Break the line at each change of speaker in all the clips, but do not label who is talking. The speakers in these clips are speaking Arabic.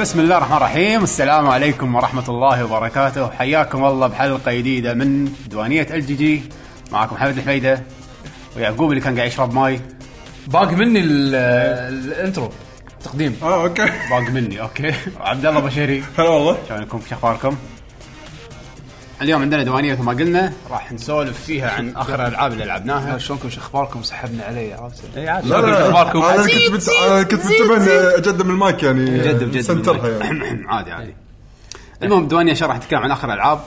بسم الله الرحمن الرحيم السلام عليكم ورحمة الله وبركاته حياكم الله بحلقة جديدة من دوانية ال جي جي معكم حمد الحميدة ويعقوب اللي كان قاعد يشرب ماي
باقي مني ال- الانترو تقديم
اه اوكي
باق مني اوكي وعبد الله بشيري
هلا والله
شلونكم شو اخباركم؟ اليوم عندنا دوانية مثل ما قلنا راح نسولف فيها عن اخر الالعاب اللي لعبناها
شلونكم شو اخباركم سحبنا علي عرفت إيه،
إي عاد.
لا لا
أخباركم؟
انا كنت بت... أنا كنت متبن اقدم المايك يعني
جد بجد
سنترها يعني
عادي عادي المهم دوانية شو راح نتكلم عن اخر الالعاب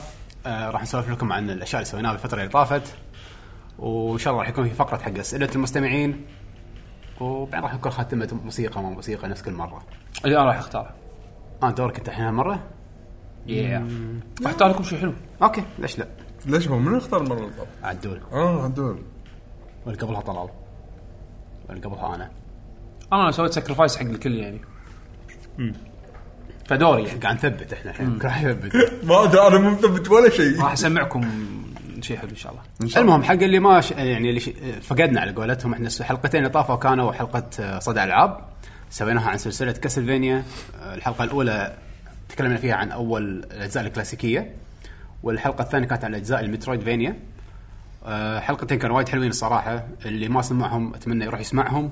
آه راح نسولف لكم عن الاشياء اللي سويناها بالفتره اللي طافت وان شاء الله راح يكون في فقره حق اسئله المستمعين وبعدين راح يكون خاتمه موسيقى ما موسيقى نفس كل مره
اللي انا راح اختار
انا دورك انت الحين هالمره
راح اختار لكم شيء حلو
اوكي ليش لا
ليش هو من اختار المره اللي طافت؟
عدول
اه عدول
واللي قبلها طلال واللي قبلها انا
انا سويت سكرفايس حق الكل يعني فدوري يعني
قاعد نثبت احنا الحين راح يثبت
ما ادري انا مو مثبت ولا شيء
راح اسمعكم شيء حلو ان شاء الله
المهم حق اللي ما ش... يعني اللي ش... فقدنا على قولتهم احنا الحلقتين اللي طافوا كانوا حلقه آه، صدى العاب سويناها عن سلسله كاسلفينيا آه، الحلقه الاولى تكلمنا فيها عن اول الاجزاء الكلاسيكيه والحلقه الثانيه كانت عن اجزاء المترويدفينيا آه، حلقتين كانوا وايد حلوين الصراحه اللي ما سمعهم اتمنى يروح يسمعهم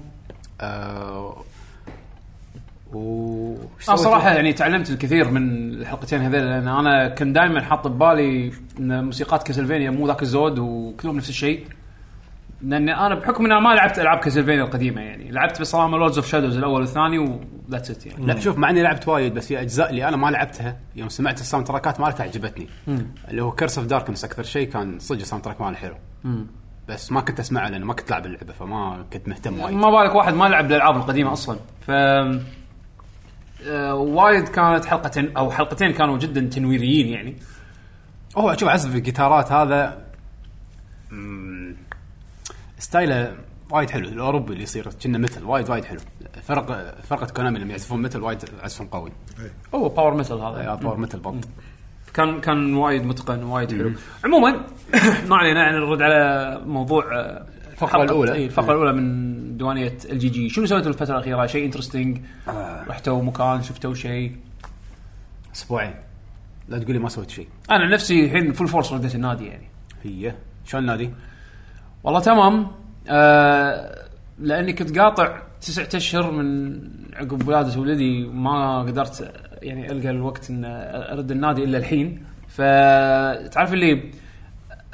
أه... و وش
انا
سويت؟
صراحه يعني تعلمت الكثير من الحلقتين هذول لان انا كان دائما حاط ببالي ان موسيقات كاسلفينيا مو ذاك الزود وكلهم نفس الشيء لان انا بحكم ان أنا ما لعبت العاب كاسلفينيا القديمه يعني لعبت بس صراحه لوردز اوف شادوز الاول والثاني وذاتس ات يعني
لا شوف مع اني لعبت وايد بس في اجزاء اللي انا ما لعبتها يوم سمعت الساوند تراكات مالتها عجبتني اللي هو كيرس اوف داركنس اكثر شيء كان صدق الساوند تراك ماله حلو بس ما كنت اسمعه لانه ما كنت لعب اللعبه فما كنت مهتم وايد
ما بالك واحد ما لعب الالعاب القديمه اصلا ف آه، وايد كانت حلقه او حلقتين كانوا جدا تنويريين يعني
هو شوف عزف الجيتارات هذا مم، ستايله وايد حلو الاوروبي اللي يصير كنا متل وايد وايد حلو فرق فرقه كونامي لما يعزفون متل وايد عزفهم قوي
هو باور ميتال هذا
آه، باور متل بالضبط
كان كان وايد متقن وايد حلو عموما ما علينا يعني نرد على موضوع آه، حلقة-
الأولى.
اي الفقره الاولى من دوانيه الجي جي شنو سويتوا الفتره الاخيره شيء انترستنج
آه.
رحتوا مكان شفتوا شيء
اسبوعين لا تقول لي ما سويت شيء
انا عن نفسي الحين فول فورس رديت النادي يعني
هي شلون النادي؟
والله تمام آه لاني كنت قاطع تسعة اشهر من عقب ولاده ولدي ما قدرت يعني القى الوقت ان ارد النادي الا الحين فتعرف اللي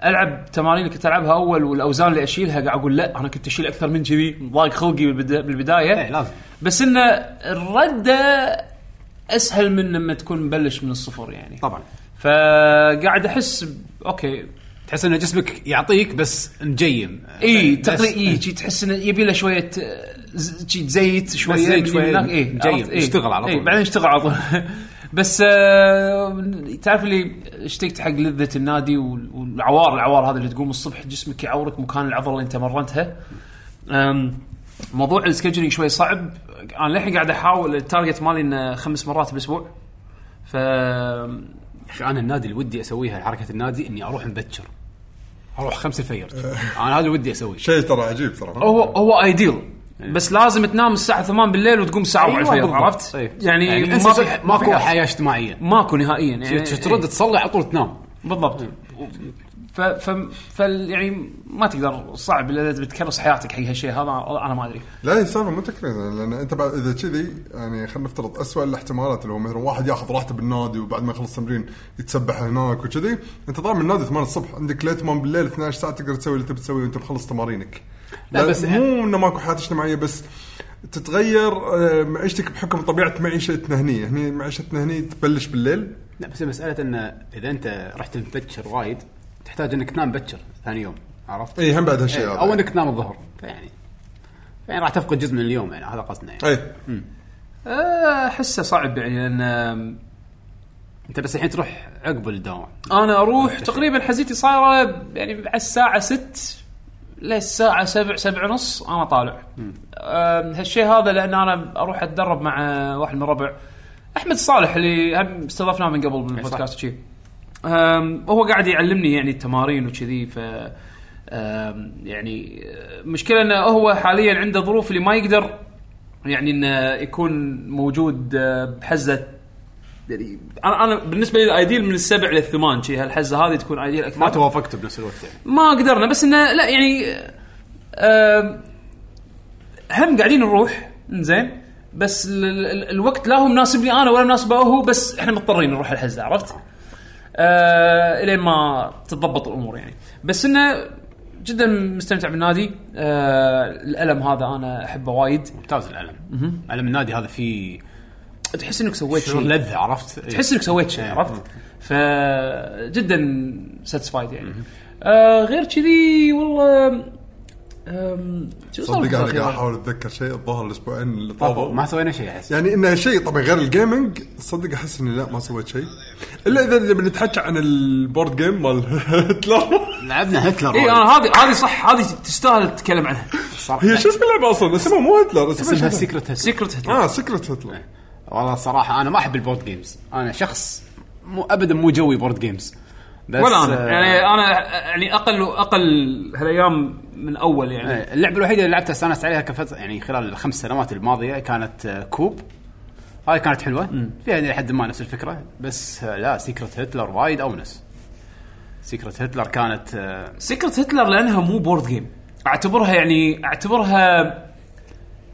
العب تمارين اللي كنت العبها اول والاوزان اللي اشيلها قاعد اقول لا انا كنت اشيل اكثر من كذي ضايق خلقي بالبدا-
ايه
بالبدايه
لازم
بس ان الرده اسهل من لما تكون مبلش من الصفر يعني
طبعا
فقاعد احس ب- اوكي
تحس ان جسمك يعطيك بس مجيم
اي
بس-
تقريبا اي إيه، شي تحس انه يبي له شويه آه، ز- شي تزيت شويه
زيت
من
شوية
هناك، إيه،
جيد،
عرفت؟ إيه.
يشتغل على
إيه،
طول.
بعدين يشتغل على طول بس آه، تعرف اللي اشتقت حق لذه النادي وال- والعوار العوار هذا اللي تقوم الصبح جسمك يعورك مكان العضله اللي انت مرنتها أم، موضوع السكجلينج شوي صعب انا للحين قاعد احاول التارجت مالي انه خمس مرات بالاسبوع ف
يا اخي انا النادي اللي ودي اسويها حركه النادي اني اروح مبكر اروح خمسة الفجر انا هذا اللي ودي اسويه
شيء ترى عجيب ترى
هو هو ايديل بس لازم تنام الساعه 8 بالليل وتقوم الساعه 4
أيوة
الفجر
بالضبط.
عرفت؟
إيه.
يعني, يعني
انسى
ما في
صح-
ما
ماكو
في
حياه اجتماعيه
ماكو نهائيا يعني
ترد تصلي على طول تنام
بالضبط ف ف ف يعني ما تقدر صعب اذا تبي تكرس حياتك حق هالشيء هذا انا ما ادري
لا هي السالفه مو تكريزه لان انت بعد اذا كذي يعني خلينا نفترض اسوء الاحتمالات اللي هو مثلا واحد ياخذ راحته بالنادي وبعد ما يخلص تمرين يتسبح هناك وكذي انت طالع من النادي 8 الصبح عندك ليه 8 بالليل 12 ساعه تقدر تسوي اللي تبي تسويه وانت مخلص تمارينك
لا،
لا
بس-
بس مو انه ماكو حياه اجتماعيه بس تتغير آه، معيشتك بحكم طبيعه معيشتنا هني هني معيشتنا هني تبلش بالليل
لا بس مساله ان اذا انت رحت مبكر وايد تحتاج انك تنام مبكر ثاني يوم عرفت؟
اي هم بعد هالشيء
إيه،
هذا
او انك تنام الظهر فيعني يعني راح تفقد جزء من اليوم يعني هذا قصدنا
طيب.
يعني
اي
آه، احسه صعب يعني لان آم،
انت بس الحين تروح عقب الدوام
انا اروح تقريبا حزيتي صايره يعني على الساعه 6 للساعة 7 7 ونص انا طالع. أم، هالشيء هذا لان انا اروح اتدرب مع واحد من ربع احمد صالح اللي هم استضفناه من قبل بالبودكاست وشي أم، هو قاعد يعلمني يعني التمارين وكذي ف أم، يعني أه، مشكلة انه هو حاليا عنده ظروف اللي ما يقدر يعني انه يكون موجود أه، بحزة يعني انا انا بالنسبه لي الايديل من السبع للثمان شي هالحزه هذه تكون ايديل اكثر
ما توافقت بنفس الوقت يعني
ما قدرنا بس انه لا يعني آم، هم قاعدين نروح زين بس ال ال ال الوقت لا هو مناسبني انا ولا مناسبه هو بس احنا مضطرين نروح الحزه عرفت؟ آه الين ما تتضبط الامور يعني بس انه جدا مستمتع بالنادي آه الالم هذا انا احبه وايد
ممتاز العلم علم النادي هذا فيه
تحس انك سويت
شعور
شيء
لذه عرفت إيه.
تحس انك سويت شيء
إيه.
عرفت؟ فجدا ساتسفايد يعني آه غير كذي والله آم، شو صار
صدق انا قاعد
بالأخير؟
احاول اتذكر شيء الظاهر الاسبوعين اللي طافوا
إيه. ما سوينا شيء احس
يعني انه شيء طبعا غير الجيمنج صدق احس اني لا ما سويت شيء الا اذا اذا بنتحكى عن البورد جيم مال هتلر
لعبنا هتلر
اي
وايد.
انا هذه هذه صح هذه تستاهل تتكلم عنها
صراحة.
هي شو اسم اللعبه اصلا اسمها مو هتلر اسمها
اسمها
شو اسمها؟
سيكرت هتلر
سيكرت هتلر
اه سكرت هتلر
والله صراحه انا ما احب البورد جيمز انا شخص مو ابدا مو جوي بورد جيمز بس
ولا انا
آه،
يعني انا يعني اقل واقل هالايام من اول يعني
آه، اللعبه الوحيده اللي لعبتها استانست عليها كفتره يعني خلال الخمس سنوات الماضيه كانت آه، كوب هاي كانت حلوه فيها الى حد ما نفس الفكره بس آه، لا سيكرت هتلر وايد اونس سيكرت هتلر كانت آه،
سيكرت هتلر لانها مو بورد جيم اعتبرها يعني اعتبرها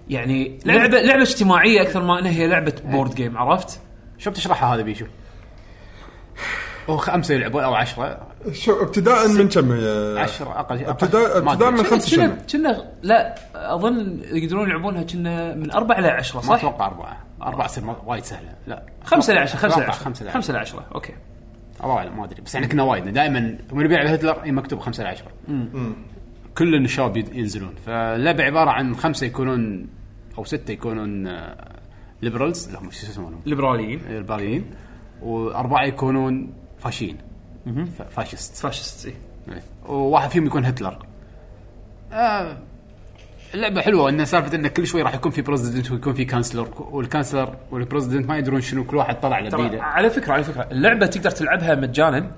يعني لعبه لعبه اجتماعيه اكثر ما انها هي لعبه
إيه.
بورد جيم عرفت؟
شو بتشرحها هذا بيشو؟ هو خمسه يلعبون او عشرة
شو ابتداء من كم يا
عشرة اقل شيء
ابتداء
ما
ابتداء
أدري.
من خمس
كنا
سنين
كنا لا اظن يقدرون يلعبونها كنا من اربعه ل 10
ما
صح؟
اتوقع اربعه اربعه تصير ما- وايد سهله لا
خمسه ل 10 خمسه ل
أتوقع
10
خمسه ل
خمسه ل 10 اوكي
الله اعلم ما ادري بس يعني كنا وايد دائما من يبيع على هتلر إيه مكتوب 5 ل 10 كل الشباب يد- ينزلون فاللعبه عباره عن خمسه يكونون او سته يكونون ليبرالز لا مش شو يسمونهم
ليبراليين
الباريين واربعه يكونون فاشين ف- فاشست
فاشست إيه.
إيه. وواحد فيهم يكون هتلر آه اللعبه حلوه ان سالفه انه كل شوي راح يكون في بريزدنت ويكون في كانسلر والكانسلر والبريزدنت ما يدرون شنو كل واحد طلع على
ترى
بيده
على فكره على فكره اللعبه تقدر تلعبها مجانا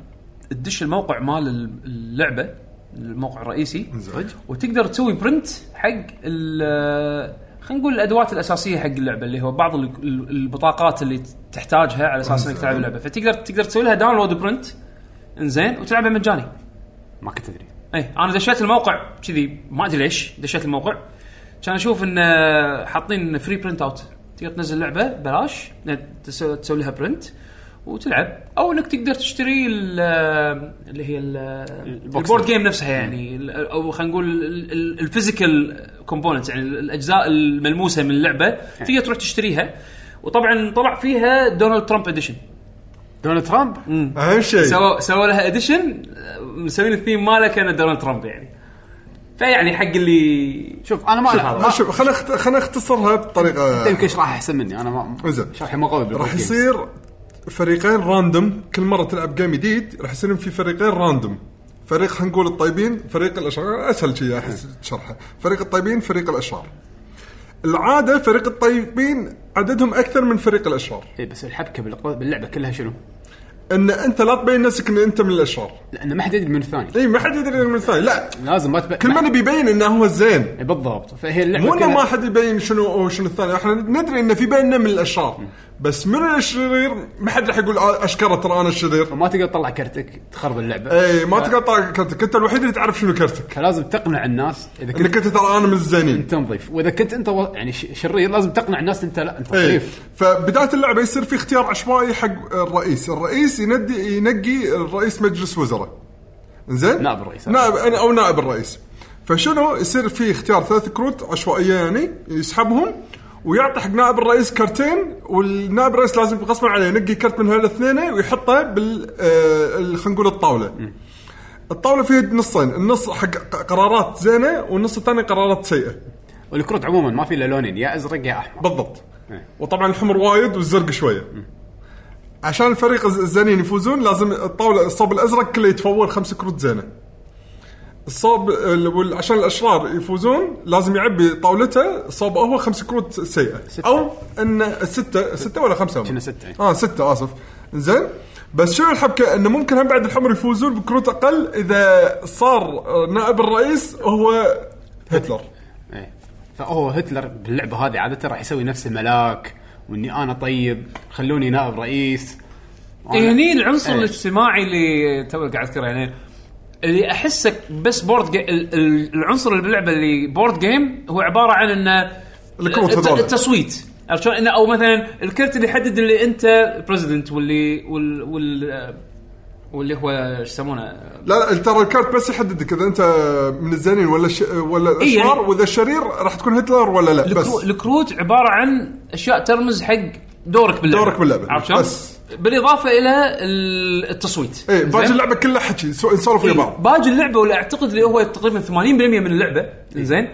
تدش الموقع مال اللعبه الموقع الرئيسي
صدق؟
وتقدر تسوي برنت حق ال- خلينا نقول الادوات الاساسيه حق اللعبه اللي هو بعض ال- ال- البطاقات اللي تحتاجها على اساس انك تلعب اللعبه فتقدر تقدر تسوي لها داونلود برنت انزين وتلعبها مجاني
ما كنت ادري
اي انا إيه، دشيت الموقع كذي ما ادري ليش دشيت الموقع كان اشوف ان آه، حاطين فري برنت اوت تقدر تنزل لعبه بلاش يعني تسوي تسوي لها برنت وتلعب او انك تقدر تشتري ال- آه، اللي هي ال- آه،
البوكس.
البورد جيم نفسها يعني ال- او خلينا نقول ال- ال- الفيزيكال كومبوننتس يعني الاجزاء الملموسه من اللعبه تقدر تروح تشتريها وطبعا طلع فيها دونالد ترامب اديشن
دونالد ترامب
اهم شيء
سووا سووا لها اديشن مسوين الثيم ماله كان دونالد ترامب يعني فيعني حق اللي
شوف انا ما ألعب.
ما شوف خلينا اخت- خلينا اختصرها بطريقه
انت يمكن راح احسن مني انا ما
زين.
شرحي مو قوي بالبورد
راح
جيمز.
يصير فريقين راندوم كل مره تلعب جيم جديد راح يصيرون في فريقين راندوم فريق خلينا نقول الطيبين فريق الاشرار اسهل شيء احس شرحه فريق الطيبين فريق الاشرار العاده فريق الطيبين عددهم اكثر من فريق الاشرار
اي إيه، بس الحبكه بالق- باللعبه كلها شنو؟
ان انت لا تبين نفسك ان انت من الاشرار
لان ما حد يدري من الثاني
اي ما حد يدري من الثاني لا
لازم ما تبقى
كل من بيبين انه هو الزين
بالضبط فهي اللعبه
مو انه
كلها-
ما حد يبين شنو أو شنو الثاني احنا ندري انه في بيننا من الاشرار بس من الشرير ما حد راح يقول آه، اشكره ترى انا الشرير
ما تقدر تطلع كرتك تخرب اللعبه
اي إيه، ما تقطع كرتك انت الوحيد اللي تعرف شنو كرتك
فلازم تقنع الناس اذا كنت
انك انت ترى انا من الزينين
انت نظيف واذا كنت انت و... يعني ش- شرير لازم تقنع الناس انت لا انت
اي
نظيف
فبدايه اللعبه إيه. يصير في اختيار عشوائي حق الرئيس، الرئيس يندي ينقي الرئيس مجلس وزراء. زين؟
نائب الرئيس.
نائب او نائب الرئيس. فشنو يصير في اختيار ثلاث كروت عشوائيه يعني يسحبهم ويعطي حق نائب الرئيس كرتين والنائب الرئيس لازم غصبا عليه ينقي كرت من هالاثنين ويحطه بال آه، ال- خلينا نقول الطاوله. الطاوله فيها نصين، النص حق قرارات زينه والنص الثاني قرارات سيئه.
والكروت عموما ما في الا لونين يا ازرق يا احمر
بالضبط
إيه.
وطبعا الحمر وايد والزرق شويه عشان الفريق الز- الزينين يفوزون لازم الطاوله الصوب الازرق كله يتفول خمس كروت زينه الصوب ال- وال- عشان الاشرار يفوزون لازم يعبي طاولته صوب هو خمس كروت سيئه
ستة.
او ان سته سته ولا خمسه هم؟
كنا ستة، إيه.
اه سته اسف زين بس شنو الحبكه انه ممكن هم بعد الحمر يفوزون بكروت اقل اذا صار آه، نائب الرئيس هو هتلر
إيه. فهو هتلر باللعبه هذه عاده راح يسوي نفس الملاك واني انا طيب خلوني نائب رئيس وأنا-
إيه، هني العنصر
إيه.
الاجتماعي اللي تو قاعد اذكره يعني اللي احسه بس بورد جي... ال- ال- العنصر اللي باللعبه اللي بورد جيم هو عباره عن انه
الكروت
الت-
هذول.
التصويت عرفت شلون؟ إنه او مثلا الكرت اللي يحدد اللي انت بريزدنت واللي وال, وال... واللي هو ايش يسمونه
لا لا ترى الكارت بس يحددك اذا انت من الزينين ولا ش... ولا الاشرار
إيه، يعني-
واذا الشرير راح تكون هتلر ولا لا بس
الكرو... الكروت عباره عن اشياء ترمز حق دورك باللعبه
دورك باللعبة.
عرفت شلون؟
بس.
بالاضافه الى ال- التصويت
ايه باقي
زين؟
اللعبه كلها حكي سو- نسولف ويا
إيه،
بعض
باجي اللعبه ولا اعتقد اللي هو تقريبا 80% من اللعبه
إيه.
زين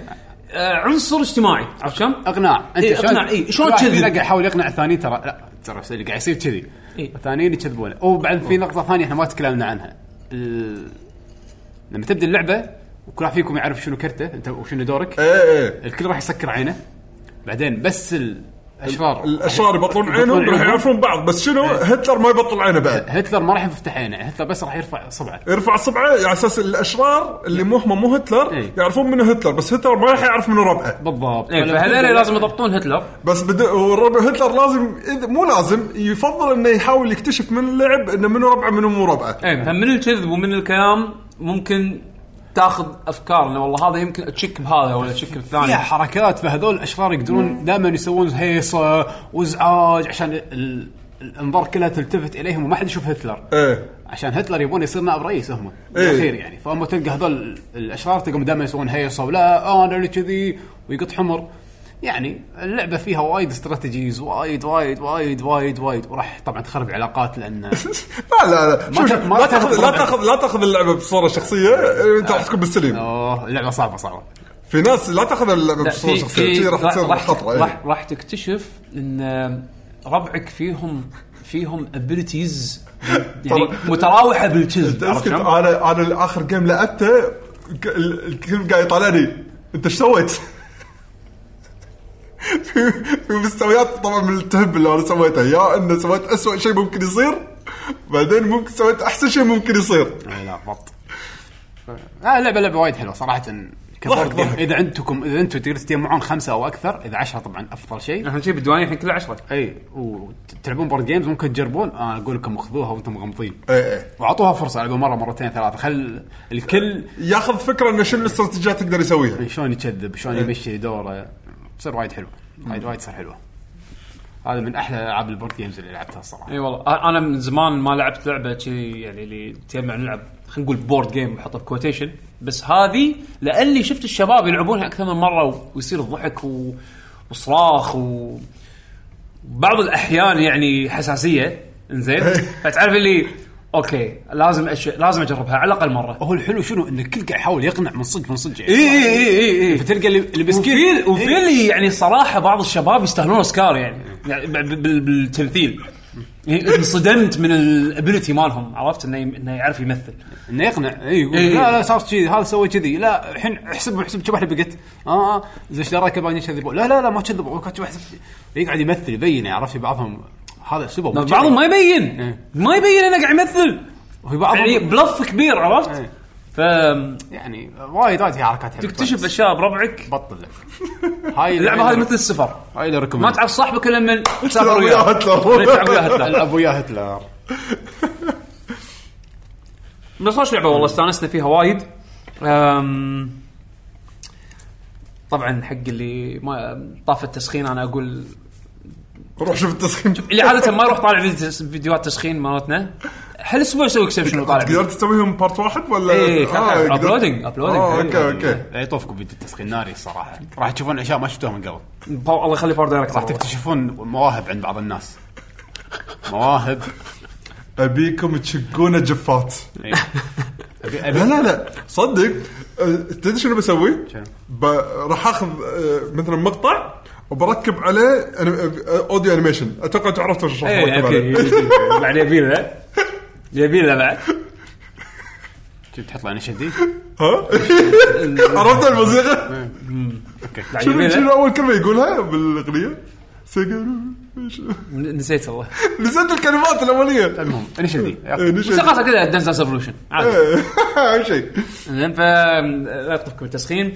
آه عنصر اجتماعي عرفت شلون؟
اقناع انت
إيه،
شلون-
إقناع، إيه. شلون
كل واحد فينا
تكذب؟
قاعد يحاول يقنع الثاني ترى لا ترى اللي قاعد يصير كذي
إيه.
الثانيين يكذبونه وبعد في نقطه ثانيه احنا ما تكلمنا عنها ال... لما تبدا اللعبه وكل واحد فيكم يعرف شنو كرته انت وشنو دورك
ايه ايه
الكل راح يسكر عينه بعدين بس الاشرار
الاشرار يبطلون عينهم
يبطلون
راح يعرفون بعض بس شنو
إيه.
هتلر ما يبطل عينه بعد
هتلر ما راح يفتح عينه هتلر بس راح يرفع صبعه
يرفع صبعه على اساس الاشرار اللي مو هم مو هتلر
إيه.
يعرفون منه هتلر بس هتلر ما راح يعرف منه ربعه
بالضبط
إيه،
فلما
فهذول
تبدأ-
لازم يضبطون هتلر
بس بد... والربع هتلر لازم إذ... مو لازم يفضل انه يحاول يكتشف من اللعب انه منو ربعه منو مو ربعه
اي فمن الكذب ومن الكلام ممكن تاخذ افكار انه والله هذا يمكن تشك بهذا ولا تشك بالثاني
فيها حركات فهذول الاشرار يقدرون دائما يسوون هيصه وازعاج عشان ال- الانظار كلها تلتفت اليهم وما حد يشوف هتلر
إيه.
ايه
عشان هتلر يبون يصير نائب رئيس هم
إيه.
بالاخير يعني فهم تلقى هذول الاشرار تلقاهم دائما يسوون هيصه ولا انا اللي كذي ويقط حمر يعني اللعبه فيها وايد استراتيجيز وايد وايد وايد وايد وايد وراح طبعا تخرب علاقات لان
لا لا لا
ما
شوف
تاخ-
شوف،
ما
لا
تاخذ
تاخذ لا
ربع.
تاخذ لا تاخذ اللعبه بصوره شخصيه إيه،
آه.
انت راح تكون بالسليم
اوه اللعبه صعبه صارت
في ناس لا تاخذ اللعبه
لا،
بصوره
في-
شخصيه
في-
شي راح تصير خطره إيه.
راح راح تكتشف ان ربعك فيهم فيهم ابيلتيز يعني
طبعا.
متراوحه بالكذب عرفت
اسكت
شلون؟
انا انا اخر جيم لعبته ك- ال- الكل قاعد يطالعني انت ايش سويت؟ في في مستويات طبعا من التهب اللي انا سويته يا انه سويت اسوء شيء ممكن يصير بعدين ممكن سويت احسن شيء ممكن يصير
اي لا بالضبط لا لعبه لعبه وايد حلوه صراحه كبورد جيم.
ضحك.
اذا عندكم اذا انتم تقدروا تجمعون خمسه او اكثر اذا عشرة طبعا افضل شيء
احنا شي بالديوانيه الحين كلها 10
اي وتلعبون بورد جيمز ممكن تجربون انا اقول لكم خذوها وانتم مغمضين
إيه إيه.
واعطوها فرصه لعبوا مره مرتين ثلاثه خل الكل
ياخذ فكره انه شنو الاستراتيجيات تقدر يسويها
شلون يكذب
إيه.
شلون يمشي دوره تصير وايد حلوه وايد وايد تصير حلوه هذا من احلى العاب البورد جيمز اللي لعبتها الصراحه
اي والله أ- انا من زمان ما لعبت لعبه كذي يعني اللي تجمع نلعب خلينا نقول بورد جيم بحطه بكوتيشن بس هذه لاني شفت الشباب يلعبونها اكثر من مره و- ويصير ضحك و... وصراخ و بعض الاحيان يعني حساسيه انزين فتعرف اللي اوكي لازم أش... لازم اجربها على الاقل مره
هو الحلو شنو ان الكل قاعد يحاول يقنع من صدق من صدق
اي اي اي اي اي
فتلقى اللي- إيه. اللي
وفي
مسكين
وفي اللي يعني صراحه بعض الشباب يستاهلون اوسكار يعني, يعني ب- ب- بال- بالتمثيل يعني انصدمت من الابيلتي مالهم عرفت انه يم- انه يعرف يمثل
انه يقنع اي يقول
إي.
لا لا صار كذي هذا سوى كذي لا الحين احسب احسب كم واحده بقت اه آه، زين ايش دراك يبغون يكذبون لا لا لا ما كذبوا كم واحده يقعد يمثل يبين يعني عرفت بعضهم هذا اسلوبه مو
بعضهم
كذي.
ما يبين
إيه.
ما يبين انه قاعد يمثل
وفي بعضهم
يعني بلف كبير عرفت
إيه.
ف
يعني وايد وايد في حركات حلوه
تكتشف اشياء بربعك
بطل هاي
اللعبه هذه مثل السفر
هاي اللي recommend.
ما تعرف صاحبك الا لما تسافر
تلعب ويا
وياه
هتلر.
إيه، تلعب ويا هتلر
العب ويا هتلر
بس خوش لعبه والله استانسنا فيها وايد أم، طبعا حق اللي ما طاف التسخين انا اقول
روح شوف التسخين
اللي عاده ما يروح طالع فيديو- فيديوهات تسخين مالتنا هل اسبوع يسوي اكسبشن وطالع فيديو.
قدرت تسويهم بارت واحد ولا آه،
إيه، كان حلو.
قدرت؟
uploading- uploading.
آه، اوكي اوكي
لا يطوفكم فيديو التسخين ناري الصراحه راح تشوفون اشياء ما شفتوها من قبل
باو- الله يخلي باور دايركت
راح تكتشفون مواهب عند بعض الناس مواهب
ابيكم تشقون الجفات
إي. أبي- أبي-
لا لا لا صدق أه، تدري شنو بسوي؟
شنو؟
ب... راح اخذ أه، مثلا مقطع وبركب عليه أني- أه، اوديو انيميشن اتوقع انت عرفت ايش راح
ايه
اركب
اوكي
عليه
بعد يبينا يبينا بعد
كنت تحط له انشدي
ها عرفت الموسيقى؟
اوكي
شنو شنو
عجيبة.
اول كلمه يقولها بالاغنيه؟ سيجارو
ن- نسيت والله
نسيت الكلمات الاوليه
المهم انشدي
إيه، نشد.
موسيقاتها كذا دانس دانس ريفولوشن عادي
اهم شيء
زين فلا يطلبكم التسخين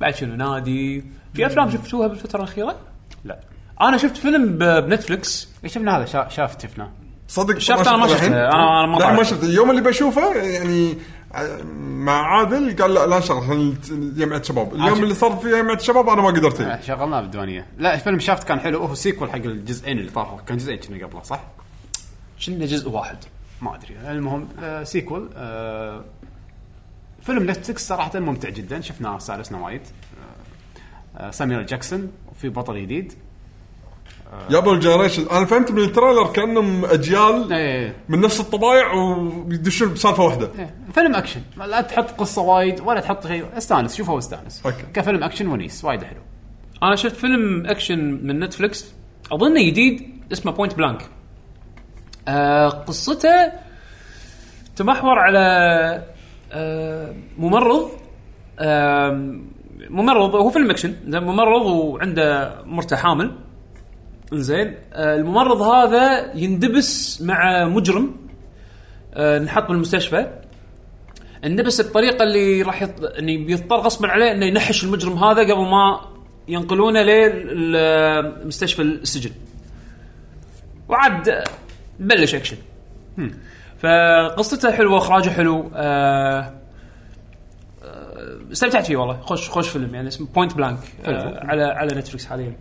بعد شنو نادي في افلام شفتوها بالفتره الاخيره؟
لا
انا شفت فيلم ب- بنتفلكس
شفنا هذا شا- شاف شفناه
صدق
شفت
ما
أنا ما
شفته
شفته.
الحين.
أنا- أنا ما
لا
طالع.
ما شفته اليوم اللي بشوفه يعني ع- مع عادل قال لا لا شغل خلينا نت- جمعه شباب اليوم
عاشق.
اللي صار في جمعه شباب انا ما قدرت
آه،
إيه.
شغلناه بالديوانيه لا فيلم شافت كان حلو هو سيكول حق الجزئين اللي طافوا كان جزئين كنا قبله صح؟
شنو جزء واحد
ما ادري المهم آه سيكول آه فيلم نتفلكس صراحه ممتع جدا شفناه سالسنا وايد آه آه، سامير جاكسون وفي بطل جديد
يابا الجنريشن انا فهمت من التريلر كانهم
آه.
اجيال
ايه
من نفس الطبايع ويدشون بسالفه واحده
إيه، فيلم اكشن لا تحط قصه وايد ولا تحط شيء استانس شوفه واستانس
أوكي.
كفيلم اكشن ونيس وايد حلو
انا شفت فيلم اكشن من نتفلكس اظنه جديد اسمه بوينت بلانك آه قصته تمحور على آه ممرض آه ممرض هو فيلم اكشن زين، ممرض وعنده مرته حامل زين آه الممرض هذا يندبس مع مجرم آه نحط بالمستشفى اندبس الطريقه اللي راح يط... انه بيضطر غصبا عليه انه ينحش المجرم هذا قبل ما ينقلونه لمستشفى السجن. وعاد بلش اكشن. فقصته حلوه اخراجه حلو آه، آه، استمتعت فيه والله خوش خوش فيلم يعني اسمه بوينت بلانك على على نتفلكس حاليا.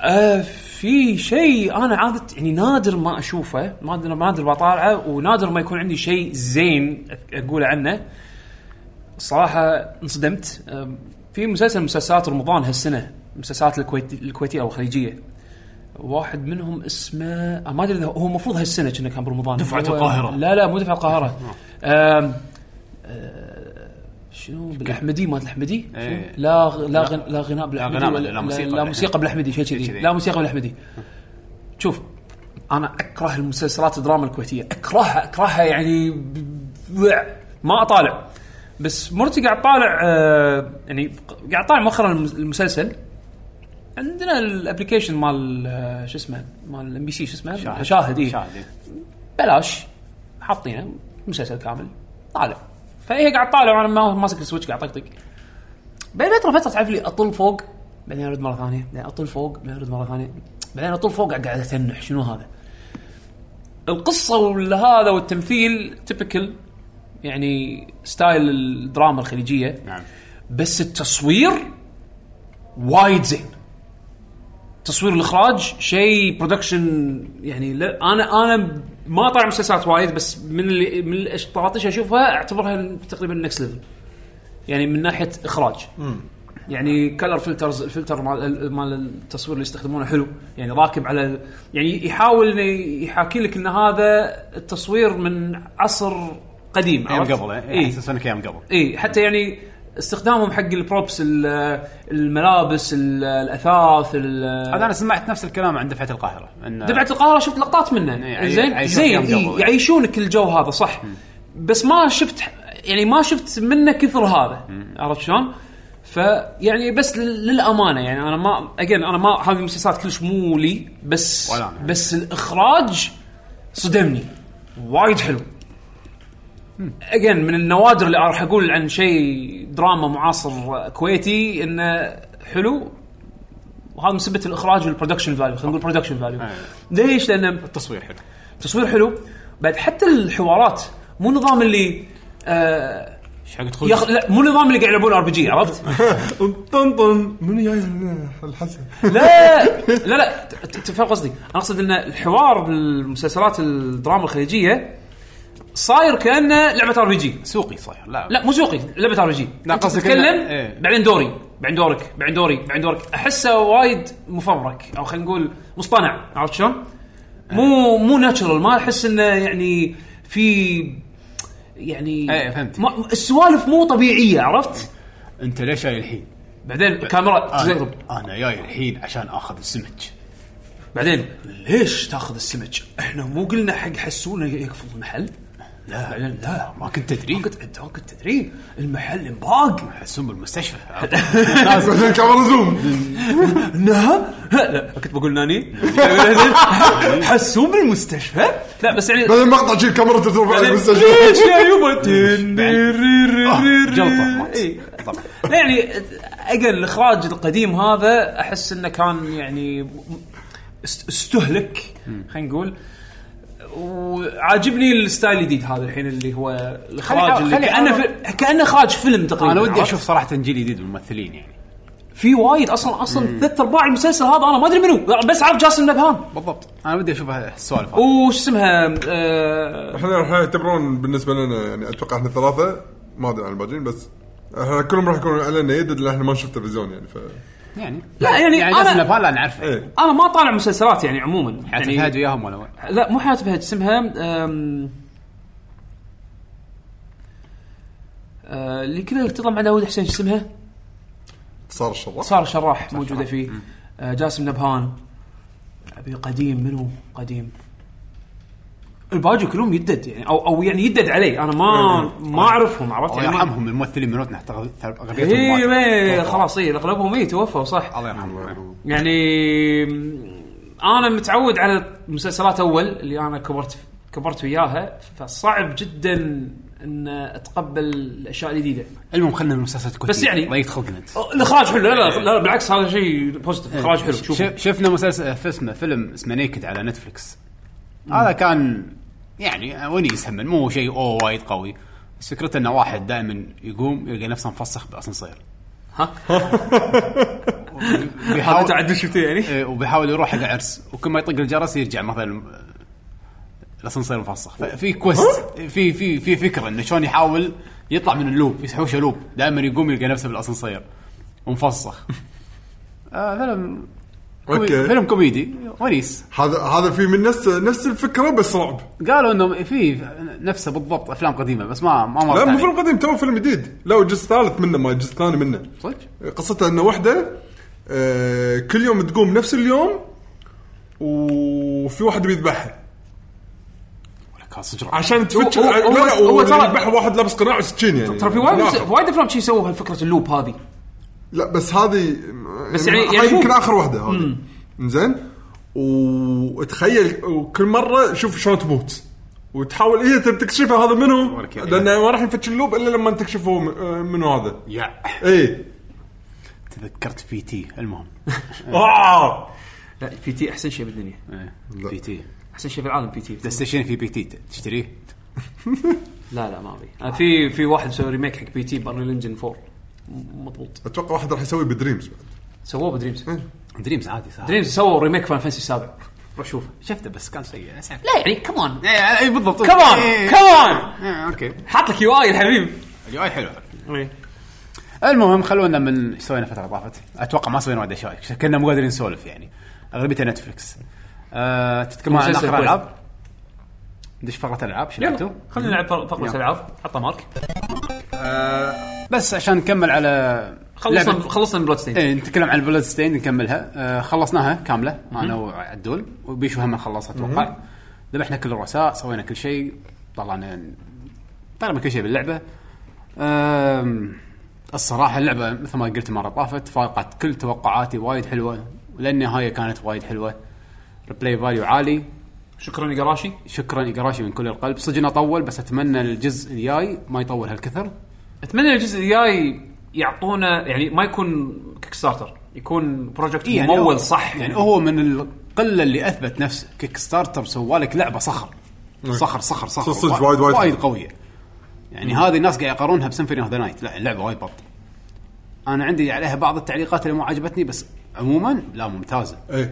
آه في شيء انا عاده يعني نادر ما اشوفه نادر نادر بطالعه ونادر ما يكون عندي شيء زين أ- اقوله عنه الصراحه انصدمت آم، في مسلسل من مسلسلات رمضان هالسنه مسلسلات الكويت الكويتيه او الخليجيه واحد منهم اسمه آه، ما ادري إذا هو المفروض هالسنه كنا كان برمضان
دفعة
هو-
القاهرة.
لا لا مو دفعه القاهره آم، آه، شنو بالاحمدي مال الاحمدي؟ شنو؟
إيه.
لا غ- لا غن- لا غناء بالاحمدي
غناء
ولا-
لا موسيقى
لا موسيقى بالاحمدي شيء
شيء
كذي
كذي.
لا موسيقى بالاحمدي شوف انا اكره المسلسلات الدراما الكويتيه اكرهها اكرهها يعني ب- ب- ما اطالع بس مرتي قاعد طالع آه، يعني قاعد طالع مؤخرا المس- المسلسل عندنا الابلكيشن مال آه، شو اسمه مال الام بي سي شو اسمه شاهد, شاهد, إيه.
شاهد إيه.
بلاش حاطينه مسلسل كامل طالع فهي قاعد طالع وانا ما- ماسك السويتش قاعد طقطق بين فتره فتره تعرف لي اطل فوق بعدين ارد مره ثانيه بعدين اطل فوق بعدين ارد مره ثانيه بعدين اطل فوق قاعد اتنح شنو هذا القصه والهذا والتمثيل تيبكال يعني ستايل الدراما الخليجيه
نعم
بس التصوير وايد زين تصوير الاخراج شيء برودكشن يعني لا انا انا ما طالع مسلسلات وايد بس من اللي من الاشطاطيش اشوفها اعتبرها تقريبا نكست ليفل يعني من ناحيه اخراج يعني كلر فلترز الفلتر مال مال التصوير اللي يستخدمونه حلو يعني راكب على يعني يحاول انه يحاكي لك ان هذا التصوير من عصر قديم عرفت؟
ايام قبل
إيه.
اي احسس انك ايام قبل
اي حتى يعني استخدامهم حق البروبس ال- الملابس ال- الاثاث ال-
هذا انا سمعت نفس الكلام عن دفعه القاهره ان
دفعه القاهره شفت لقطات منه
إيه،
زين
يعيشون
زين
أيام
إيه،
قبل.
يعيشونك الجو هذا صح بس ما شفت يعني ما شفت منه كثر هذا عرفت شلون؟ فيعني بس لل- للامانه يعني انا ما اجين انا ما هذه المسلسلات كلش مو لي بس
ولا أنا.
بس الاخراج صدمني وايد حلو اجين من النوادر اللي راح اقول عن شيء دراما معاصر كويتي انه حلو وهذا من سبه الاخراج والبرودكشن فاليو خلينا نقول برودكشن فاليو
أي.
ليش؟ لان
التصوير حلو
التصوير حلو بعد حتى الحوارات مو نظام اللي آه
ايش حق تخوض
يخ... لا مو نظام اللي قاعد يلعبون ار بي جي عرفت؟
طن طن منو جاي هنا؟ الحسن
لا لا لا ت- ت- تفهم قصدي انا اقصد ان الحوار بالمسلسلات الدراما الخليجيه صاير كانه لعبه ار بي جي
سوقي صاير لا
لا مو سوقي لعبه ار بي جي
لا،
أنت
قصدك
تتكلم
إنه- إيه.
بعدين دوري بعدين دورك بعدين دوري بعدين دورك احسه وايد مفبرك او خلينا نقول مصطنع عرفت شلون؟
إيه.
مو مو ناتشرال ما احس انه يعني في يعني
إيه، فهمت.
ما السوالف مو طبيعيه عرفت؟
انت ليش جاي الحين؟
بعدين الكاميرا
آه.
تزغرب
انا, أنا جاي الحين عشان اخذ السمك
بعدين ليش تاخذ السمك؟ احنا مو قلنا حق حسونه يقفل المحل؟
لا
فعلا لا
ما كنت تدري
ما كنت انت ما كنت تدري المحل مباق
حسون بالمستشفى
بعدين كاميرا زوم
نها لا كنت بقول ناني حسون بالمستشفى لا بس يعني
بعدين مقطع شيل كاميرا ترفع على المستشفى
ليش يا يبا تندريريريري.
جلطة مات.
إي.
طبعا
لا يعني اجل الاخراج القديم هذا احس انه كان يعني است- استهلك خلينا نقول وعاجبني الستايل الجديد هذا الحين اللي هو الاخراج
خلي-
اللي
خلي-
كانه في- كانه اخراج فيلم تقريبا
انا ودي
عرفت؟
اشوف صراحه جيل جديد من الممثلين يعني
في وايد اصلا اصلا ثلاث ارباع المسلسل هذا انا ما ادري منو بس عارف جاسم نبهان
بالضبط انا ودي اشوف هالسوالف هذه.
وش اسمها آه،
احنا راح يعتبرون بالنسبه لنا يعني اتوقع احنا ثلاثه ما ادري عن الباقيين بس احنا كلهم راح يكونون علينا يد لان احنا ما نشوف تلفزيون يعني ف
يعني
لا، يعني
يعني
أنا-
جاسم نبهان لا نعرفه
ايه
انا ما طالع مسلسلات يعني عموما
حتى
يعني
فهد وياهم ولا وين؟
لا مو حياه بهج اسمها أم، آه، اللي كذا تطلع مع داوود حسين شو اسمها؟
صار الشراح
ساره شراح موجوده فيه آه، جاسم نبهان ابي قديم منو قديم الباقي كلهم يدد يعني او او يعني يدد علي انا ما ما اعرفهم عرفت
الله
يعني ما- إيه،
يرحمهم الممثلين مالتنا ترى- ترى اغلبيتهم
اي إي،
ماتوا.
خلاص اي اغلبهم اي توفوا صح
الله يرحمهم
يعني م- انا متعود على مسلسلات اول اللي انا كبرت كبرت وياها فصعب جدا ان اتقبل الاشياء الجديده
المهم خلينا من مسلسلات كوتي
بس يعني-
الله يدخل قلت
الاخراج حلو لا لا, لا بالعكس هذا شيء بوزيتيف اخراج حلو شوف
شف- شفنا مسلسل في اسمه فيلم اسمه نيكد على نتفلكس هذا كان يعني ونيس هم مو شيء اوه وايد قوي بس فكرته انه واحد دائما يقوم يلقى نفسه مفسخ باسانسير
ها هذا
بيحاول
تعدل شفته يعني
إيه، وبيحاول يروح حق عرس وكل ما يطق الجرس يرجع مثلا الاسانسير مفسخ ففي كويست في في في فكره انه شلون يحاول يطلع من اللوب يحوشه لوب دائما يقوم يلقى نفسه بالاسانسير ومفسخ آه فيلم كومي-
أوكي.
فيلم كوميدي ونيس
هذا هذا في من نفس نفس الفكره بس رعب
قالوا انه في نفسه بالضبط افلام قديمه بس ما ما مرت
لا مو
علي.
فيلم قديم تو فيلم جديد لا وجزء ثالث منه ما جزء ثاني منه
صدق
قصته ان واحده آه، كل يوم تقوم نفس اليوم وفي واحد بيذبحها
ولا كان صدق
عشان تفتش
هو-
لا
هو-
لا
هو- آه، هو
هو
ترى-
يذبحها واحد لابس قناع وسكين يعني
ترى في وايد
لا،
مس- وايد افلام شي سووا هالفكره اللوب هذه
لا بس هذه
بس يعني-
هاي
يعني شوف.
يمكن اخر واحده هذه زين وتخيل وكل مره شوف شلون تموت وتحاول هي إيه تكتشفها هذا منو
ورك يا
لانه ما راح ينفتش اللوب الا لما تكشفه منو هذا إيه.
يا
اي
تذكرت بي تي المهم
آه.
لا بي تي احسن شيء بالدنيا
بي تي
احسن شيء في العالم بي تي
بلاي ستيشن في بي تي تشتريه
لا لا ما ابي أنا آه، في في واحد سوى ريميك حق بي تي بانريل انجن 4 م- مضبوط
اتوقع واحد راح يسوي بدريمز بعد
سووه بدريمز
دريمز عادي صح
دريمز سووا ريميك فان فانسي السابع روح شوفه
شفته بس كان سيء اسف
لا يعني كمان
اي إيه، بالضبط
كمان
إيه.
كمان
اوكي
حاط لك يو اي الحبيب
اليو اي حلو المهم خلونا من ايش سوينا فتره طافت اتوقع ما سوينا وايد اشياء كنا مو قادرين نسولف يعني اغلبيتها نتفلكس آه تتكلم عن
مسلسل
اخر
كويس.
العاب ندش فقره العاب شنو لعبتوا؟
يلا خلينا نلعب فر- فقره
يلا.
العاب حطها مارك
آه بس عشان نكمل على
خلصنا
لعبة-
خلصنا من بلاد ستين
ايه نتكلم عن بلاد ستين نكملها آه خلصناها كامله انا وعدول وبيشو هم خلصها اتوقع ذبحنا كل الرؤساء سوينا كل شيء طلعنا طلعنا كل شيء باللعبه آم، الصراحه اللعبه مثل ما قلت المره طافت فاقت كل توقعاتي وايد حلوه ولان النهايه كانت وايد حلوه البلاي فاليو عالي
شكرا يا قراشي
شكرا اقراشي من كل القلب صدق انه طول بس اتمنى الجزء الجاي ما يطول هالكثر
اتمنى الجزء الجاي يعطونا يعني ما يكون كيك ستارتر يكون بروجكت
إيه يعني هو-
ممول صح
يعني هو من القله اللي اثبت نفسه كيك ستارتر سوالك لعبه صخر صخر صخر صخر
نعم. صدق
وا-
وايد- وايد.
وايد قويه يعني هذه الناس قاعد يقارنها بسيمفوني اوف ذا نايت لا اللعبه وايد بط انا عندي عليها بعض التعليقات اللي مو عجبتني بس عموما لا ممتازه
اي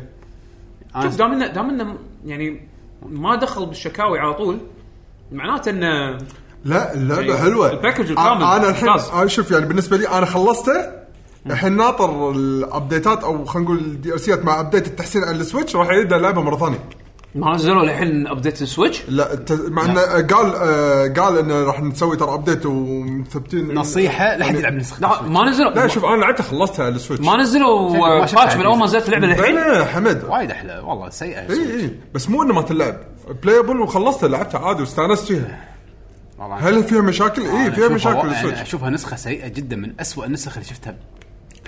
انا
شوف دام انه دام انه يعني ما دخل بالشكاوي على طول معناته انه
لا اللعبه
يعني
حلوه
الباكج الكامل
أ- انا الحين
ممتاز.
انا شوف يعني بالنسبه لي انا خلصته الحين ناطر الابديتات او خلينا نقول الدي ار سيات مع ابديت التحسين على السويتش راح يعيد اللعبه مره ثانيه
ما نزلوا للحين ابديت السويتش
لا الت- مع انه قال آه، قال انه راح نسوي ترى ابديت ومثبتين
نصيحه لا حد يلعب
لا
نسخه
ما نزلوا
يعني لا شوف انا لعبتها خلصتها على السويتش
ما نزلوا
ما
آه،
شفتها
باتش من اول ما نزلت اللعبه للحين
لا حمد
وايد احلى
إيه.
والله سيئه
اي اي بس مو انه ما تلعب بلايبل وخلصتها لعبتها عادي واستانست فيها
والله
هل فيها مشاكل؟ اي
أنا
فيها
أشوفها-
مشاكل
يعني
السويتش
اشوفها نسخه سيئه جدا من أسوأ النسخ اللي شفتها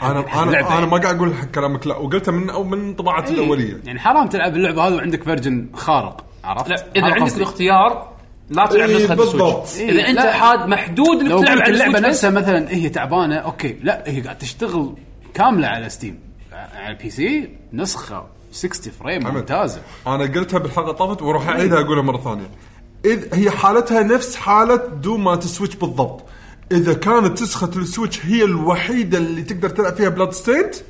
انا
اللعبة
انا انا
يعني.
ما قاعد اقول كلامك لا وقلتها من او من طباعتي الاوليه
يعني حرام تلعب اللعبه هذه وعندك فيرجن خارق عرفت؟
لا اذا
هذا
عندك
قصدي.
الاختيار لا تلعب
إيه،
نسخه
بالضبط.
السويتش.
إيه،
اذا انت
لا.
حاد محدود انك
لو
تلعب
قلت
على
اللعبه
السويتش بس
نفسها مثلا إيه، هي تعبانه اوكي لا هي قاعد تشتغل كامله على ستيم على البي سي نسخه 60 فريم
عمل.
ممتازه
انا قلتها بالحلقه طافت واروح اعيدها اقولها مره ثانيه اذ هي حالتها نفس حاله دوم مالت السويتش بالضبط اذا كانت نسخه السويتش هي الوحيده اللي تقدر تلعب فيها بلاد ستيت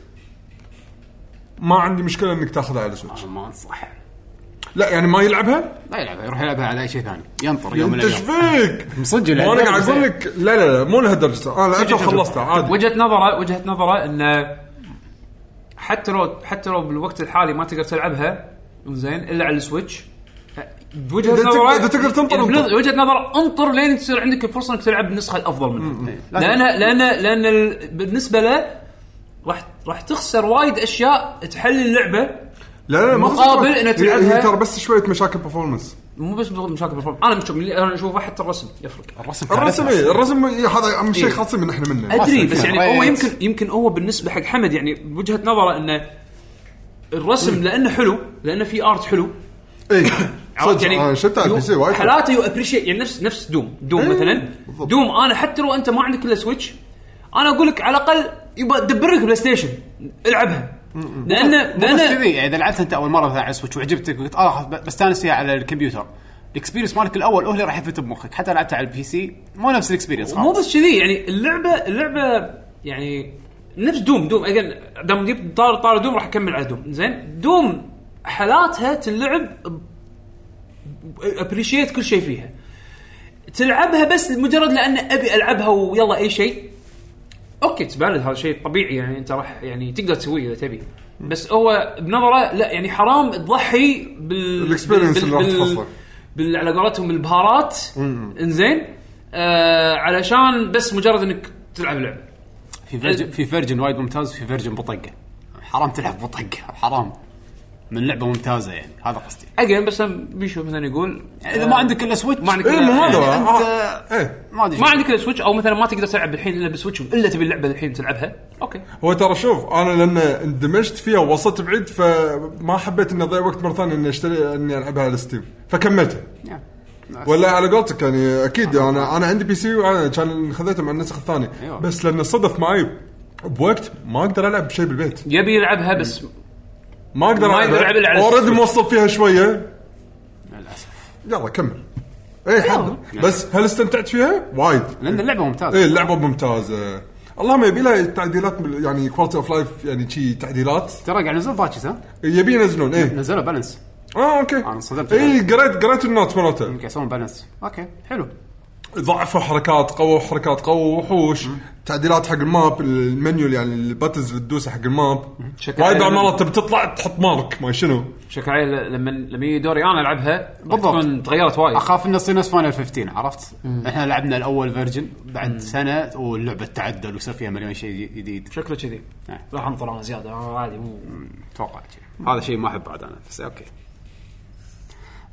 ما عندي مشكله انك تاخذها على السويتش
ما انصح
لا يعني ما يلعبها
لا يلعبها يروح يلعبها على اي شيء ثاني ينطر يوم من يعني.
انت ايش
الايام
فيك؟
مصدق
ما انا قاعد اقول لك لا لا لا مو لهالدرجه انا لعبتها وخلصتها عادي
وجهه نظره وجهه نظره انه حتى لو حتى لو بالوقت الحالي ما تقدر تلعبها زين الا على السويتش بوجهه
إذا تقدر-
نظره
إذا تقدر تنطر،
يعني
انطر.
وجهه نظر انطر لين تصير عندك الفرصه انك تلعب النسخه الافضل منها
لازم.
لان لان لان ال- بالنسبه له راح راح تخسر وايد اشياء تحل اللعبه
لا لا ما في
مقابل
سؤال.
إنك
هي-
تلعبها.
هي ترى بس شويه مشاكل برفورمانس
مو بس بضغط مشاكل بالفورم انا مش انا اشوفه حتى الرسم يفرق
الرسم كان
الرسم
رسمة.
إيه، الرسم إيه، هذا اهم شيء
إيه.
خاصين من احنا منه
ادري
أصلاً
بس
فيها
يعني هو
ريت.
يمكن يمكن هو بالنسبه حق حمد يعني بوجهه نظره انه الرسم لانه حلو لانه في ارت حلو
اي
عرفت
إيه. صدق يعني شفتها على البي سي وايد حلو.
حالاته يو ابريشيت يعني نفس نفس دوم دوم
إيه،
مثلا
بالضبط.
دوم انا حتى لو انت ما عندك الا سويتش انا اقول لك على الاقل يبقى دبر لك بلاي ستيشن العبها لان
مو بس
لان
كذي يعني اذا لعبتها انت اول مره مثلا على السويتش وعجبتك وقلت اه ب- بستانس فيها على الكمبيوتر الاكسبيرينس مالك الاول هو اللي راح يثبت بمخك حتى لعبتها على البي سي مو نفس الاكسبيرينس
مو بس كذي يعني اللعبه اللعبه يعني نفس دوم دوم اجين دام جبت طار طار دوم راح اكمل على دوم زين دوم حالاتها تلعب ابريشيت كل شيء فيها تلعبها بس مجرد لان ابي العبها ويلا اي شيء اوكي تبالد هذا شيء طبيعي يعني انت راح يعني تقدر تسويه اذا تبي بس هو بنظره لا يعني حرام تضحي بال
الإكسبيرينس
بال-
اللي راح
بال-
تحصله.
بال على قولتهم البهارات انزين آه علشان بس مجرد انك تلعب لعبه
في
إيه.
فيرجن في فيرجن وايد ممتاز في فيرجن بطقه حرام تلعب بطقه حرام من لعبه ممتازه يعني هذا قصدي
اجين بس بيشو مثلا يقول
اذا ما عندك الا سويتش
ما عندك
اي مو هذا
يعني
آه،
أنت-
إيه.
ما ادري
ما
شو.
عندك الا سويتش او مثلا ما تقدر تلعب الحين الا بالسويتش الا تبي اللعبه الحين تلعبها اوكي
هو ترى شوف انا لان اندمجت فيها ووصلت بعيد فما حبيت اني اضيع وقت مره ثانيه اني اشتري اني العبها على ستيم فكملتها
يعني.
ولا على قولتك يعني اكيد انا انا عندي بي سي وانا كان خذيته مع النسخ الثاني
أيوة.
بس لان صدف معي بوقت ما اقدر العب شيء بالبيت
يبي يلعبها بس
ما اقدر
ما يقدر يلعب إلا على
اوريدي
السويتش.
موصل فيها شويه
للاسف
يلا كمل اي حد بس هل استمتعت فيها؟ وايد
لان اللعبه
ايه
إيه.
ممتازه
اللعبه ممتازه اللهم يبي لها تعديلات يعني كواليتي اوف لايف يعني شي تعديلات
ترى قاعد نزل باتشز ها
يبي ينزلون ايه
نزلوا بالانس
اه اوكي انا
انصدمت.
اي قريت قريت النوت مالته
يمكن يسوون بالانس اوكي حلو
ضعفوا حركات قووا حركات قووا وحوش تعديلات حق الماب المنيول يعني الباتز اللي تدوسه حق الماب
شكل
وايد بعض
عالمي.
مرات تبي تطلع تحط مارك ما شنو
بشكل عام لما لما يجي دوري انا العبها راح
بالضبط.
تكون تغيرت وايد
اخاف انه يصير نفس فاينل 15 عرفت؟ احنا لعبنا الاول فيرجن بعد سنه واللعبه تعدل وصار فيها مليون شيء جديد
شكله كذي
نعم.
راح انطر انا زياده آه، عادي مو
اتوقع شيء. هذا شيء ما احب بعد انا بس اوكي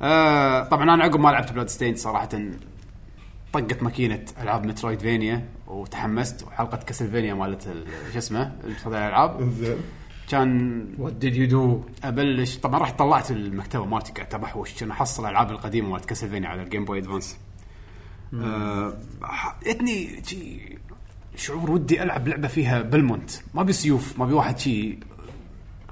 آه طبعا انا عقب ما لعبت بلاد ستين صراحه طقت ماكينه العاب مترويد فينيا وتحمست وحلقه كاسلفينيا مالت ال- شو اسمه الفضاء الالعاب
زين
كان
وات ديد يو دو
ابلش طبعا رحت طلعت المكتبه مالتي قاعد ابحوش كان احصل الالعاب القديمه مالت كاسلفينيا على الجيم بوي ادفانس آه، جتني شي شعور ودي العب لعبه فيها بالمونت ما بسيوف ما بي واحد شي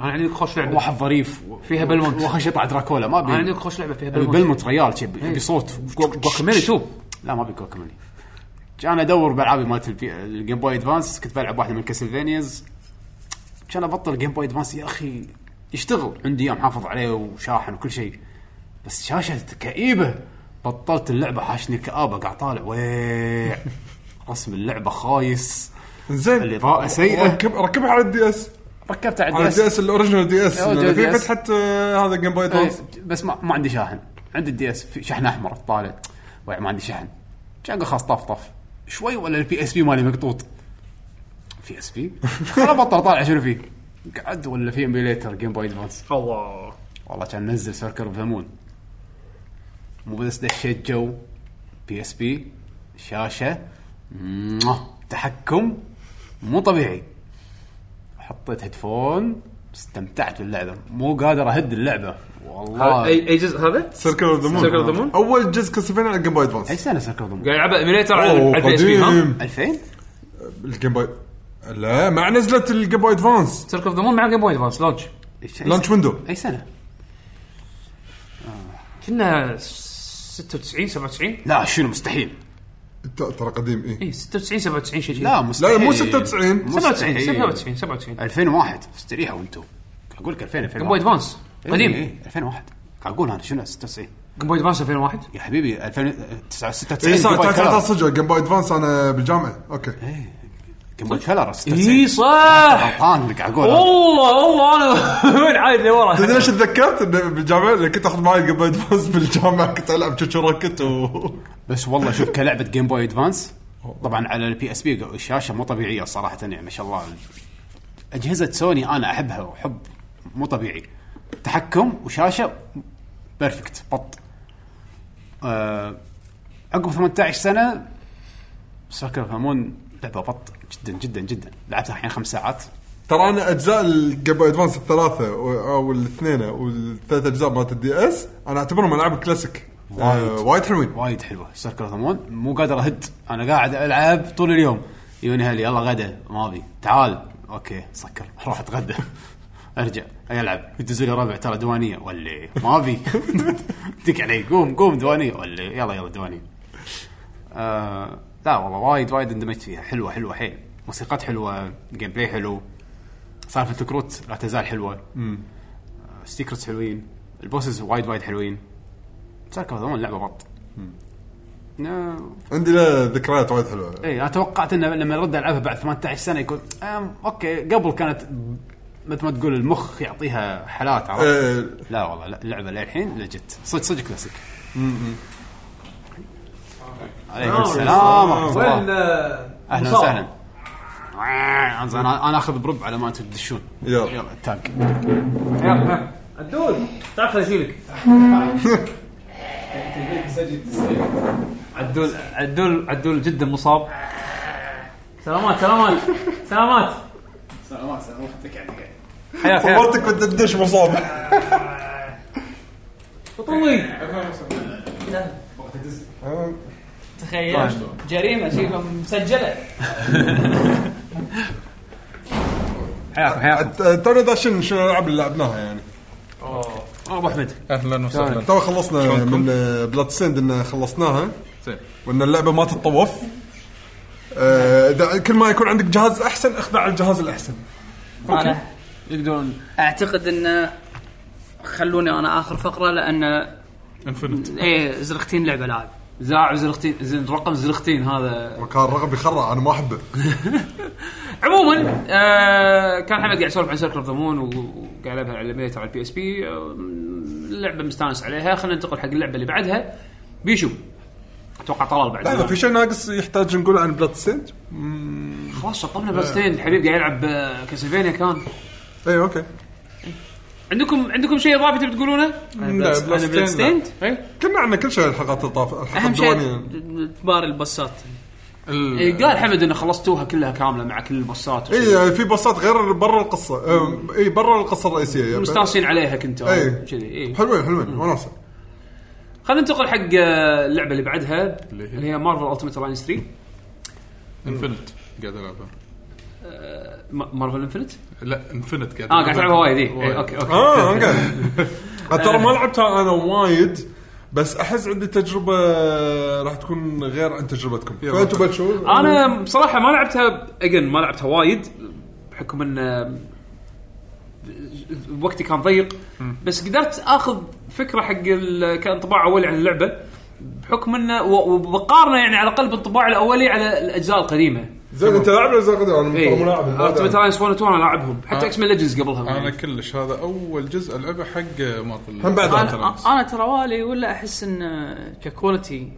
انا عندي لك يعني خوش لعبه
واحد ظريف و-
فيها
و-
بلمونت.
واخش يطلع دراكولا ما بي
انا عندي لك خوش لعبه فيها
ابي
بالمونت
بلمونت ريال شي ابي صوت
جواكاميلي شو
لا ما ابي جواكاميلي كان ادور بالعابي مالت البي- الجيم بوي ادفانس كنت بلعب واحده من كاسلفينياز كان ابطل جيم بوي ادفانس يا اخي يشتغل عندي اياه محافظ عليه وشاحن وكل شيء بس شاشه كئيبه بطلت اللعبه حاشني كآبه قاعد طالع ويع رسم اللعبه خايس
زين
الإضاءة سيئة.
ركب ركبها على الدي اس
ركبت على
على
الديسك.
الدي اس الاوريجنال دي اس
أو
لأن في
DS.
فتحه آه، هذا جيم بوي
إيه،
ادفانس
بس ما, ما عندي شاحن عندي الدي اس في شحن احمر طالع ويع ما عندي شحن كان خلاص طف طف شوي ولا البي اس بي مالي مقطوط في اس بي انا بطل طالع شنو فيه قعد ولا في ايميليتر جيم بوي ادفانس
الله
والله كان نزل سيركل اوف ذا مون مو بس دشيت جو بي اس بي شاشه موه، تحكم مو طبيعي حطيت هيدفون استمتعت باللعبه مو قادر اهد اللعبه والله
اي اي جزء هذا؟
سيركل اوف ذا مون
Circle of the Moon؟
اول جزء كاستلفينيا على الجيم بوي ادفانس
اي سنه سيركل ضمن
قاعد يلعبها ايميليتر على
أوه،
على البي اس بي ها؟
قديم.
2000
الجيم بوي لا مع نزلت الجيم بوي ادفانس
سيرك اوف ذا مون مع جيم بوي ادفانس لونش
إيش- أي
لانش
سنة؟
ويندو
اي سنه
كنا 96 97
لا شنو مستحيل
ت-
إيه.
ترى قديم إيه. اي
اي 96 97 شيء
لا
لا
مستحيل
لا مو 96
مو
97
مستحيل.
97 97
2001 استريحوا انتم اقول لك 2000 2001
جيم بوي ادفانس قديم
إيه، 2001 قاعد اقول انا شنو 96
جيم بوي ادفانس 2001
يا حبيبي 2096
اي إيه، صح تعال صدق جيم بوي ادفانس انا بالجامعه اوكي
كم بالكلر 96
اي إيه، صح
غلطان اللي قاعد اقول
والله والله انا وين عايد لورا
تدري ليش تذكرت إنه بالجامعه لأن كنت اخذ معي جيم بوي ادفانس بالجامعه كنت العب تشو روكت و
بس والله شوف كلعبه جيم بوي ادفانس طبعا على البي اس بي الشاشه مو طبيعيه صراحه يعني ما شاء الله اجهزه سوني انا احبها وحب مو طبيعي تحكم وشاشه بيرفكت بط آه عقب 18 سنه سكر هامون لعبه بط جدا جدا جدا لعبتها الحين خمس ساعات
ترى انا اجزاء الجيم بوي ادفانس الثلاثه و- او الاثنين والثلاث اجزاء مالت الدي اس انا اعتبرهم العاب كلاسيك آه، وايد حلوين
وايد حلوه سيركل ثمون مو قادر اهد انا قاعد العب طول اليوم يوني هل يلا غدا ما ابي تعال اوكي سكر روح اتغدى ارجع العب يدز لي ربع ترى ديوانيه ولا ما ابي دق علي قوم قوم ديوانيه ولا يلا يلا ديوانيه آه لا والله وايد وايد اندمجت فيها حلوه حلوه حيل موسيقات حلوه جيم بلاي حلو سالفه الكروت لا تزال حلوه آه، ستيكرتس حلوين البوسز وايد وايد حلوين سيركل ثمون لعبه بط نا-
عندي له ذكريات وايد حلوه
اي انا إيه، توقعت انه لما ارد العبها بعد 18 سنه يكون أم اوكي قبل كانت مثل ما تقول المخ يعطيها حالات عرفت؟
آه،
لا والله لا اللعبه للحين لجت صدق صدق كلاسيك عليكم السلام ورحمه الله اهلا وسهلا آه، أنزين، انا أنا اخذ بربع على ما انتم تدشون
يلا.
يلا التانك
الدول تعال خليني اشيلك عدول عدول عدول جدا مصاب سلامات سلامات سلامات
سلامات سلامات
حياك حياك
صورتك كنت تدش مصاب
بطوي
تخيل
طيب.
جريمه شيء مسجله
حياكم حياكم
تونا داشين شنو الالعاب اللي لعبناها يعني
ابو احمد
اهلا وسهلا
تو خلصنا من آه، بلاد سند ان خلصناها
زين.
وان اللعبه ما تتطوف آه، دا- كل ما يكون عندك جهاز احسن اخذ على الجهاز الاحسن
انا
يقدرون
اعتقد انه خلوني انا اخر فقره لان
انفنت
ايه زرختين لعبه لاعب
زاع وزلختين زين رقم زلختين هذا
وكان رغب يخرع انا ما احبه
عموما آه كان حمد قاعد يسولف عن سيركل اوف ذا مون وقاعد يلعبها على البيت على البي اس بي آه، اللعبه مستانس عليها خلينا ننتقل حق اللعبه اللي بعدها بيشو اتوقع طلال
لحظه
بعد
في شيء ناقص يحتاج نقول عن بلاد سند
خلاص شطبنا بلاستين الحبيب قاعد يلعب آه، كاسلفينيا كان
اي اوكي
عندكم عندكم شيء اضافي تبي تقولونه؟
لا، بلاستين لا.
بلاستين؟ إيه؟
كنا عنا كل شيء الحلقات الطافه الحلقات
اهم شيء
الديوانية.
تبار البصات
إيه، قال حمد انه خلصتوها كلها كامله مع كل البصات وشي.
اي إيه، في بصات غير برا القصه آه، اي برا القصه الرئيسيه
مستانسين عليها كنتوا
إيه.
كذي إيه.
حلوين حلوين وناسه
خلينا ننتقل حق آه، اللعبه اللي بعدها اللي هي مارفل التيمت الاينس 3
انفنت قاعد العبها
مارفل انفنت
لا انفنت
آه،
قاعد
اه قاعد تلعبها وايد إيه. اي اوكي اوكي
اه اوكي ترى ما لعبتها انا وايد بس احس عندي تجربه راح تكون غير عن تجربتكم فانتم بتشوف
انا بصراحه ما لعبتها اجن ما لعبتها وايد بحكم ان آه، وقتي كان ضيق بس قدرت اخذ فكره حق ال- كانطباع اولي عن اللعبه بحكم انه و- وبقارنه يعني على الاقل بالانطباع الاولي على الاجزاء القديمه
زين انت لاعب ولا زين انا
إيه.
ترى مو لاعب
التمت
بعد.
الاينس 1 و 2 انا لاعبهم حتى
آه.
اكس مان ليجندز قبلها
انا كلش هذا اول جزء العبه حق مارفل
هم بعد
أنا-
انا انا ترى والي ولا احس ان ككواليتي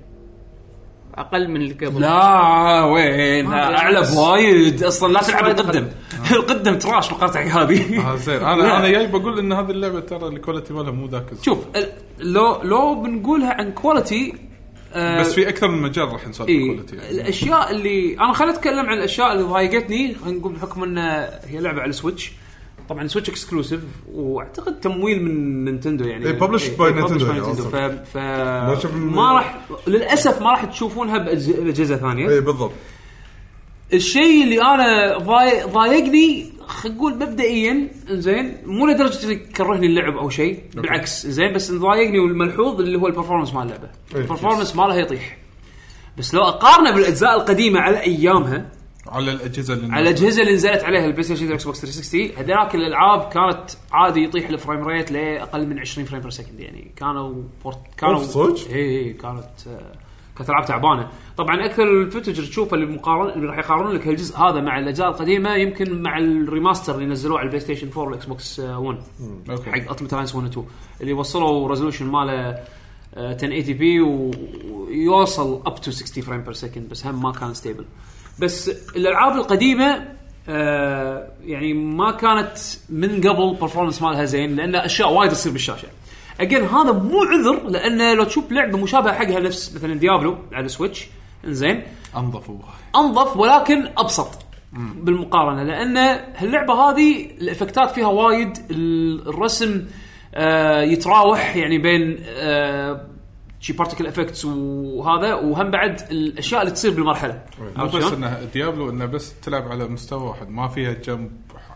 اقل من اللي قبل
لا وين
ما أدري.
اعلى بوايد اصلا لا تلعب
ما
القدم القدم تراش مقاطع هذه
آه، زين انا انا جاي بقول ان هذه اللعبه ترى الكواليتي مالها مو ذاك الزين.
شوف ال- لو لو بنقولها عن كواليتي آه،
بس في اكثر من مجال راح نسولف
إيه.
كواليتي يعني
الاشياء اللي انا خليني اتكلم عن الاشياء اللي ضايقتني خلينا نقول بحكم ان هي لعبه على السويتش طبعا سويتش اكسكلوسيف واعتقد تمويل من نينتندو يعني
إيه، published by
إيه،
Nintendo
published by
يعني
Nintendo.
أصلاً.
ف, ف...
شفت-
ما راح للاسف ما راح تشوفونها بأج- باجهزه ثانيه
اي إيه، بالضبط
الشيء اللي انا ضاي- ضايقني خلينا نقول مبدئيا زين مو لدرجه انه كرهني اللعب او شيء بالعكس زين بس اللي ضايقني والملحوظ اللي هو البرفورمانس مال اللعبه
إيه،
البرفورمانس مالها يطيح بس لو اقارنه بالاجزاء القديمه على ايامها
على الاجهزه اللي
على الاجهزه اللي نزلت عليها البلاي ستيشن والاكس بوكس 360 هذاك الالعاب كانت عادي يطيح الفريم ريت لاقل من 20 فريم بير سكند يعني كانوا بورت كانوا
أوف، صدق؟
اي اي كانت آه، كانت العاب تعبانه طبعا اكثر الفوتج اللي تشوفه اللي مقارن اللي راح يقارنون لك الجزء هذا مع الاجزاء القديمه يمكن مع الريماستر اللي نزلوه على البلاي ستيشن 4 والاكس بوكس آه، 1
أوكي.
حق التمت الاينس 1 و 2 اللي وصلوا ريزولوشن ماله آه، 1080 بي ويوصل اب تو 60 فريم بير سكند بس هم ما كان ستيبل بس الالعاب القديمه آه، يعني ما كانت من قبل برفورمانس مالها زين لان اشياء وايد تصير بالشاشه اجين هذا مو عذر لان لو تشوف لعبه مشابهه حقها نفس مثلا ديابلو على السويتش انزين
انظفوا
انظف ولكن ابسط بالمقارنه لان هاللعبه هذه الافكتات فيها وايد ال- الرسم آه، يتراوح يعني بين آه، شي بارتكل افكتس وهذا وهم بعد الاشياء اللي تصير بالمرحله
مو
عرفت
بس
شلون؟
انها ديابلو انها بس تلعب على مستوى واحد ما فيها جمب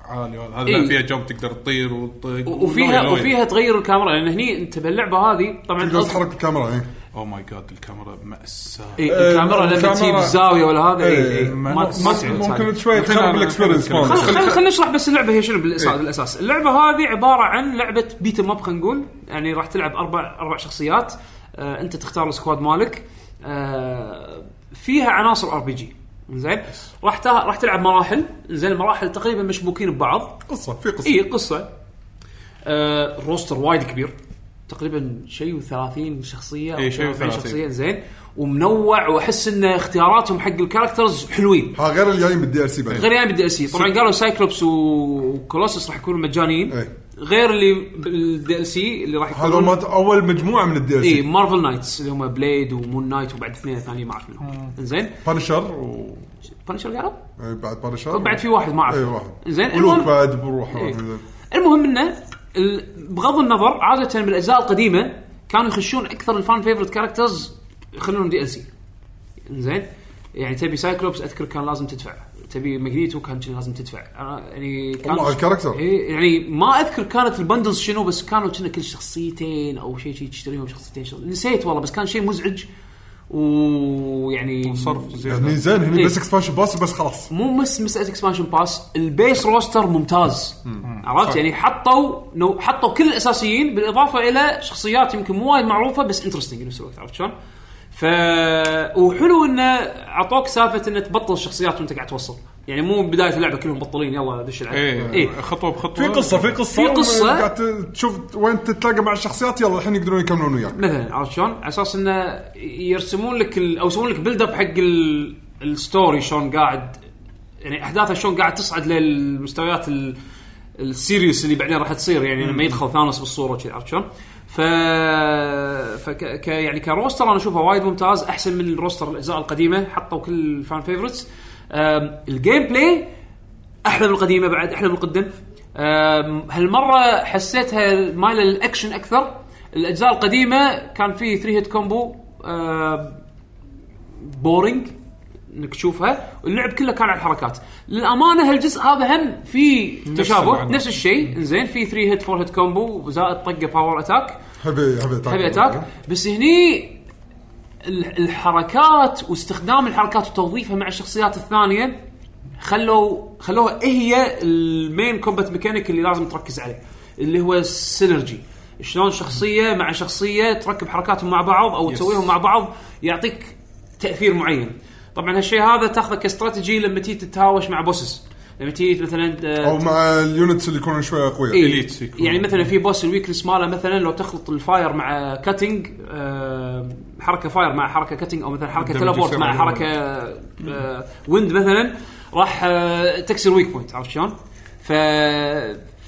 عالي ولا هذا
إيه.
لا فيها جمب تقدر تطير وتطق
و- وفيها وفيها تغير الكاميرا لان هني انت باللعبه هذه طبعا
تقدر
أص-
تحرك الكاميرا إيه. اي
او ماي جاد Oh الكاميرا مأساة
إيه، الكاميرا لما
الكاميرا-
تجيب الزاويه ولا هذا إيه،
آه، إيه،
إيه، ما
ما- ما-
تستوعب هذه.
ممكن شوي
خلنا-
تخرب الاكسبيرينس
خلنا-
مالك
خلنا-
خلينا خلينا نشرح بس اللعبه هي شنو بالاساس بالاساس اللعبه هذه عباره عن لعبه بيت اب خلينا نقول يعني راح تلعب اربع اربع شخصيات آه انت تختار السكواد مالك آه فيها عناصر ار بي جي زين راح ت- راح تلعب مراحل زين المراحل تقريبا مشبوكين ببعض
قصه في قصه
اي قصه إيه، آه روستر وايد كبير تقريبا شيء و30 شخصيه
إي، شيء
أو 40
و30.
شخصيه زين ومنوع واحس ان اختياراتهم حق الكاركترز حلوين
ها غير الجايين بالدي ال سي بعد
غير يعني بالدي اس سي طبعا قالوا سايكلوبس وكولوسس راح يكونوا مجانيين
إيه.
غير اللي بالدي ال سي اللي راح
هذول
يكونون
مالت اول مجموعه من الدي ال
اي
سي
مارفل نايتس اللي هم بليد ومون نايت وبعد اثنين ثانيين ما اعرف منهم زين
بانشر و
بانشر قالوا
إيه، بعد بانشر
بعد في واحد ما اعرف
اي إيه، واحد
زين
ولوك
المهم
بعد بروح
إيه.
واحد.
المهم انه ال- بغض النظر عاده بالاجزاء القديمه كانوا يخشون اكثر الفان فيفرت كاركترز يخلونهم دي ال سي زين يعني تبي سايكلوبس اذكر كان لازم تدفع تبي ماجنيتو كان شي لازم تدفع أنا يعني كان
والله على الكاركتر.
إيه يعني ما اذكر كانت البندلز شنو بس كانوا كنا كل شخصيتين او شيء شيء تشتريهم شخصيتين شخص... نسيت والله بس كان شيء مزعج ويعني
صرف
يعني
زين
زين هني
إيه.
بس اكسبانشن باس بس خلاص
مو بس مساله اكسبانشن باس البيس روستر ممتاز عرفت يعني حطوا نو حطوا كل الاساسيين بالاضافه الى شخصيات يمكن مو وايد معروفه بس انترستنج بنفس الوقت عرفت شلون؟ ف وحلو انه اعطوك سالفه انه تبطل الشخصيات وانت قاعد توصل يعني مو بدايه اللعبه كلهم بطلين يلا دش العب
اي
إيه.
خطوه بخطوه
في قصه في قصه
في قصة.
قاعد تشوف وين تتلاقى مع الشخصيات يلا الحين يقدرون يكملون وياك
مثلا عرفت شلون؟ على اساس انه يرسمون لك ال- او يسوون لك بيلد اب حق ال- الستوري شلون قاعد يعني احداثه شلون قاعد تصعد للمستويات ال- السيريوس اللي بعدين راح تصير يعني لما يدخل ثانوس بالصوره وكذي عرفت شلون؟ ف فك... ك... يعني كروستر انا اشوفه وايد ممتاز احسن من الروستر الاجزاء القديمه حطوا كل الفان فيفورتس الجيم بلاي احلى من القديمه بعد احلى من القدم أم، هالمره حسيتها مايله للاكشن اكثر الاجزاء القديمه كان في 3 هيت كومبو أم، بورينج انك تشوفها اللعب كله كان على الحركات للامانه هالجزء هذا هم في تشابه
المعنى.
نفس الشيء زين في 3 هيت 4 هيت كومبو زائد طقه باور اتاك
هبي هبي اتاك
هيفي اتاك بس هني ال- الحركات واستخدام الحركات وتوظيفها مع الشخصيات الثانيه خلوا خلوها إيه هي المين كومبات ميكانيك اللي لازم تركز عليه اللي هو السينرجي شلون شخصيه مع شخصيه تركب حركاتهم مع بعض او تسويهم مع بعض يعطيك تاثير معين طبعا هالشيء هذا تاخذه كاستراتيجي لما تيجي تتهاوش مع بوسز لما تيجي مثلا آه،
او مع اليونتس اللي يكونون شوي اقوياء
إيه.
Elites يكون.
يعني مثلا في بوس الويكنس ماله مثلا لو تخلط الفاير مع كاتنج حركه فاير مع حركه كاتنج او مثلا حركه
دمج
تلابورت
يصير
مع
على
حركه آه، ويند مثلا راح آه، تكسر ويك بوينت عرفت شلون؟ ف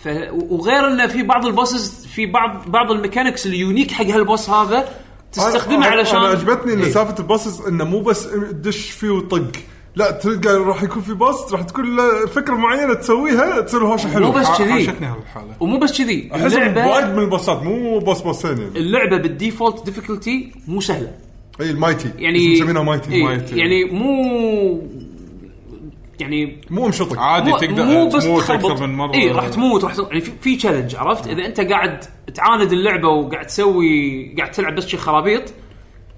ف وغير انه في بعض البوسز في بعض بعض الميكانكس اليونيك حق هالبوس هذا تستخدمه
أنا-
علشان
انا عجبتني ان
إيه.
سالفه الباصز انه مو بس تدش فيه وطق لا تلقى راح يكون في باص راح تكون له فكره معينه تسويها تصير هوشه حلوه
مو بس
ع-
كذي.
عاشتني هالحاله
ومو بس كذي
احس وايد
اللعبه
من الباصات مو باص باصين يعني
اللعبه بالديفولت ديفيكولتي مو سهله
اي المايتي
يعني
مسمينها مايتي
إيه،
مايتي
يعني مو يعني
مو مشطك
عادي
مو-
تقدر
مو بس
تموت
تخبط.
اكثر من مره
اي راح تموت راح ت- يعني في- في تشالنج عرفت اذا انت قاعد تعاند اللعبه وقاعد تسوي قاعد تلعب بس شي خرابيط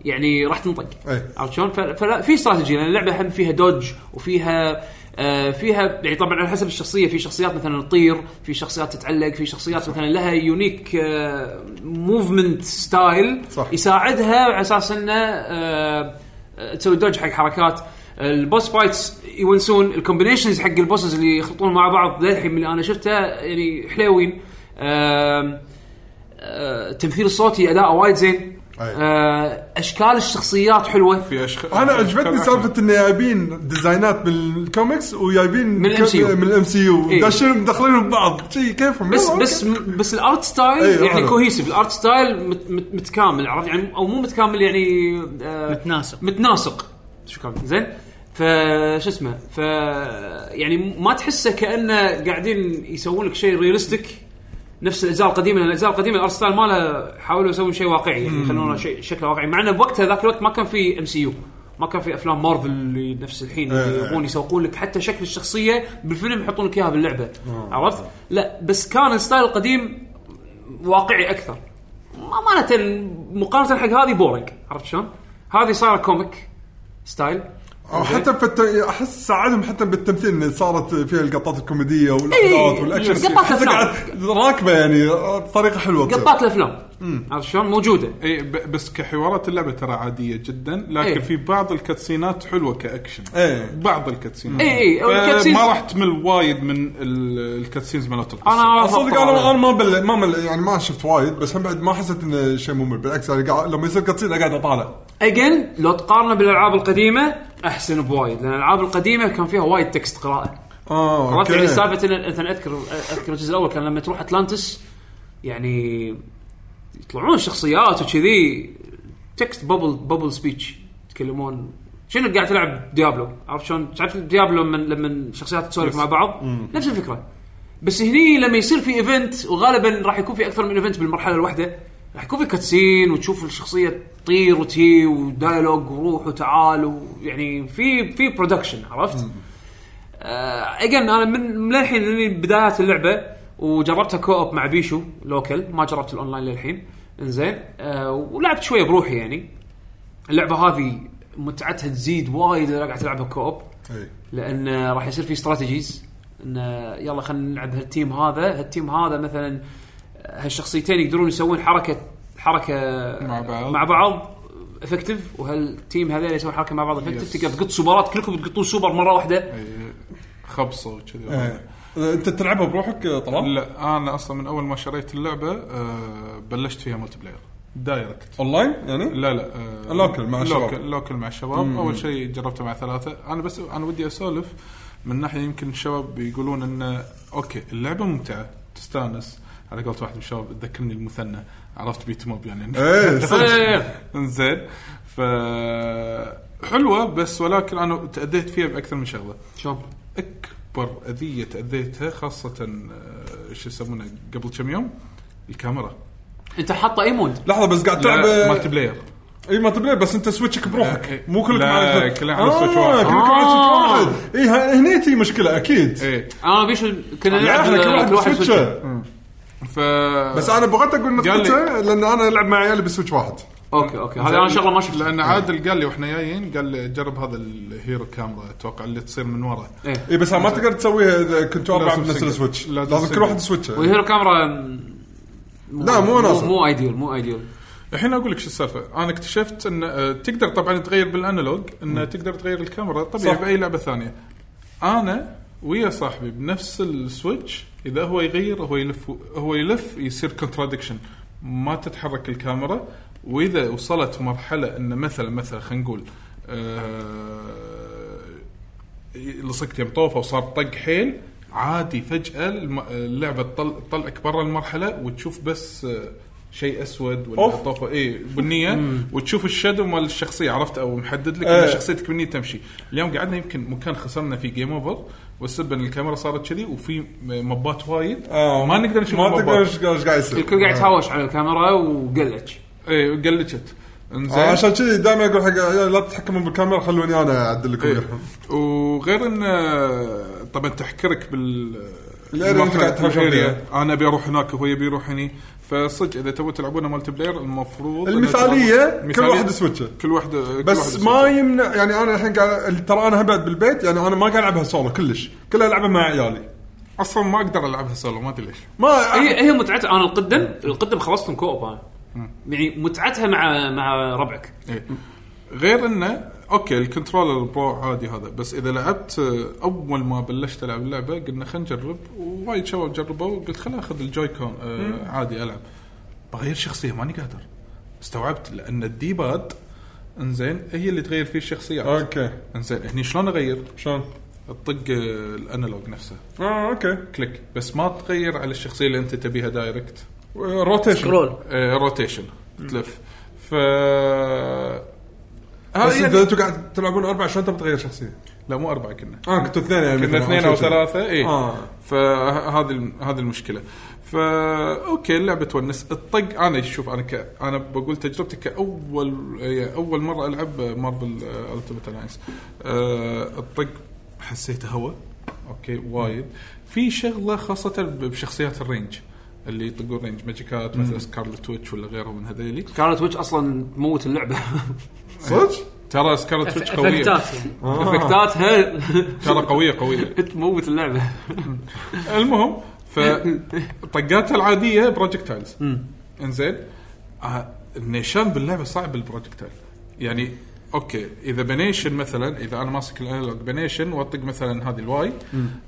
يعني راح تنطق
إيه.
عرفت شلون؟ ف- فلا في استراتيجي لان اللعبه هم فيها دوج وفيها آه فيها يعني طبعا على حسب الشخصيه في شخصيات مثلا تطير، في شخصيات تتعلق، في شخصيات مثلا لها يونيك آه موفمنت ستايل
صح.
يساعدها على اساس انه آه آه، تسوي دوج حق حركات البوس فايتس يونسون الكومبينيشنز حق البوسز اللي يخلطون مع بعض للحين من اللي انا شفته يعني حلوين آم، آه، التمثيل الصوتي اداءه وايد زين
أي.
آه، اشكال الشخصيات حلوه
في اشخاص
انا عجبتني سالفه انه جايبين ديزاينات من الكوميكس وجايبين
من ال MCU.
من الام سي
إيه.
يو داشين مدخلين ببعض شي كيفهم
بس
يلا،
بس بس الارت ستايل
أيوة،
يعني
حلو.
كوهيسيف الارت ستايل مت مت متكامل عرفت يعني او مو متكامل يعني آه،
متناسق.
متناسق شكرا زين فشو اسمه ف يعني ما تحسه كانه قاعدين يسوون لك شيء ريالستيك نفس الاجزاء القديمه لان الاجزاء القديمه الارت ستايل ماله حاولوا يسوون شيء واقعي يعني يخلونه شيء شكله واقعي مع انه بوقتها ذاك الوقت ما كان في ام سي يو ما كان في افلام مارفل اللي نفس الحين اللي يبغون يسوقون لك حتى شكل الشخصيه بالفيلم يحطون لك اياها باللعبه عرفت؟ لا بس كان الستايل القديم واقعي اكثر امانه مقارنه حق هذه بورنج عرفت شلون؟ هذه صار كوميك ستايل
أو
إيه.
حتى في الت... احس ساعدهم حتى بالتمثيل إن صارت فيها القطات الكوميديه
إيه،
والاحداث والاكشن
قطات
حتى
أفلام.
قاعد راكبه يعني بطريقه حلوه تصير.
قطات الافلام عرفت شلون؟ موجوده
اي إيه، ب- بس كحوارات اللعبه ترى عاديه جدا لكن
إيه.
في بعض الكاتسينات حلوه كاكشن
إيه.
بعض الكاتسينات
إيه، إيه، أو
ف-
الكاتسينز-
ما راح تمل وايد من ال- الكاتسينز مالت القصه
انا
صدق انا انا ما بل... ما بل... يعني ما شفت وايد بس هم بعد ما حسيت انه شيء ممل بالعكس أنا قاعد... لما يصير قصير قاعد اطالع
اجين لو تقارنه بالالعاب القديمه احسن بوايد لان الالعاب القديمه كان فيها وايد تكست قراءه
اه
عرفت
اوكي
يعني سالفه إن- مثلا اذكر اذكر الجزء الاول كان لما تروح اتلانتس يعني يطلعون الشخصيات وكذي تكست بابل بابل سبيتش يتكلمون شنو قاعد تلعب ديابلو عرفت شلون؟ تعرف ديابلو لما لما الشخصيات تسولف مع بعض نفس الفكره بس هني لما يصير في ايفنت وغالبا راح يكون في اكثر من ايفنت بالمرحله الواحده راح يكون في كاتسين وتشوف الشخصيه تطير وتي ودايلوج وروح وتعال ويعني في في برودكشن عرفت؟ اجين انا آه، من من الحين من بدايات اللعبه وجربتها كو اوب مع بيشو لوكل ما جربت الاونلاين للحين انزين أه ولعبت شويه بروحي يعني اللعبه هذه متعتها تزيد وايد اذا قاعد تلعبها كو اوب
إيه.
لان آه، راح يصير في استراتيجيز ان آه، يلا خلينا نلعب هالتيم هذا هالتيم هذا مثلا آه، هالشخصيتين يقدرون يسوون حركه حركه
مع بعض.
مع بعض افكتيف وهالتيم هذول يسوون حركه مع بعض افكتيف تقدر تقط سوبرات كلكم تقطون سوبر مره واحده
إيه، خبصه وكذي
إيه. انت تلعبها بروحك طلال؟
لا انا اصلا من اول ما شريت اللعبه آه، بلشت فيها ملتي بلاير دايركت
اونلاين يعني؟
لا لا آه،
لوكل مع الشباب.
لوكل, لوكل مع الشباب اول شيء جربته مع ثلاثه انا بس انا ودي اسولف من ناحيه يمكن الشباب يقولون انه اوكي اللعبه ممتعه تستانس على قولة واحد من الشباب تذكرني المثنى عرفت بيت موب يعني
ايه صدق
انزين ف حلوه بس ولكن انا تاذيت فيها باكثر من شغله
شلون؟
اكبر اذيه تاذيتها خاصه آه، شو يسمونه قبل كم يوم الكاميرا
انت حاطه اي مود
لحظه بس قاعد تلعب آه،
لا، مالتي بلاير
اي مالتي بلاير بس انت سويتشك بروحك
لا،
مو كلك
لا،
مع الفريق.
كلنا على سويتش
آه،
واحد.
كلكم على سويتش واحد اي ه- هني تي مشكله اكيد
ايه
انا بيشو كنا
لا،
نلعب
احنا يعني كل واحد
كل واحد
بسويتشه.
سويتش.
ف
بس انا بغيت اقول
قال لي-
نقطته لان انا العب مع عيالي بسويتش واحد
اوكي اوكي هذا
يعني
انا شغله ما شفتها
لان عادل قال لي واحنا جايين قال لي جرب هذا الهيرو كاميرا اتوقع اللي تصير من ورا
ايه
اي بس ما تقدر تسويها اذا كنتوا اربعه
لازم
بنفس
سنجل.
السويتش
لازم
لازم كل
سنجل.
واحد سويتشه
والهيرو كاميرا م-
لا، مو ناصر.
مو ايديول مو ايديول
الحين اقول لك شو السالفه انا اكتشفت ان آه، تقدر طبعا تغير بالانالوج ان تقدر تغير الكاميرا طبيعي
صح.
باي لعبه ثانيه انا ويا صاحبي بنفس السويتش اذا هو يغير هو يلف هو يلف يصير كونترادكشن ما تتحرك الكاميرا واذا وصلت مرحله ان مثلا مثلا خلينا نقول آه، لصقت يم طوفه وصار طق حيل عادي فجاه الم- اللعبه تطل- تطلعك برا المرحله وتشوف بس آه، شيء اسود ولا
أوف.
حطوه اي بنيه وتشوف الشادو مال الشخصيه عرفت او محدد لك
إيه.
ان شخصيتك بنيه تمشي اليوم قعدنا يمكن مكان خسرنا فيه جيم اوفر والسبب ان الكاميرا صارت كذي وفي مبات وايد ما نقدر نشوف
آه، ما تقدر
المبات
ايش إيش قاعد يصير
الكل قاعد يتهاوش على الكاميرا وقلج
اي قلتت
آه،
انزين
عشان كذي دائما اقول حق عيالي لا تتحكمون بالكاميرا خلوني انا اعدل لكم إياها.
وغير ان آه، طبعا تحكرك بال
الأريا اللي أنت قاعد تهاوش
الأريا.
فيها.
انا ابي اروح هناك وهو يبي يروح هني فصدق اذا تبون تلعبونها مالتي بلاير المفروض إنها
المثاليه
تلعب-
كل
مثالية.
واحد سويتشه
كل واحده كل
بس
واحدة
ما يمنع يعني انا الحين قاعد ترى انا هم بعد بالبيت يعني انا ما قاعد العبها سولو كلش كلها العبها مع عيالي
اصلا ما اقدر العبها سولو ما ادري ليش
ما
هي هي متعتها انا القدم القدم خلصتهم كوب انا يعني متعتها مع مع ربعك
إيه. غير انه اوكي الكنترولر برو عادي هذا بس اذا لعبت آه، اول ما بلشت العب اللعبه قلنا خلينا نجرب ووايد شباب جربوا قلت خليني اخذ الجوي كون آه عادي العب بغير شخصيه ماني قادر استوعبت لان الديباد انزين هي اللي تغير فيه الشخصيات
اوكي
انزين هني شلون اغير؟
شلون؟
الطق آه، الانالوج نفسه
اه اوكي
كليك بس ما تغير على الشخصيه اللي انت تبيها دايركت
روتيشن
كرول
آه، روتيشن تلف ف
بس
هذه
اذا
يعني-
انتم قاعد تلعبون اربع شلون انت بتغير شخصيه؟
لا مو اربعه كنا
اه كنتوا اثنين يعني
كنا
مثلاً،
اثنين
شيء
او
كذي.
ثلاثه اي
آه.
فهذه الم- هذه المشكله فا اوكي اللعبه تونس الطق انا شوف انا ك... انا بقول تجربتي كاول يعني اول مره العب مارفل التيمت الاينس آه، الطق حسيته هوا اوكي وايد في شغله خاصه ب- بشخصيات الرينج اللي يطقون رينج ماجيكات مثل سكارلت ويتش ولا غيرها من هذيلي
كانت ويتش اصلا تموت اللعبه
صدق؟ آه.
ترى سكارلت ويتش قويه
افكتات يعني
افكتاتها
ترى قويه قويه
تموت اللعبه
المهم فطقاتها العاديه بروجكتايلز انزين آه، النيشان باللعبه صعب البروجكتايل يعني اوكي اذا بنيشن مثلا اذا انا ماسك الانالوج بنيشن واطق مثلا هذه الواي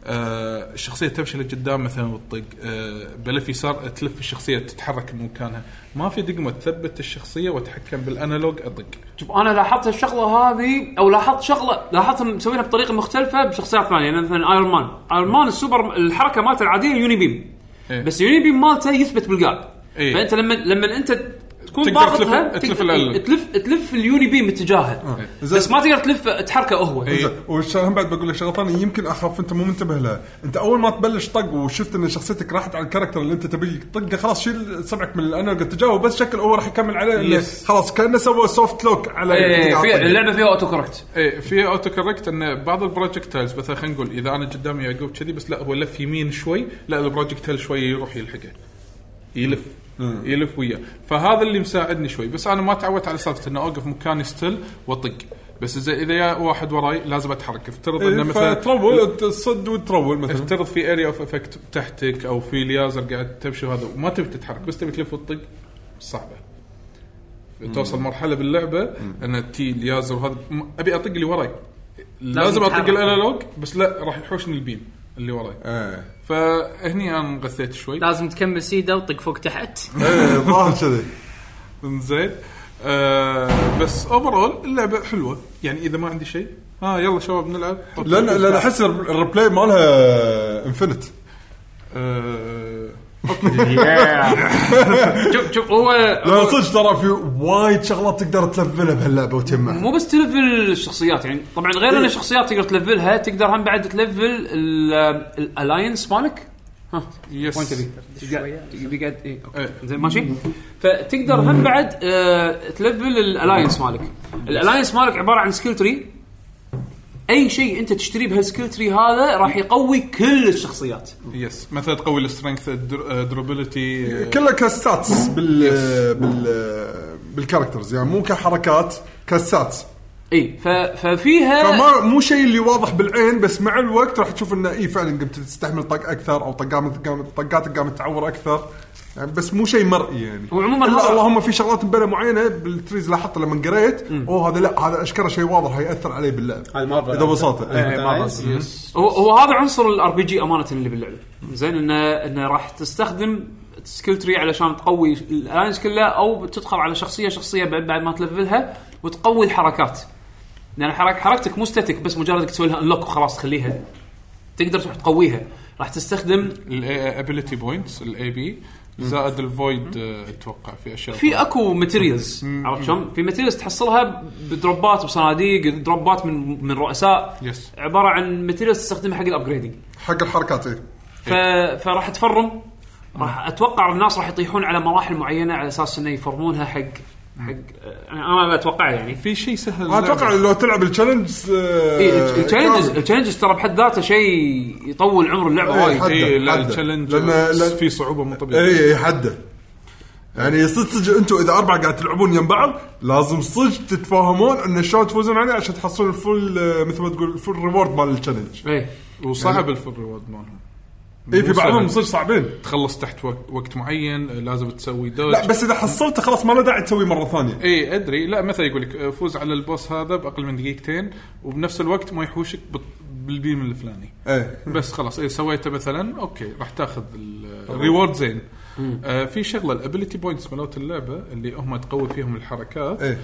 آه الشخصيه تمشي لقدام مثلا وتطق آه بلف يسار تلف الشخصيه تتحرك من مكانها ما في دقمه تثبت الشخصيه واتحكم بالانالوج اطق
شوف انا لاحظت الشغله هذه او لاحظت شغله لاحظتها مسوينها بطريقه مختلفه بشخصيات ثانيه يعني مثلا ايرون مان ايرون مان السوبر الحركه مالته العاديه يوني بيم
إيه.
بس اليوني بيم مالته يثبت بالجاد
إيه.
فانت لما لما انت تكون
تقدر
ضاغطها
تلف- تلف
تقدر-
الألق.
تلف تلف اليوني بيم اتجاهه بس ما تقدر تلف تحركه هو
إيه.
والشهم بعد بقول لك شغله ثانيه يمكن اخاف انت مو منتبه لها، انت اول ما تبلش طق وشفت ان شخصيتك راحت على الكاركتر اللي انت تبي تطقه خلاص شيل سبعك من الانالوج اتجاهه بس شكل هو راح يكمل عليه إنه
Yes.
خلاص كانه سوى سوفت لوك على
إيه،
على
في
الطق.
اللعبه فيها اوتو كوركت
ايه في اوتو كوركت ان بعض البروجكتايلز مثلا خلينا نقول اذا انا قدامي يعقوب كذي بس لا هو لف يمين شوي لا البروجكتايل شوي يروح يلحقه يلف يلف وياه فهذا اللي مساعدني شوي بس انا ما تعودت على سالفه انه اوقف مكاني ستيل واطق بس إذا- اذا جاء واحد وراي لازم اتحرك افترض انه
إيه،
مثلا
فترول تصد وترول مثلا
افترض في اريا اوف افكت تحتك او في ليازر قاعد تمشي وهذا وما تبي تتحرك بس تبي تلف وتطق صعبه توصل مرحله باللعبه ان تي ليازر وهذا م- ابي اطق اللي وراي لازم اطق
تتحرك.
الانالوج بس لا راح يحوشني البيم اللي وراي
ايه
فهني انا انغثيت شوي
لازم تكمل سيده وطق فوق تحت
إيه، ظاهر كذي
زين آه بس اوفرول اللعبه حلوه يعني اذا ما عندي شيء ها يلا شباب نلعب
لان لان احس الر- الريبلاي مالها انفنت
آه
شوف شوف هو
لا صدق ترى في وايد شغلات تقدر تلفلها بهاللعبه وتجمعها
مو بس تلفل الشخصيات يعني طبعا غير ان الشخصيات تقدر تلفلها تقدر هم بعد تلفل الالاينس مالك ها وين
يس
تبي؟ تبي قاعد اي اوكي
إيه.
زين ماشي eh, فتقدر هم بعد آه، تلفل الالاينس مالك الالاينس مالك عباره عن سكيل تري اي شيء انت تشتريه بهالسكيل تري هذا راح يقوي كل الشخصيات
يس مثلا تقوي آه، السترينث الدروبيلتي
كلها كستاتس بال بال بالكاركترز يعني مو كحركات كستاتس
اي ف- ففيها
فما مو شيء اللي واضح بالعين بس مع الوقت راح تشوف انه اي فعلا قمت تستحمل طق اكثر او طقامت قامت- طقاتك قامت تعور اكثر يعني بس مو شيء مرئي يعني
هو عموماً
لا
هذا-
اللهم في شغلات مبينه معينه بالتريز لاحظتها لما قريت اوه هذا لا هذا اشكره شيء واضح هياثر عليه باللعب
هذا مارفل
اذا
إيه.
بساطه
هو هو هذا عنصر الار بي جي امانه اللي باللعبه زين انه انه راح تستخدم سكيل تري علشان تقوي الالاينس كلها او تدخل على شخصيه شخصيه بعد بعد ما تلفلها وتقوي الحركات لان حرك حركتك مو ستاتيك بس مجرد إنك تسوي لها انلوك وخلاص تخليها تقدر تروح تقويها راح تستخدم
الابيلتي بوينتس الاي بي زائد الفويد آه، اتوقع في اشياء
في اكو ماتيريالز عرفت شلون؟ في ماتيريالز تحصلها بدروبات بصناديق دروبات من من رؤساء
يس
عباره عن ماتيريالز تستخدمها حق الابجريدنج
حق الحركات إيه. اي
ف- فراح تفرم راح اتوقع الناس راح يطيحون على مراحل معينه على اساس انه يفرمونها حق حق انا أنا اتوقع يعني
في شيء سهل
انا اتوقع لو تلعب التشالنج آه،
إيه، التشالنجز
كامل.
التشالنجز ترى بحد ذاته شيء يطول عمر اللعبه
آه،
إيه،
وايد
حد.
اي لا
حده.
التشالنج
لما- لا- إيه.
في صعوبه مو طبيعيه
اي اي حده يعني صدق صدق انتم اذا اربعه قاعد تلعبون يم بعض لازم صدق تتفاهمون ان شلون تفوزون عليه عشان تحصلون الفول آه، مثل ما تقول الفول ريورد مال التشالنج
ايه
وصعب الفول ريورد مالهم
اي إيه، في
مو سهل.
بعضهم صدق صعبين
تخلص تحت وق- وقت معين آه، لازم تسوي دوج
لا بس اذا حصلته خلاص ما له داعي تسويه مره ثانيه
اي ادري إيه، لا مثلا يقول لك آه، فوز على البوس هذا باقل من دقيقتين وبنفس الوقت ما يحوشك بط- بالبيم الفلاني
ايه
بس خلاص اي سويته مثلا اوكي راح تاخذ الريورد زين آه في شغله الابيلتي بوينتس مالت اللعبه اللي هم تقوي فيهم الحركات
ايه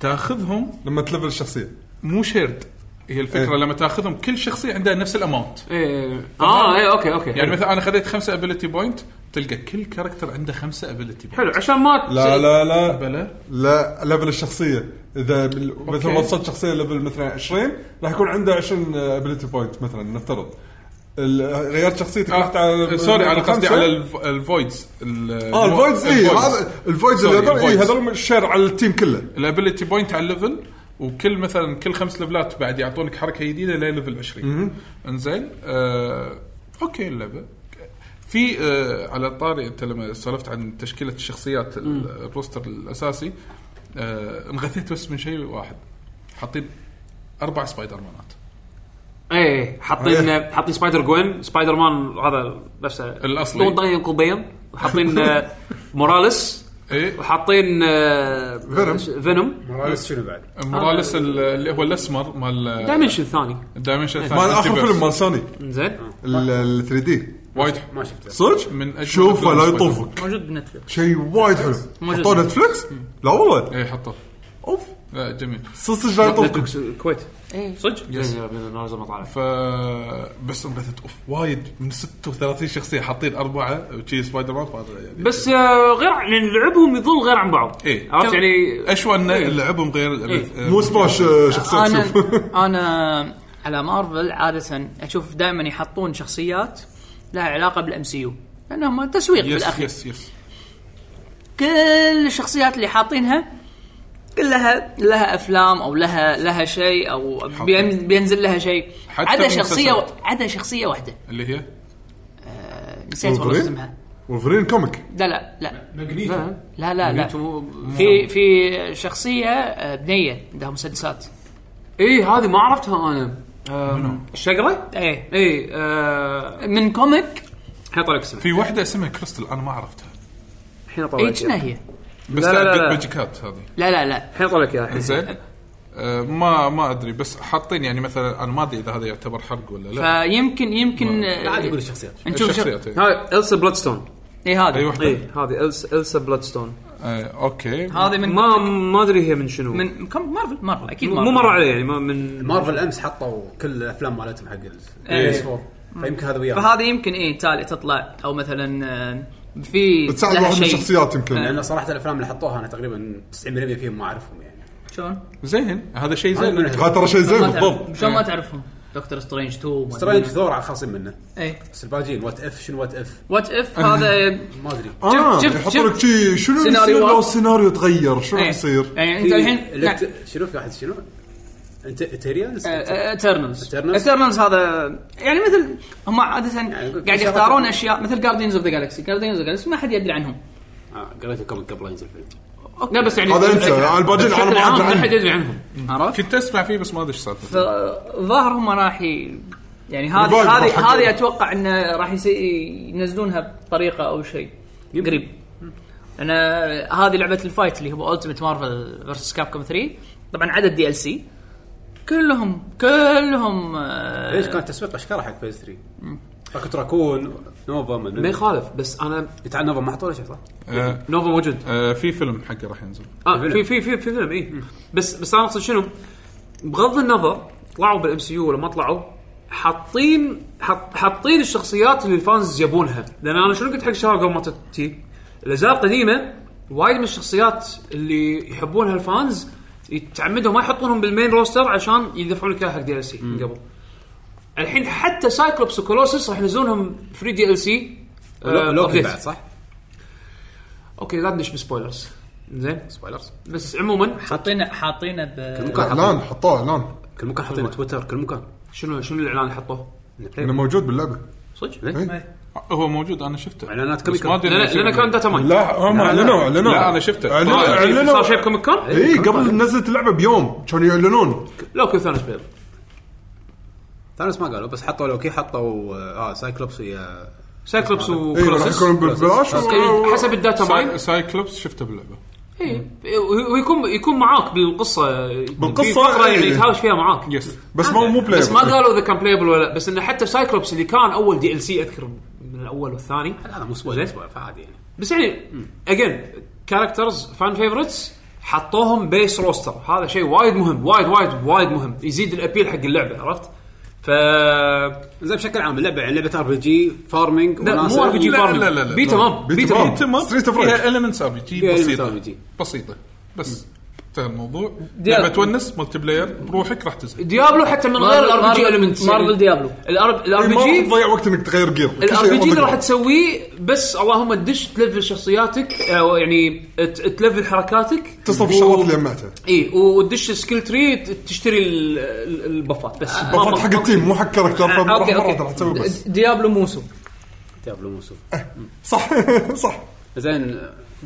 تاخذهم
لما تلفل الشخصيه
مو شيرد هي الفكره
إيه.
لما تاخذهم كل شخصيه عندها نفس الاماونت
ايه اه ايه اوكي اوكي
يعني مثلا انا خذيت خمسة ابيلتي بوينت تلقى كل كاركتر عنده خمسة ابيلتي بوينت
حلو عشان ما
لا لا لا
بلا
لا ليفل الشخصيه اذا بال- مثلا
أوكي.
وصلت شخصيه ليفل مثلا 20 راح يكون عنده آه، 20 ابيلتي بوينت مثلا نفترض ال- غيرت شخصيتك رحت على
آه سوري انا قصدي
خمسة.
على الف- الفويدز ال-
اه الفويدز اي
الفويدز.
هذا الفويدز
سوري،
اللي هذول اي
الفويدز.
هذول الشير على التيم كله
الابيلتي بوينت على الليفل وكل مثلا كل خمس ليفلات بعد يعطونك حركه جديده لليفل 20 انزين آه اوكي اللعبه في آه على طاري انت لما سولفت عن تشكيله الشخصيات ال- الروستر الاساسي آه انغثيت بس من شيء واحد حاطين اربع سبايدر مانات
ايه حاطين حاطين سبايدر جوين سبايدر مان هذا نفسه
الأصلي.
دون ضايق وبين وحاطين آه، موراليس
ايه
وحاطين
Venom.
فينوم فينوم
موراليس شنو بعد؟
موراليس ال- اللي هو الاسمر مال
دايمنشن ثاني
دايمنشن
مال اخر فيلم مال سوني
زين
آه. ال 3 دي
وايد
ما شفته
صدق
من أجمل
شوفه
أفلام
لا
سبايدر.
يطوفك
موجود بنتفلكس
شيء وايد حلو
موجود.
حطوه نتفلكس لا والله
اي إيه، حطه
اوف
لا جميل
صدق صدق لا يطوفك
نتفلكس الكويت
صدق
يس.
زين لازم اطالع
ف بس انغثت اوف وايد من 36 شخصيه حاطين اربعه وشي سبايدر مان فهذا يعني
بس آه، غير عن- يعني لعبهم يظل غير عن بعض
إيه.
عرفت يعني
اشوى ان لعبهم غير
إيه.
مو سماش آه، شخصيات
انا
شوف
انا على مارفل عاده اشوف دائما يحطون شخصيات لها علاقه بالام سي يو لانهم تسويق
يس
بالاخير
يس يس
كل الشخصيات اللي حاطينها كلها لها افلام او لها لها شيء او بين- بينزل لها شيء
حتى
عدا
بالمسلسلات.
شخصيه عدا شخصيه واحده
اللي هي
نسيت والله
وولفرين؟
اسمها
وفرين كوميك
لا لا لا
لا،
لا لا لا
مو-
في في شخصيه آه، بنيه عندها مسدسات
ايه هذه ما عرفتها انا آم، الشقره
ايه
ايه آه،
من كوميك
الحين طلع اسمها
في واحده اسمها كريستال انا ما عرفتها
الحين طلع
اي
لك
شنو
إياها.
هي؟
بس
لا، لا،
لعبة
لا.
ماجيكات هذه
لا لا لا
الحين طلع لك اياها الحين.
زين آه، ما ما ادري بس حاطين يعني مثلا انا ما ادري اذا هذا يعتبر حرق ولا لا
فيمكن يمكن آه،
عادي يقول الشخصيات
نشوف إيه، شخ-
الشخصيات إيه.
هاي السا بلادستون
اي هذا
اي واحده
ايه هذه السا السا بلادستون
آه، اوكي
هذا من
ما ما ادري هي من شنو من
من كم مارفل مارفل اكيد
مو مر علي يعني ما من
مارفل امس حطوا كل الافلام مالتهم حق
إيه.
البيس 4 فيمكن هذا وياه
فهذا يمكن اي تالي تطلع او مثلا آه، في
تساعد
لها
واحد من
شيء.
الشخصيات يمكن
لان صراحه الافلام اللي حطوها انا تقريبا 90% فيهم ما اعرفهم يعني
شلون؟
زين هذا شيء
ما
زين
أدري.
هذا ترى شيء زين
ما تعرف-
بالضبط
شلون ما تعرفهم؟ دكتور سترينج 2
سترينج ثور خاصين منه
اي
بس الباجين وات اف شنو وات اف
وات اف إيه. هذا إيه.
ما ادري
اه
شفت-
يحطوا
شفت-
لك شي شنو
سيناريو
يصير لو
واحد.
السيناريو تغير شنو راح يصير؟
يعني انت الحين نعم.
اللي ت- شنو في واحد شنو؟ انت اتيريالز؟
آه، اترنالز
Eternals.
اترنالز نعم. هذا يعني مثل هم عاده
يقول
قاعد
في
يختارون
شغلات-
اشياء مثل جاردينز اوف ذا جالكسي جاردينز اوف ذا جالكسي ما حد يدري عنهم
آه، قريت الكوميك قبل لا ينزل الفيلم
لا بس يعني
هذا انسى الباجين انا
بشكل
ما
عام
ادري
ما حد
عنه
يدري عنهم
عرفت؟
كنت اسمع فيه بس ما ادري ايش سالفته
فالظاهر هم راح ي- يعني هذه
الفايب
هذه
حقهم.
هذه اتوقع انه راح يس- ينزلونها بطريقه او شيء قريب انا هذه لعبه الفايت اللي هو التيمت مارفل فيرسس كاب كوم 3 طبعا عدد دي ال سي كلهم كلهم آه،
ليش كان تسويق اشكاله حق فيز 3 راكت راكون نوفا من
ما يخالف بس انا
انت عن نوفا ما حطوا ولا شيء صح؟
آه،
نوفا موجود
آه، في فيلم حقه راح ينزل
اه في في في في فيلم اي بس بس انا اقصد شنو بغض النظر طلعوا بالام سي يو ولا ما طلعوا حاطين حط حاطين الشخصيات اللي الفانز يبونها لان انا شنو قلت حق شهر قبل ما تتي الاجزاء القديمه وايد من الشخصيات اللي يحبونها الفانز يتعمدوا ما يحطونهم بالمين روستر عشان يدفعون لك إياها حق دي ال سي من قبل الحين حتى سايكلوبس وكولوسس راح ينزلونهم فري دي ال سي
لوكي بعد صح؟
اوكي آه، لا ندش بسبويلرز زين
سبويلرز
بس عموما
حاطينه حاطينه ب
ممكن
اعلان
حاطين
حطوه اعلان
كل مكان حاطين
أيوة.
تويتر كل مكان
شنو شنو الاعلان اللي حطوه؟
انه موجود باللعبه
صدق؟
إيه؟
هو موجود انا شفته
اعلانات
بس
كوميك
ما أدري إنه
لان لأن
شفته.
كان داتا ماين
لا هم اعلنوا اعلنوا
لا انا شفته
اعلنوا
طالع.
اعلنوا
آه، إيه، صار شيء بكوميك كون؟
اي إيه، قبل نزلت اللعبه بيوم كانوا يعلنون
لوكي وثانوس بيض
ثانوس ما قالوا بس حطوا لوكي حطوا آه، اه سايكلوبس ويا
سايكلوبس
اي أيوة، إيه، راح
وكولوسس
يكون ببلاش
كان
و-
إيه، حسب الداتا
ساي-
ماين
سايكلوبس شفته باللعبه
اي ويكون يكون معاك بالقصه
بالقصة،
في
إيه.
فتره يعني
إي.
يتهاوش فيها معاك
يس
بس ما مو بلاي
بس ما قالوا اذا كان بلايبل ولا لا بس انه حتى سايكلوبس اللي كان اول دي ال سي اذكر من الاول والثاني
لا مو سبويلر سبويلر فعادي يعني
بس يعني اجين كاركترز فان فيفورتس حطوهم بيس روستر هذا شيء وايد مهم وايد وايد وايد مهم يزيد الابيل حق اللعبه عرفت؟ ف
زين بشكل عام اللعبه يعني لعبه ار بي جي فارمينج
لا مو ار بي جي
لا،
فارمينج
لا، لا، لا،
بيت
لا.
اب
بيت
بيت
أم
اب
أب. Street of Rage.
فيها elements RPG
فيها
إيه،
بسيطه
elements RPG.
بسيطه بس انتهى الموضوع
ديال-
لما تونس ملتي بلاير بروحك راح تزهق
ديابلو حتى من غير الار بي جي المنتس
مارفل ديابلو
الار بي
إيه، ما
جي
تضيع وقت انك تغير جير
الار بي جي اللي راح تسويه بس اللهم تدش تلفل شخصياتك او يعني ت- تلفل حركاتك إيه،
تصرف
و-
الشغلات اللي جمعتها
اي وتدش سكيل تري ت- تشتري ال- ال- البفات بس ما-
بفات
ما-
حق التيم مو حق كاركتر
آه،
فراح
اوكي
مرة واحدة راح تسوي
اوكي
بس
ديابلو موسو
ديابلو موسو
صح صح
زين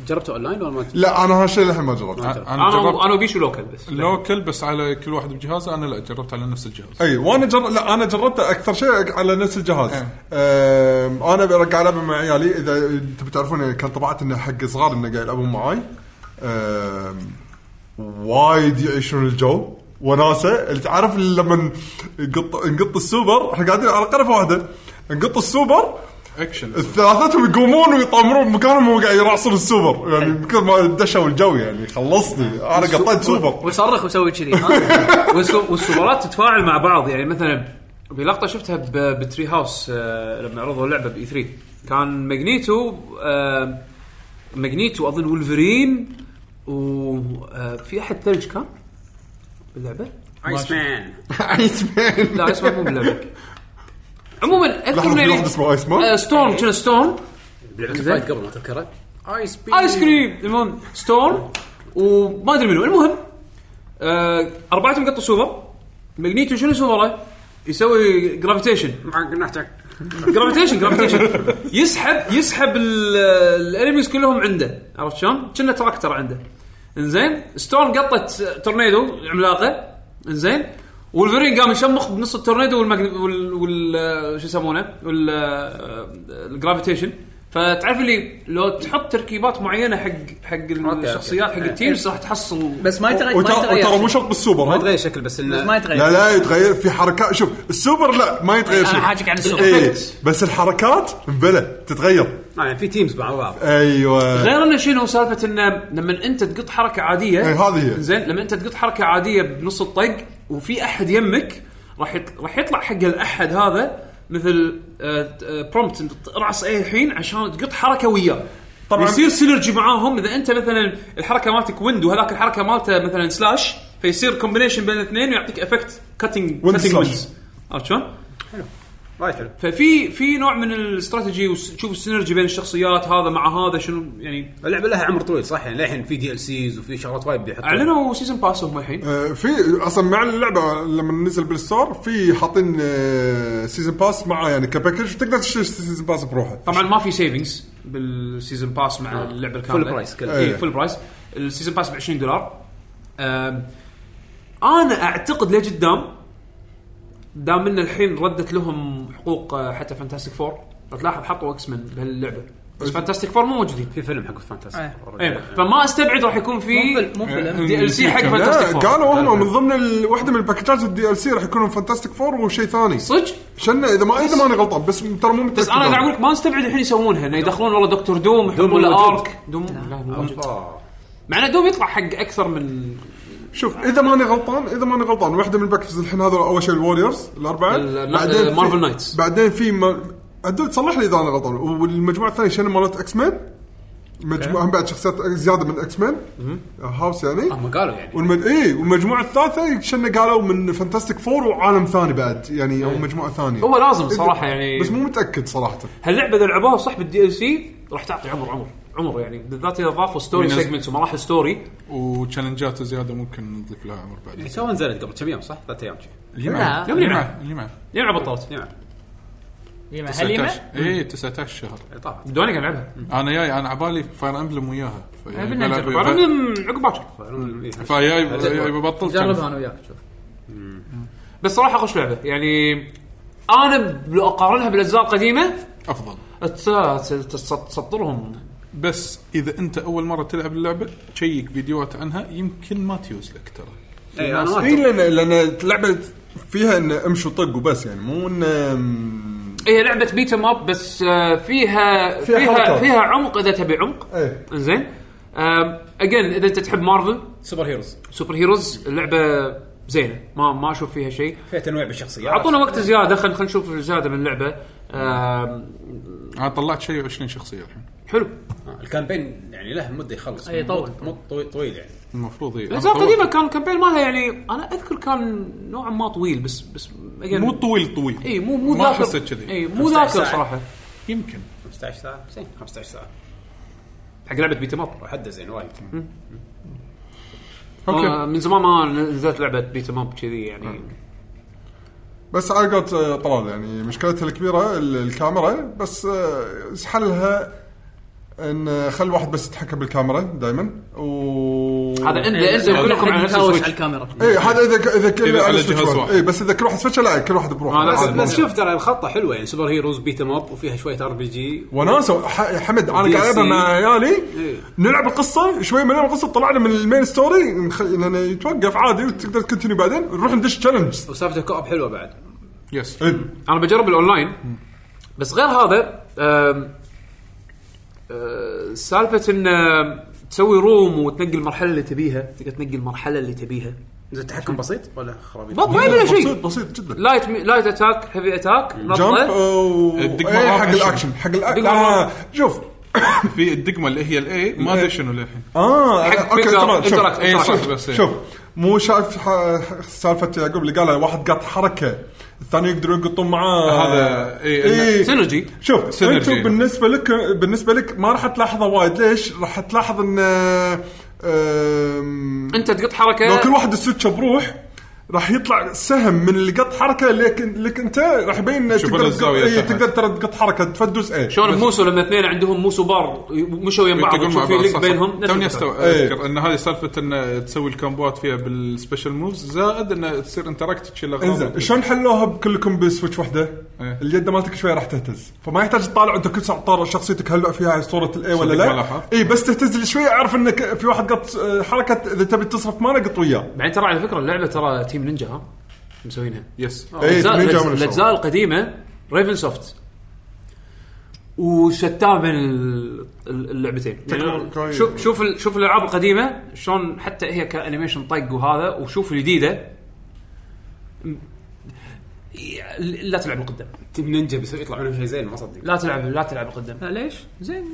جربتوا اونلاين ولا ما
لا انا هالشيء للحين ما
آه.
جربته
انا
انا
جربت
انا وبيشو لوكال بس
لوكل بس على كل واحد بجهازه انا لا جربت على نفس الجهاز
اي وانا جر... لا انا جربته اكثر شيء على نفس الجهاز
إيه.
أه.
أم... انا برجع العبها مع عيالي اذا تبي تعرفون يعني كان طبعت انه حق صغار انه قاعد يلعبون معاي أم... وايد يعيشون الجو وناسه اللي تعرف لما نقط نقط السوبر احنا قاعدين على قرفه واحده نقط السوبر
اكشن
ثلاثتهم يقومون ويطامرون مكانهم وهو قاعد يرعصون السوبر يعني من كثر ما دشوا الجو يعني خلصني انا قطيت سوبر
ويصرخ ويسوي كذي
والس- والسوبرات تتفاعل مع بعض يعني مثلا بلقطه شفتها ب- بتري هاوس آه، لما عرضوا اللعبه باي 3 كان ماجنيتو آه، ماجنيتو اظن ولفرين وفي احد آه، ثلج كان باللعبه؟
ايس مان
عيت بين
لا اسمه مو باللعبه عموما اذكر
لحظه في واحد
يعني
اسمه ايس مان
آه، ستورم كنا ستورم
لعبه الفايت قبل ما تذكرها ايس بي
ايس كريم المهم ستورم وما ادري منو المهم آه اربعتهم قطوا سوبر ماجنيتو شنو سوبره؟ يسوي جرافيتيشن
مع قناعتك
جرافيتيشن جرافيتيشن يسحب يسحب ال- الانميز كلهم عنده عرفت شلون؟ كنا تراكتر عنده انزين ستورم قطت تورنيدو عملاقه انزين والفرين قام يشمخ بنص التورنيدو والمجن... وال, وال... شو يسمونه؟ وال الجرافيتيشن فتعرف اللي لو تحط تركيبات معينه حق حق الشخصيات حق التيمز راح تحصل
إيه، بس ما يتغير ما
وترى وترى مو
يتغير
شرط بالسوبر
ما
ها
تغير شكل بس انه
ما
لا
يتغير
لا يتغير في حركات شوف السوبر لا ما يتغير شيء
انا حاجك عن السوبر
إيه بس الحركات بلا تتغير
آه، يعني في تيمز مع بعض
ايوه
غير انه شنو سالفه انه لما انت تقط حركه عاديه
إيه، هذه هي.
زين لما انت تقط حركه عاديه بنص الطق وفي احد يمك راح يط- راح يطلع حق الاحد هذا مثل آه، برومبت ارعص اي الحين عشان تقط حركه وياه طبعا يصير سينرجي معاهم اذا انت مثلا الحركه مالتك ويند وهذاك الحركه مالته مثلا سلاش فيصير كومبينيشن بين الاثنين ويعطيك افكت كاتنج
Wind
كاتنج
slash.
عرفت شلون؟
وايد حلو
ففي في نوع من الاستراتيجي وتشوف السينرجي بين الشخصيات هذا مع هذا شنو يعني
اللعبه لها عمر طويل صح يعني للحين في دي ال سيز وفي شغلات وايد بيحطوها
اعلنوا سيزون باس هم الحين
آه، في اصلا مع اللعبه لما نزل بالستور في حاطين آه، سيزون باس معاه يعني كباكج تقدر تشتري سيزون باس بروحه
طبعا ما في سيفنجز بالسيزون باس مع اللعبه الكامله
فول برايس كله.
اي
إيه.
فول برايس السيزون باس ب 20 دولار أم، انا اعتقد لقدام دام ان الحين ردت لهم حقوق آه، حتى فانتاستيك فور تلاحظ حطوا اكس من بهاللعبه بس فانتاستيك فور مو موجودين
في فيلم حق فانتاستيك
ايه فما استبعد راح يكون في
مو فيلم- مو فيلم
دي ال سي حق
لا،
فانتاستيك فور
قالوا هم من ضمن ال- واحده من الباكجات الدي ال سي راح يكونوا فانتاستيك فور وشيء ثاني
صدق
شن اذا ما اذا ماني غلطان بس ترى مو
بس انا قاعد اقول لك ما استبعد الحين يسوونها انه يدخلون والله دكتور دوم يحطون له
موجود.
ارك دوم لا مو موجود. مع انه دوم يطلع حق اكثر من
شوف اذا ماني غلطان اذا ماني غلطان واحده من الباكجز الحين هذول اول شيء الوريورز الاربعه
ال-
بعدين
Marvel
في-
Knights.
بعدين في ما... عدول تصلح لي اذا انا غلطان والمجموعه الثانيه شنو مالت اكس مان مجموعه هم بعد شخصيات زياده من اكس مان هاوس يعني
آه.
هم قالوا يعني
والمج... ايه والمجموعه الثالثه شنو قالوا من فانتاستيك فور وعالم ثاني بعد يعني او مجموعه ثانيه
إيه. هو لازم صراحه يعني
بس مو متاكد صراحه
هاللعبه اذا لعبوها صح بالدي ال سي راح تعطي عمر عمر عمر يعني بالذات اذا ضافوا ستوري
وينزل-
سيجمنتس ومراحل ستوري
وتشالنجات زياده ممكن نضيف لها عمر بعد
تو نزلت قبل كم يوم صح؟ ثلاث ايام شي.
اللي
لا.
معه
يوم
اللي
اللي
معه اللي معه
يلعب بطلت
نعم
ليما هليمه
19 اي 19 شهر
إيه، طافت
بدوني قاعد العبها
انا جاي انا عبالي فاير امبلم وياها في-
بدنا
بلعب-
نجرب.
بعدين عقب باكر
إيه.
فجاي جاي ببطل
جربها انا وياك شوف
بس صراحه خوش لعبه يعني انا لو اقارنها بالاجزاء القديمه
افضل
تس- تس- تسطرهم
بس اذا انت اول مره تلعب اللعبه شيك فيديوهات عنها يمكن ما تيوز لك ترى
اي انا
اي
وايد-
لان لان اللعبه فيها ان امشي وطق وبس يعني مو ان أم،
هي لعبه بيت ام اب بس آه، فيها
فيها
فيها
حركات.
فيها عمق اذا تبي عمق
ايه
زين اجين اذا انت تحب مارفل
سوبر هيروز
سوبر هيروز اللعبه زينه ما ما اشوف فيها شيء
فيها تنويع بالشخصيات
اعطونا وقت زياده خلينا خلينا نشوف زياده من اللعبه آم،
انا طلعت شيء 20 شخصيه الحين
حلو
آه، الكامبين يعني له مده يخلص
أي، طول.
مو طويل طويل يعني
المفروض اي
الاجزاء القديمه كان الكامبين مالها يعني انا اذكر كان نوعا ما طويل بس بس again،
مو طويل طويل
اي مو مو
ما
ذاكر
حسيت كذي
اي مو
15
ذاكر
ساعة.
صراحه
يمكن
15 ساعه زين 15 ساعه
حق لعبه بيت ام اب
وحده زين وايد
آه، من زمان ما نزلت لعبه بيت ام اب كذي يعني
بس على قولت آه، طلال يعني مشكلتها الكبيره ال- الكاميرا بس آه، حلها ان خل واحد بس يتحكم بالكاميرا دائما و
هذا انزل انزل
كل
كلكم على
واحد
نفس
يتهاوش على
السويتش
الكاميرا
اي إيه، هذا اذا ك- اذا كل
إذا على
سويتش
جهاز واحد.
اي إيه، بس اذا كل واحد سويتش لا كل واحد بروحه
آه، لا،
عادي،
بس-
ما
بس
في-
شوف ترى الخطه حلوه يعني سوبر هيروز بيت ام اب وفيها شويه ار بي جي
وناسه ح- حمد انا
DLC.
قاعد العبها مع عيالي
إيه.
نلعب القصه شوي من القصه طلعنا من المين ستوري نخ... إنه يتوقف عادي وتقدر تكنتني بعدين نروح ندش تشالنج
وسالفه كوب حلوه بعد
يس
انا بجرب الاونلاين بس غير هذا آم، آه، سالفه ان آم، تسوي روم وتنقي المرحله اللي تبيها تقدر تنقي المرحله اللي تبيها
زين التحكم بسيط ولا خرابيط؟
ما ما يبي له
بسيط
شيء
بسيط جدا
لايت لايت اتاك هيفي اتاك
جمب
نطه
أو...
الدقمة
إيه،
ما
حق
أكشن.
الاكشن حق الاكشن
الدقمة
آه
ما-
شوف
في الدقمه اللي هي الاي ما
إيه.
ادري شنو للحين
اه
حق
أنا- اوكي
بيكر-
تمام شوف
interact-
اي
interact.
صح بس إيه.
شوف مو شايف ح- سالفه يعقوب اللي قالها واحد قط حركه الثاني يقدروا يقطون معاه
هذا- إيه، إنه-
إيه.
سينرجي
شوف
سينرجي.
انتم بالنسبه لك بالنسبه لك ما راح تلاحظه وايد ليش؟ راح تلاحظ ان آم،
انت تقط حركه
لو كل واحد السويتش بروح راح يطلع سهم من اللي قط حركه لك لك انت راح يبين إن
شوف
تقدر تقط-
الزاوية
إيه،
تحت.
تقدر ترى تقط حركه تفدس ايه
شلون بموسو لما اثنين عندهم موسو بار ي- مشوا ويا بعض
يطقون
وتشوف
مع
في
بعض
لينك
صح، صح.
بينهم نفس
توني
الفكرة. إيه.
استوعب اذكر ان هذه سالفه ان تسوي الكامبوات فيها بالسبيشل موفز زائد ان تصير انتراكت تشيل اغراض
انزين إيه شلون حلوها كلكم بسويتش واحده؟
إيه.
اليد مالتك شوي راح تهتز فما يحتاج تطالع انت كل ساعه تطالع شخصيتك هل فيها صوره الاي ولا
صدق ما
لا؟
لاحظ.
اي بس تهتز لي شوي اعرف انك في واحد قط آه، حركه اذا تبي تصرف ماله قط وياه
بعدين ترى على فكره اللعبه ترى تيم نينجا ها مسوينها
يس
إيه،
الأجزاء-
تيم نينجا عملوا شغل.
الاجزاء القديمه ريفن سوفت وشتان بين ال- ال- اللعبتين يعني
تكنو- كويس.
شوف شوف ال- شوف الالعاب القديمه شلون حتى هي كانيميشن طق وهذا وشوف الجديده م- لا تلعب قدام
تيم نينجا بيصير يطلع منهم شيء زين ما صدق
لا تلعب لا تلعب قدام
لا، ليش؟ زين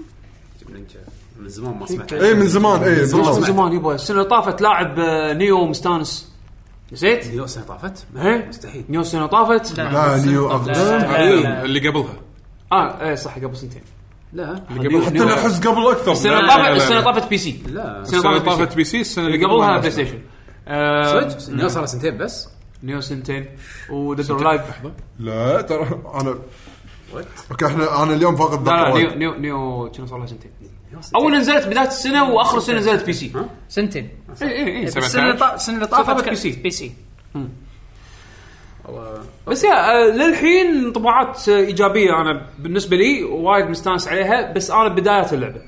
تيم نينجا من زمان ما سمعت
اي إيه، من زمان اي
من
بالضبط
زمان يبا السنه اللي طافت لاعب آه، نيو مستانس نسيت؟
نيو سنه طافت
ايه
مستحيل
نيو السنه طافت
لا يعني نيو اقدم
هذا اللي قبلها
اه ايه صح قبل سنتين
لا
نيو-
حتى
نيو-
انا احس قبل اكثر
السنه اللي
لا، لا،
طافت
لا.
السنه اللي طافت بي سي
لا
السنه
السنه
اللي
اللي طافت
طافت بي
بي سي السنه
سي
اللي
اللي قبلها
قبلها
بلاي ستيشن آه،
سويتش نيو صار سنتين بس
نيو سنتين وديد اور لايف لا
لا ترى انا اوكي احنا انا اليوم فاقد
لا
ذاكرة
نيو
وايد.
نيو نيو كنا صار لها سنتين اول نزلت بدايه السنه واخر السنه نزلت إيه، بي سي
سنتين
اي اي
إيه،
اي
بس السنه اللي
17.
طا- السنه اللي طافت
طافت
كان-
بي سي.
بي سي
بس يا آه، للحين انطباعات آه، ايجابيه انا بالنسبه لي وايد مستانس عليها بس انا بدايه اللعبه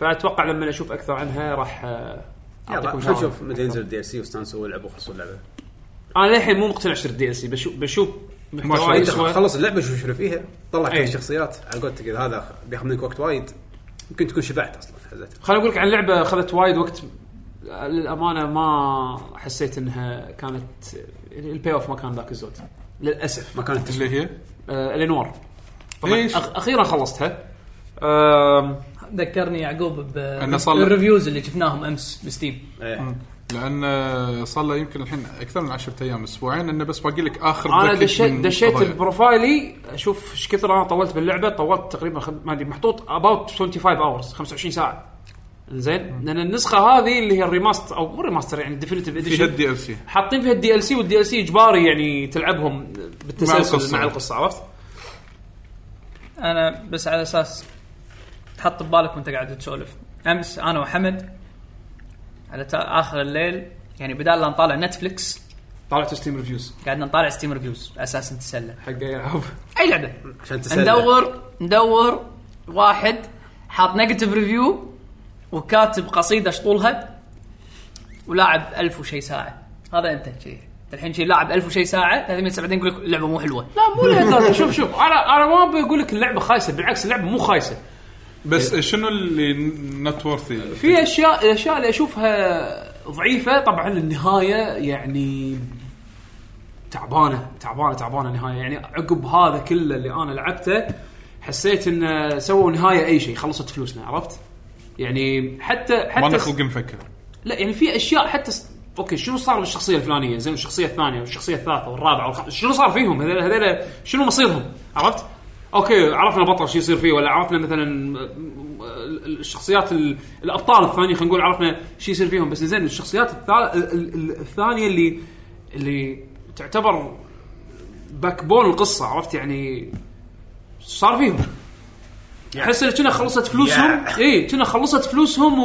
فاتوقع لما اشوف اكثر عنها راح آه، اعطيكم
خلينا
شعور.
نشوف متى ينزل الدي ال سي واستانسوا ولعبوا وخلصوا اللعبه
انا للحين مو مقتنع اشتري الدي ال سي بشوف بشوف محتوى
انت
يسوى.
خلص اللعبه شوف شنو فيها طلع كل
إيه.
الشخصيات على قولتك إذا هذا بياخذ منك وقت وايد يمكن تكون شبعت اصلا حزتها
خليني اقول لك عن لعبه اخذت وايد وقت للامانه ما حسيت انها كانت البي اوف ما كان ذاك الزود للاسف
ما كانت تشبع
اللي هي
آه الانوار طبعا
ليش؟
أخ- اخيرا خلصتها آم،
ذكرني يعقوب ب
أنه صار له-
الريفيوز اللي شفناهم امس بستيم
إيه.
لان آه، صار له يمكن الحين اكثر من 10 ايام اسبوعين انه بس باقي لك اخر
انا
باكج
دشيت
من
دشيت
قضايا.
بروفايلي اشوف ايش كثر انا طولت باللعبه طولت تقريبا خد- ما ادري محطوط اباوت 25 اورز 25 ساعه زين لان النسخه هذه اللي هي الريماستر او مو ريماستر يعني الديفينيتيف
فيها
اديشن
الدي ال سي
حاطين فيها الدي ال سي والدي ال سي اجباري يعني تلعبهم بالتسلسل مع
القصة.
القصه, مع القصة عرفت؟
انا بس على اساس تحط ببالك وانت قاعد تسولف امس انا وحمد على تا- اخر الليل يعني بدال لا نطالع نتفلكس
طالعت ستيم ريفيوز
قعدنا نطالع ستيم ريفيوز على اساس نتسلى
حق العاب
اي لعبه
عشان تسلى.
ندور ندور واحد حاط نيجاتيف ريفيو وكاتب قصيده شطولها ولاعب ألف وشي ساعه هذا انت شي أنت الحين شي لاعب ألف وشي ساعه 300 ساعه بعدين يقول لك اللعبه مو حلوه
لا مو لهالدرجه شوف شوف انا انا ما ابي اقول لك اللعبه خايسه بالعكس اللعبه مو خايسه
بس شنو اللي نت وورثي
إيه. في اشياء الاشياء اللي اشوفها ضعيفه طبعا النهايه يعني تعبانه تعبانه تعبانه النهايه يعني عقب هذا كله اللي انا لعبته حسيت انه سووا نهايه اي شيء خلصت فلوسنا عرفت؟ يعني حتى
ما لنا
حتى
خلق نفكر
لا يعني في اشياء حتى س... اوكي شنو صار بالشخصيه الفلانيه زين الشخصيه الثانيه والشخصيه الثالثه والرابعه والخ... شنو صار فيهم هذول هذول شنو مصيرهم عرفت اوكي عرفنا بطل شو يصير فيه ولا عرفنا مثلا م- م- الشخصيات ال... الابطال الثانيه خلينا نقول عرفنا شو يصير فيهم بس زين الشخصيات الثال... ال- ال- الثانيه اللي اللي تعتبر باك بون القصه عرفت يعني صار فيهم احس إن كنا خلصت فلوسهم اي كنا خلصت فلوسهم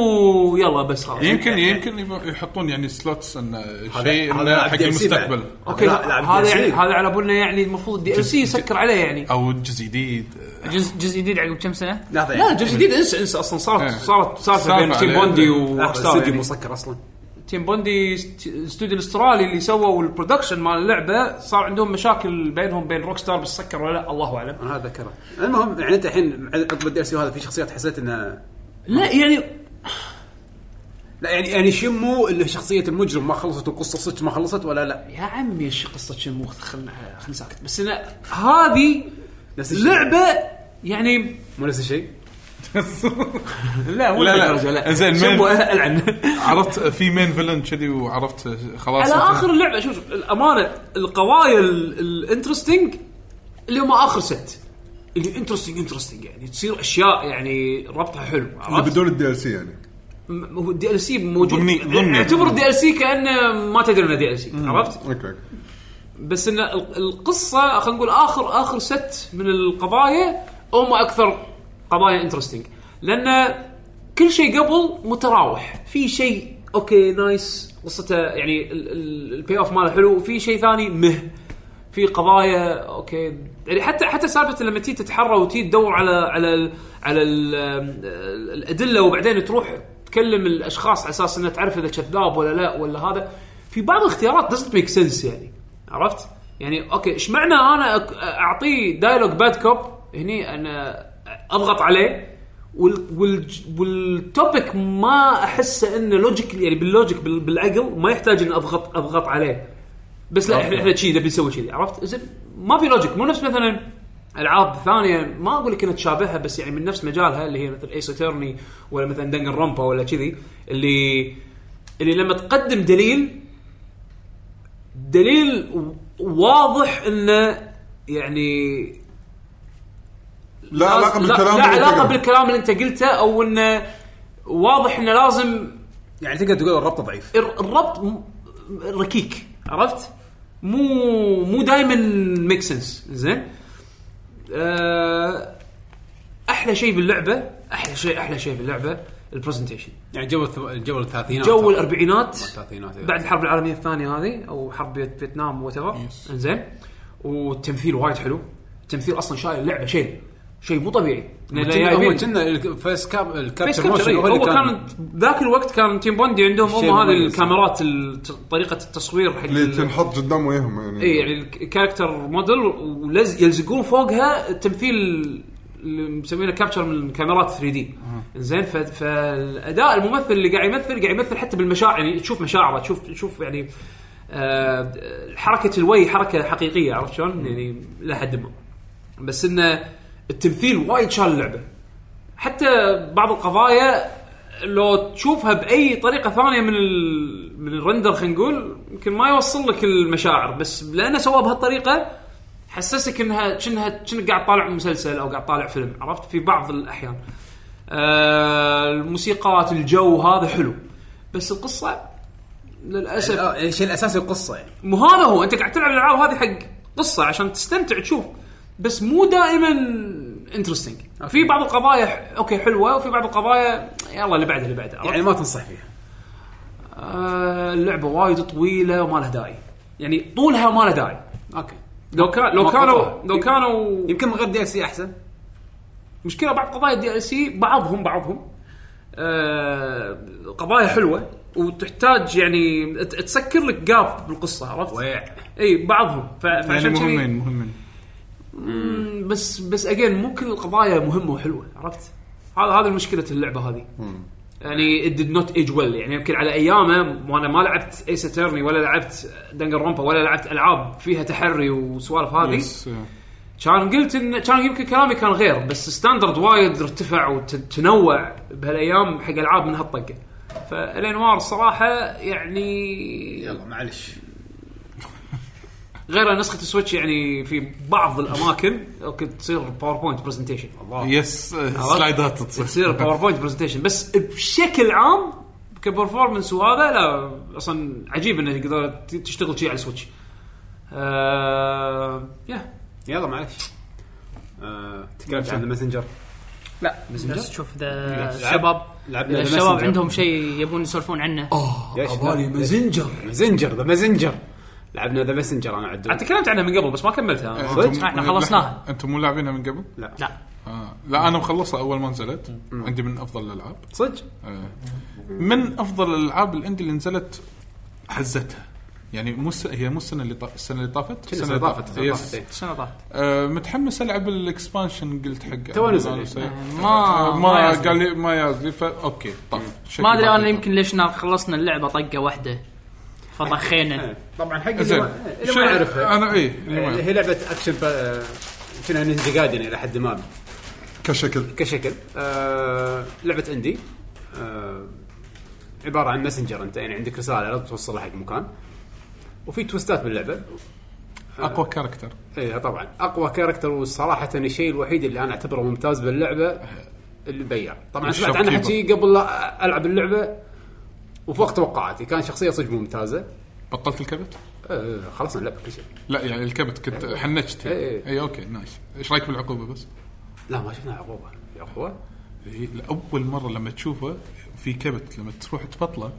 ويلا بس خلاص
يمكن يمكن يب- يحطون يعني سلوتس انه شيء
هذا
انه
لاعب
حق
DLC بعد.
المستقبل
اوكي
لا، لا،
هذا
DLC.
يعني هذا على بالنا يعني المفروض الدي ال سي يسكر عليه يعني
او جزء جديد
جزء جزء جديد عقب كم سنه
لحظه
لا
يعني.
جزء جديد انسى انسى اصلا صارت
إيه.
صارت سالفه بين
سالفة
تيم
عليه.
بوندي
لحظة،
وروكستار
استوديو
يعني.
مسكر اصلا
تيم بوندي است- الاستوديو الاسترالي اللي سووا البرودكشن مال اللعبه صار عندهم مشاكل بينهم بين روكستار بالسكر ولا لا الله اعلم
انا هذا ذكره المهم يعني انت الحين عقب الدي سي هذا في شخصيات حسيت انها
لا يعني
لا يعني يعني شمو اللي شخصيه المجرم ما خلصت القصه صدق ما خلصت ولا لا
يا عمي ايش قصه شنمو خلنا خلنا ساكت بس انا هذه
نفس الشيء.
لعبه يعني
مو نفس الشيء
لا مو
لا، لا.
لهالدرجة، لا
زين، ما-
شنمو العن
عرفت في مين فيلن كذي وعرفت خلاص
على اخر اللعبه شوف شوف، الامانه القضايا ال- الانترستنج اللي هم اخر ست اللي انترستنج انترستنج يعني تصير اشياء يعني ربطها حلو
اللي
عرفت؟
بدون الدي ال سي يعني
م- هو الدي ال سي موجود
ضمني- ضمني.
اعتبر الدي ال سي كانه ما تدري انه دي ال سي عرفت؟
اوكي أوكي.
بس ان ال- القصه خلينا نقول اخر اخر ست من القضايا هم اكثر قضايا انترستنج لان كل شيء قبل متراوح في شيء اوكي نايس قصته يعني البي اوف ماله حلو وفي شيء ثاني مه في قضايا اوكي يعني حتى حتى سالفه لما تيجي تتحرى وتيجي تدور على على ال على ال الادله وبعدين تروح تكلم الاشخاص على اساس انها تعرف اذا كذاب ولا لا ولا هذا في بعض الاختيارات doesn't ميك سنس يعني عرفت؟ يعني اوكي ايش معنى انا أك- اعطيه دايلوج باد كوب هني انا اضغط عليه وال وال والتوبك ما احسه انه لوجيك يعني باللوجيك بال- بالعقل ما يحتاج اني اضغط اضغط عليه بس لا احنا احنا كذي نبي نسوي كذي عرفت؟ زين ما في لوجيك مو نفس مثلا العاب ثانيه ما اقول لك انها تشابهها بس يعني من نفس مجالها اللي هي مثل ايس اترني ولا مثلا دنجن رامبا ولا كذي اللي اللي لما تقدم دليل دليل و- واضح انه يعني
لا علاقه
لا,
بالكلام
لا
اللي
علاقه
تقرأه.
بالكلام اللي انت قلته او انه واضح انه لازم
يعني تقدر تقول الربط ضعيف
الر- الربط م- ركيك عرفت؟ مو مو دائما ميك سنس زين آه، احلى شيء باللعبه احلى شيء احلى شيء باللعبه البرزنتيشن
يعني جو الث- جو
نعم،
الثلاثينات
جو الاربعينات
الثلاثينات، إيه.
بعد الحرب العالميه الثانيه هذه او حرب فيت- فيتنام وات انزين والتمثيل وايد حلو التمثيل اصلا شايل اللعبه شيء شيء مو طبيعي لأن
هو
جايبين-
كنا الفيس كاب الكابتشر
فيس كابتشر
موشن
إيه. هو كان ذاك الوقت كان تيم بوندي عندهم
الشيء
هم هذه
المميز.
الكاميرات ال- ت- طريقه التصوير حق
اللي
ال-
تنحط قدام وجههم يعني
اي يعني الكاركتر موديل ويلزقون فوقها التمثيل اللي مسمينه كابتشر من كاميرات 3 دي زين ف- فالاداء الممثل اللي قاعد يمثل قاعد يمثل حتى بالمشاعر يعني تشوف مشاعره تشوف تشوف يعني آه، حركه الوي حركه حقيقيه عرفت شلون؟ يعني لحد ما بس انه التمثيل وايد شال اللعبه حتى بعض القضايا لو تشوفها باي طريقه ثانيه من ال... من الرندر خلينا نقول يمكن ما يوصل لك المشاعر بس لانه سواه بهالطريقه حسسك انها كأنها كأنك قاعد طالع مسلسل او قاعد طالع فيلم عرفت في بعض الاحيان آه الموسيقات الجو هذا حلو بس القصه للاسف
آه، الشيء الاساسي القصه يعني
مو هذا هو انت قاعد تلعب الالعاب هذه حق قصه عشان تستمتع تشوف بس مو دائما انترستنج في بعض القضايا ح- اوكي حلوه وفي بعض القضايا يلا اللي بعدها اللي بعدها
يعني ما تنصح فيها
آه، اللعبه وايد طويله وما لها داعي يعني طولها ما لها داعي
اوكي
لو كان لو
ما
كانوا
قطعها.
لو كانوا
يمكن من غير دي سي احسن
مشكله بعض قضايا الدي ال سي بعضهم بعضهم آه، قضايا حلوه وتحتاج يعني ت- تسكر لك جاب بالقصه عرفت؟
ويع
اي بعضهم ف-
يعني
فعشان كذي-
مهمين مهمين
بس بس اجين مو كل القضايا مهمه وحلوه عرفت؟ هذا هذا مشكله اللعبه هذه. يعني ديد نوت ايج ويل يعني يمكن على ايامه وانا ما لعبت ايس اترني ولا لعبت دنجر رومبا ولا لعبت العاب فيها تحري وسوالف هذه
يس آه.
كان قلت ان كان يمكن كلامي كان غير بس ستاندرد وايد ارتفع وتنوع بهالايام حق العاب من هالطقه. فالانوار الصراحه يعني
يلا معلش
غير نسخه السويتش يعني في بعض الاماكن كنت تصير باوربوينت برزنتيشن
يس آه،
عرفت؟
سلايدات تصير
تصير باوربوينت برزنتيشن بس بشكل عام كبرفورمنس وهذا لا اصلا عجيب انه تقدر ت- تشتغل شيء على السويتش. آه يا
يلا معلش آه، تكلمت عن الماسنجر
لا بس تشوف اذا
لعب-
الشباب
لعبنا
اذا
The
الشباب
Messenger.
عندهم شيء يبون يسولفون عنه
ليش عبالي مازنجر مازنجر ذا مازنجر لعبنا ذا ماسنجر انا
عاد
عدل
تكلمت عنها من قبل بس ما كملتها انا
أنتم-
إحنا خلصناها.
لحظة، انتم مو لاعبينها من قبل؟
لا
آه. لا انا مخلصها اول ما نزلت عندي من افضل الالعاب
صدق
آه. من افضل الالعاب الاندي اللي نزلت حزتها يعني مو الس- هي مو السنه اللي طا... السنه اللي طافت
كنا سنة طافت سنة
يس.
طافت، إيه.
السنه ضاعت
آه متحمس العب الاكسبانشن قلت حق
تو نزل. آه،
ما
ما-
ما
ما يزل.
قال لي ما آه، يازلي فا اوكي طف شكل
ما ادري
طف.
انا يمكن ليش نا- خلصنا اللعبه طقه واحده فطخينا
إيه. طبعا حق اللي
زين إيه،
ما اللي
شيء-
ما يعرفها
انا اي
آه، هي لعبه اكشن با- شنها نينجا جايدن الى حد ما
كشكل
كشكل آه لعبه اندي آه عباره عن مسنجر انت يعني عندك رساله لازم توصلها حق مكان وفي توستات باللعبه آه.
اقوى كاركتر
ايه طبعا اقوى كاركتر وصراحه الشيء الوحيد اللي انا اعتبره ممتاز باللعبه البياع طبعا سمعت عنه
الشوبكيبر.
حكي قبل لا العب اللعبه وفوق توقعاتي كان شخصيه صدق ممتازه
بطلت الكبت؟
آه خلصنا اللعبه كل شيء
لا يعني الكبت كنت حنجت
إيه، إيه.
اي اوكي نايس ايش رايك بالعقوبه بس؟
لا ما شفنا عقوبه في عقوبه
إيه، اول مره لما تشوفه في كبت لما تروح تبطله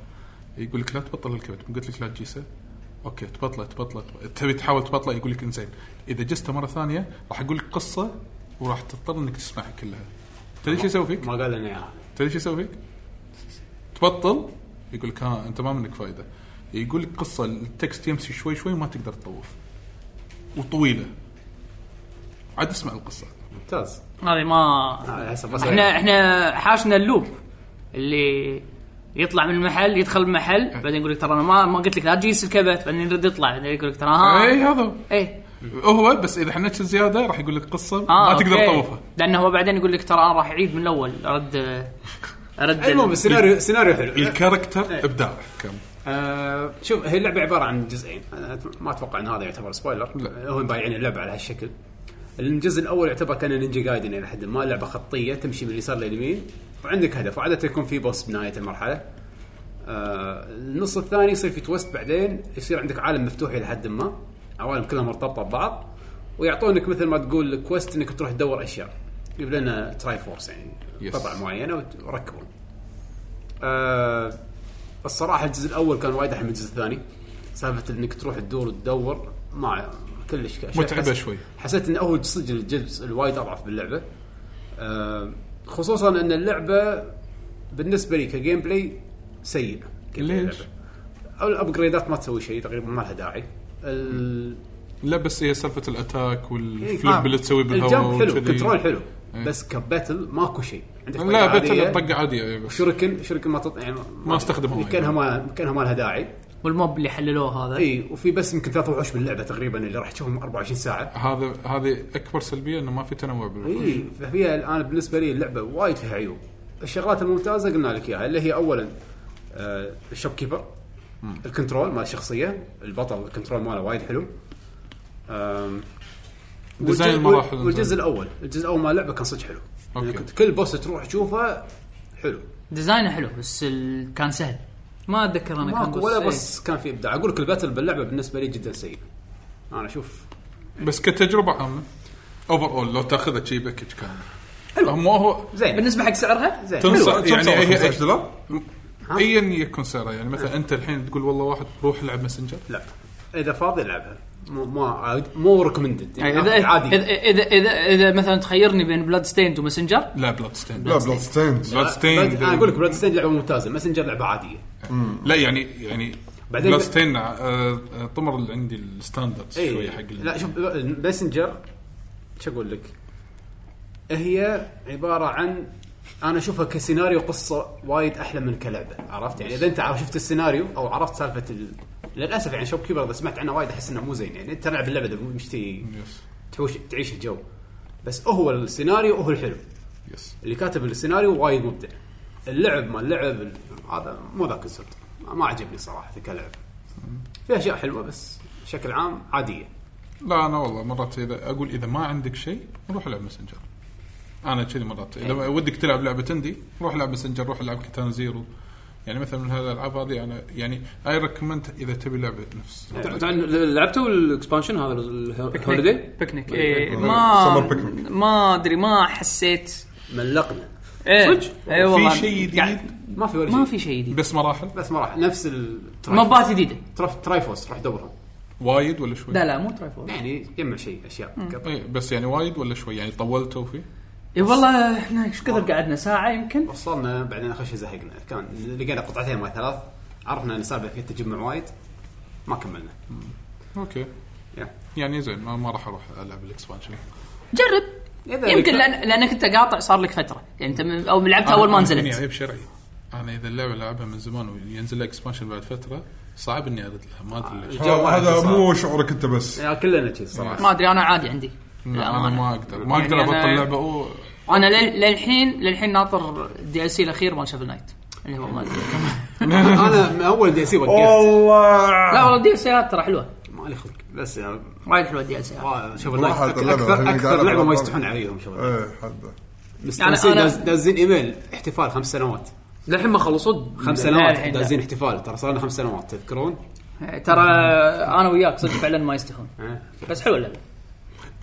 يقول لك لا تبطل الكبت مو قلت لك لا تجيسه اوكي تبطله تبطله تبطله. تبي تحاول تبطله يقول لك انزين اذا جسته مره ثانيه راح اقول لك قصه وراح تضطر انك تسمعها كلها تدري ايش يسوي فيك؟
ما قال لنا اياها
تدري ايش يسوي فيك؟ تبطل يقول لك ها انت ما منك فايده يقول لك قصه التكست يمشي شوي شوي ما تقدر تطوف وطويله عاد اسمع القصه
ممتاز
هذه ما
آه، هسه بس
احنا احنا حاشنا اللوب اللي يطلع من المحل يدخل المحل بعدين يقول لك ترى انا ما ما قلت لك لا تجيس الكبت بعدين يرد يطلع بعدين يقول لك ترى "آه."
اي
ها
إيه، هذا هو.
اي
هو بس اذا حنيت زياده راح يقول لك قصه
آه
ما تقدر
أوكي.
تطوفها
لانه هو بعدين يقول لك ترى انا راح اعيد من الاول ارد ارد
المهم السيناريو سيناريو حلو
الكاركتر ابداع كم
آه شوف هي اللعبه عباره عن جزئين أنا أت- ما اتوقع ان هذا يعتبر سبويلر
لا.
هم بايعين اللعبه يعني على هالشكل الجزء الاول يعتبر كان نينجا جايدن الى حد ما لعبه خطيه تمشي من اليسار لليمين وعندك هدف وعاده يكون في بوس بنهايه المرحله آه النص الثاني يصير في توست بعدين يصير عندك عالم مفتوح الى حد ما عوالم كلها مرتبطه ببعض ويعطونك مثل ما تقول كويست انك تروح تدور اشياء يجيب لنا تراي فورس يعني
Yes.
قطع معينه وت- وركبهم آه الصراحه الجزء الاول كان وايد احلى من الجزء الثاني سالفه انك تروح تدور وتدور ما كلش أشياء
متعبة
حس-
شوي.
حسيت انه هو صدق الجزء الوايد اضعف باللعبه آه خصوصا ان اللعبه بالنسبه لي كجيم بلاي سيء جيم بلاي
ليش؟
اللعبة. أو الابجريدات ما تسوي شيء تقريبا ما لها داعي ال-
لا بس هي سالفه الاتاك والفليب
آه،
اللي تسويه بالهواء
الجمب حلو
وكذي.
كنترول حلو
إيه.
بس كباتل ماكو شيء عندك
لا
طقة عادية.
بتل طقه عاديه بس
شركن شركن ما تط... يعني
ما استخدمها وايد.
كانها ما كانها ما لها داعي
والموب اللي حللوه هذا
اي وفي بس يمكن ثلاث وحوش باللعبه تقريبا اللي راح تشوفهم 24 ساعه
هذا هذه اكبر سلبيه انه ما في تنوع بالوحوش
اي فهي الان بالنسبه لي اللعبه وايد فيها عيوب الشغلات الممتازه قلنا لك اياها اللي هي اولا آه الشوب كيبر الكنترول مال الشخصيه البطل الكنترول ماله وايد حلو آم،
ديزاين
والجزء-
المراحل
والجزء الاول الجزء الاول مال اللعبه كان صدق حلو يعني
أوكي.
كنت كل بوس تروح تشوفه حلو
ديزاينه حلو بس ال... كان سهل ما اتذكر انا كان
ماكو ولا بس كان في ابداع اقول لك الباتل باللعبه بالنسبه لي جدا سيء انا اشوف
بس كتجربه عامه اوفر اول لو تاخذها شي باكج كامل مو هو
إيه.
زين
بالنسبه حق سعرها زين
تنصح
حلوة. كم
يعني
سعرها؟
هي
15 دولار؟
ايا يكن سعرها يعني مثلا انت الحين تقول والله واحد روح العب ماسنجر
لا اذا فاضي العبها مو مو عاد- مو ريكومندد
يعني
يعني
اذا
عادي
اذا اذا اذا, إذا مثلا تخيرني بين بلاد ستيند وماسنجر
لا بلاد ستيند
لا بلاد ستيند
آه،
بلاد ستيند
انا اقول لك بلاد ستيند لعبه ممتازه ماسنجر لعبه عاديه
لا يعني يعني
بعدين-
بلاد ستيند آه، آه، طمر اللي عندي الستاندرد
إي.
شويه حق ال-
إيه. لا شوف ماسنجر شو اقول لك؟ هي عباره عن انا اشوفها كسيناريو قصه وايد احلى من كلعبه عرفت يعني اذا انت عارف- شفت السيناريو او عرفت سالفه ال... للاسف يعني شوب كيبر اذا سمعت عنه وايد احس انه مو زين يعني انت تلعب اللعبه اذا مش تي-
يس
تحوش تعيش الجو بس هو السيناريو هو الحلو
يس
اللي كاتب السيناريو وايد مبدع اللعب ما اللعب ال- هذا مو ذاك الزود ما- ما عجبني صراحه كلعب في اشياء حلوه بس بشكل عام عاديه
لا انا والله مرات اذا اقول اذا ما عندك شيء روح العب ماسنجر انا كذي مرات اذا
إيه.
ودك تلعب لعبه تندي روح العب ماسنجر روح العب كتان زيرو يعني مثلا من هذه الالعاب هذه انا يعني اي ريكومند اذا تبي لعبه نفس
إيه.
يعني
لعبتوا الاكسبانشن هذا الهوليدي؟
بيكنيك إيه
Summer
ما
picnic.
ما ادري ما حسيت
ملقنا
ايه اي والله يعني
في شيء
يعني-
جديد
ما في ولا شيء
ما في شيء جديد
بس مراحل
بس ما راح نفس الترايفوس
مبات جديده
ترايفوس راح دورها
وايد ولا شوي
لا لا مو ترايفول
يعني جمع شيء اشياء كذا.
اي بس يعني وايد ولا شوي يعني طولتوا فيه
اي إيه والله احنا ايش كثر قعدنا ساعه يمكن
وصلنا بعدين اخر شيء زهقنا كان لقينا قطعتين ما ثلاث عرفنا ان السالفه فيها تجمع وايد ما كملنا
اوكي
يا.
يعني زين ما, ما راح اروح العب الاكسبانشن
جرب
إذا
إيه، يمكن
لك-
لأن لانك انت قاطع صار لك فتره يعني انت من- او لعبتها اول ما
أنا يعني عندي
نزلت
عيب شرعي انا اذا اللعبه لعبها من زمان وينزل لها اكسبانشن بعد فتره صعب اني ارد لها ما ادري
آه،
ليش
الجو واحد
هذا
صار.
مو شعورك انت بس
يا كلنا كذي صراحه
ما ادري انا عادي عندي
لا، انا ما اقدر ما
إيه، يعني
اقدر
أنا-
ابطل لعبه اوه
انا لل- للحين للحين ناطر الدي ال سي الاخير مال شافل نايت اللي هو مال
انا من اول دي سي وقفت
والله
لا والله الدي ال سيات ترى حلوه
ما لي خلق بس يعني
وايد حلوه الدي ال سيات
شوف
راح
اللايك
أتلعبها،
اكثر
الحين
اكثر
قاعد
لعبه ما
ألعبها.
يستحون عليهم شباب
ايه حد
مستانسين
يعني أنا-
داز- دازين ايميل احتفال خمس سنوات
للحين ما خلصوا
خمس
لا،
سنوات
الحين لا.
دازين احتفال ترى صار لنا خمس سنوات تذكرون؟
ترى انا وياك صدق فعلا ما يستهون
ها؟
بس حلوه اللعبه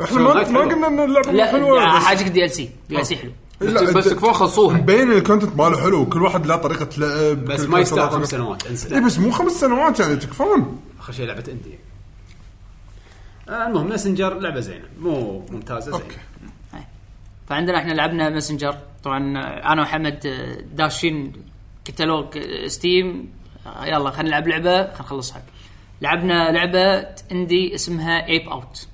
احنا ما
وايد
ما
حلوة.
قلنا ان اللعبه مو
لا
حلوه
لا،
بس
حاجك دي ال سي دي ال سي حلو
لا،
بس
أنت-
كفو خلصوها
مبين الكونتنت ماله حلو كل واحد له طريقه لعب
بس
كل
ما
كل
يستاهل
طريقة-
خمس سنوات انسى
اي بس مو خمس سنوات يعني تكفون
اخر شيء لعبه اندي آه، المهم ماسنجر لعبه زينه مو ممتازه زينه
فعندنا احنا لعبنا ماسنجر طبعا انا وحمد آه، داشين كتالوج آه، ستيم آه، يلا خلينا نلعب لعبه خلينا نخلصها لعبنا لعبه اندي اسمها ايب اوت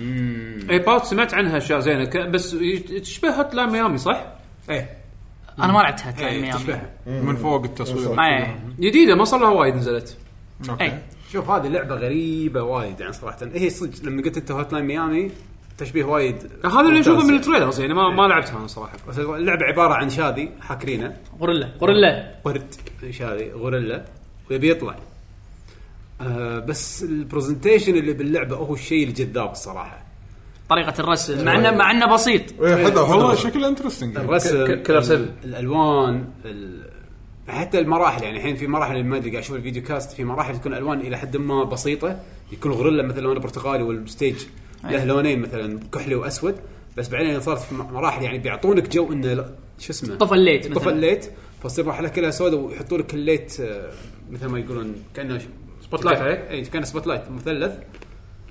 اي إيه، باوت سمعت عنها اشياء زينه ك- بس ي- تشبه هوت لاين ميامي صح؟
ايه
انا ما لعبتها ترى
إيه،
ميامي
تشبهها
من فوق التصوير
إيه.
جديده ما صار لها وايد نزلت
اوكي
إيه.
شوف هذه لعبه غريبه وايد يعني صراحه هي صدق لما قلت انت هوت لاين ميامي تشبيه وايد
هذا اللي
ممتاز.
اشوفه من التريلرز يعني ما ما لعبتها انا صراحه
بس اللعبه عباره عن شادي حاكرينه
غوريلا غوريلا
قرد شادي غوريلا ويبي يطلع آه بس البرزنتيشن اللي باللعبه هو الشيء الجذاب الصراحه
طريقه الرسم مع انه مع انه بسيط
اي إيه، حدا طيب.
والله
حدا
شكله انترستنج
الرسم
ك- كلر سيفن.
ال- الالوان ال- حتى المراحل يعني الحين في مراحل ما ادري قاعد اشوف الفيديو كاست في مراحل تكون الوان الى حد ما بسيطه يكون غوريلا مثلا لونه برتقالي والستيج له لونين مثلا كحلي واسود بس بعدين صارت في مراحل يعني بيعطونك جو انه لا- شو اسمه
طفى الليت مثلاً.
طفى الليت فتصير مرحله كلها سوداء ويحطوا لك الليت آه، مثل ما يقولون كانه سبوت
لايت عليه؟
اي كانه سبوت لايت إيه، مثلث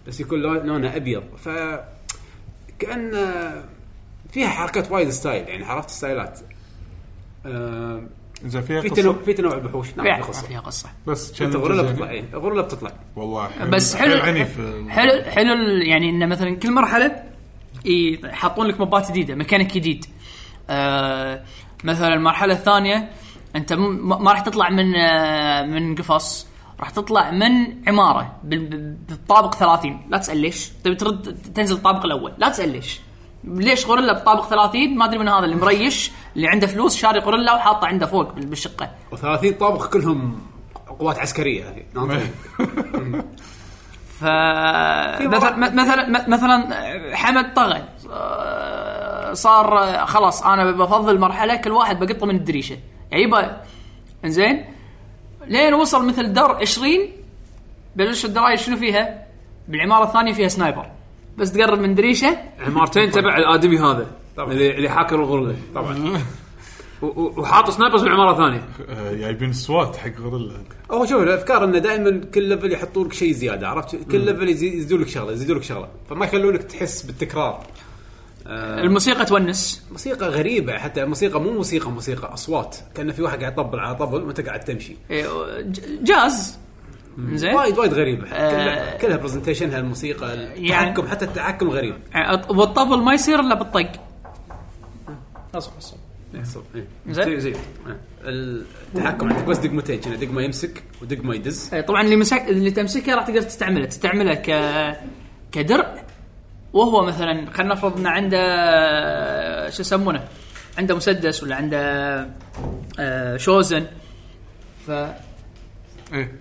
بس يكون لون- لونه ابيض ف كان فيها حركات وايد ستايل يعني عرفت ستايلات آه،
اذا فيها
في تنوع
قصه
في تنوع بالوحوش نعم
فيها-
في قصه
يعني
فيها قصه
بس
انت غوريلا
challenges
بتطلع
يعني.
اي غوريلا بتطلع
والله
يعني
حلو
بس حلو
عنيف
حلو حلو ال- يعني انه مثلا كل مرحله يحطون لك مبات جديده ميكانيك جديد آه مثلا المرحله الثانيه انت م- ما راح تطلع من آه، من قفص راح تطلع من عماره بال- بال- بالطابق 30 لا تسال ليش تبي ترد تنزل الطابق الاول لا تسال ليش ليش غوريلا بطابق 30 ما ادري من هذا اللي مريش اللي عنده فلوس شاري غوريلا وحاطه عنده فوق بال- بالشقه
و30 طابخ كلهم قوات عسكريه ناطرين.
ف مثلا مثلا مثلا حمد طغى آه، صار آه، خلاص انا بفضل مرحله كل واحد بقطه من الدريشه يعني يبا زين لين وصل مثل دار 20 بلش الدرايش شنو فيها؟ بالعماره الثانيه فيها سنايبر بس تقرب من دريشه
عمارتين تبع الادمي هذا اللي اللي حاكر الغرله
طبعا
و- و- وحاط سنايبرز بالعماره الثانيه
جايبين سوات حق غوريلا
هو شوف الافكار انه دائما كل ليفل يحطوا لك شيء زياده عرفت كل ليفل يزي- يزيدوا لك شغله يزيدوا لك شغله فما يخلونك تحس بالتكرار
الموسيقى تونس
موسيقى غريبه حتى الموسيقى مو موسيقى موسيقى اصوات كان في واحد قاعد يطبل على طبل وانت قاعد تمشي
إيه، ج- جاز زين
وايد وايد غريبه كلها
آه.
كلها برزنتيشنها الموسيقى التحكم
يعني-
حتى التحكم غريب
يعني الط- والطبل ما يصير الا بالطق
زين
إيه.
زين
زين
التحكم عندك بس دقمتين كنا دقمه يمسك ودقمه يدز
إيه، طبعا اللي مسك اللي تمسكه راح تقدر تستعمله تستعمله ك كدرع وهو مثلا خلينا نفرض انه عنده شو يسمونه عنده مسدس ولا عنده آه، شوزن ف
ايه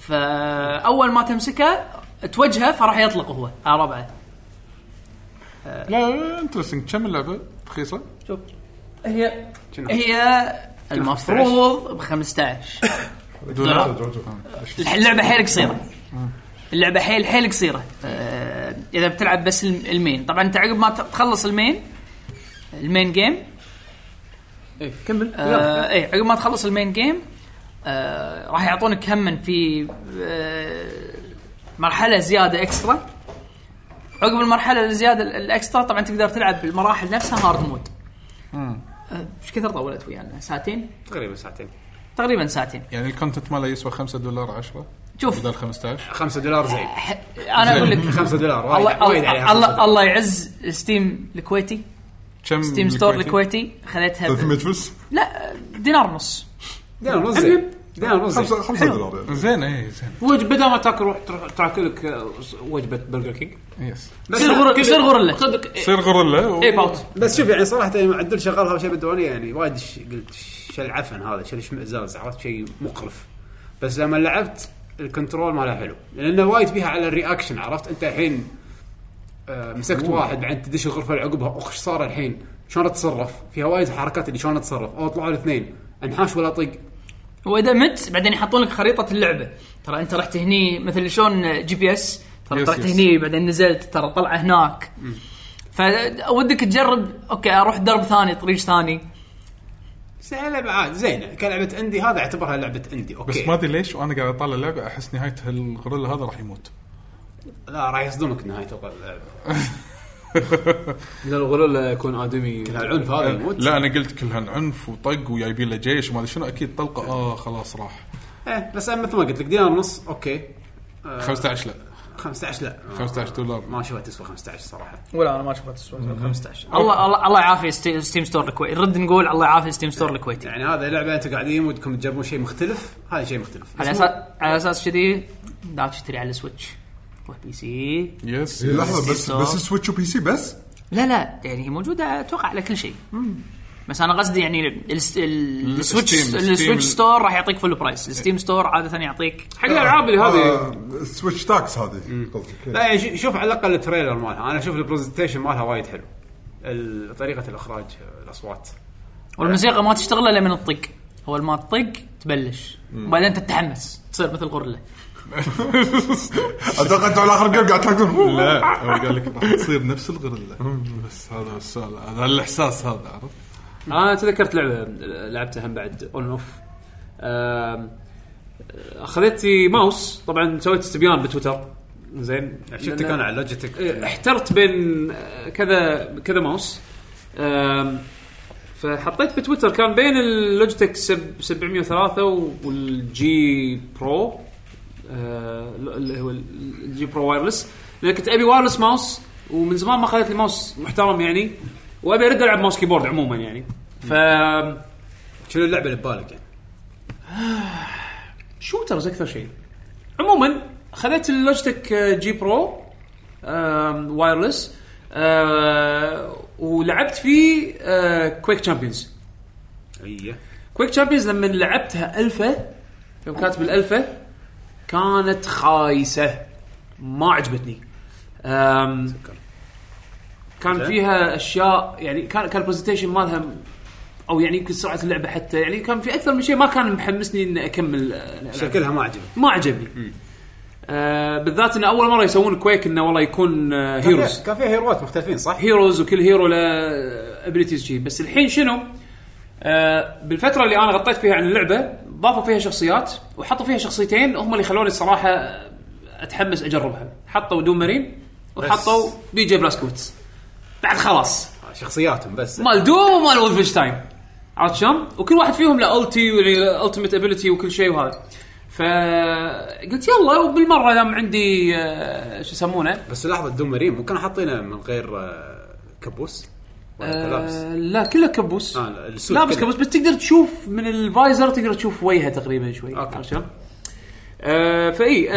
فاول ما تمسكه توجهه فراح يطلق هو على ربعه
لا انترستنج كم اللعبه رخيصه؟
شوف هي هي المفروض ب 15 دولار. اللعبه حيل قصيره اللعبه حيل حيل قصيره آه، اذا بتلعب بس الم- المين طبعا انت عقب ما تخلص المين المين جيم
إيه، كمل
آه اي عقب ما تخلص المين جيم آه راح يعطونك هم من في آه مرحله زياده اكسترا عقب المرحله الزياده ال- الاكسترا طبعا تقدر تلعب بالمراحل نفسها هارد مود آه، ايش كثر طولت ويانا ساعتين
تقريبا ساعتين
تقريبا ساعتين
يعني الكونتنت ماله يسوى 5 دولار 10
شوف
بدل 15
5 دولار زين
ح- انا اقول لك
5 دولار وايد
الله
وايد عليها خمسة
الله, الله,
دولار.
الله يعز ستيم الكويتي
كم
ستيم ستور الكويتي خذيتها ب-
300 فلس
لا دينار نص
دينار ونص زين دينار ونص زين
5 5 دولار يعني
زين ايه زين
وج بدل ما تاكل روح تروح تاكلك آه، وجبه برجر كينج
يس
يصير غور- يصير غوريلا.
صدق إيه،
تصير غوريلا و-
ايب اوت
بس شوف يعني صراحه يعني عدل شغال هذا شيء بالديوانيه يعني وايد ش- قلت شو العفن هذا شو الاشمئزاز عرفت شيء مقرف بس لما لعبت الكنترول مالها حلو لانه وايد فيها على الرياكشن عرفت انت الحين آه، مسكت واحد بعدين تدش الغرفه اللي عقبها اخ ايش صار الحين؟ شلون اتصرف؟ فيها وايد حركات اللي شلون اتصرف؟ او طلعوا الاثنين انحاش ولا طق
واذا مت بعدين يحطون لك خريطه اللعبه ترى انت رحت هني مثل شلون جي بي اس ترى
يس،
أنت رحت
يس.
هني بعدين نزلت ترى طلعه هناك فودك تجرب اوكي اروح درب ثاني طريق ثاني
بس يعني لعبه عاد زينه كلعبه اندي هذا اعتبرها لعبه اندي اوكي
بس ما ادري ليش وانا قاعد اطالع اللعبه احس نهايه الغوريلا هذا راح يموت
لا راح يصدمك نهايه اللعبه
لا الغلول يكون ادمي
العنف هذا يموت
لا انا قلت كل هالعنف وطق وجايبين له جيش وما ادري شنو اكيد طلقه اه خلاص راح
إيه، بس أنا مثل ما قلت لك دينار ونص اوكي آه،
15 لا
15 لا
15 دولار
ما اشوفها تسوى 15 صراحه
ولا انا ما شفت 15 الله الله الله يعافي ستي- ستيم ستور الكويتي رد نقول الله يعافي ستيم ستور الكويتي
يعني هذا لعبه انت قاعدين ودكم تجربون شيء مختلف هذا شيء مختلف
على اساس على اساس كذي لا تشتري على السويتش روح بي سي
يس
لحظه بس بس سويتش وبي سي بس
لا لا يعني هي موجوده اتوقع على كل شيء بس انا قصدي يعني ال- الس- ال- السويتش
الستيم- الستيم-
السويتش ستور راح يعطيك فل برايس الستيم ستور عاده يعطيك
حق الالعاب اللي هذه
آه، سويتش تاكس هذه قصدك
لا يعني شو- شوف على الاقل التريلر مالها انا اشوف البرزنتيشن مالها وايد حلو ال- طريقه الاخراج آه، الاصوات
والموسيقى ما تشتغل الا من الطق اول ما تطق تبلش وبعدين تتحمس تصير مثل غوريلا
اتوقع انتم على اخر جيم قاعد تاكلون
لا هو قال لك راح تصير نفس الغوريلا بس هذا السؤال هذا الاحساس هذا عرفت
انا آه، تذكرت لعبه لعبتها هم بعد اون اوف اخذت لي آه، ماوس طبعا سويت استبيان بتويتر زين
شفتك
لأن-
انا على لوجيتك
إيه، احترت بين آه، كذا كذا ماوس آم، فحطيت بتويتر كان بين اللوجيتك سب- 703 والجي برو آه، اللي هو الجي برو وايرلس لان كنت ابي وايرلس ماوس ومن زمان ما اخذت لي ماوس محترم يعني وابي ارد العب ماوس كيبورد عموما يعني ف
شنو اللعبه اللي ببالك يعني؟
شوترز اكثر شيء عموما خذيت اللوجتك جي برو آم، وايرلس آه، ولعبت فيه آه، كويك تشامبيونز
ايه
كويك تشامبيونز لما لعبتها الفا يوم كانت بالالفا كانت خايسه ما عجبتني أم، كان فيها اشياء يعني كان كان البرزنتيشن مالها م- او يعني يمكن سرعه اللعبه حتى يعني كان في اكثر من شيء ما كان محمسني اني اكمل أه، الألعاب.
شكلها ما عجبك
ما عجبني آه بالذات ان اول مره يسوون كويك انه والله يكون آه هيروز
كان فيها هيروات مختلفين صح؟
هيروز وكل هيرو له ابيلتيز شي بس الحين شنو؟ آه بالفتره اللي انا غطيت فيها عن اللعبه ضافوا فيها شخصيات وحطوا فيها شخصيتين هم اللي خلوني الصراحه اتحمس اجربها حطوا دوم مارين وحطوا بي جي بلاسكوتس بعد خلاص
آه،
شخصياتهم بس
مال دوم ومال ولفنشتاين عرفت شلون؟ وكل واحد فيهم له التي والتيمت ابيلتي وكل شيء وهذا فقلت يلا وبالمره دام عندي آه، شو يسمونه
بس لحظه دوم مريم مو كانوا حاطينه من غير آه، كبوس ولا كلابس
آه لا كله كبوس
آه، لا، السود
لابس
كله.
كبوس بس تقدر تشوف من الفايزر تقدر تشوف وجهه تقريبا شوي
أوكي.
عرفت شلون؟ آه فاي آه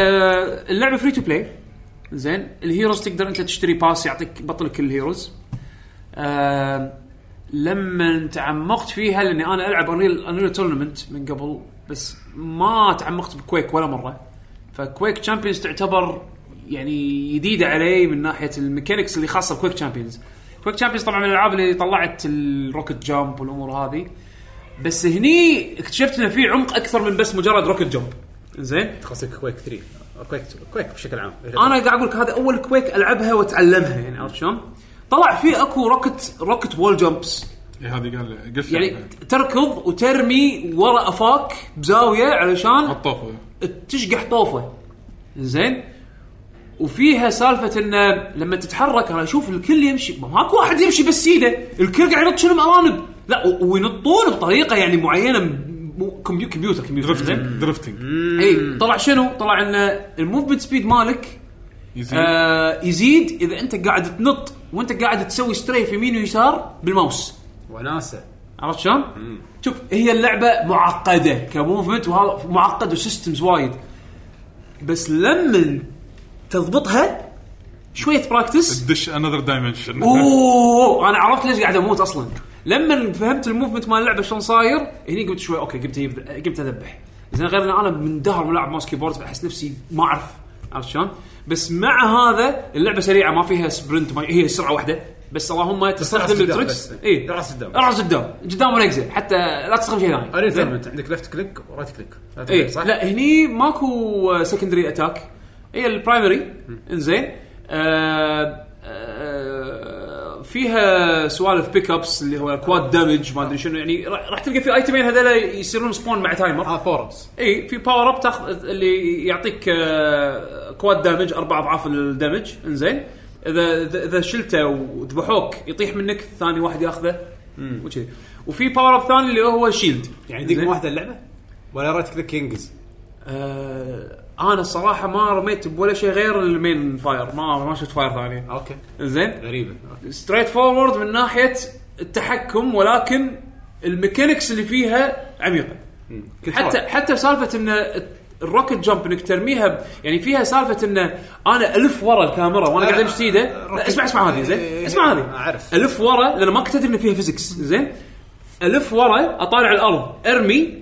اللعبه فري تو بلاي زين الهيروز تقدر انت تشتري باس يعطيك بطل كل الهيروز آه لما تعمقت فيها لاني انا العب انريل انريل تورنمنت من قبل بس ما تعمقت بكويك ولا مره فكويك تشامبيونز تعتبر يعني جديده علي من ناحيه الميكانكس اللي خاصه بكويك تشامبيونز كويك تشامبيونز طبعا من الالعاب اللي طلعت الروكت جامب والامور هذه بس هني اكتشفت ان في عمق اكثر من بس مجرد روكت جامب زين
تخصك كويك 3 أو كويك كويك بشكل عام
انا قاعد اقول لك هذا اول كويك العبها واتعلمها يعني عرفت شلون؟ طلع في اكو روكت روكت وول جامبس
إيه، هذه قال قلت إيه،
يعني
لك.
تركض وترمي ورا افاك بزاويه علشان
الطوفه
تشقح طوفه زين وفيها سالفه انه لما تتحرك انا اشوف الكل يمشي ما- ماكو واحد يمشي بس ايده الكل قاعد ينط شنو بارانب لا و- وينطون بطريقه يعني معينه م- مو- كمبيو- كمبيوتر كمبيوتر زين
درفتنج درفتنج
اي إيه، طلع شنو؟ طلع ان الموفمنت سبيد مالك
يزيد.
آه يزيد اذا انت قاعد تنط وانت قاعد تسوي ستريف يمين ويسار بالماوس
وناسه
عرفت شلون؟ شوف هي اللعبه معقده كموفمنت وهذا معقد وسيستمز وايد بس لما تضبطها شويه براكتس
دش انذر دايمنشن
اوه انا عرفت ليش قاعد اموت اصلا لما فهمت الموفمنت مال اللعبه شلون صاير هني قمت شوي اوكي قمت أجيب- قمت اذبح زين غير ان انا مندهر ملاعب ماوس كيبورد فاحس نفسي ما اعرف عرفت شلون؟ بس مع هذا اللعبه سريعه ما فيها سبرنت ما هي سرعه واحده بس اللهم
رأس
تستخدم
قدام
التركس
بس.
اي
رأس قدام.
رأس قدام قدام ولا exit. حتى لا تستخدم شيء ثاني
اريد ثيرمنت عندك ليفت كليك ورايت كليك إيه، لا
اي
تغير، صح؟
إيه، لا هني ماكو آه، سكندري اتاك هي البرايمري انزين آه، آه، فيها سوالف بيك ابس اللي هو كواد دامج ما ادري شنو يعني راح راح تلقى في ايتمين هذول يصيرون سبون مع تايمر
اه فورمز
اي في باور اب تاخذ اللي يعطيك آه، كواد دامج اربع اضعاف الدمج انزين اذا اذا إذا شلته وذبحوك يطيح منك ثاني واحد ياخذه وكذي وفي باور اب ثاني اللي هو شيلد
يعني دقمه واحده اللعبه ولا رايت كليك ينقز
آه، انا الصراحه ما رميت بولا شيء غير المين فاير ما ما شفت فاير ثانيه
اوكي
زين
غريبه
ستريت فورورد من ناحيه التحكم ولكن الميكانكس اللي فيها عميقه حتى حتى سالفه ان الروكت جمب انك ترميها ب- يعني فيها سالفه ان انا الف ورا الكاميرا وانا قاعد امشي ايده لا، اسمع اسمع هذه زين اسمع هذه
أعرف.
الف ورا لان ما كنت ادري ان فيها فيزكس زين الف ورا اطالع الارض ارمي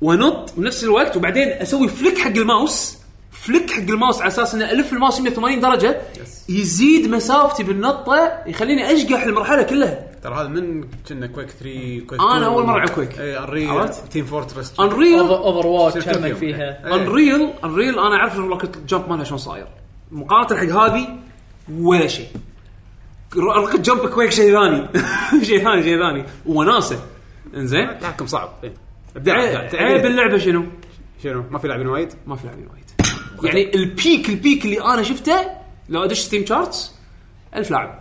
وانط بنفس الوقت وبعدين اسوي فليك حق الماوس فليك حق الماوس على اساس ان الف الماوس 180 درجه يزيد مسافتي بالنطه يخليني اشقح المرحله كلها
ترى هذا من كنا كويك 3 كويك
أنا أول مرة ألعب كويك.
اي انريل
عرفت؟
تيم فورترس
انريل
اوفر واتش
شركة
هم
فيهم.
فيها
انريل انريل انا اعرف الروكت جمب مالها شلون صاير مقارنه حق هذه ولا شيء روكت جمب كويك شيء ثاني شيء ثاني شيء ثاني وناسه انزين
تحكم صعب إيه.
عيب عيب اللعبه شنو؟
شنو ما في لاعبين وايد
ما في لاعبين وايد يعني البيك البيك اللي انا شفته لو ادش ستيم شارتس 1000 لاعب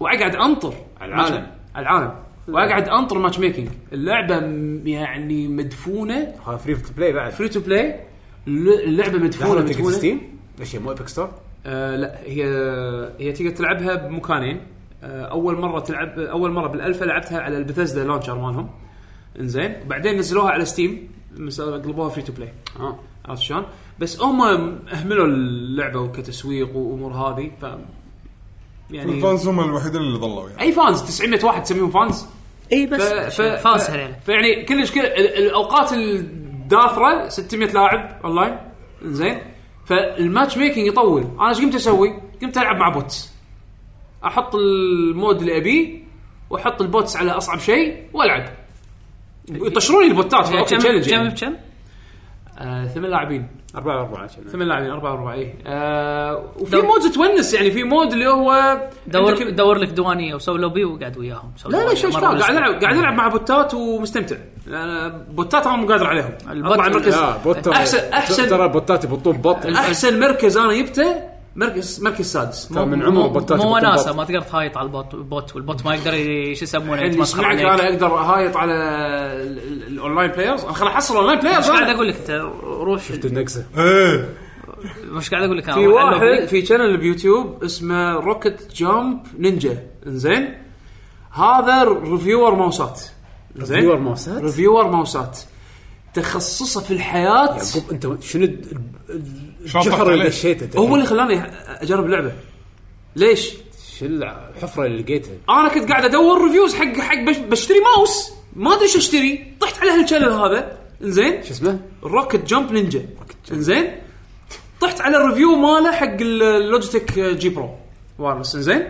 واقعد انطر على
العالم.
على العالم واقعد انطر ماتش ميكنج اللعبه م- يعني مدفونه
ها فري تو بلاي بعد
فري تو بلاي اللعبه مدفونه
لحظه تقدر
مدفونه
ستيم ليش هي مو ايبك ستور
آه لا هي هي تقدر تلعبها بمكانين آه اول مره تلعب اول مره بالالفا لعبتها على البثزدا لانشر مالهم انزين بعدين نزلوها على ستيم مس- قلبوها فري تو بلاي
اه
عرفت شلون؟ بس هم اهملوا اللعبه وكتسويق وامور هذه ف يعني
الفانز هم الوحيدين اللي ضلوا يعني
اي فانز 900 واحد تسميهم فانز
اي بس
ف- ف-
فاز
ف-
هليله
فيعني كلش كل ال- الاوقات الداثره 600 لاعب اونلاين زين فالماتش ميكنج يطول انا ايش قمت اسوي؟ قمت العب مع بوتس احط المود اللي ابيه واحط البوتس على اصعب شيء والعب يطشروني البوتات فأوكي،
كم
challenge يعني.
كم كم؟
آه، ثمان لاعبين
4 4 كنا
ثمان لاعبين أربعة أربعة إيه آه وفي
دور.
مود تونس يعني في مود اللي هو
دور
عندك-
دور لك دوانيه وسوي لوبي وقعد وياهم سوي
لا لا
لوبي
شو
مرة
اشكال قاعد
بالأسبوع.
العب قاعد العب مع بوتات ومستمتع أنا بوتات انا مو قادر عليهم
البوت-
اطلع مركز
لا بوت
احسن احسن
ترى بوتات يبطون بط
احسن مركز انا جبته مركز مركز سادس
ترى من عمر
مو-
بوتات
مو
يبطون
وناسه
بط.
ما تقدر تهايط على البوت البوت والبوت ما يقدر ي- شو يسمونه
اللي
يتمسخر
يسمعك
عليك
انا اقدر اهايط على ال- ال- الاونلاين بلايرز انا خل احصل اونلاين
مش
بلايرز
قاعد
أنا.
اقول لك انت روح
النقزه
إيه.
ايه
مش قاعد اقول لك انا
في
روح على اللوبي.
واحد في شانل بيوتيوب اسمه روكت جامب نينجا انزين هذا ريفيور ماوسات زين
ريفيور ماوسات؟
ريفيور ماوسات تخصصه في الحياه
يعقوب انت شنو ال- ال-
شلون طحت
الجحر
عليه؟
اللي دشيته
هو اللي خلاني اجرب اللعبه ليش؟
شو الحفره اللي لقيتها
انا كنت قاعد ادور ريفيوز حق حق بش- بشتري ماوس ما ادري شو اشتري طحت على هالشانل هذا انزين
شو اسمه؟
روكت جامب نينجا انزين طحت على الريفيو ماله حق ال- اللوجيتك جي برو وايرلس انزين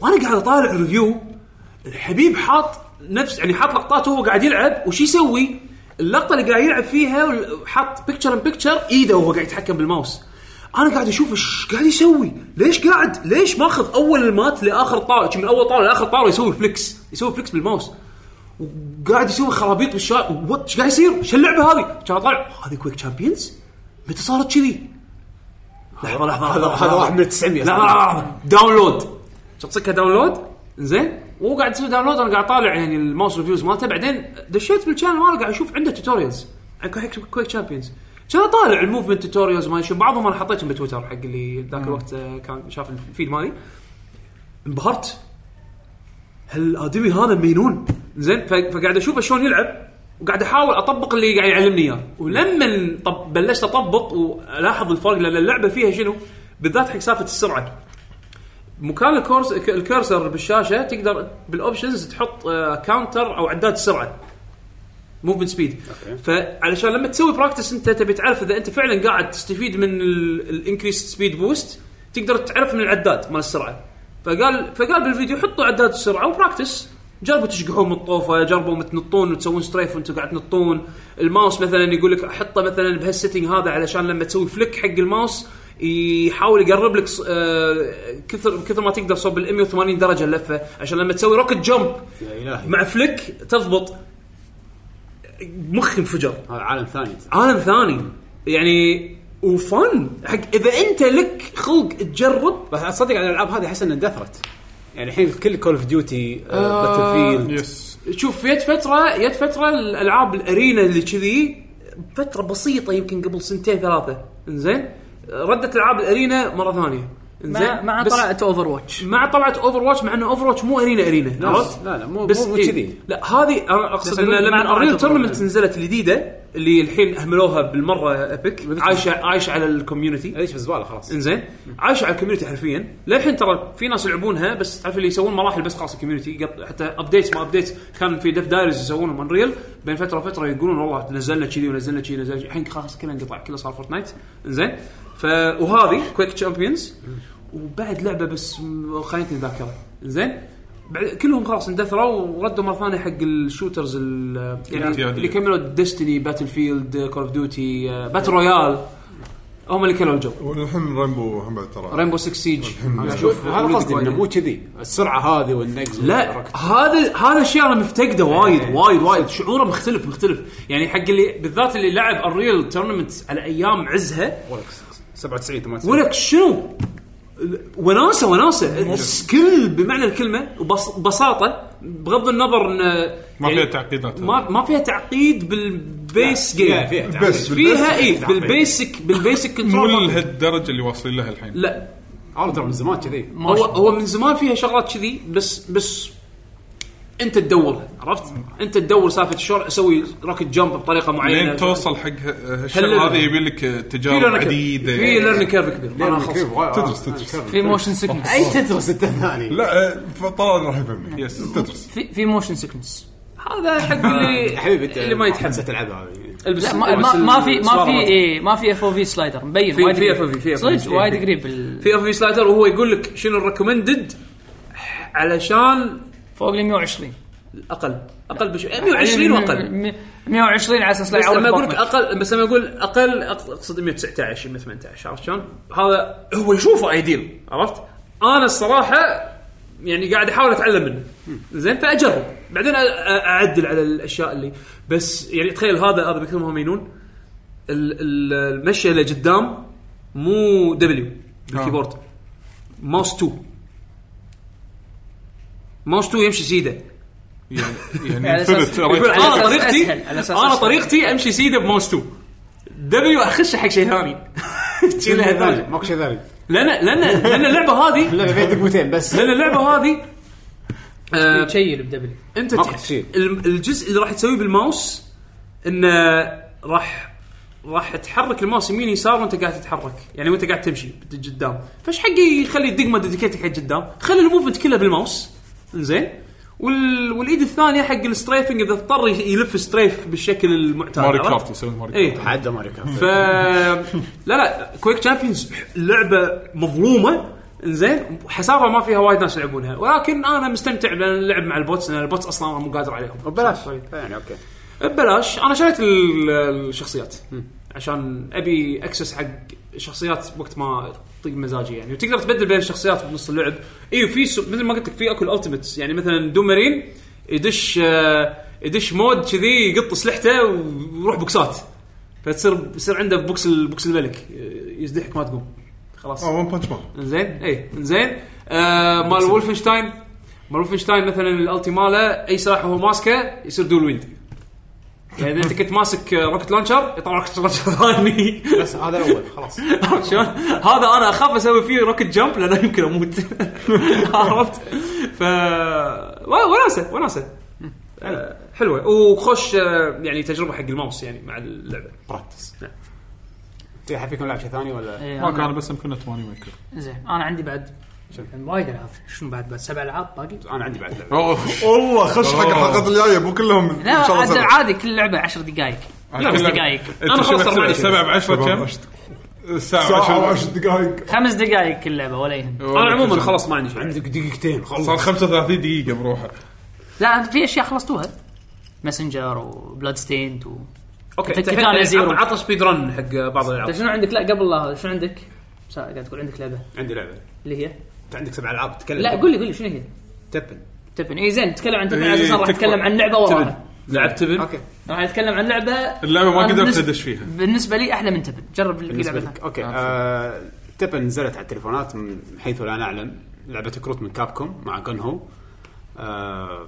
وانا قاعد اطالع الريفيو الحبيب حاط نفس يعني حاط لقطات وهو قاعد يلعب وش يسوي؟ اللقطه اللي قاعد يلعب فيها وال- حاط بيكتشر ان بيكتشر ايده وهو قاعد يتحكم بالماوس انا قاعد اشوف ايش قاعد يسوي ليش قاعد ليش ماخذ اول المات لاخر طاوله من اول طاوله لاخر طاوله يسوي فليكس يسوي فليكس بالماوس قاعد يسوي خرابيط بالشارع وات ايش قاعد يصير؟ شو اللعبه هذه؟ كان طالع هذه كويك تشامبيونز؟ متى صارت كذي؟ لحظه لحظه لحظه
هذا واحد من 900
لا لا لا لا. داونلود تصكها داونلود زين وهو قاعد يسوي داونلود انا قاعد طالع يعني الماوس ريفيوز مالته بعدين دشيت بالشانل ماله قاعد اشوف عنده توتوريالز عن كويك كويك تشامبيونز كان طالع الموفمنت توتوريالز ما شو بعضهم انا حطيتهم بتويتر حق اللي ذاك الوقت آه، كان شاف الفيد مالي انبهرت هالادمي هذا مينون زين ف- فقاعد اشوفه شلون يلعب وقاعد احاول اطبق اللي قاعد يعلمني اياه ولما طب بلشت اطبق والاحظ الفرق لان اللعبه فيها شنو بالذات حق سالفه السرعه مكان الكورس ك- الكرسر بالشاشه تقدر بالاوبشنز تحط آه، كاونتر او عداد السرعه موفمنت سبيد فعلشان لما تسوي براكتس انت تبي تعرف اذا انت فعلا قاعد تستفيد من الانكريس سبيد بوست تقدر تعرف من العداد مال السرعه فقال فقال بالفيديو حطوا عداد السرعه وبراكتس جربوا تشقحون من الطوفه جربوا تنطون وتسوون ستريف وانتم قاعد تنطون الماوس مثلا يقول لك حطه مثلا بهالسيتنج هذا علشان لما تسوي فليك حق الماوس يحاول يقرب لك ص- آه، كثر كثر ما تقدر صوب ال 180 درجه اللفه عشان لما تسوي روكت جمب
يا الهي
مع فليك تضبط مخي انفجر
هذا عالم ثاني
عالم ثاني يعني وفن حق اذا انت لك خلق تجرب
بس تصدق على الالعاب هذه احس انها اندثرت يعني الحين كل كول اوف ديوتي باتل فيلد
يس
شوف يد فتره يد فتره الالعاب الارينا اللي كذي فتره بسيطه يمكن قبل سنتين ثلاثه انزين ردت العاب الارينا مره ثانيه
مع
انزين
مع
بس-
طلعت اوفر واتش
مع طلعت اوفر واتش مع ان اوفر واتش مو ارينا ارينا عرفت؟
لا، لا، مو-
بس
مو- مو
إيه.
كذي.
لا هذه انا اقصد
بس
ان
أقول مع
لما
طلعت
الريل
Overwatch.
تورنمنت نزلت الجديده اللي الحين اهملوها بالمره ابيك عايشه عايشه على الكوميونتي
ليش بزباله خلاص
انزين عايشه على الكوميونتي حرفيا للحين ترى في ناس يلعبونها بس تعرف اللي يسوون مراحل بس خاصه الكوميونتي قط- حتى ابديتس ما ابديتس كان في دف دايرز يسوونهم انريل بين فتره وفتره يقولون والله نزلنا كذي ونزلنا كذي ونزلنا كذي. الحين خلاص كله انقطع كله صار فورتنايت انزين ف وهذه كويك تشامبيونز وبعد لعبه بس م- خانتني الذاكره انزين بعد كلهم خلاص اندثروا وردوا مره ثانيه حق الشوترز ال- يعني
الاعتيادية.
اللي كملوا ديستني باتل فيلد كول اوف ديوتي باتل رويال آه، هم اللي كلوا الجو
والحين رينبو هم بعد ترى
رينبو 6 سيج انا اشوف
هذا
ولدك
قصدي
وايد.
انه
يعني.
مو كذي السرعه هذه والنقز
لا
والحركة.
هذا هذا الشيء انا مفتقده وايد وايد وايد شعوره مختلف مختلف يعني حق اللي بالذات اللي لعب الريل تورنمنت على ايام عزها
ولك 97 98
ولك شنو وناسه وناسه سكيل بمعنى الكلمه وبساطه بغض النظر ان
ما
يعني
فيها تعقيدات
ما ما فيها تعقيد بالبيس جيم
فيها- فيها تعقيد.
بس
فيها إيه؟
بالبيس-
اي بالبيسك بالبيسك
مو
كنترول
لهالدرجه اللي واصلين لها الحين
لا
هذا ترى من زمان كذي
هو هو من زمان فيها شغلات كذي بس بس انت تدورها عرفت؟ انت تدور سالفه شلون اسوي روكت جمب بطريقه معينه
لين توصل حق ه- هالشغله
هل-
هذه يبي لك
في
تجارب
ليرنينج كيرف.
عديده
في آه، ليرنينج كيرف كبير ما أنا خلص.
تدرس تدرس
في موشن سيكنس
اي تدرس انت ثاني
لا آه، فطلال راح يفهمني
يس
تدرس
في في موشن سيكنس
هذا حق اللي
حبيبي انت
اللي ما يتحمل
تنسى تلعبها هذه
البس
لا ما,
البس
ما, ما في ما في
السوارة.
إيه ما في اف او في سلايدر مبين
في-
وايد
في
قريب.
FOV في FOV
صدق وايد
في-
قريب ال-
في في سلايدر وهو يقول لك شنو الريكومندد علشان
فوق ال أيوة، 120
اقل اقل بشو
يعني
120 واقل
120 على اساس لا
بس
يعورك
لما اقول لك
بطنك.
اقل بس لما اقول اقل أق- اقصد 119 118 عرفت شلون؟ هذا هو يشوفه ايديل عرفت؟ انا الصراحه يعني قاعد احاول اتعلم منه زين فاجرب بعدين أ- أ- اعدل على الاشياء اللي بس يعني تخيل هذا هذا بكثر ما هو مينون ال- ال- المشيه اللي قدام مو دبليو بالكيبورد ماوس 2 ماوس 2 يمشي سيده
يعني
على
يعني
أساس-
ثبت
يقول
رايت
على
انا
أساس
طريقتي
أسهل، على أساس
انا
أسهل.
طريقتي امشي سيده بماوس 2 دبليو اخش حق شيء ثاني تشيلها ثاني
ماكو شيء ثاني
لان لان لان اللعبه هذه
لا بيت دقمتين بس
لان اللعبه هذه آه،
تشيل بدبل
انت
ماكو
تح-
تشيل.
الم- الجزء اللي راح تسويه بالماوس انه راح راح تحرك الماوس يمين يسار وانت قاعد تتحرك يعني وانت قاعد تمشي بت- قدام فايش حقي يخلي الدقمه ديديكيتك حق قدام خلي الموفمنت كله بالماوس زين وال... والايد الثانيه حق الستريفنج اذا اضطر ي- يلف ستريف بالشكل المعتاد
ماري
عرفت؟ إيه.
كارت يسوي ماري
اي
كارت
عدى ماريو كارت
ف لا لا كويك تشامبيونز لعبه مظلومه زين حسابها ما فيها وايد ناس يلعبونها ولكن انا مستمتع بان اللعب مع البوتس لان البوتس اصلا انا مو قادر عليهم
وبلاش يعني اوكي
ببلاش انا شريت ال- الشخصيات عشان ابي اكسس حق شخصيات وقت ما طق مزاجي يعني وتقدر تبدل بين الشخصيات بنص اللعب اي في سو... مثل ما قلت لك في اكو الالتيميتس يعني مثلا دومرين يدش آه، يدش مود كذي يقط سلحته ويروح بوكسات فتصير يصير عنده بوكس ال- بوكس الملك آه، يزدحك ما تقوم خلاص
اه ون بانش مان
زين اي زين آه مال وولفنشتاين مال وولفنشتاين مثلا الالتي ماله اي سلاح وهو ماسكه يصير دول ويند يعني اذا انت كنت ماسك آه، روكت لانشر يطلع روكت لانشر ثاني
بس هذا الاول خلاص
عرفت شلون؟ هذا انا اخاف اسوي فيه روكت جمب لانه يمكن اموت عرفت؟ ف وا- وناسه وناسه آه، حلوه وخوش آه، يعني تجربه حق الماوس يعني مع اللعبه
براكتس في حد فيكم لعب شيء ثاني
إيه،
ولا
ما كان بس انفنت ماني ميكر
زين انا عندي بعد وايد العاب شنو بعد بعد سبع العاب باقي
انا عندي بعد لعبه
اوه
والله خش حق
أوه.
الحلقات الجايه مو كلهم
لا
ان شاء الله
عاد
سبع.
عادي كل لعبه 10 دقائق خمس دقائق
أنت
أنا
شو
خلاص صار
محسب-
معي.
سبعة بعشرة كم؟
ساعه
الساعة 10
وعشر دقائق
خمس دقائق كل لعبه ولا يهم
أيوه.
انا عموما خلاص ما عندي شيء
عندك دقيقتين خلص
صار 35 دقيقة بروحه
لا في اشياء خلصتوها ماسنجر وبلاد ستيند و
اوكي
أنت
انت
كيف على زيرو؟
الحين عطى سبيد رن حق بعض الالعاب
طيب شنو عندك لا قبل لا شنو عندك؟ سا- قاعد تقول عندك لعبه
عندي لعبه
اللي هي
انت عندك سبع العاب تتكلم
لا قول لي قول لي شنو هي؟
تبن
تبن اي زين نتكلم عن تبن على
إيه،
اساس راح
تكفى.
نتكلم عن لعبه
تبن
وراها
لعبت تبن
اوكي
راح نتكلم عن لعبه
اللعبة ما
أنا
قدرت
بالنسبة-
أدش فيها.
بالنسبه لي احلى من تبن جرب اللي في
بالنسبه
لعبه
لك
ثانية.
اوكي آه، تبن نزلت على التليفونات من حيث لا نعلم لعبه كروت من كابكوم مع جنهو آه،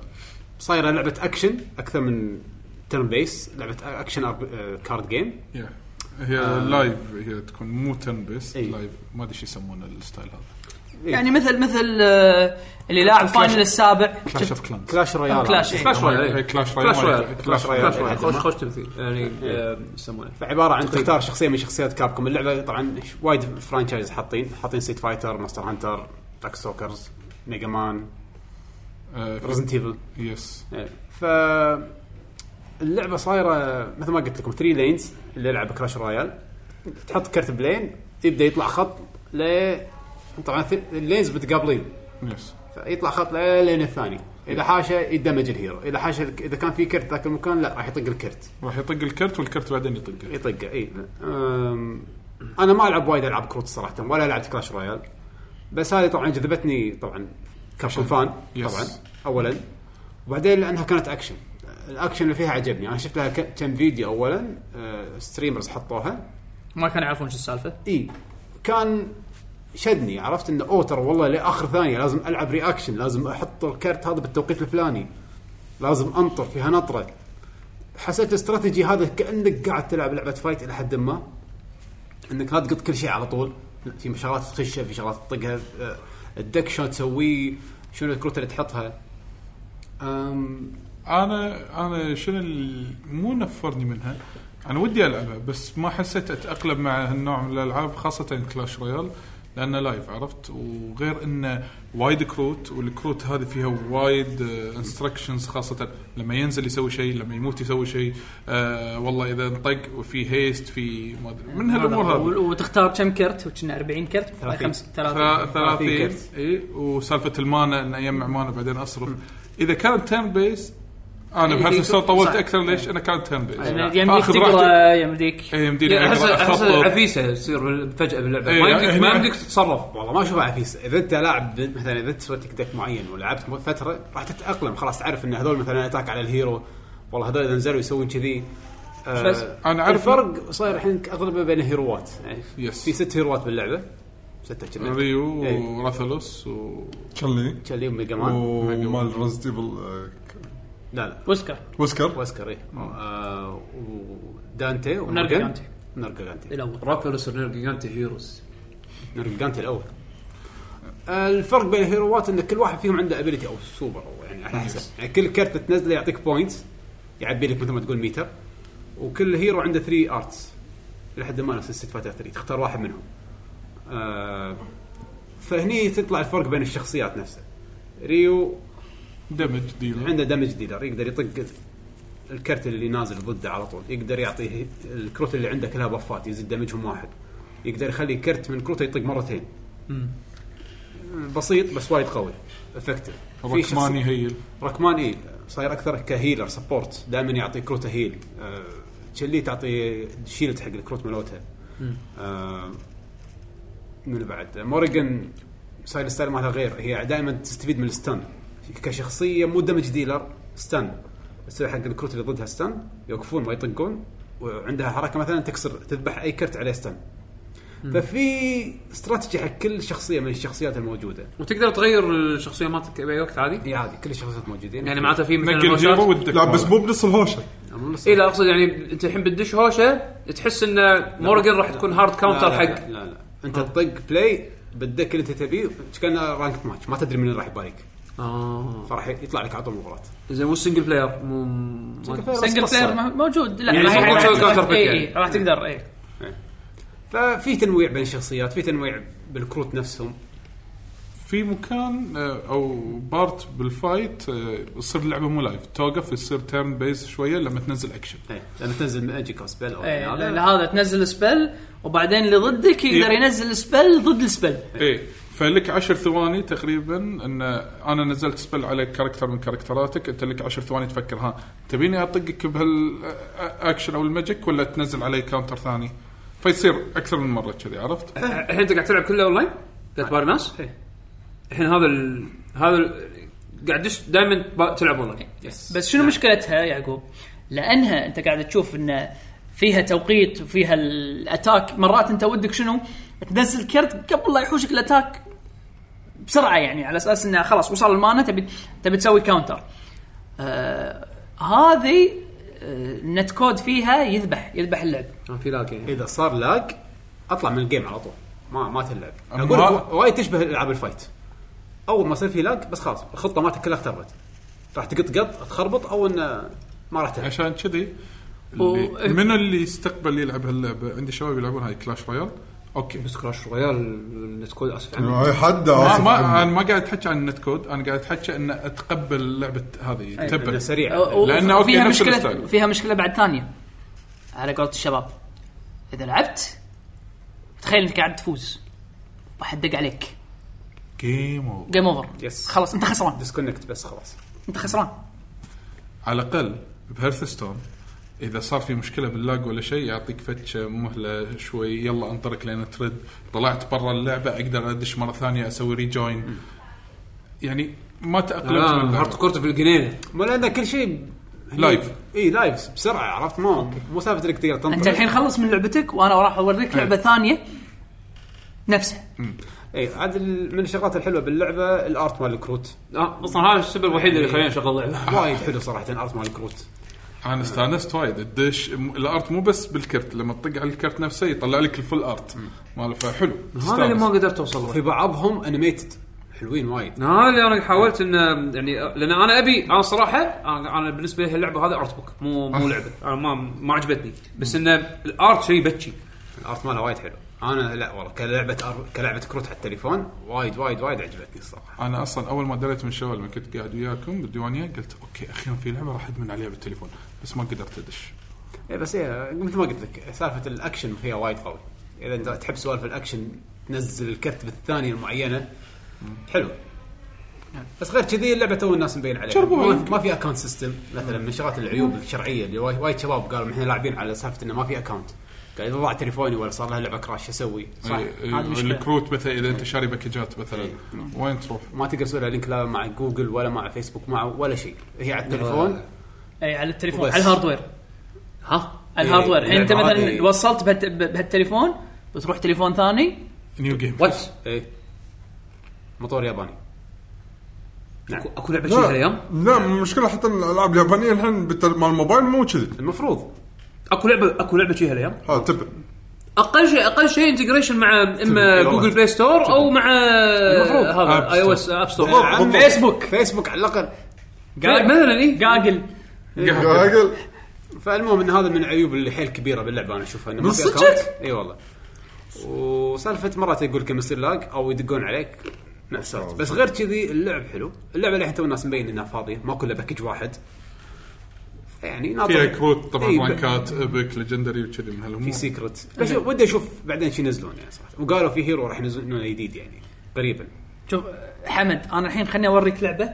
صايره لعبه اكشن اكثر من ترن بيس لعبه اكشن أرب- آه، كارد جيم
Yeah. هي
آه.
لايف هي تكون مو تن بيس
إيه.
إي.
لايف ما ادري شو يسمونه الستايل هذا
يعني مثل مثل آه، اللي لاعب فاينل السابع
كلاش اوف كلانز
كلاش رويال
كلاش إيه.
كلاش
إيه،
رويال
كلاش
كلاش
رويال.
رويال كلاش
كلاش
رويال.
رويال
إيه.
خوش خوش تمثيل يعني آه، يسمونه
فعباره عن تختار شخصيه من شخصيات كابكوم اللعبه طبعا ش- وايد فرانشايز حاطين حاطين سيت فايتر ماستر هانتر دارك سوكرز ميجا مان
آه،
ريزنت ايفل
يس
ف اللعبه صايره مثل ما قلت لكم 3 لينز اللي يلعب كراش رويال تحط كرت بلين يبدا يطلع خط ل طبعا ث- اللينز متقابلين
يس
فيطلع خط ل- لين الثاني اذا حاشه يدمج الهيرو اذا حاشه الك- اذا كان في كرت ذاك المكان لا راح يطق الكرت
راح يطق الكرت والكرت بعدين يطقه
يطقه اي أم، انا ما العب وايد العاب كروت صراحه ولا لعبت كراش رويال بس هذه طبعا جذبتني طبعا كابكوم فان
يس.
طبعا اولا وبعدين لانها كانت اكشن الاكشن اللي فيها عجبني انا شفت لها ك- كم فيديو اولا آه، ستريمرز حطوها
ما كانوا يعرفون شو السالفه
اي كان شدني عرفت انه اوه ترى والله لاخر ثانيه لازم العب رياكشن لازم احط الكرت هذا بالتوقيت الفلاني لازم انطر فيها نطره حسيت الاستراتيجي هذا كانك قاعد تلعب لعبه فايت الى حد ما انك لا تقط كل شيء على طول لا، في شغلات تخشها في شغلات تطقها آه، الدك شلون تسويه شنو الكروت اللي تحطها أم،
انا انا شنو اللي مو نفرني منها انا ودي العبها بس ما حسيت اتاقلم مع هالنوع من الالعاب خاصه كلاش رويال لانه لايف عرفت وغير انه وايد كروت والكروت هذه فيها وايد انستركشنز خاصه لما ينزل يسوي شيء لما يموت يسوي شيء آه والله اذا انطق وفي هيست في ما ادري من هالامور هذه
و- وتختار كم كرت وكنا 40 كرت خمس 30
30 اي وسالفه المانا ان اجمع مانا بعدين اصرف اذا كانت تيرن بيس انا
إيه،
بهالسنه طولت
صح. أيوة.
اكثر ليش؟ انا كانت تيرن بيس
يعني
يعني
يمديك
فآخذ
تقرا
راحتي.
يمديك
إيه، يمديني
احس
أقرأ،
احس
اخطط
عفيسه تصير فجاه باللعبه
إيه،
ما
لا،
يمديك ما
هنا-
يمديك تتصرف
والله ما اشوفها عفيس اذا انت لاعب مثلا اذا انت سويت لك ديك معين ولعبت مو- فتره راح تتاقلم خلاص تعرف ان هذول مثلا اتاك على الهيرو والله هذول اذا نزلوا يسوون كذي
بس؟
آه
أنا أعرف-
الفرق صاير الحين اغلبه بين هيروات يعني
يس.
في ست هيروات باللعبه سته كنا
ريو
إيه.
وراثلوس و
شلي
كان اليوم ميجا مان
ومال آه، ريزنت ايفل
لا لا
وسكر
وسكر
واسكر اي آه ودانتي
ونرجانتي.
نرجانتي
الاول
راكلوس ونرجانتي هيروز
نرجانتي الاول آه، الفرق بين الهيروات ان كل واحد فيهم عنده ابيلتي او سوبر او يعني على حسب يعني كل كرت تنزله يعطيك بوينت يعبي لك مثل ما تقول ميتر وكل هيرو عنده 3 ارتس لحد ما نفس ست فاتر 3 تختار واحد منهم آه، فهني تطلع الفرق بين الشخصيات نفسها ريو
دمج ديلر
عنده دمج ديلر يقدر يطق الكرت اللي نازل ضده على طول يقدر يعطيه الكروت اللي عنده كلها بفات يزيد دمجهم واحد يقدر يخلي كرت من كروته يطق مرتين بسيط بس وايد قوي افكتف في شخص-
ركماني هيل
ركمان اي صاير اكثر كهيلر سبورت دائما يعطي كروته هيل آه، تشيلي تعطي شيلد حق الكروت مالتها آه، من بعد موريجن صاير الستايل مالها غير هي دائما تستفيد من الستان كشخصيه مو دمج ديلر ستان تسوي حق الكروت اللي ضدها ستان يوقفون ما يطقون وعندها حركه مثلا تكسر تذبح اي كرت عليه ستان ففي استراتيجي حق كل شخصيه من الشخصيات الموجوده
وتقدر تغير الشخصيه مالتك باي وقت عادي
اي عادي كل الشخصيات موجودين
يعني معناته في مثلا
نقل
هوشات-
هيرو ودك
لا بس مو بنص الهوشه
اي لا اقصد يعني انت الحين بتدش هوشه تحس ان مورجن راح تكون هارد كاونتر
لا لا
حق
لا, لا, لا. انت تطق بلاي بالدك اللي انت تبيه كان رانك ماتش ما تدري من اللي راح يباريك
اه
فراح يطلع لك على طول مباراه
زين مو سنجل بلاير مو ما-
سنجل بلاير ما- موجود لا
يعني
راح-
يسوون
راح-
سوي counter
راح-
pick
إي-
يعني.
إي، راح تقدر إيه. اي
ففي تنويع بين الشخصيات في تنويع بالكروت نفسهم
في مكان آه، او بارت بالفايت آه، تصير اللعبه مو لايف توقف يصير تيرن بيس شويه لما تنزل اكشن
إيه، لما تنزل ماجيك او سبيل او
إي،
يعني
إيه، لا-
هذا.
لا، هذا تنزل سبل وبعدين اللي ضدك يقدر
إي.
ينزل سبل ضد السبل
ايه فلك عشر ثواني تقريبا ان انا نزلت سبل على كاركتر من كاركتراتك انت لك عشر ثواني تفكر ها تبيني اطقك بهالاكشن او الماجيك ولا تنزل علي كاونتر ثاني فيصير اكثر من مره كذي عرفت؟
الحين انت قاعد تلعب كله اونلاين قاعد تباري ناس
إيه.
الحين هذا ال... هذا ال... قاعد تدش دائما تب- تلعب اونلاين
بس
يس
نعم.
شنو مشكلتها يعقوب؟ لانها انت قاعد تشوف ان فيها توقيت وفيها الاتاك مرات انت ودك شنو؟ تنزل كرت قبل لا يحوشك الاتاك بسرعه يعني على اساس انه خلاص وصل المانا تبي تبي تسوي كاونتر. آه هذه آه، النت كود فيها يذبح يذبح اللعب.
ما في لاك يعني
اذا صار لاج اطلع من الجيم على طول ما ما تلعب
أما-
اقول لك وا- وايد تشبه العاب الفايت اول ما يصير في لاج بس خلاص الخطه مالتك كلها اختربت راح تقط قط تخربط او انه ما راح تلعب
عشان كذي
و-
اللي- منو اللي يستقبل يلعب هاللعبه؟ عندي شباب يلعبون هاي كلاش رويال اوكي
بس كراش رويال النت كود اسف
يعني
عنه
هاي حد
ما,
آسف
ما
عنه.
انا ما قاعد اتحكى عن النت كود انا قاعد اتحكى ان اتقبل لعبه هذه
إنه
تبل
سريع
و-
لأنه
و-
يعني أوكي،
فيها
نفس
مشكله
الستايل.
فيها مشكله بعد ثانيه على قولة الشباب اذا لعبت تخيل انك قاعد تفوز واحد دق عليك
جيم أوفر.
جيم اوفر
يس.
خلاص انت خسران
ديسكونكت بس خلاص
انت خسران
على الاقل بهيرثستون اذا صار في مشكله باللاج ولا شيء يعطيك فتش مهله شوي يلا انطرك لين ترد طلعت برا اللعبه اقدر ادش مره ثانيه اسوي ريجوين يعني ما تاقلمت من
هارد
اللعبة.
كورت بالجنيه
ما لان كل شيء
لايف.
اي لايف بسرعه عرفت ما مو سالفه انك تقدر تنطر
انت الحين خلص من لعبتك وانا راح اوريك لعبه ثانيه نفسها
اي عاد ال- من الشغلات الحلوه باللعبه الارت مال الكروت
آه، اصلا هذا السبب الوحيد اللي خلاني اشغل لعبه
وايد حلو صراحه الارت مال الكروت
انا استانست وايد الدش م- الارت مو بس بالكرت لما تطق على الكرت نفسه يطلع لك الفل ارت ماله فحلو
هذا اللي ما
تستانس.
قدرت اوصل له
في بعضهم انيميتد
حلوين وايد
ها إيه. اللي انا حاولت ان يعني لان انا ابي انا صراحه انا أنا بالنسبه لي هاللعبه هذا ارت بوك مو مو لعبه انا ما ما عجبتني بس ان الارت شيء بتشي
الارت ماله وايد حلو انا لا والله كلعبه أر... كلعبه كروت على التليفون وايد وايد وايد عجبتني الصراحه
انا اصلا اول ما دريت من الشغل لما كنت قاعد وياكم بالديوانيه قلت اوكي اخيرا في لعبه راح ادمن عليها بالتليفون بس ما قدرت ادش
إيه بس هي مثل ما قلت لك سالفه الاكشن فيها وايد قوي اذا انت تحب سوالف الاكشن تنزل الكتف الثانيه المعينه حلو بس غير كذي اللعبه تو الناس مبين عليها
شربوها.
ما- ما في اكونت سيستم مثلا من شغلات العيوب الشرعيه اللي وايد وايد شباب قالوا احنا لاعبين على سالفه انه ما في اكونت قال اذا ضاع تليفوني ولا صار لها لعبه كراش شو اسوي؟
صح إيه، الكروت مثلا اذا انت شاري باكجات مثلا وين تروح؟
ما تقدر تسوي لها لينك لا مع جوجل ولا مع فيسبوك مع ولا شيء هي على التليفون
اي على التليفون
وبس.
على الهاردوير
ها
على الهاردوير يعني انت
اللعبة
مثلا
هذه-
وصلت بهالت- بهالتليفون بتروح تليفون ثاني
نيو جيم
وات
اي إيه. مطور ياباني
اكو لعبه شيء هالايام
لا المشكله حتى إن الالعاب اليابانيه الحين بالتل- مال الموبايل مو كذي
المفروض
اكو لعبه اكو لعبه شيء هالايام
ها تبع
اقل شيء اقل شيء انتجريشن مع اما جوجل بلاي ستور او مع
المفروض.
هذا
آب
اي او اس
ستور.
اب ستور
بالضبط.
عم فيسبوك فيسبوك على الاقل
لا، مثلا اي
جاجل
إيه. قاعد
فالمهم ان هذا من العيوب اللي حيل كبيره باللعبه انا اشوفها انه ما
من
في
صدقك؟
account. اي والله وسالفه مرات يقول لك يصير لاج او يدقون عليك مأساة بس غير كذي اللعب حلو اللعبه الحين تو الناس مبين انها فاضيه ما كلها باكج واحد يعني ناطر
فيها كروت طبعا
إي، ب-
رانكات ابك ليجندري وكذي من
في
هالامور
سيكرت بس ودي اشوف بعدين شي ينزلون يعني صراحه وقالوا في هيرو راح ينزلون جديد يعني قريبا
شوف حمد انا الحين خليني اوريك لعبه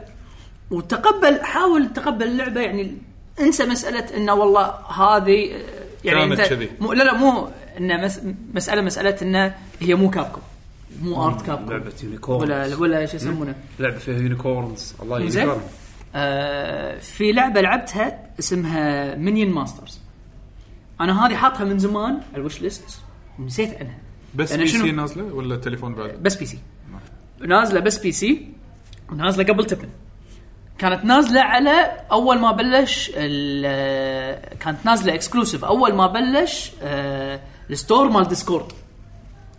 وتقبل حاول تقبل اللعبه يعني انسى مساله انه والله هذه آه، يعني
كانت
انت
كذي.
مو لا لا مو انه مس مساله مساله انه هي مو كابكم مو ارت كابكم
لعبه يونيكورن
ولا ولا شو يسمونه
لعبه فيها يونيكورنز الله
زين.
يجزاك
آه، في لعبه لعبتها اسمها مينيون ماسترز انا هذه حاطها من زمان على الوش ليست ونسيت عنها
بس
أنا
بي
شنو-
سي نازله ولا تليفون بعد؟
بس بي سي نازله بس بي سي ونازله قبل تبن كانت نازله على اول ما بلش ال- كانت نازله اكسكلوسيف اول ما بلش آه، الستور مال ديسكورد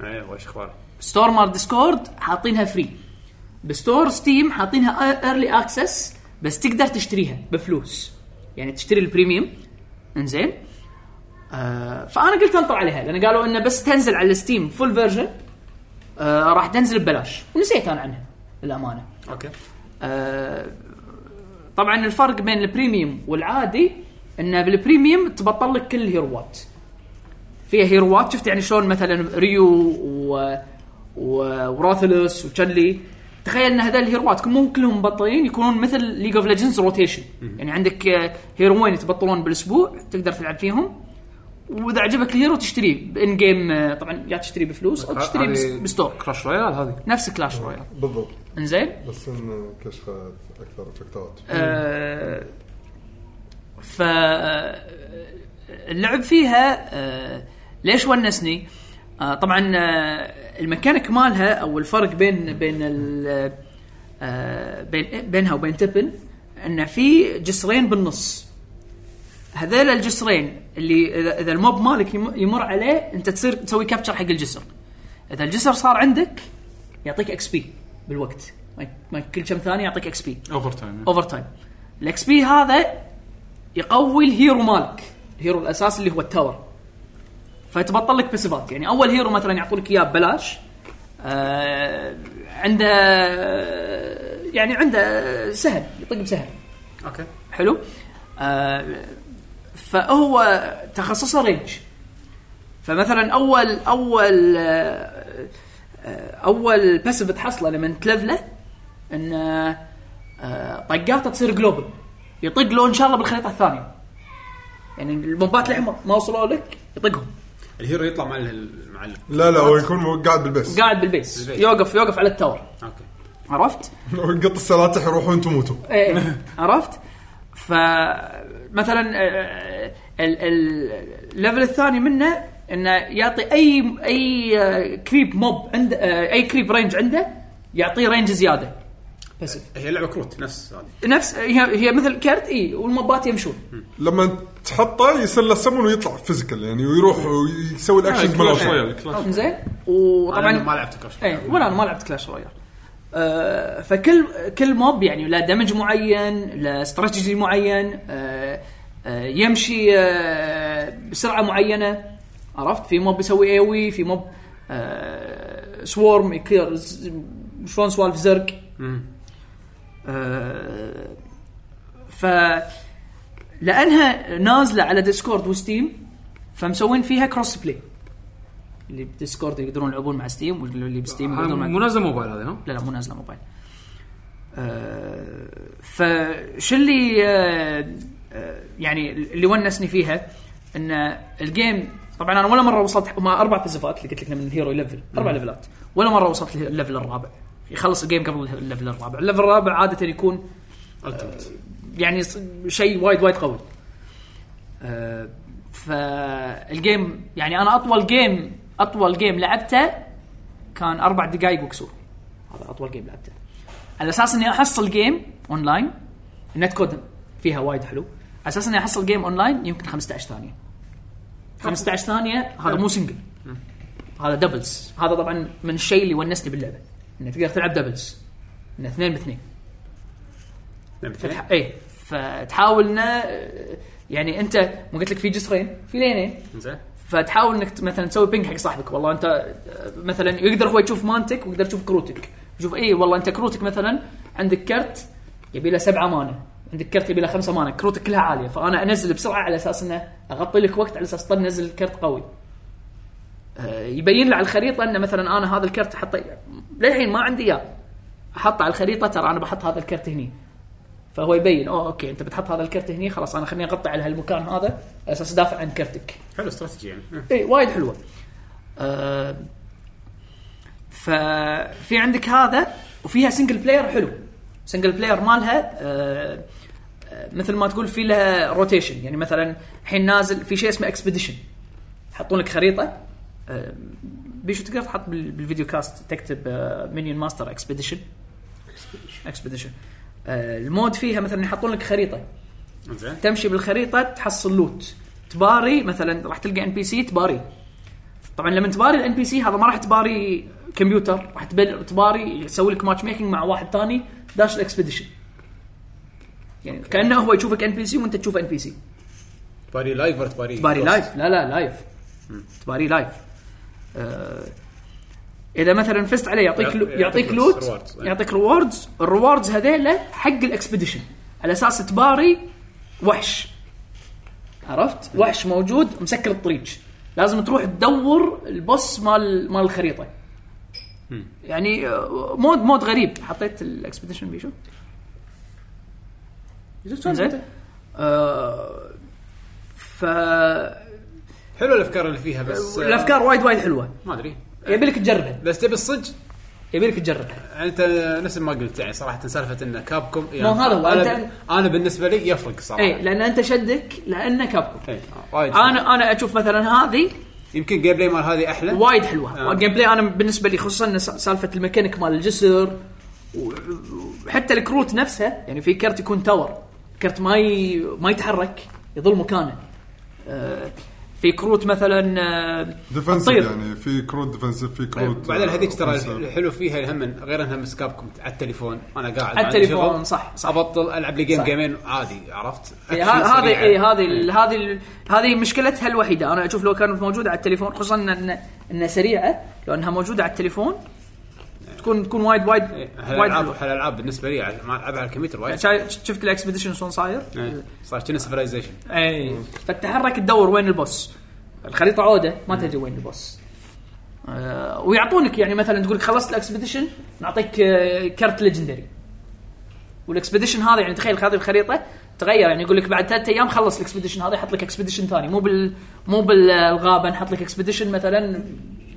أيوة،
ايوه ايش اخبارك
ستور مال ديسكورد حاطينها فري بستور ستيم حاطينها ايرلي اكسس بس تقدر تشتريها بفلوس يعني تشتري البريميوم انزين آه فانا قلت انطر عليها لان قالوا انه بس تنزل على الستيم فول فيرجن آه راح تنزل ببلاش ونسيت انا عنها للامانه
اوكي
آه، طبعا الفرق بين البريميوم والعادي انه بالبريميوم تبطل لك كل الهيروات فيها هيروات شفت يعني شلون مثلا ريو و... و... وراثلس وتشلي تخيل ان هذول الهيروات مو كلهم مبطلين يكونون مثل ليج اوف ليجندز روتيشن يعني عندك آه، هيروين يتبطلون بالاسبوع تقدر تلعب فيهم واذا عجبك الهيرو تشتريه بان جيم طبعا يا تشتريه بفلوس او تشتريه بس-
هذه-
بستور
كراش رويال هذه
نفس كلاش رويال
بالضبط
انزين
بس انه كشخه اكثر افكتات
آه، ف آه، اللعب فيها آه، ليش ونسني؟ آه، طبعا آه، الميكانيك مالها او الفرق بين بين ال- آه، بين بينها وبين تبن ان في جسرين بالنص هذيل الجسرين اللي اذا اذا الموب مالك يم- يمر عليه انت تصير تسوي كابتشر حق الجسر اذا الجسر صار عندك يعطيك اكس بي بالوقت ما- ما كل كم ثانيه يعطيك اكس بي
اوفر تايم
اوفر تايم الاكس بي هذا يقوي الهيرو مالك الهيرو الاساسي اللي هو التاور فتبطل لك بسيفات يعني اول هيرو مثلا يعطونك اياه ببلاش آه عنده يعني عنده سهم يطق بسهم
اوكي
حلو آه فهو تخصصه رينج فمثلا اول اول آه، آه، اول باسف تحصله لما تلفله ان آه، آه، طقاته تصير جلوبل يطق له ان شاء الله بالخريطه الثانيه يعني الموبات اللي ما وصلوا لك يطقهم
الهيرو يطلع مع ال- مع ال-
لا لا هو يكون مو- قاعد بالبيس
قاعد بالبيس
بالبيس.
يوقف يوقف على التاور
اوكي
عرفت؟
يقط السلاتح يروحون تموتوا
ايه عرفت؟ فمثلا آه، ال- ال- الليفل الثاني منه انه يعطي اي اي آه، كريب موب عند آه، اي كريب رينج عنده يعطيه رينج زياده بس
هي لعبه كروت نفس هذه
نفس هي هي مثل كرت اي والموبات يمشون
لما تحطه يصير له سمن ويطلع فيزيكال يعني ويروح ويسوي الاكشن
كلاش
مالته
رويال كلاش
زين إيه،
طبعا ما
وطبعا
لعبت كراش
اي ولا انا ما لعبت كلاش رويال آه، فكل كل موب يعني له دمج معين له استراتيجي معين آه، آه، يمشي آه، بسرعه معينه عرفت في موب يسوي ايوي في موب آه، سوورم يكير ز- شلون سوالف زرق آه، ف لانها نازله على ديسكورد وستيم فمسوين فيها كروس بلاي اللي بديسكورد يقدرون يلعبون مع ستيم واللي بستيم
آه،
يقدرون مع
مو نازل موبايل هذا ها؟
لا لا مو نازله موبايل آه، فش اللي آه، آه، يعني اللي ونسني فيها ان الجيم طبعا انا ولا مره وصلت ما اربع بزفات اللي قلت لك إنه من هيرو يلفل اربع ليفلات ولا مره وصلت الليفل الرابع يخلص الجيم قبل الليفل الرابع الليفل الرابع عاده يكون آه، يعني ص- شيء وايد وايد قوي آه، فالجيم يعني انا اطول جيم اطول جيم لعبته كان اربع دقائق وكسور هذا اطول جيم لعبته على اساس اني احصل جيم اونلاين النت كود فيها وايد حلو على اساس اني احصل جيم اونلاين يمكن 15 ثانيه 15 ثانيه هذا مو سنجل هذا دبلز هذا طبعا من الشيء اللي ونسني باللعبه انك تقدر تلعب دبلز ان اثنين باثنين فتح... ايه فتحاول انه يعني انت مو قلت لك في جسرين في لينين
زين
فتحاول انك ت- مثلا تسوي بينج حق صاحبك والله انت آه، مثلا يقدر هو يشوف مانتك ويقدر يشوف كروتك يشوف اي والله انت كروتك مثلا عندك كرت يبي له سبعه مانا عندك كرت يبي له خمسه مانا كروتك كلها عاليه فانا انزل بسرعه على اساس انه اغطي لك وقت على اساس طب نزل كرت قوي آه، يبين له على الخريطه انه مثلا انا هذا الكرت حطيت للحين ما عندي اياه احطه على الخريطه ترى انا بحط هذا الكرت هني فهو يبين اوه اوكي انت بتحط هذا الكرت هني خلاص انا خليني اقطع على هالمكان هذا على اساس ادافع عن كرتك
حلو استراتيجي يعني ها.
اي إيه، وايد حلوه آه ففي عندك هذا وفيها سنجل بلاير حلو سنجل بلاير مالها آه آه، مثل ما تقول في لها روتيشن يعني مثلا الحين نازل في شيء اسمه اكسبيديشن يحطون لك خريطه آه، بيشو تقدر تحط بال- بالفيديو كاست تكتب آه، مينيون ماستر اكسبيديشن اكسبيديشن آه، المود فيها مثلا يحطون لك خريطه
زين
تمشي بالخريطه تحصل لوت تباري مثلا راح تلقى ان بي سي تباري طبعا لما تباري الان بي سي هذا ما راح تباري كمبيوتر راح تبل- تباري يسوي لك ماتش ميكنج مع واحد ثاني داش الاكسبيديشن يعني كانه هو يشوفك ان بي سي وانت تشوف ان بي سي
تباري لايف ولا تباري
تباري
كروس؟
لايف لا لا لايف تباري لايف آه اذا مثلا فزت عليه يعطيك لو-
يعطيك
يعطيك لوت
rewards. rewards. إيه.
يعطيك ريوردز الريوردز هذيله حق الاكسبيديشن على اساس تباري وحش عرفت وحش موجود مسكر الطريق لازم تروح تدور البوس مال مال الخريطه يعني آه، مود مود غريب حطيت الاكسبيديشن بيشو زين آه ف
حلو الافكار اللي فيها بس آه،
الافكار وايد وايد حلوه
ما ادري
يبي لك تجربها
بس تبي الصج
يبي لك
آه.
تجربها
انت نفس ما قلت يعني صراحه سالفه ان كابكم يعني
مو هذا هو،
انا,
أنت-
ب- أنا بالنسبه لي يفرق صراحه
اي لان انت إيه، شدك لانه كابكم
إيه، وايد
انا انا اشوف مثلا هذه
يمكن جيم بلاي مال هذه احلى
وايد حلوه
آه.
الجيم بلاي انا بالنسبه لي خصوصا إن سالفه الميكانيك مال الجسر و- وحتى الكروت نفسها يعني في كرت يكون تاور كرت ما ي... ما يتحرك يظل مكانه آه في كروت مثلا آه
ديفنسيف
تطير.
يعني في كروت ديفنسيف في كروت
بعدين هذيك ترى
أوفنسيف.
الحلو فيها هم غير انها مس كابكم على التليفون انا قاعد ما
على
عندي
التليفون
شغل.
صح صح
ابطل العب لي جيم
صح.
جيمين عادي عرفت
إيه،
أكشن
ه- هذه
سريعة.
اي هذه ال-
إيه.
هذه ال- هذه مشكلتها الوحيده انا اشوف لو كانت موجوده على التليفون خصوصا ان انها سريعه لو انها موجوده على التليفون تكون تكون وايد وايد
إيه،
وايد
هالالعاب
حلوه
هالالعاب بالنسبه لي على- ما العبها على الكمبيوتر
يعني
وايد
شايف- شفت الاكسبيديشن شلون صاير؟
إيه، صار كنا سيفلايزيشن
اي فتتحرك تدور وين البوس الخريطه عوده ما تدري وين البوس آه ويعطونك يعني مثلا تقول لك خلصت الاكسبيديشن نعطيك آه كرت ليجندري والاكسبيديشن هذا يعني تخيل هذه الخريطه تغير يعني يقول لك بعد ثلاث ايام خلص الاكسبيديشن هذا يحط لك اكسبيديشن ثاني مو بال مو بالغابه نحط لك اكسبيديشن مثلا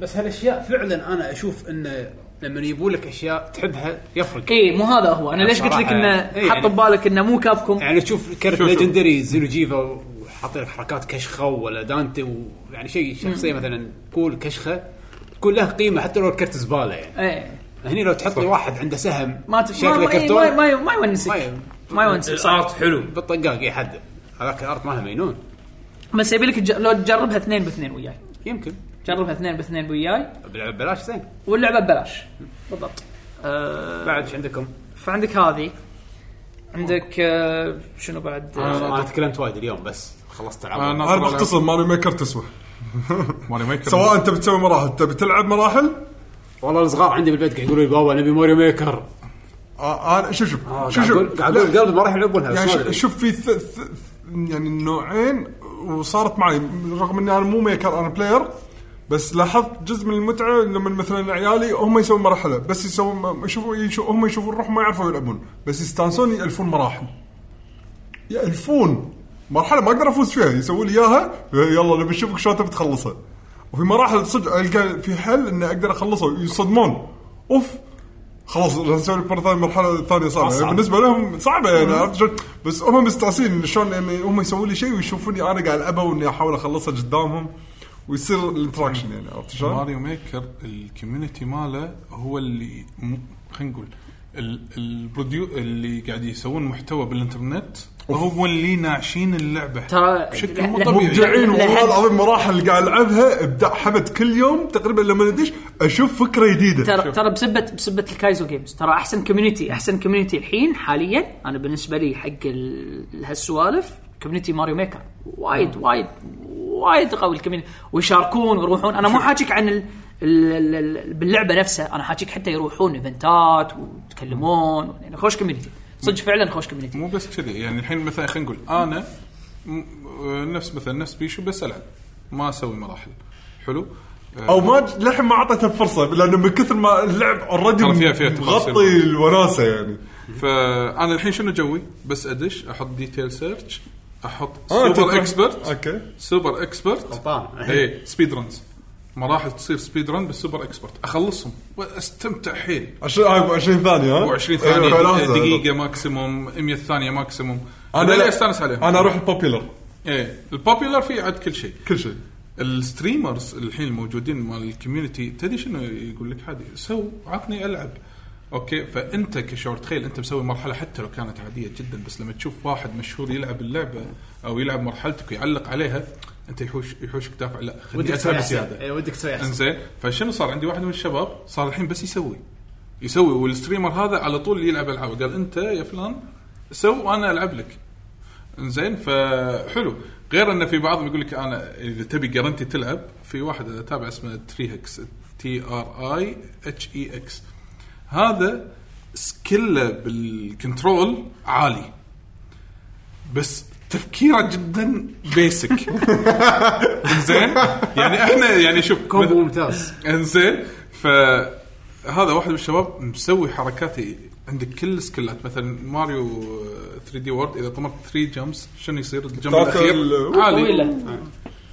بس هالاشياء فعلا انا اشوف انه لما يجيبوا لك اشياء تحبها يفرق
اي إيه، مو هذا هو انا ليش قلت لك
بصراحة
انه
يعني- إي
حط
يعني-
ببالك انه مو كابكم
يعني تشوف كرت
شو- شو.
ليجندري زيرو جيفا وحاطين لك حركات كشخه ولا دانتي ويعني شيء شخصيه مثلا كول كشخه تكون له قيمه حتى لو الكرت زباله يعني
اي
هني لو تحط لي واحد عنده سهم
إيه. ما تف... ما
شكله
ما,
كرتون
ما, ما, ما يونسك
ما-
ما يونسك صح
الارت حلو
بالطقاق اي حد هذاك الارت مالها مجنون
بس يبي لك تج- لو تجربها اثنين باثنين وياي
يمكن
جربها اثنين باثنين وياي
بلعب ببلاش زين
واللعبه ببلاش بالضبط آه،
بعد ايش عندكم؟
فعندك هذه عندك آه، شنو بعد آه،
انا أنا تكلمت وايد اليوم بس خلصت
أنا
العاب
ناطر
انا بختصر ماري ميكر تسوى
آه، ماري ميكر
سواء انت بتسوي مراحل تبي تلعب مراحل
والله الصغار عندي بالبيت قاعد يقولوا لي بابا نبي ماريو ميكر
آه، انا شوف شوف
آه،
شوف
قاعد اقول
شوف
قاعد اقول قبل ما راح يلعبونها
يعني
بس ما
شوف-
أدري.
شوف في ث... ث... يعني نوعين وصارت معي رغم اني انا مو ميكر انا بلاير بس لاحظت جزء من المتعه لما مثلا عيالي هم يسوون مرحله بس يسوون يشوفوا يشوفوا هم يشوفون روحهم ما يعرفوا يلعبون بس يستانسون يالفون مراحل يالفون مرحله ما اقدر افوز فيها يسووا لي اياها يلا نبي نشوفك شلون تبي تخلصها وفي مراحل صدق القى في حل اني اقدر اخلصه يصدمون اوف خلاص نسوي لك مره ثانيه مرحله ثانيه صعبه يعني بالنسبه لهم صعبه يعني عرفت شلون بس هم مستانسين شلون يعني هم يسوون لي شيء ويشوفوني انا قاعد العبها واني احاول اخلصها قدامهم ويصير الانتراكشن يعني عرفت شلون؟
ماريو ميكر الكوميونتي ماله هو اللي م- خلينا نقول ال- البروديو اللي قاعد يسوون محتوى بالانترنت هو اللي ناعشين اللعبه
ترى-
بشكل
لا-
مو
لا-
طبيعي
مبدعين والله
لحد-
العظيم مراحل اللي قاعد العبها ابداع حمد كل يوم تقريبا لما ندش اشوف فكره جديده
ترى ترى بسبه بسبه الكايزو جيمز ترى احسن كوميونتي احسن كوميونتي الحين حاليا انا بالنسبه لي حق ال- هالسوالف كوميونتي ماريو ميكر وايد وايد وايد قوي الكوميونتي ويشاركون ويروحون انا مو حاجيك عن ال ال- ال- ال- باللعبه نفسها انا حاجيك حتى يروحون ايفنتات ويتكلمون يعني خوش كوميونتي صدق فعلا خوش كوميونتي
مو بس كذي يعني الحين مثلا خلينا نقول انا م- آه، نفس مثلا نفس بيشو بس العب ما اسوي مراحل حلو آه،
او ما ج- للحين ما اعطيته الفرصه لانه من كثر ما اللعب اوريدي
ترى فيها- فيها تفاصيل.
مغطي الوناسه يعني
فانا الحين شنو جوي بس ادش احط ديتيل سيرش احط
آه، أنت
سوبر
تروح-
اكسبرت
اوكي
سوبر اكسبرت
غلطان.
اي سبيد رنز مراحل تصير سبيد رن بالسوبر اكسبرت اخلصهم واستمتع حيل
20 20 ثانيه آه، ها؟
20
إيه،
ثانيه
فلازم.
دقيقه ماكسيموم 100 ثانيه ماكسيموم
انا
انا
لا-
لا استانس عليهم
انا اروح البوبيلر
ايه البوبيلر فيه عاد كل شيء
كل شيء
الستريمرز الحين الموجودين مال الكوميونتي تدري شنو يقول لك حادي سو عطني العب اوكي فانت كشعور تخيل انت مسوي مرحله حتى لو كانت عاديه جدا بس لما تشوف واحد مشهور يلعب اللعبه او يلعب مرحلتك ويعلق عليها انت يحوش يحوشك دافع لا خليني اتعب زياده
أيوة.
إيه، ودك تسوي احسن
انزين فشنو صار عندي واحد من الشباب صار الحين بس يسوي يسوي والستريمر هذا على طول يلعب العاب قال انت يا فلان سو وانا العب لك انزين فحلو غير انه في بعضهم يقول لك انا اذا تبي جرنتي تلعب في واحد انا اتابع اسمه تري هكس تي ار اي اتش اي اكس E هذا سكله بالكنترول عالي بس تفكيره جدا بيسك زين يعني احنا يعني شوف
كومبو ممتاز
انزين فهذا واحد من الشباب مسوي حركاتي عندك كل السكلات مثلا ماريو آه، 3 دي وورد اذا طمرت 3 جمبس شنو يصير الجمب
تاكل-
الاخير
أوه.
عالي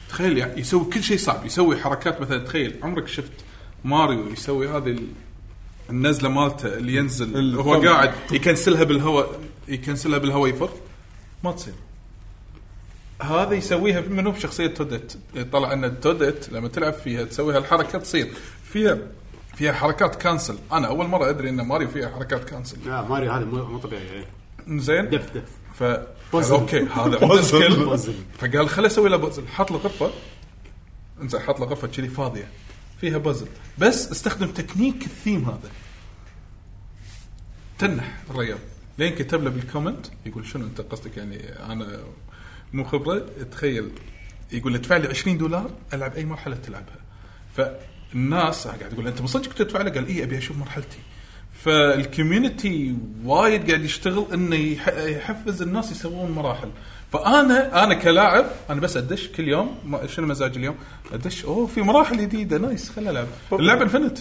تخيل يعني يسوي كل شيء صعب يسوي حركات مثلا تخيل عمرك شفت ماريو يسوي هذه ال- النزله مالته اللي ينزل هو
الطب.
قاعد يكنسلها بالهواء يكنسلها بالهواء يفر ما تصير هذا يسويها منو بشخصيه تودت طلع ان تودت لما تلعب فيها تسوي هالحركه تصير فيها فيها حركات كانسل انا اول مره ادري ان ماريو فيها حركات كانسل
لا ماريو هذا مو مو طبيعي إيه.
زين
دف دف
ف قال اوكي هذا عنده سكيل فقال خليني اسوي له بازل حط له غرفه انزين حط له غرفه كذي فاضيه فيها بازل بس استخدم تكنيك الثيم هذا تنح الرجال لين كتب له بالكومنت يقول شنو انت قصدك يعني انا مو خبره تخيل يقول ادفع لي 20 دولار العب اي مرحله تلعبها فالناس قاعد تقول انت من صدقك تدفع له قال اي ابي اشوف مرحلتي فالكوميونتي وايد قاعد يشتغل انه يح- يحفز الناس يسوون مراحل فانا انا كلاعب انا بس ادش كل يوم ما- شنو مزاج اليوم ادش اوه في مراحل جديده نايس خل العب اللعبه انفنت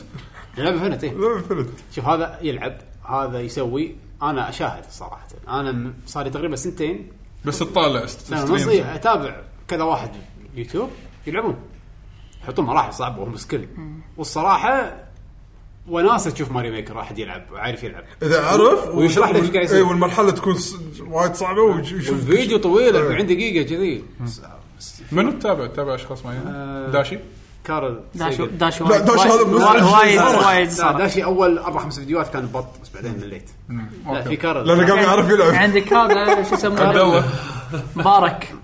لعبه فنت إيه.
لا، فلت.
شوف هذا يلعب هذا يسوي انا اشاهد صراحه انا م- صار لي تقريبا سنتين
بس تطالع
سنه ونص إيه، اتابع كذا واحد يوتيوب يلعبون يحطون مراحل صعبه وهم سكيل والصراحه وناسه تشوف ماري ميكر واحد يلعب وعارف يلعب
اذا عرف
ويشرح لك إيش قاعد يصير.
إيه، والمرحله تكون ص- وايد صعبه ويشوف
والفيديو طويل
إيه.
40 دقيقه كذي
منو تتابع تتابع اشخاص معينين داشي
كارل
داش
سيجل.
داش
لا، داش هذا
وايد-
مزعج.
وايد
مرة.
وايد
لا
صار.
داشي اول اربع خمس فيديوهات كان بط بس بعدين مليت لا في كارل يعني-
لانه قام يعرف يلعب
عندك هذا شو
عبد
يسمونه
الله
مبارك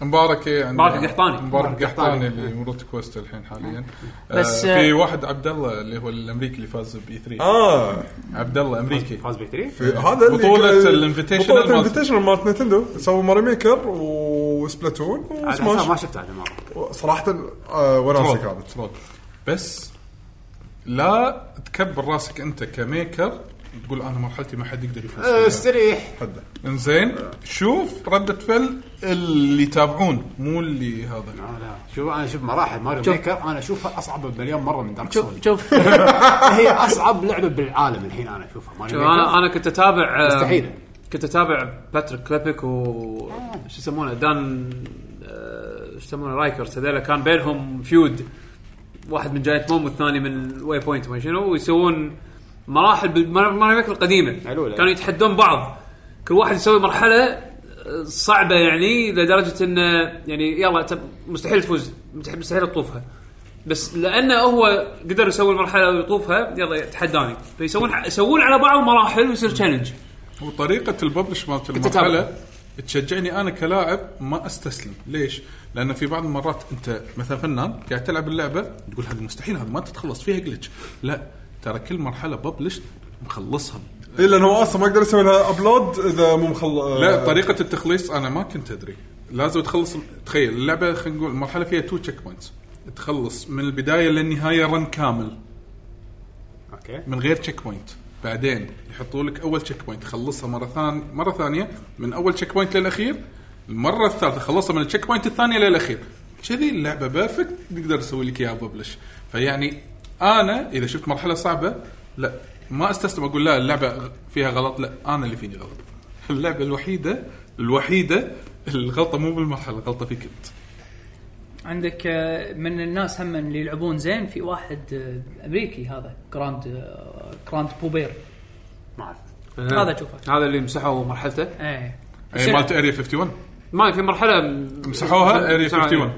مبارك إيه عندنا.
مبارك القحطاني.
مبارك قحطاني اللي مرات كويست الحين حاليا
بس،
بس آه في واحد عبد الله اللي هو الامريكي اللي فاز بي 3
آه.
اه
عبد الله امريكي
فاز ب 3
في هذا اللي
بطولة
ك-
الانفيتيشنال
بطولة
مالت-
الانفيتيشنال مالت نينتندو سووا ماري ميكر وسبلاتون
عاد أسامة ما
وسماش
شفت هذا المره
صراحه آه، وناسه
ترول.
كانت
ترول. بس لا تكبر راسك انت كميكر تقول انا مرحلتي ما حد يقدر يفوز
آه،
فيها.
استريح
حده
انزين شوف ردة فعل اللي يتابعون مو اللي هذا
لا شوف انا شوف مراحل ماريو ميكر انا اشوفها اصعب بمليون مره من دارك سولز
شوف شوف
هي اصعب لعبه بالعالم الحين انا اشوفها ماريو
انا
ميكر
انا كنت اتابع آه،
مستحيلة.
كنت اتابع باتريك كليبك و شو يسمونه دان آه، شو يسمونه رايكرز هذول كان بينهم فيود واحد من جاية موم والثاني من واي بوينت ما شنو ويسوون مراحل بالمراحل القديمه
حلوة.
كانوا يتحدون بعض كل واحد يسوي مرحله آه، صعبه يعني لدرجه انه يعني يلا تب- مستحيل تفوز مستحيل مستحيل تطوفها بس لانه هو قدر يسوي المرحله ويطوفها يلا تحداني فيسوون يسوون على بعض مراحل ويصير تشالنج
وطريقة الببلش مالت المرحلة تشجعني انا كلاعب ما استسلم ليش؟ لان في بعض المرات انت مثلا فنان قاعد تلعب اللعبه تقول هذه مستحيل هذه ما تتخلص فيها جلتش لا ترى كل مرحله ببلش مخلصها
اي لانه هو اصلا ما اقدر اسوي لها ابلود اذا مو مخلص
لا طريقه التخليص انا ما كنت ادري لازم تخلص تخيل اللعبه خلينا نقول المرحله فيها تو تشيك بوينتس تخلص من البدايه للنهايه رن كامل
اوكي
من غير تشيك بوينت بعدين يحطوا لك اول تشيك بوينت خلصها مره ثانيه مره ثانيه من اول تشيك بوينت للاخير المره الثالثه خلصها من التشيك بوينت الثانيه للاخير كذي اللعبه بيرفكت نقدر نسوي لك اياها ببلش فيعني انا اذا شفت مرحله صعبه لا ما استسلم اقول لا اللعبه فيها غلط لا انا اللي فيني غلط اللعبه الوحيده الوحيده الغلطه مو بالمرحله الغلطه فيك انت
عندك آه، من الناس هم اللي يلعبون زين في واحد آه، امريكي هذا جراند آه، جراند بوبير
ما اعرف
هذا تشوفه
هذا اللي مسحوا مرحلته
ايه
اي مالت اريا 51
ما في مرحله
مسحوها
إيه،
اريا
مسحوها
51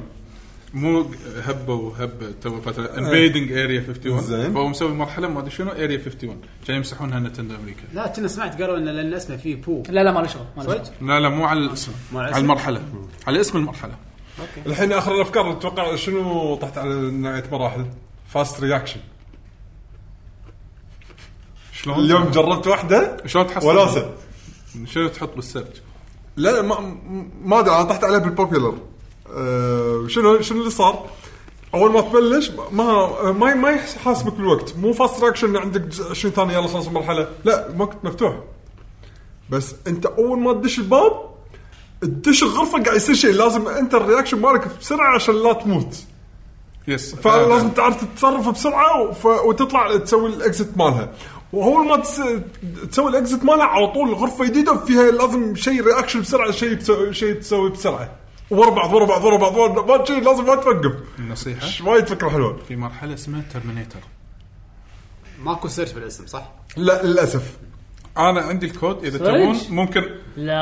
مو هبوا هب تو فتره انفيدنج اريا 51
زين.
فهو مسوي مرحله ما ادري شنو اريا 51 كان يمسحونها نتندو امريكا
لا كنا سمعت قالوا ان لان اسمه فيه بو
لا لا ما له شغل ما له شغل
لا لا مو على الاسم
على
على
الاسم؟
المرحله على اسم المرحله
الحين اخر الافكار اتوقع شنو طحت على نهايه مراحل فاست رياكشن
شلون
اليوم جربت واحده
شلون تحصل
ولاسه
شنو تحط بالسيرش
لا لا، ما ما ادري انا طحت عليه بالبوبيلر أه شنو شنو اللي صار؟ اول ما تبلش ما ما ما يحاسبك بالوقت مو فاست رياكشن عندك جزء 20 ثانيه يلا خلص المرحله لا الوقت مفتوح بس انت اول ما تدش الباب تدش الغرفه قاعد يصير شيء لازم انت الرياكشن مالك بسرعه عشان لا تموت
يس
فلازم تعرف تتصرف بسرعه وف... وتطلع تسوي الاكزت مالها واول ما تس... تسوي الاكزت مالها على طول غرفه جديده فيها لازم شيء رياكشن بسرعه شيء بسو... شيء تسوي بسرعه ورا بعض ورا بعض ورا بعض ورا بعض شيء لازم ما توقف
النصيحه
وايد فكره حلوه
في مرحله اسمها ترمينيتر
ماكو سيرش بالاسم صح؟
لا للاسف
انا عندي الكود اذا تبون ممكن ايه
لا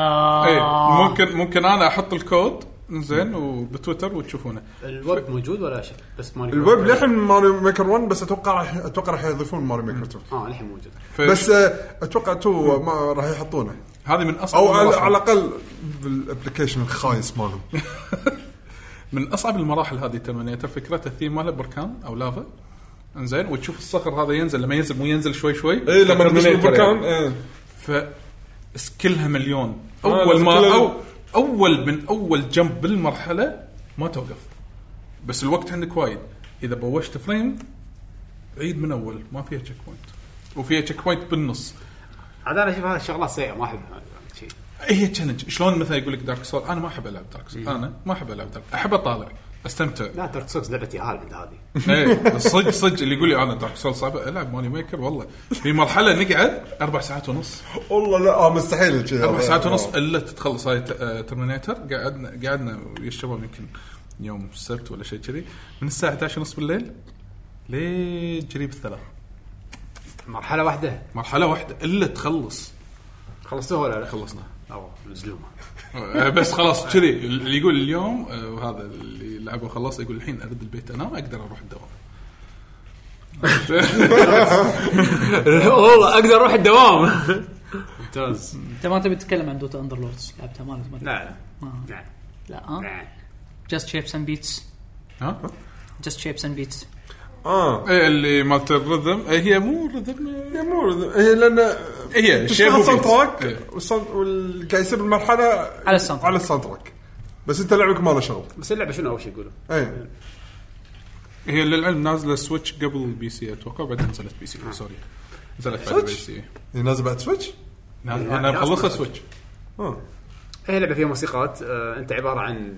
آه.
ممكن ممكن انا احط الكود زين وبتويتر وتشوفونه
الويب موجود ولا شيء بس ماريو
الويب
ميكر.
للحين ماريو ميكر 1 بس اتوقع راح اتوقع راح يضيفون ماريو ميكر 2
اه للحين موجود
ف-
بس آه، اتوقع 2 ما راح يحطونه
هذه من اصعب
او على,
المراحل.
على الاقل بالابلكيشن الخايس مالهم
من اصعب المراحل هذه ترمينيتر فكرتها الثيم ماله بركان او لافا انزين وتشوف الصخر هذا ينزل لما ينزل مو ينزل شوي شوي
اي إيه، لما
Terminator
تدش بالمكان
يعني.
إيه.
ف سكلها مليون
آه،
اول ما
سكيلها-
أو اول من اول جنب بالمرحله ما توقف بس الوقت عندك وايد اذا بوشت فريم عيد من اول ما فيها تشيك بوينت وفيها تشيك بوينت بالنص
عاد انا اشوف هذه الشغلات سيئه ما احبها شيء
هي تشالنج إيه، شلون مثلا يقول لك دارك سول انا ما احب العب دارك سول
إيه.
انا ما احب العب دارك احب اطالع استمتع
لا دارك سوكس لعبتي هالبد هذه
ايه صدق صدق اللي يقول لي انا دارك سول صعبه العب إيه، ماني ميكر والله في مرحله نقعد اربع ساعات ونص
والله لا آه مستحيل شيء
اربع
هذا. آه.
ساعات ونص الا تتخلص هاي ترمينيتر قعدنا قعدنا ويا الشباب يمكن يوم السبت ولا شيء كذي من الساعه 11 ونص بالليل لقريب الثلاث
مرحله واحده
مرحله واحده الا تخلص
خلصتوها ولا لا؟
خلصنا
او مزلومه
آه، بس خلاص كذي اللي يقول اليوم آه، وهذا اللي لعبه وخلص يقول الحين ارد البيت انام اقدر اروح الدوام
والله اقدر اروح الدوام
ممتاز
انت ما تبي تتكلم عن دوتا اندر لوردز لعبتها ما
لا لا
آه.
نعم
لا ها جاست شيبس اند بيتس
ها؟
جاست شيبس اند بيتس
اه
إيه اللي مالت الرذم إيه هي مو رذم
هي مو هي لان
إيه، هي شيب
تشتغل ساوند
وبيت.
تراك
إيه.
والساوند- واللي قاعد يصير بالمرحله
على الساوند تراك.
على الساوند تراك بس انت لعبك ما له شغل إيه.
بس اللعبه شنو اول شيء يقولوا؟
اي
إيه، هي للعلم نازله سويتش قبل البي سي اتوقع بعدين نزلت بي سي سوري نزلت بعد إيه، البي
سويتش؟
سي
هي إيه، نازل بعد سويتش؟
ناز- انا مخلصها سويتش
اه
هي لعبه فيها موسيقات آه، انت عباره عن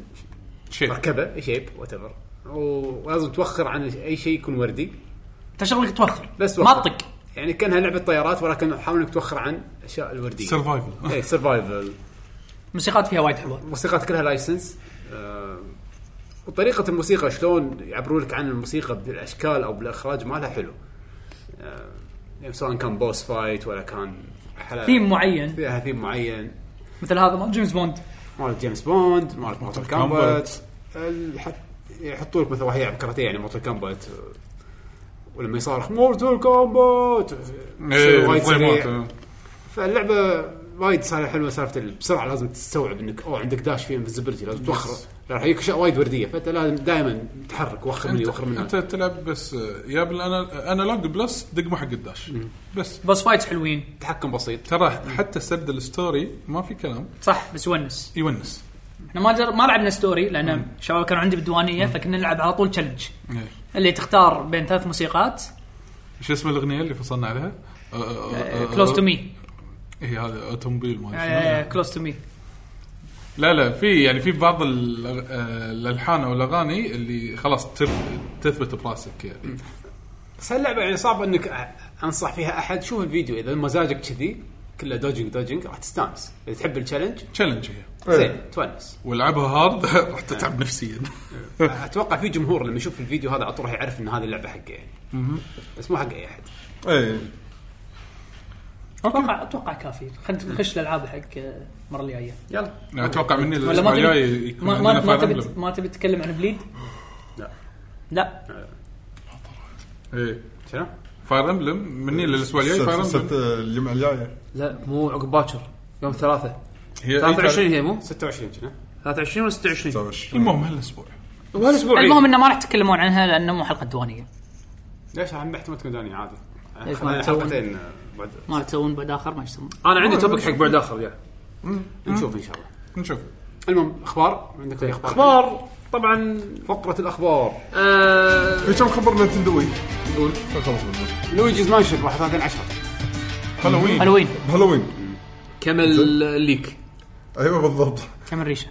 شيب
مركبه شيب وات ايفر ولازم توخر عن اي شيء يكون وردي
انت شغلك توخر
بس
ما
وخر.
تطق
يعني كانها لعبه طيارات ولكن حاول انك توخر عن إيه، الاشياء الورديه
سرفايفل
اي سرفايفل
موسيقات فيها وايد حلوه
موسيقات كلها لايسنس آه، وطريقة الموسيقى شلون يعبرون لك عن الموسيقى بالاشكال او بالاخراج مالها حلو. آه، يعني سواء كان بوس فايت ولا كان حلقة
ثيم معين
فيها ثيم معين
مثل هذا مال جيمس بوند
مال جيمس بوند مال مورتال
Kombat.
كامبات يحطوا لك مثلا واحد يلعب كاراتيه يعني مورتال كامبات ولما يصارخ مورتال كامبات
إيه،
وايد سريع فاللعبه وايد صار حلوه سالفه ال- بسرعه لازم تستوعب انك او عندك داش في انفزبلتي لازم توخر راح يجيك اشياء وايد ورديه فانت لازم دائما تحرك وخر من اللي وخر من
انت
هذا
تلعب بس آه، يا بالانالوج بلس دقمه حق الداش بس
بوس فايتس حلوين
تحكم بسيط
ترى حتى سرد الستوري ما في كلام
صح بس ونس
يونس
احنا ما جر... ما لعبنا ستوري لان الشباب كانوا عندي بالديوانيه فكنا نلعب على طول تشالنج
إيه.
اللي تختار بين ثلاث موسيقات
شو اسم الاغنيه اللي فصلنا عليها؟
كلوز تو مي
هي هذا اوتوموبيل
آه،
ما أدري شنو.
كلوز تو مي
لا لا في يعني في بعض الأغ- آه، الالحان او الاغاني اللي خلاص تر- تثبت براسك يعني
بس هاللعبه يعني صعب انك أ- انصح فيها احد شوف الفيديو اذا مزاجك كذي كله دوجنج دوجنج راح تستانس اذا تحب التشالنج
تشالنج هي
زين تونس
والعبها هارد راح تتعب نفسيا
اتوقع في جمهور لما يشوف الفيديو هذا على طول راح يعرف ان هذه اللعبه حقه يعني بس مو حق اي احد
اي
اوكي
اتوقع اتوقع كافي خلينا نخش الالعاب حق آه، المره الجايه
يلا
يعني اتوقع مني
نعم. ولا ما
الاسبوع الجاي
تبي
يكون
ما ما,
عندنا
ما
Fire
تبي
Emblem.
ما تبي تتكلم عن بليد؟
لا.
لا
ايه
شنو؟
فاير امبلم مني للاسبوع الجاي فاير
ست- ست-
امبلم
الجمعه الجايه
لا مو عقب باكر يوم
إيه،
الثلاثاء
هي
إيه؟
23 هي مو
26 شنو؟
23 ولا 26
29
المهم هالاسبوع
وهالاسبوع
المهم انه ما راح تتكلمون عنها لانه مو حلقه دوانيه
ليش هم احتمال تكون داني عادي
ليش ما
خلينا
تسوون؟
حلقتين آه، بعد
ما تسوون بعد اخر ما يسوون
انا عندي توبك حق بعد اخر يا
نشوف ان شاء الله
نشوف
المهم اخبار عندك أي اخبار
اخبار طبعا
فقره الاخبار
آه
في كم خبر نتندوي؟ قول خلاص منه
لويجيز مانشن 31 10
هالوين
هالوين
هالوين
كمل ليك
ايوه بالضبط
كامل ريشه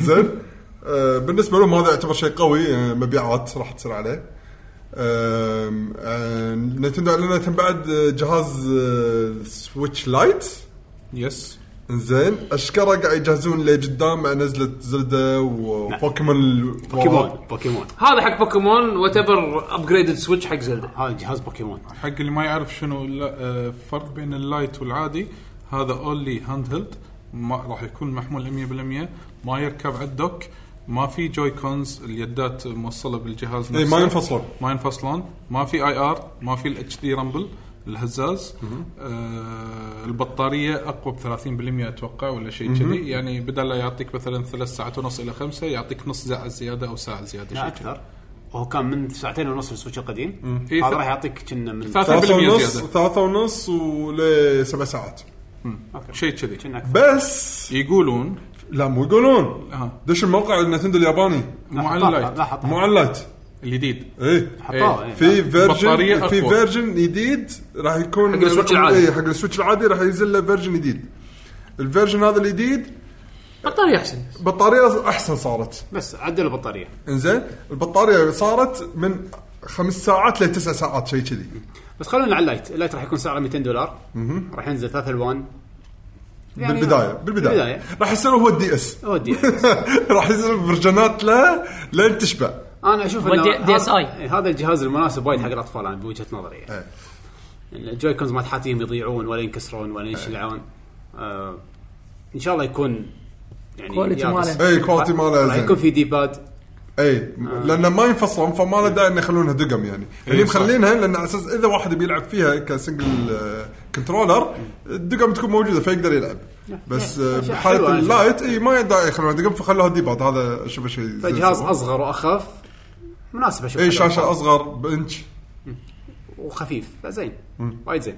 زين آه، بالنسبه لهم هذا يعتبر شيء قوي آه، مبيعات راح تصير عليه آم، آه، نتندو اعلنت من بعد آه، جهاز آه، سويتش لايت
يس
زين اشكره قاعد يجهزون لقدام مع نزله زلده
نعم.
وبوكيمون
بوكيمون بوكيمون
هذا حق بوكيمون وات ايفر ابجريدد سويتش حق زلدا
هذا جهاز بوكيمون
حق اللي ما يعرف شنو اللا- آه، الفرق بين اللايت والعادي هذا اونلي هاند هيلد ما راح يكون محمول 100% ما يركب على الدوك ما في جوي كونز اليدات موصله
إيه،
بالجهاز
اي
نفسه
ما ينفصلون
ما ينفصلون ما في اي ار ما في الاتش دي رامبل الهزاز آه البطاريه اقوى ب 30% اتوقع ولا شيء كذي يعني بدل لا يعطيك مثلا ثلاث ساعات ونص الى خمسه يعطيك نص ساعه زياده او ساعه زياده
لا
شيء كذي.
اكثر وهو كان من ساعتين ونص السويتش القديم
إيه،
هذا
ث-
راح يعطيك كنا من
ثلاثة. 3%
ثلاثة ونص
زيادة.
ثلاثة ونص ولسبع ساعات
أوكي.
شيء كذي
كنا أكثر.
بس
يقولون
لا مو يقولون
آه.
دش الموقع نتندو الياباني
مو على
حطها-
اللايت
لا حطها.
مو على اللايت
الجديد
ايه
حطوه، إيه.
في
نعم. بطارية
فيرجن
أقوى.
في فيرجن جديد راح يكون
حق السويتش العادي.
إيه، حق السويتش العادي راح ينزل له فيرجن جديد الفيرجن هذا الجديد
بطاريه احسن
بطاريه احسن صارت
بس عدل البطاريه
انزين البطاريه صارت من خمس ساعات لتسع ساعات شيء كذي
بس خلونا على اللايت اللايت راح يكون سعره 200 دولار راح ينزل ثلاث الوان
بالبدايه بالبدايه
بالبداية.
راح يصير هو الدي اس
ودي
راح يصير فيرجنات له لين تشبع
انا اشوف
ودي-
انه
DSi.
هذا- إيه، هذا الجهاز المناسب وايد حق الاطفال انا بوجهه نظري يعني
إيه.
إن الجوي كونز ما تحاتيهم يضيعون ولا ينكسرون ولا ينشلعون آه، ان شاء الله يكون يعني
Quality
يابس.
ماله.
إيه،
اي كواليتي ماله
راح يكون
زين
في دي باد
اي لان ما ينفصلون فما له داعي انه يخلونها دقم يعني اللي
صح.
مخلينها لان على اساس اذا واحد بيلعب فيها كسنجل آه، كنترولر الدقم تكون موجوده فيقدر يلعب بس آه، بحاله اللايت اي ما داعي يخلونها دقم فخلوها ديباد هذا اشوفه شيء زين
فجهاز
سووه.
اصغر واخف مناسب اشوف
اي شاشه اصغر بنش
وخفيف فزين وايد زين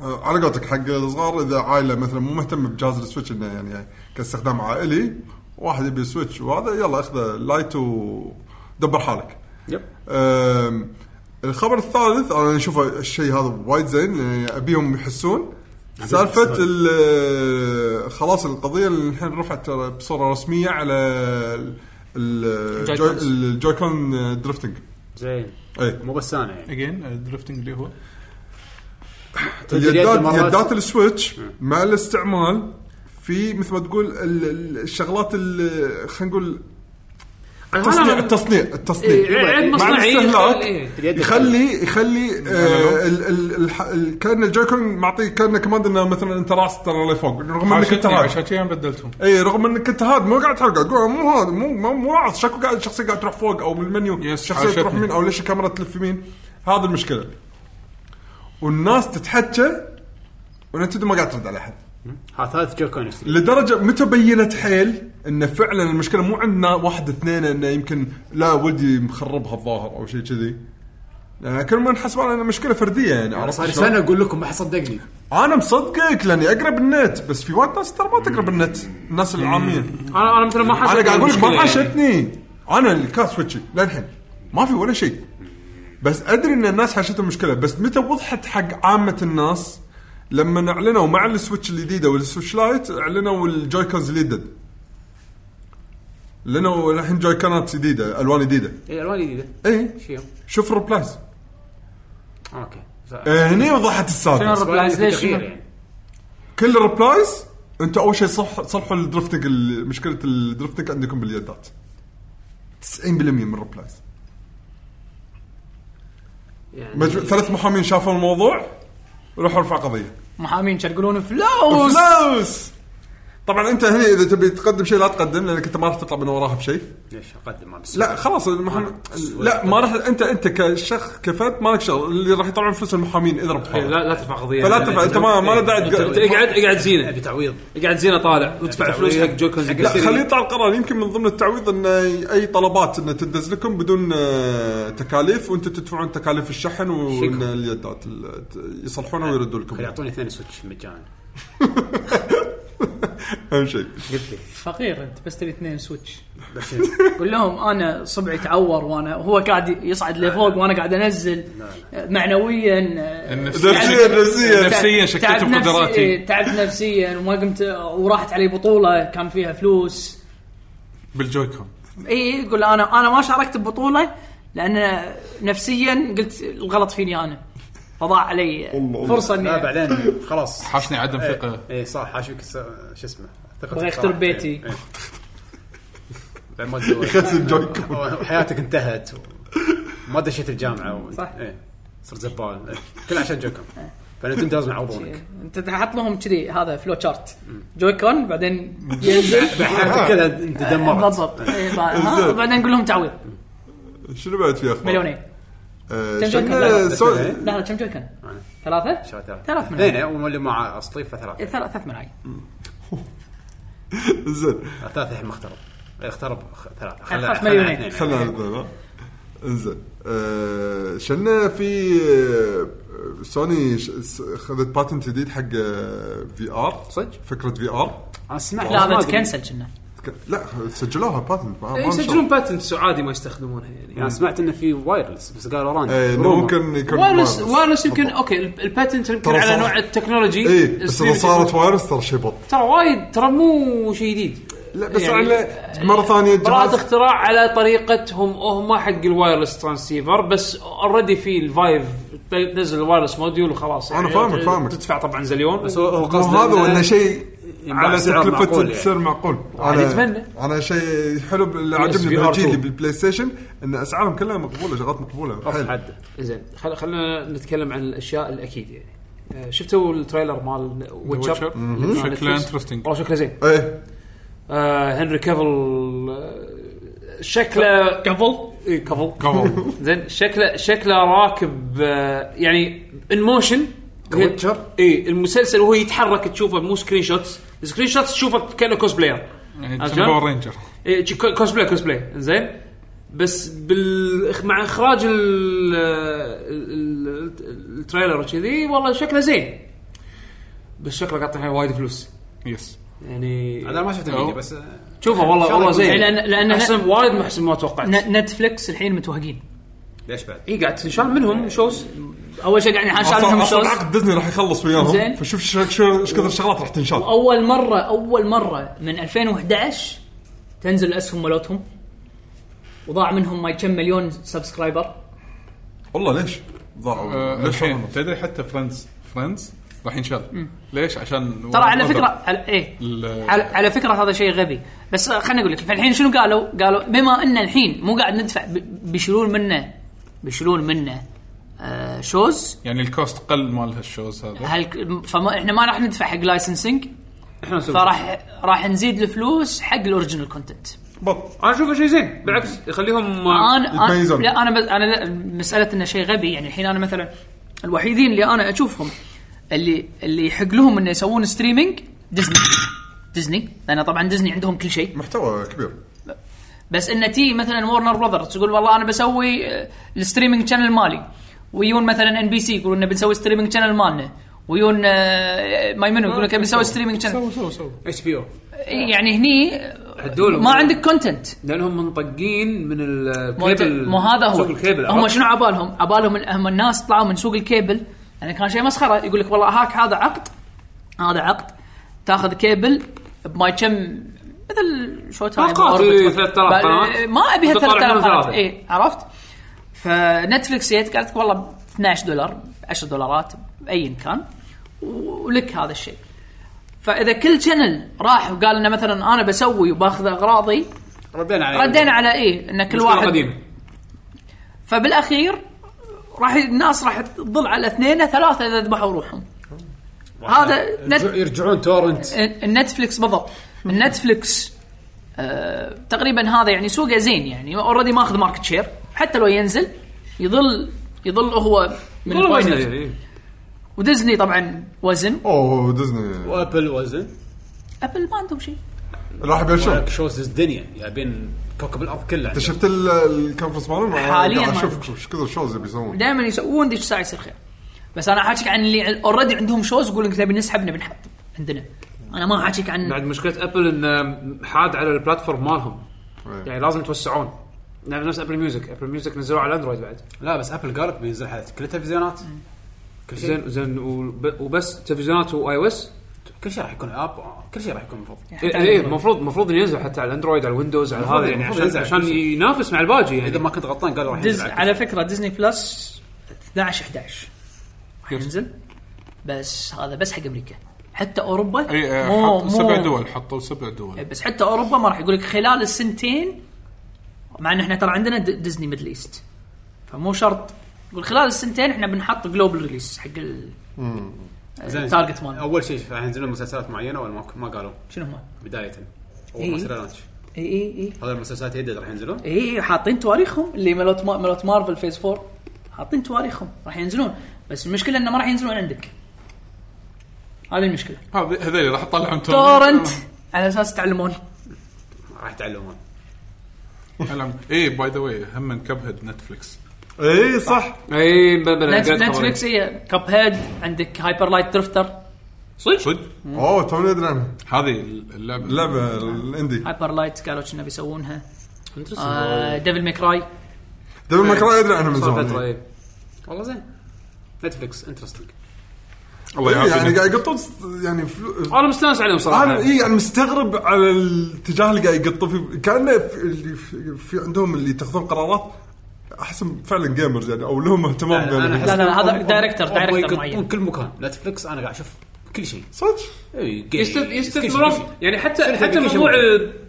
آه، على قولتك حق الصغار اذا عائله مثلا مو مهتمه بجهاز السويتش انه يعني كاستخدام عائلي واحد يبي سويتش وهذا يلا اخذه لايت ودبر حالك.
يب
أم، الخبر الثالث انا اشوفه الشيء هذا وايد زين لأن ابيهم يحسون سالفه ال- خلاص القضيه اللي الحين رفعت ترى بصوره رسميه على ال- ال-
الجويكونز.
الجويكون درفتنج
زين
اي
مو بس انا يعني
اجين درفتنج uh, اللي هو
تدري أنت
اليدات
مرات-
يدات السويتش مع الاستعمال في مثل ما تقول ال- ال- الشغلات اللي خلينا نقول التصنيع التصنيع التصنيع
إيه، عيب مصنعي
الاستهلاك.
إيه.
اليد
يخلي يخلي آه، ال- ال- الح- ال- كان الجويكون معطيه كان كوماند انه مثلا انت راس ترى لفوق رغم انك انت
عشان إيه،
هاد
عشان كذي أنا بدلتهم
اي رغم انك انت هاد مو قاعد تحرق تقول مو هاد مو مو, مو راس شكو قاعد شخصيه قاعد تروح فوق او بالمنيو
يس،
شخصيه تروح
حاشتني.
يمين او ليش الكاميرا تلف يمين هذا المشكله والناس تتحكى وانت ما قاعد ترد على احد
ها ثالث جوكون يشتري
لدرجه متى بينت حيل انه فعلا المشكله مو عندنا واحد اثنين انه يمكن لا ولدي مخربها الظاهر او شيء كذي لان كل ما نحسب على انه مشكله فرديه يعني عرفت
صار
شلون؟
سنه اقول لكم ما حد صدقني
انا مصدقك لاني اقرب النت بس في وايد ناس ترى ما تقرب النت الناس العاميين
انا انا مثلا ما
انا
حاشتني
قاعد اقول لك ما
المشكلة يعني.
حاشتني انا الكاس سويتشي للحين ما في ولا شيء بس ادري ان الناس حاشتهم مشكله بس متى وضحت حق عامه الناس لما اعلنوا مع السويتش الجديده والسويتش لايت اعلنوا الجويكونز الجديد لانه الحين جويكونات جديده الوان جديده
إيه، الوان جديده
اي
شيو
شوف ريبلايز
اوكي
آه، هني وضحت السالفه
الريبلايز ليش
يعني
كل الريبلايز انت اول شيء صح صلحوا الدرفتنج ال- مشكله الدرفتنج عندكم باليدات 90% من الريبلايز
يعني-
مجمو... ثلاث محامين شافوا الموضوع روحوا ارفع قضيه
محامين كانوا يقولون فلوس
فلوس طبعا انت هنا اذا تبي تقدم شيء لا تقدم لانك انت ما راح تطلع من وراها بشيء
ليش اقدم ما بس
لا خلاص المحامي لا ما راح انت انت كشخص كفت ما لك شغل اللي راح يطلعون فلوس المحامين اذا
إيه،
ربحوا
لا يعني لا ترفع قضيه
فلا تدفع انت ما ما له داعي
أنت- أنت
تق-
اقعد اقعد زينه
ابي تعويض
اقعد زينه إيه، طالع وادفع فلوس يعني حق جوكونز
لا خليه يطلع القرار يمكن من ضمن التعويض ان اي طلبات انه تدز لكم بدون آه، تكاليف وانتم تدفعون تكاليف الشحن وان اليدات ال- ت- يصلحونه ويردوا لكم
خلي يعطوني اثنين سويتش مجانا
اهم شيء
فقير انت بس تبي اثنين سويتش قول لهم انا صبعي تعور وانا هو قاعد يصعد لفوق وانا قاعد آه، انزل معنويا
آه،
النفسية-
نفسيا
يعني-
نفسيا
نفسيا شكيت
تعب نفسي-
بقدراتي.
إيه، تعبت نفسيا وما قمت وراحت علي بطوله كان فيها فلوس
بالجويكون
اي يقول انا انا ما شاركت ببطوله لان نفسيا قلت الغلط فيني انا فضاع علي فرصه
لا
اني
آه، بعدين خلاص
حاشني عدم ثقه
اي صح حاشوك الس- شو اسمه ثقتك
بغى يخرب
صراحة.
بيتي.
إيه، إيه. بعد ما تزوجت.
يخزن جويكون.
وحياتك انتهت و- ما دشيت الجامعه و...
صح.
إيه. صرت زبال إيه. كل عشان جوكم فلو تمتاز مع عضونك
انت تحط لهم كذي هذا فلو شارت جويكون بعدين ينزل
آه.
حياتك كلها انت دمرت
بالضبط إيه، ب- ها، بعدين نقول لهم تعويض
شنو بعد في اخبار؟
مليونين
آه،
كم
شن-
جويكون؟
سو-
إيه؟
لا لا كم جويكون؟ ثلاثة؟ ثلاث من
اثنين واللي إيه، مع اصلي فثلاثه
إيه، ثلاث ثلاث ملاعق
زين
ثلاثه الحين ما اخترب إيه، اخترب خ- ثلاثه
خلاص مليونين.
خلنا على الذمة. انزين آه، شلنا في آه، سوني ش- س- خذت باتنت جديد حق آه، في ار
صدق؟
فكره في ار
انا سمعت
لا
بس ما
هذا
أدري.
تكنسل كنا
لا سجلوها باتنت ما- ما نشر.
إيه، يسجلون باتنتس وعادي ما يستخدمونها يعني
يعني سمعت انه في وايرلس بس قالوا ران
ايه
إيه،
إنه ممكن يكون
وايرلس وايرلس يمكن اوكي ال- الباتنت يمكن
ترى
على
صار-
نوع التكنولوجي
اي إيه، بس اذا
السيريس-
صارت وايرلس ترى شيء بط
ترى وايد ترى مو شيء جديد
لا بس
يعني-
على مره ثانيه
براءة
جهاز
اختراع على طريقتهم هم حق الوايرلس ترانسيفر بس اوريدي في الفايف تنزل الوايرلس موديول وخلاص
أنا فاهمك-
ت-
فاهمك.
تدفع طبعا زليون بس
هو
مو
قصده
هذا
إنه-
ولا شيء
ينباع
على
بسعر
تكلفه
معقول يعني.
بسعر معقول
واحد يتمنى.
انا شيء حلو اللي
USB
عجبني
R2.
بالجيل اللي بالبلاي ستيشن ان اسعارهم كلها مقبوله شغلات مقبوله
يعني.
حلو.
حد
زين خل... خلينا نتكلم عن الاشياء الاكيد يعني آه، شفتوا التريلر مال ويتشر
Witcher؟ مهم.
إيه.
شكله interesting.
والله شكله زين
ايه
آه هنري كافل شكله
قبل
اي كفو
كمان
زين شكله شكله راكب آه، يعني ان موشن
كويتشر؟
اي المسلسل وهو يتحرك تشوفه مو سكرين شوتس سكرين شوتس تشوفه كانه كوسبلاير
يعني
عرفت
شنو باور
شلون؟
رينجر
إيه، ج- كو- كوسبلاي كوسبلاي زين بس بال مع اخراج ال ال- ال- التريلر وكذي والله شكله زين بس شكله قاطع عليه وايد فلوس
يس
يعني
انا ما شفت الفيديو
أو.
بس
شوفه والله والله زين
لأن- لأن-
احسن وايد من احسن ما توقعت
ن- نتفلكس الحين متوهقين
ليش بعد؟
اي قاعد تنشال منهم شوز
اول شيء قاعد ينحاش
اصلا
عليهم
أصلاً
الشوز
عقد ديزني راح يخلص
زين.
وياهم فشوف شو- شو- ايش كثر شغلات راح تنشال
اول مره اول مره من 2011 تنزل اسهم مالتهم وضاع منهم ما كم مليون سبسكرايبر
والله ليش؟
آه،
آه،
ضاعوا ليش
آه، الحين تدري حتى فريندز فريندز راح ينشال ليش عشان
ترى على فكره على ايه
ال-
على, على فكره هذا شيء غبي بس آه، خليني اقول لك فالحين شنو قالوا؟ قالوا بما ان الحين مو قاعد ندفع ب- بيشيلون منه بيشيلون منه آه شوز
يعني الكوست قل مال هالشوز هذا
هل فما احنا ما راح ندفع حق لايسنسنج
احنا نسوي
فراح راح نزيد الفلوس حق الاوريجنال كونتنت
انا اشوفه شيء زين بالعكس يخليهم آه،
انا انا
يتميزون.
لا انا بس انا لا مساله انه شيء غبي يعني الحين انا مثلا الوحيدين اللي انا اشوفهم اللي اللي يحق لهم انه يسوون ستريمينج ديزني ديزني لان طبعا ديزني عندهم كل شيء
محتوى كبير
بس انه تي مثلا ورنر براذرز تقول والله انا بسوي آه، الستريمينج شانل مالي ويون مثلا ان بي سي يقولون انه بنسوي ستريمينج شانل مالنا ويون آه، ماي منو يقولون كيف بنسوي ستريمينج شانل
سو سو سو
اتش بي او
يعني هني آه،
عدولهم.
ما عندك كونتنت
لانهم منطقين من
مو أنت-
الكيبل
مو هذا هو
سوق الكيبل
هم شنو عبالهم؟ عبالهم من هم الناس طلعوا من سوق الكيبل يعني كان شيء مسخره يقول لك والله هاك هذا عقد هذا عقد تاخذ كيبل بما كم مثل شو تايم
باقات،
أوربت.
إيه، 3000
بل-
قناة.
ما ابيها
تطلع
3000
منهم
قناه
ثلاثة.
اي إيه، عرفت؟ فنتفلكس جت قالت لك والله 12 دولار 10 دولارات ايا كان ولك هذا الشيء فاذا كل شانل راح وقال انه مثلا انا بسوي وباخذ اغراضي
ردينا
أيوة.
عليه
ردينا على ايه ان كل واحد
قديم
فبالاخير راح الناس راح تظل على اثنين ثلاثه اذا ذبحوا روحهم هذا نت...
يرجعون تورنت
النتفلكس بالضبط النتفلكس آه تقريبا هذا يعني سوقه زين يعني اوريدي ماخذ ماركت شير حتى لو ينزل يظل يظل هو من
والله وايد
البوينت.
زين.
وديزني طبعا وزن
اوه ديزني
وابل وزن
ابل ما عندهم شيء
راح يبلشون
هناك شوز الدنيا جايبين كوكب الارض كله
انت شفت ال- الكونفرنس مالهم
حالياً
قاعد
ما
اشوف ايش كثر شوز يبي يسوون
دائما يسوون ذيك الساعه يصير خير بس انا حاكيك عن اللي اوريدي عندهم شوز يقول لك نبي نسحب نبي نحط عندنا انا ما حاكيك عن
بعد مشكله ابل ان حاد على البلاتفورم مالهم
إيه.
يعني لازم يتوسعون يعني نفس ابل ميوزك ابل ميوزك نزلوه على اندرويد بعد
لا بس ابل قالت بينزل حلقة كل التلفزيونات كل شيء
زين زين وب- وبس تلفزيونات واي او اس
كل شيء راح يكون اب كل شيء راح يكون مفروض
حتى
اي
عندهم.
إيه، المفروض المفروض إنه ينزل حتى على الاندرويد على الويندوز على
المفروض-
هذا يعني
المفروض
عشان
ينزل على
عشان
كل شيء.
ينافس مع الباجي
اذا
يعني
ما كنت غلطان قالوا راح
دز
ينزل
على فكره ديزني بلس 12 11 راح ينزل بس هذا بس حق امريكا حتى اوروبا
اي
مو-
حط سبع
مو-
دول حطوا سبع دول
بس حتى اوروبا ما راح يقول لك خلال السنتين مع ان احنا ترى عندنا د- ديزني ميدل ايست فمو شرط يقول خلال السنتين احنا بنحط جلوبال ريليس حق ال
زين.
التارجت مالنا
اول شيء راح ينزلون مسلسلات معينه ولا ما- ما قالوا
شنو هم؟
بدايه
إيه.
اول ما صار لانش
اي اي
هذا المسلسلات جديد راح ينزلون
اي اي إيه، حاطين تواريخهم اللي مالت ما- مالت مارفل فيز 4 حاطين تواريخهم راح ينزلون بس المشكله انه ما راح ينزلون عندك هذه المشكله
هذي- هذيل راح يطلعون
تورنت على اساس تعلمون
راح يتعلمون
اي باي ذا واي هم كب هيد نتفلكس
اي إيه، صح
اي بلا
نت- نتفلكس هي كاب هيد إيه، عندك هايبر لايت درفتر
صدق
اوه توني ادري عنها
هذه اللعبه
اللعبه الاندي
هايبر لايت قالوا كنا بيسوونها آه، ديفل ميكراي
دبل ماكراي ادري عنها من زمان إيه،
نتفلكس
والله زين نتفلكس انترستنج
الله
إيه، يعني
يعافيك
قاعد يقطون س- يعني فلو-
انا مستانس عليهم
انا
صراحه
اي يعني مستغرب على الاتجاه اللي قاعد يقطون فيه كانه في- اللي في- في عندهم اللي يتخذون قرارات احسهم فعلا جيمرز يعني او لهم اهتمام
أنا
بال-
أحس
لا، لا، هذا
هم- هم-
دايركتر-
هم
دايركتر
يقطون
معين.
كل مكان نتفلكس انا قاعد اشوف كل شيء
صدق
إيه،
يستث-
كل شيء، كل
يستثمرون
شيء.
يعني حتى حتى
application.
موضوع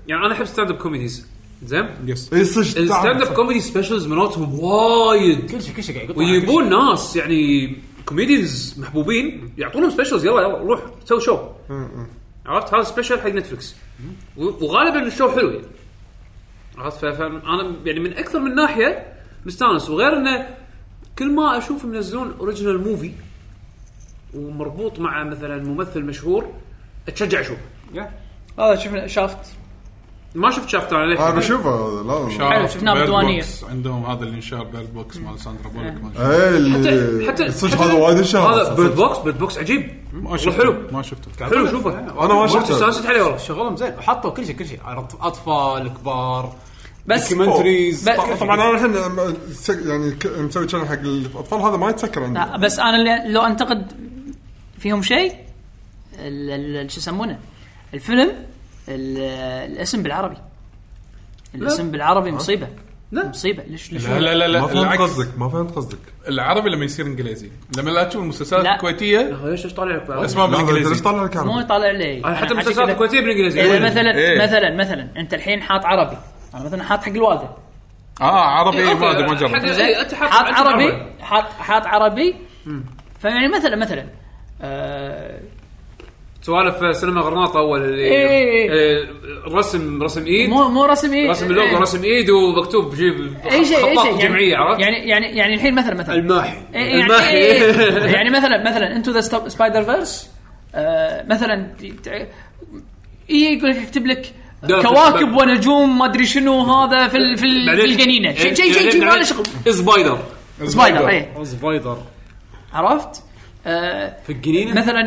يعني انا احب ستاند اب كوميديز زين
يس
اي إيه، صدق
الستاند اب
تعال.
كوميدي سبيشلز مالتهم وايد
كل شيء كل شيء قاعد يقطون
ويجيبون ناس يعني كوميديانز محبوبين يعطونهم سبيشلز يلا يلا روح سوي شو عرفت هذا سبيشل حق نتفلكس و- وغالبا الشو حلو يعني عرفت ف- فانا يعني من اكثر من ناحيه مستانس وغير انه كل ما اشوف منزلون اوريجنال موفي ومربوط مع مثلا ممثل مشهور اتشجع اشوفه
هذا شفنا شافت
ما شفت شافت انا للحين.
انا بشوفه هذا، لا لا
حلو، شفناه بالديوانية.
عندهم هذا اللي انشهر بيرد بوكس مال ساندرا بولك ما شفته.
ايه
حتى
اللي-
حتى
صدق
حتى-
هذا وايد انشهر
هذا
أصلاً.
بيرد بوكس بيرد بوكس عجيب
ما شفته
حلو.
ما شفته
حلو شوفه
أنا ما شفته.
استانست عليه والله
شغلهم زين حطوا كل شيء كل شيء عرفت؟ اطفال كبار
بس
دوكيومنتريز
بس-
طبعا انا الحين م- سك- يعني ك- مسوي تشانل حق الاطفال هذا ما يتسكر عندي
لا، بس انا اللي- لو انتقد فيهم شيء ال- ال- شو يسمونه الفيلم ال- الاسم بالعربي الاسم بالعربي مصيبه
لا.
مصيبه ليش ليش
لا لا لا
ما
لا
فهمت
العكس
قصدك ما فهمت قصدك
العربي لما يصير انجليزي لما لا تشوف المسلسلات
لا.
الكويتيه
ليش ايش طالع لك بعد؟
اسمها
لا أنت ليش
بالانجليزي
طالع لك
مو
عربي؟
يطالع لي
أنا حتى
عشان
المسلسلات
كذا-
الكويتيه بالانجليزي
اذا
أقول لك.
مثلا
إيه.
مثلا مثلا انت الحين حاط عربي انا مثلا حاط حق الوالده
اه عربي
إيه،
ما
أوكي.
ادري ما جربت
حق-
زين
إيه، أنت حاط-
حاط
أنت
عربي
عربي.
حاط حاط عربي فيعني مثلا مثلا آه،
سوالف سينما غرناطه اول اللي
إيه.
إيه، رسم رسم ايد
مو مو رسم ايد
إيه. رسم اللوجو
إيه.
رسم ايد ومكتوب جيب
اي شيء اي
خطاط
شيء
جمعيه عرفت؟
يعني يعني يعني الحين مثلا مثلا
الماحي
إيه، إيه، يعني
الماحي.
إيه، إيه، يعني مثلا مثلا انتو ذا سبايدر فيرس مثلا اي إيه يقول لك اكتب لك
دافع.
كواكب ونجوم ما ادري شنو هذا في ال- في, ال- في
بعدين-
الجنينه شيء شيء
يعني
شيء شيء ما
بعدين
له شغل
سبايدر
سبايدر اي
سبايدر
عرفت؟ آه،
في الجنينه
مثلا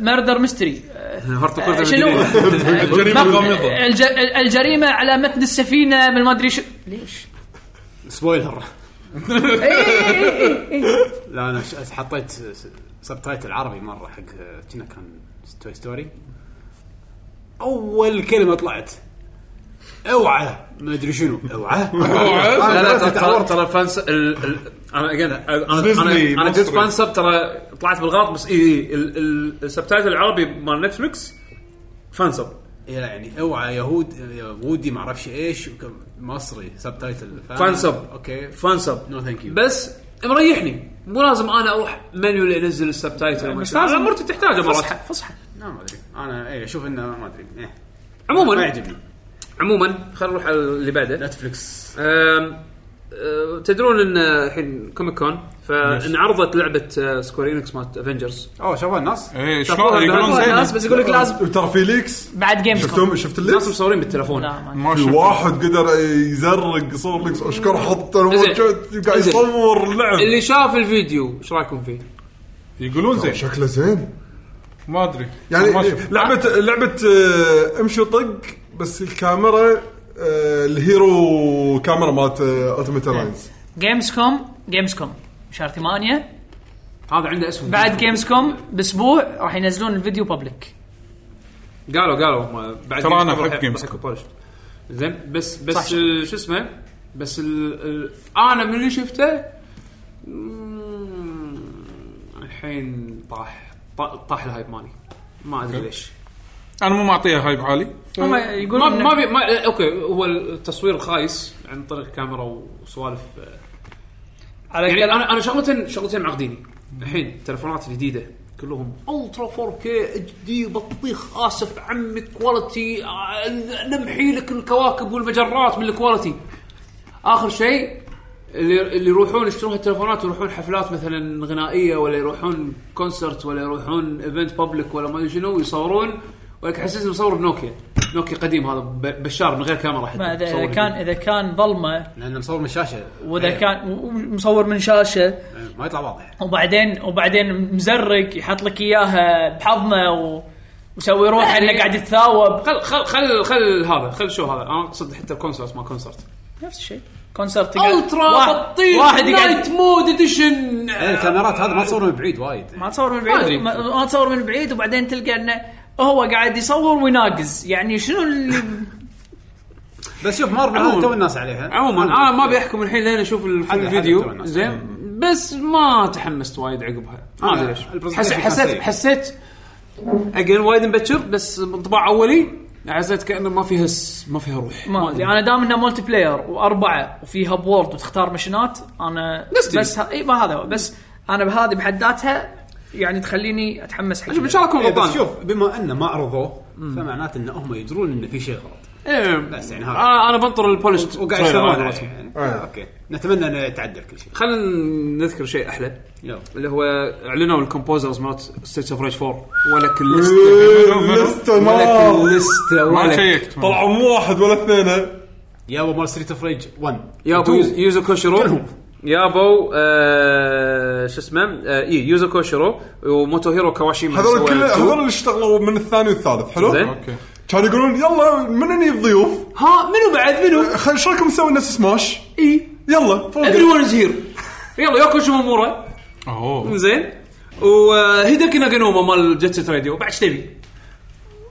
مردر ميستري
هارت كورت
آه، شنو؟
الجريمة الغامضة.
الج- الجريمه على متن السفينه من ما ادري شو ليش؟
سبويلر
إي- إي- إي- إي-
لا انا ش- حطيت سبتايتل عربي مره حق كنا كان توي ستوري اول كلمه طلعت اوعى ما ادري شنو اوعى
لا لا
أنا
ترى- ترى
تعورت.
ترى فان س- ال- ال- انا again، انا
ديزني
انا انا جبت
مصري.
فان سب ترى طلعت بالغلط بس اي اي ال- ال- السبتايتل العربي مال نتفلكس فان سب
إيه، يعني اوعى يهود يهودي ما اعرفش ايش وكم- مصري سبتايتل
فان
آه،
سب.
اوكي
فان سب
نو ثانك يو
بس مريحني مو لازم انا اروح منيو لانزل السبتايتل
بس
انا
لازم-
مرتي تحتاجه
فصحى
مرات
فصحى
لا ما ادري انا اي اشوف انه ما ادري إيه. ما
عموما
يعجبني
عموما خلينا نروح على اللي بعده
نتفلكس
أم، أه، تدرون ان الحين كوميك كون فانعرضت لعبه سكويرينكس آه، مالت افنجرز
اوه شافوها الناس
ايه شلون يقولون
تفضل.
زين
الناس بس يقول لك لازم
طيب،
نعم.
ترى في ليكس
بعد جيمز
شفتهم شفت
الناس
الليكس؟
مصورين بالتليفون
لا ما
ما
في
شفت
واحد قدر يزرق صور ليكس اشكر حط
زين.
الموجود قاعد
زين.
يصور لعب
اللي شاف الفيديو ايش رايكم فيه؟
يقولون زين
شكله زين
ما ادري
يعني
ما شفت
لعبه لعبه آه، امشي وطق بس الكاميرا آه، الهيرو كاميرا مالت آه، التيمت الاينز
جيمز كوم جيمز كوم شهر 8
هذا عنده اسهم
بعد جيمز كوم باسبوع راح ينزلون الفيديو بابليك
قالوا قالوا هم بعد
ترى أنا
Gamescom
أحب
راح-
Gamescom.
راح يبلش. زين بس
صح.
بس ال- شو اسمه بس ال ال انا من اللي شفته مم، الحين طاح طا- طاح الهايب مالي ما ادري ليش
انا مو معطيها هايب عالي
هم
ما
يقولون
ما,
إنه-
بي ما لا، اوكي هو التصوير خايس عن طريق كاميرا وسوالف آه،
على
يعني
كلام-
انا انا شغلتين شغلتين معقديني الحين التلفونات الجديده كلهم الترا 4 كي اتش دي بطيخ اسف عمي كواليتي آه، نمحي لك الكواكب والمجرات من الكواليتي اخر شيء اللي اللي يروحون يشترون هالتلفونات ويروحون حفلات مثلا غنائيه ولا يروحون كونسرت ولا يروحون ايفنت بابليك ولا ما ادري شنو يصورون ولك حسيت مصور بنوكيا نوكيا قديم هذا ب- بشار من غير كاميرا حتى
ما إذا-
مصور
اذا كان
فيه. إيه.
اذا كان ظلمه
لان مصور من الشاشه
واذا كان و- ومصور من شاشه
إيه، ما يطلع واضح
وبعدين وبعدين مزرق يحط لك اياها بحضنه و... وسوي روحه انه قاعد يتثاوب
خل خل خل خل هذا خل شو هذا انا اقصد حتى الكونسرت ما كونسرت
نفس الشيء كونسرت يقعد-
الترا
واحد-
بطيخ
واحد
نايت
يقعد
مود اديشن
إيه، الكاميرات هذا ما تصور من بعيد وايد
ما تصور من
ما أدري.
بعيد ما, ما تصور من بعيد وبعدين تلقى انه هو قاعد يصور ويناقز يعني شنو اللي
بس شوف مارفل
عموماً.
هذا تو الناس عليها
عموما انا ما ابي احكم الحين لين اشوف الفيلم
حد- حد يتابع
الفيديو
الناس.
زين بس ما تحمست وايد عقبها ما
أنا
ادري ليش
البرزنتيشن
حس-
كان
حسيت
سيء.
حسيت اجين وايد مبكر بس انطباع اولي حسيت كانه ما فيها س- ما فيها روح
ما ادري انا دام انه مولتي بلاير واربعه وفي هاب وورد وتختار مشنات انا
Destiny.
بس ه... اي ما هذا هو بس انا بهذه بحد ذاتها يعني تخليني اتحمس حق
شوف ان شاء الله اكون
إيه، بس
غلطان
شوف بما انه ما عرضوه فمعناته ان هم يدرون ان في شيء غلط
إيه.
بس يعني هذا
انا انا بنطر البولش
وقاعد
تريلر
يشتغلون
على
عليه.
قولتهم.
يعني. آه، اوكي نتمنى انه يتعدل كل شيء
خلينا نذكر شيء احلى
يلا
اللي هو اعلنوا الكومبوزرز مالت ستيتس اوف ريج 4 ولك الليست
لسته
ولك
نار
الليسته
ما
ولك
شيكت
طلعوا مو واحد ولا اثنين
يابا مال ستريت اوف ريج
1
يابو يوز- يوزو كوشيرو يابو آه، شو اسمه آه، اي يوزو كوشيرو وموتو هيرو كواشيما
هذول
سوى
كل
two.
هذول اللي اشتغلوا من الثاني والثالث حلو؟
زين.
اوكي
كانوا يقولون يلا من اني الضيوف
ها منو بعد منو؟
خل ايش رايكم نسوي نفس سماش؟
اي
يلا فوق
ايفري ون از هير يلا ياكو شومورا
اوه
زين وهيداكي ناغانوما مال جت سيت راديو بعد ايش تبي؟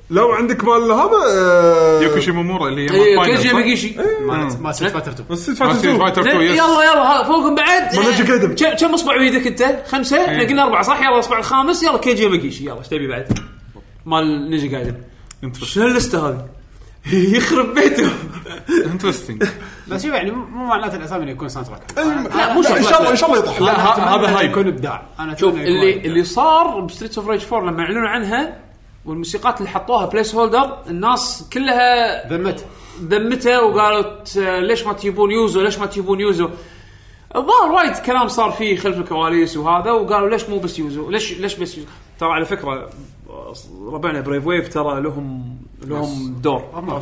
لو عندك مال هذا آه،
يوكو شيمومورا اللي هي
إيه،
مال فاينل،
كيجي
صح؟
ميجيشي
ما سمعت فاتر 2
ستريت
مال
فايتر 2
ستريت فايتر 2
زين،
يس
إيه، يلا يلا ها فوقهم بعد
منهج القدم.
كم- كم اصبع بيدك انت؟ خمسه احنا قلنا اربعه صح يلا الاصبع الخامس يلا كيجي ماجيشي يلا ايش تبي بعد؟ مال نيجي قاعدين شنو اللسته هذه؟ يخرب بيته
انترستنج
بس شوف يعني مو معناته الاسامي انه يكون ساوند تراك
لا مو شرط
ان شاء الله ان شاء الله يطلع
لا ه- هذا هايب
يكون ابداع انا
شوف
أتمنى
اللي
يكون
اللي صار بستريتس اوف ريج 4 لما اعلنوا عنها والموسيقات اللي حطوها بليس هولدر الناس كلها ذمتها ذمتها وقالت آه، ليش ما تجيبون يوزو ليش ما تجيبون يوزو الظاهر وايد كلام صار فيه خلف الكواليس وهذا وقالوا ليش مو بس يوزو ليش ليش بس يوزو ترى على فكره آه، ربعنا بريف ويف ترى لهم لهم دور هم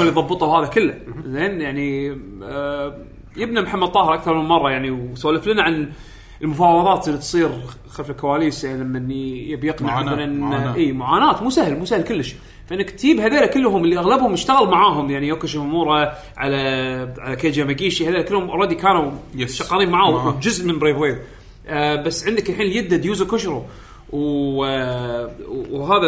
اللي ضبطوا هذا كله زين يعني آه، يبنى محمد طاهر اكثر من مره يعني وسولف لنا عن المفاوضات اللي تصير خلف الكواليس يعني لما ي- يبي يقنع
معاناة،
مثلا
معاناة.
اي معاناه إيه، مو سهل مو سهل كلش فانك تجيب هذول كلهم اللي اغلبهم اشتغل معاهم يعني يوكو شيمامورا على على كيجي ماجيشي هذول كلهم اوريدي كانوا
Yes.
شغالين معاه
معاه.
وجزء من بريف ويف آه بس عندك الحين اليدد يوزو كوشرو و... آه، وهذا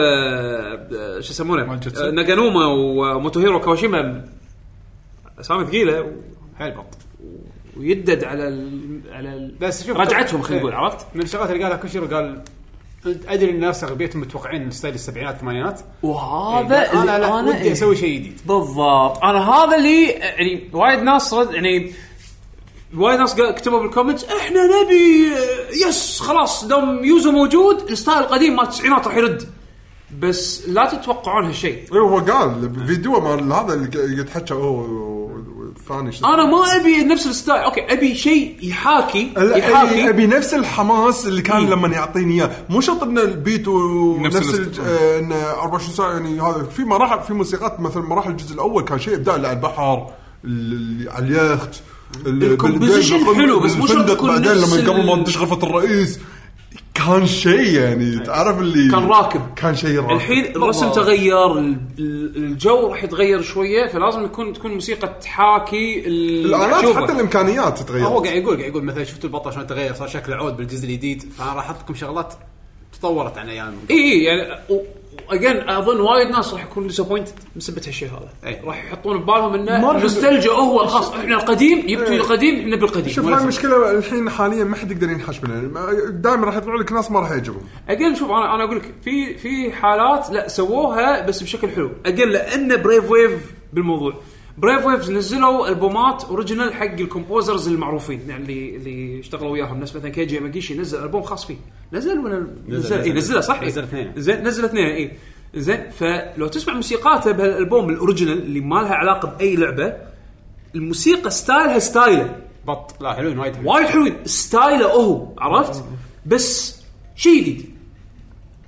آه، شو يسمونه
مال جيتسو.
آه، ناغانوما وموتوهيرو كواشيما اسامي ثقيله
هالبط
آه، ويدد على ال... على ال...
بس شوف إيه.
رجعتهم خلينا نقول عرفت
من الشغلات اللي قالها كوشيرو قال ادري ان الناس اغلبيتهم متوقعين ستايل السبعينات الثمانينات
وهذا
قال انا إيه، لا ودي
إيه.
اسوي شيء جديد
بالضبط انا هذا اللي يعني وايد ناس رد يعني وايد ناس قا- كتبوا بالكومنت احنا نبي آه، يس خلاص دام يوزو موجود الستايل القديم مال التسعينات راح يرد بس لا تتوقعون هالشيء
اي هو قال فيديو مال هذا اللي يتحكى هو والثاني شو اسمه.
انا ما ابي نفس الستايل اوكي ابي شيء يحاكي
لا،
يحاكي
أبي, ابي نفس الحماس اللي
إيه.
كان لما يعطيني اياه مو شرط ان البيت ونفس
نفس
الج- آه، ان 24 ساعه يعني هذا في مراحل في موسيقات مثلا مراحل الجزء الاول كان شيء ابداع اللي على البحر اللي على اليخت اللي
الكومبوزيشن
بالفندق-
إيه، حلو، بس مو شرط
بالفندق
تكون
بعدين
نفس
لما قبل ما
ال- إيه.
تدش غرفه الرئيس كان شيء يعني تعرف اللي
كان راكب.
كان شيء راكب
الحين الرسم تغير ال- ال- الجو راح يتغير شويه فلازم يكون تكون موسيقى تحاكي ال-
الالات
المحجوبة.
حتى الامكانيات
هو
تتغير
قاعد يقول قاعد يقول مثلا شفتوا البطل شلون تغير صار شكله عود بالجزء الجديد فانا راح احط لكم شغلات تطورت عن ايام
اي اي يعني اجين اظن وايد ناس راح يكونوا ديسابوينتد بسبب هالشيء هذا
إي.
راح يحطون ببالهم انه
ما راح-
نوستالجيا هو خاص احنا القديم يبتوي القديم احنا
شوف
بالقديم
هاي المشكله الحين حاليا ما حد يقدر ينحش منها دائما راح يطلع لك ناس ما راح يعجبهم
اجين شوف انا انا اقول لك في في حالات لا سووها بس بشكل حلو اجين لان بريف ويف بالموضوع بريف ويفز نزلوا البومات اوريجينال حق الكومبوزرز المعروفين يعني اللي اللي اشتغلوا وياهم ناس مثلا كيجي ماجيشي نزل البوم خاص فيه نزل ولا نزل اي نزله صح إيه.
نزل اثنين.
زين نزل اثنين اي زين فلو تسمع موسيقاته بهالالبوم الاوريجينال اللي ما لها علاقه باي لعبه الموسيقى ستايلها ستايله
بط لا حلوين وايد حلوين
وايد حلوين ستايله هو عرفت بس شيء جديد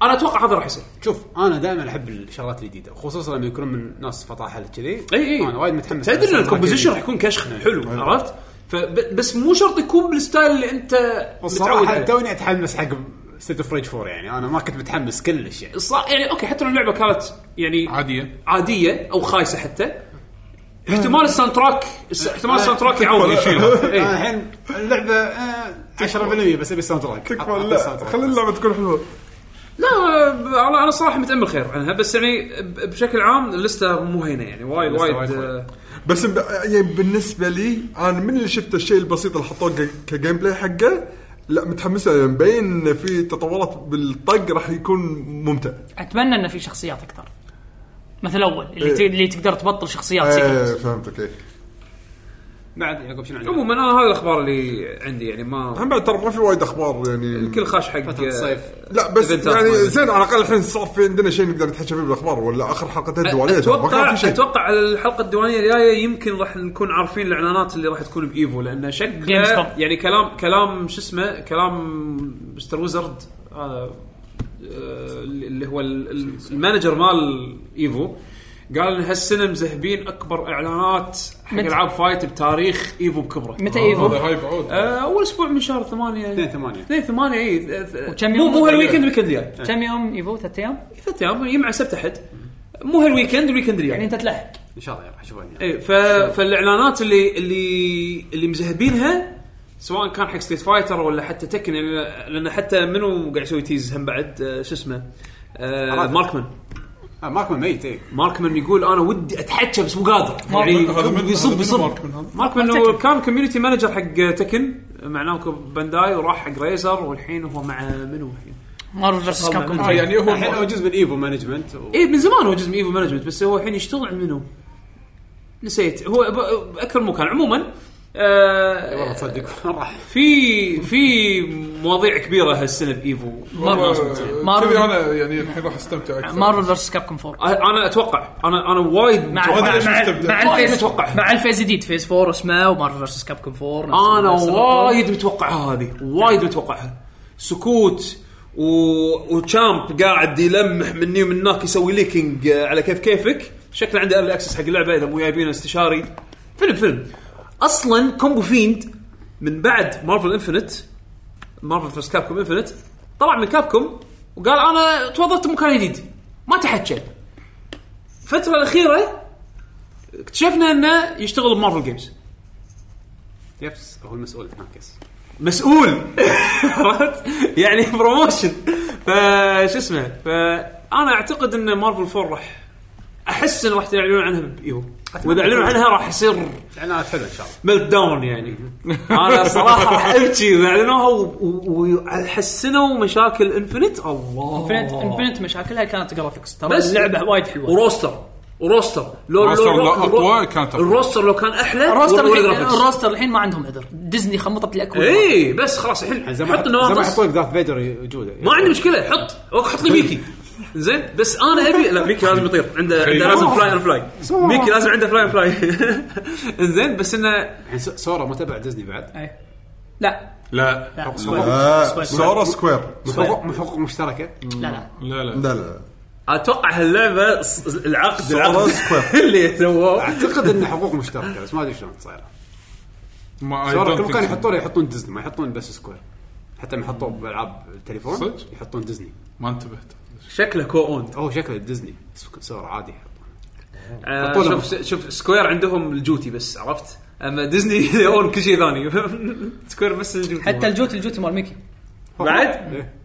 انا اتوقع هذا راح يصير
شوف انا دائما احب الشغلات الجديده خصوصا لما يكونون من ناس فطاحل كذي
اي اي
انا وايد متحمس
إيه. تدري ان
على
الكومبوزيشن راح
الجديد.
يكون كشخ حلو عرفت فب- بس مو شرط يكون بالستايل اللي انت متعود
الصراحه
عليه.
توني اتحمس حق ستيت اوف ريج 4 يعني انا ما كنت متحمس كلش يعني
صا- يعني اوكي حتى لو اللعبه كانت يعني
عاديه
عاديه او خايسه حتى احتمال الساوند تراك الس- احتمال الساوند تراك يعوض
يشيلها.
إي.
آه،
أنا الحين اللعبه آه 10% بس ابي الساوند تراك
تكفى
أعطي
لا
الساوند تراك
خلي
بس.
اللعبه تكون حلوه
لا ب- انا انا صراحه متامل خير عنها بس يعني ب- بشكل عام اللسته مو هينه يعني وايد
اللستة
وايد
وايد
آه،
بس ب- يعني بالنسبه لي انا من اللي شفت الشيء البسيط اللي حطوه ك- كجيم بلاي حقه لا متحمس له مبين إن في تطورات بالطق راح يكون ممتع
اتمنى انه في شخصيات اكثر مثل اول اللي,
إيه.
إيه.
ت- اللي تقدر تبطل شخصيات
آه
سيكرت
فهمتك إيه.
بعد يعقوب شنو عندك؟
عموما انا هذه الاخبار اللي عندي يعني ما
هم بعد ترى ما في وايد اخبار يعني
الكل خاش حق آه،
فترة الصيف.
لا بس
إيفنتات ما
يعني
أدري.
زين على الاقل الحين صار في عندنا شيء نقدر نتحكى فيه بالاخبار ولا اخر حلقتين الدوليه ترى ما
اتوقع
كان في شيء
اتوقع على الحلقه الديوانيه الجايه يمكن راح نكون عارفين الاعلانات اللي راح تكون بايفو لان شك
Gamescom.
يعني كلام كلام شو اسمه كلام مستر ويزرد هذا آه، اللي هو ال- ال- المانجر مال ايفو قال ان هالسنه مزهبين اكبر اعلانات حق
متى؟
العاب فايت بتاريخ ايفو بكبره
متى ايفو؟
هذا هايب عود
آه، اول اسبوع من شهر 8
2 8
2 8 اي
وكم
مو
يوم؟
مو هالويكند ويكند يعني. الجاي
كم يوم ايفو ثلاث ايام؟
ثلاث ايام يجمع سبت احد مو هالويكند الويكند الجاي
يعني انت تلحق
ان شاء الله راح يشوفوني
ايه ف... فالاعلانات اللي اللي اللي مزهبينها سواء كان حق ستريت فايتر ولا حتى تكن يعني لان حتى منو قاعد يسوي تيز هم بعد آه، شو اسمه آه
أراد.
ماركمان
آه ماركمان ميت اي
ماركمان يقول انا ودي اتحكى بس مو قادر
هذا
يعني
من
يصب يصب
مارك من هذا
ماركمان هو كان كوميونتي مانجر حق تكن مع نامكو بانداي وراح حق ريزر والحين هو مع منو الحين؟
مارفل فيرسس كاب
اه
كوم
يعني
الحين هو
هو
جزء من ايفو مانجمنت و...
اي إيه، من زمان هو جزء من ايفو مانجمنت بس هو الحين يشتغل عند منو؟ نسيت هو ب- باكثر من مكان عموما آه
إيه، والله تصدق راح
في في مواضيع كبيره هالسنه بايفو
آه،
مارفل.
كذي انا يعني الحين راح استمتع اكثر
مارفل فيرسس كاب كوم 4
انا اتوقع انا انا وايد
مع
متوقع
أتوقع
مع
ليش
مع,
مستبدل؟
مع
وايد
الفيز
متوقع.
مع الفيز جديد فيز 4 اسمه ومارفل فيرسس كاب كوم 4 نفس-
انا
نفس الرقم.
وايد متوقعها هذه وايد متوقعها سكوت و... وتشامب قاعد يلمح مني ومنك يسوي ليكينج على كيف كيفك شكله عنده ايرلي اكسس حق اللعبه اذا مو جايبينه استشاري فيلم فيلم اصلا كومبو فيند من بعد مارفل انفنت مارفل فيرس كابكوم انفنت طلع من كابكوم وقال انا توظفت مكان جديد ما تحكى الفتره الاخيره اكتشفنا انه يشتغل بمارفل جيمز
يبس هو المسؤول هناك يس
مسؤول عرفت؟ يعني بروموشن فش اسمه فانا اعتقد ان مارفل 4 راح احس ان راح يعلنون عنها بايفو واذا اعلنوا عنها راح يصير
اعلانات حلوه ان شاء الله
ميلت داون يعني انا صراحه راح ابكي اذا اعلنوها و- و- وحسنوا مشاكل انفنت الله
انفنت انفنت مشاكلها كانت جرافيكس ترى
Oh. بس.
اللعبه وايد حلوه
وروستر وروستر لو
روستر
لو-
لو
رو-
أقوى كانت أقوى.
الروستر لو كان احلى
الروستر
وال-
الحين
والجرافيكس.
الروستر الحين ما عندهم عذر ديزني خمطت الاكل
اي إيه، بس خلاص الحين
زي ما
حط
حط- زي ما
النواقص
حطوا لك دارث فيدر وجوده
ما عندي مشكله حط اوك حط لي ميكي زين بس انا ابي لا ميكي لازم يطير عنده عنده لازم فلاي اند فلاي ميكي لازم عنده فلاي اند فلاي زين بس انه
يعني
الحين س- سورا ما تبع ديزني بعد
إيه. لا
لا
لا
آه، سورا سكوير
حقوق من حقوق مشتركه
لا لا
لا لا
لا لا
اتوقع هاللعبه ص- العقد العقد
سكوير.
اللي سووه
اعتقد انه حقوق مشتركه بس ما ادري شلون صايره
ما I
سورا
don't
كل مكان
think so.
يحطونه يحطون ديزني ما يحطون بس سكوير حتى لما حطوه بالعاب التليفون
صدق؟
يحطون ديزني
ما انتبهت
شكله كو اوند
هو شكله ديزني سك- سورا عادي يحطونه
آه،
حطوا لهم.
شوف شوف سكوير عندهم الجوتي بس عرفت اما ديزني اون كل شيء ثاني سكوير بس الجوتي
حتى الجوت الجوت مال ميكي
بعد؟
إيه.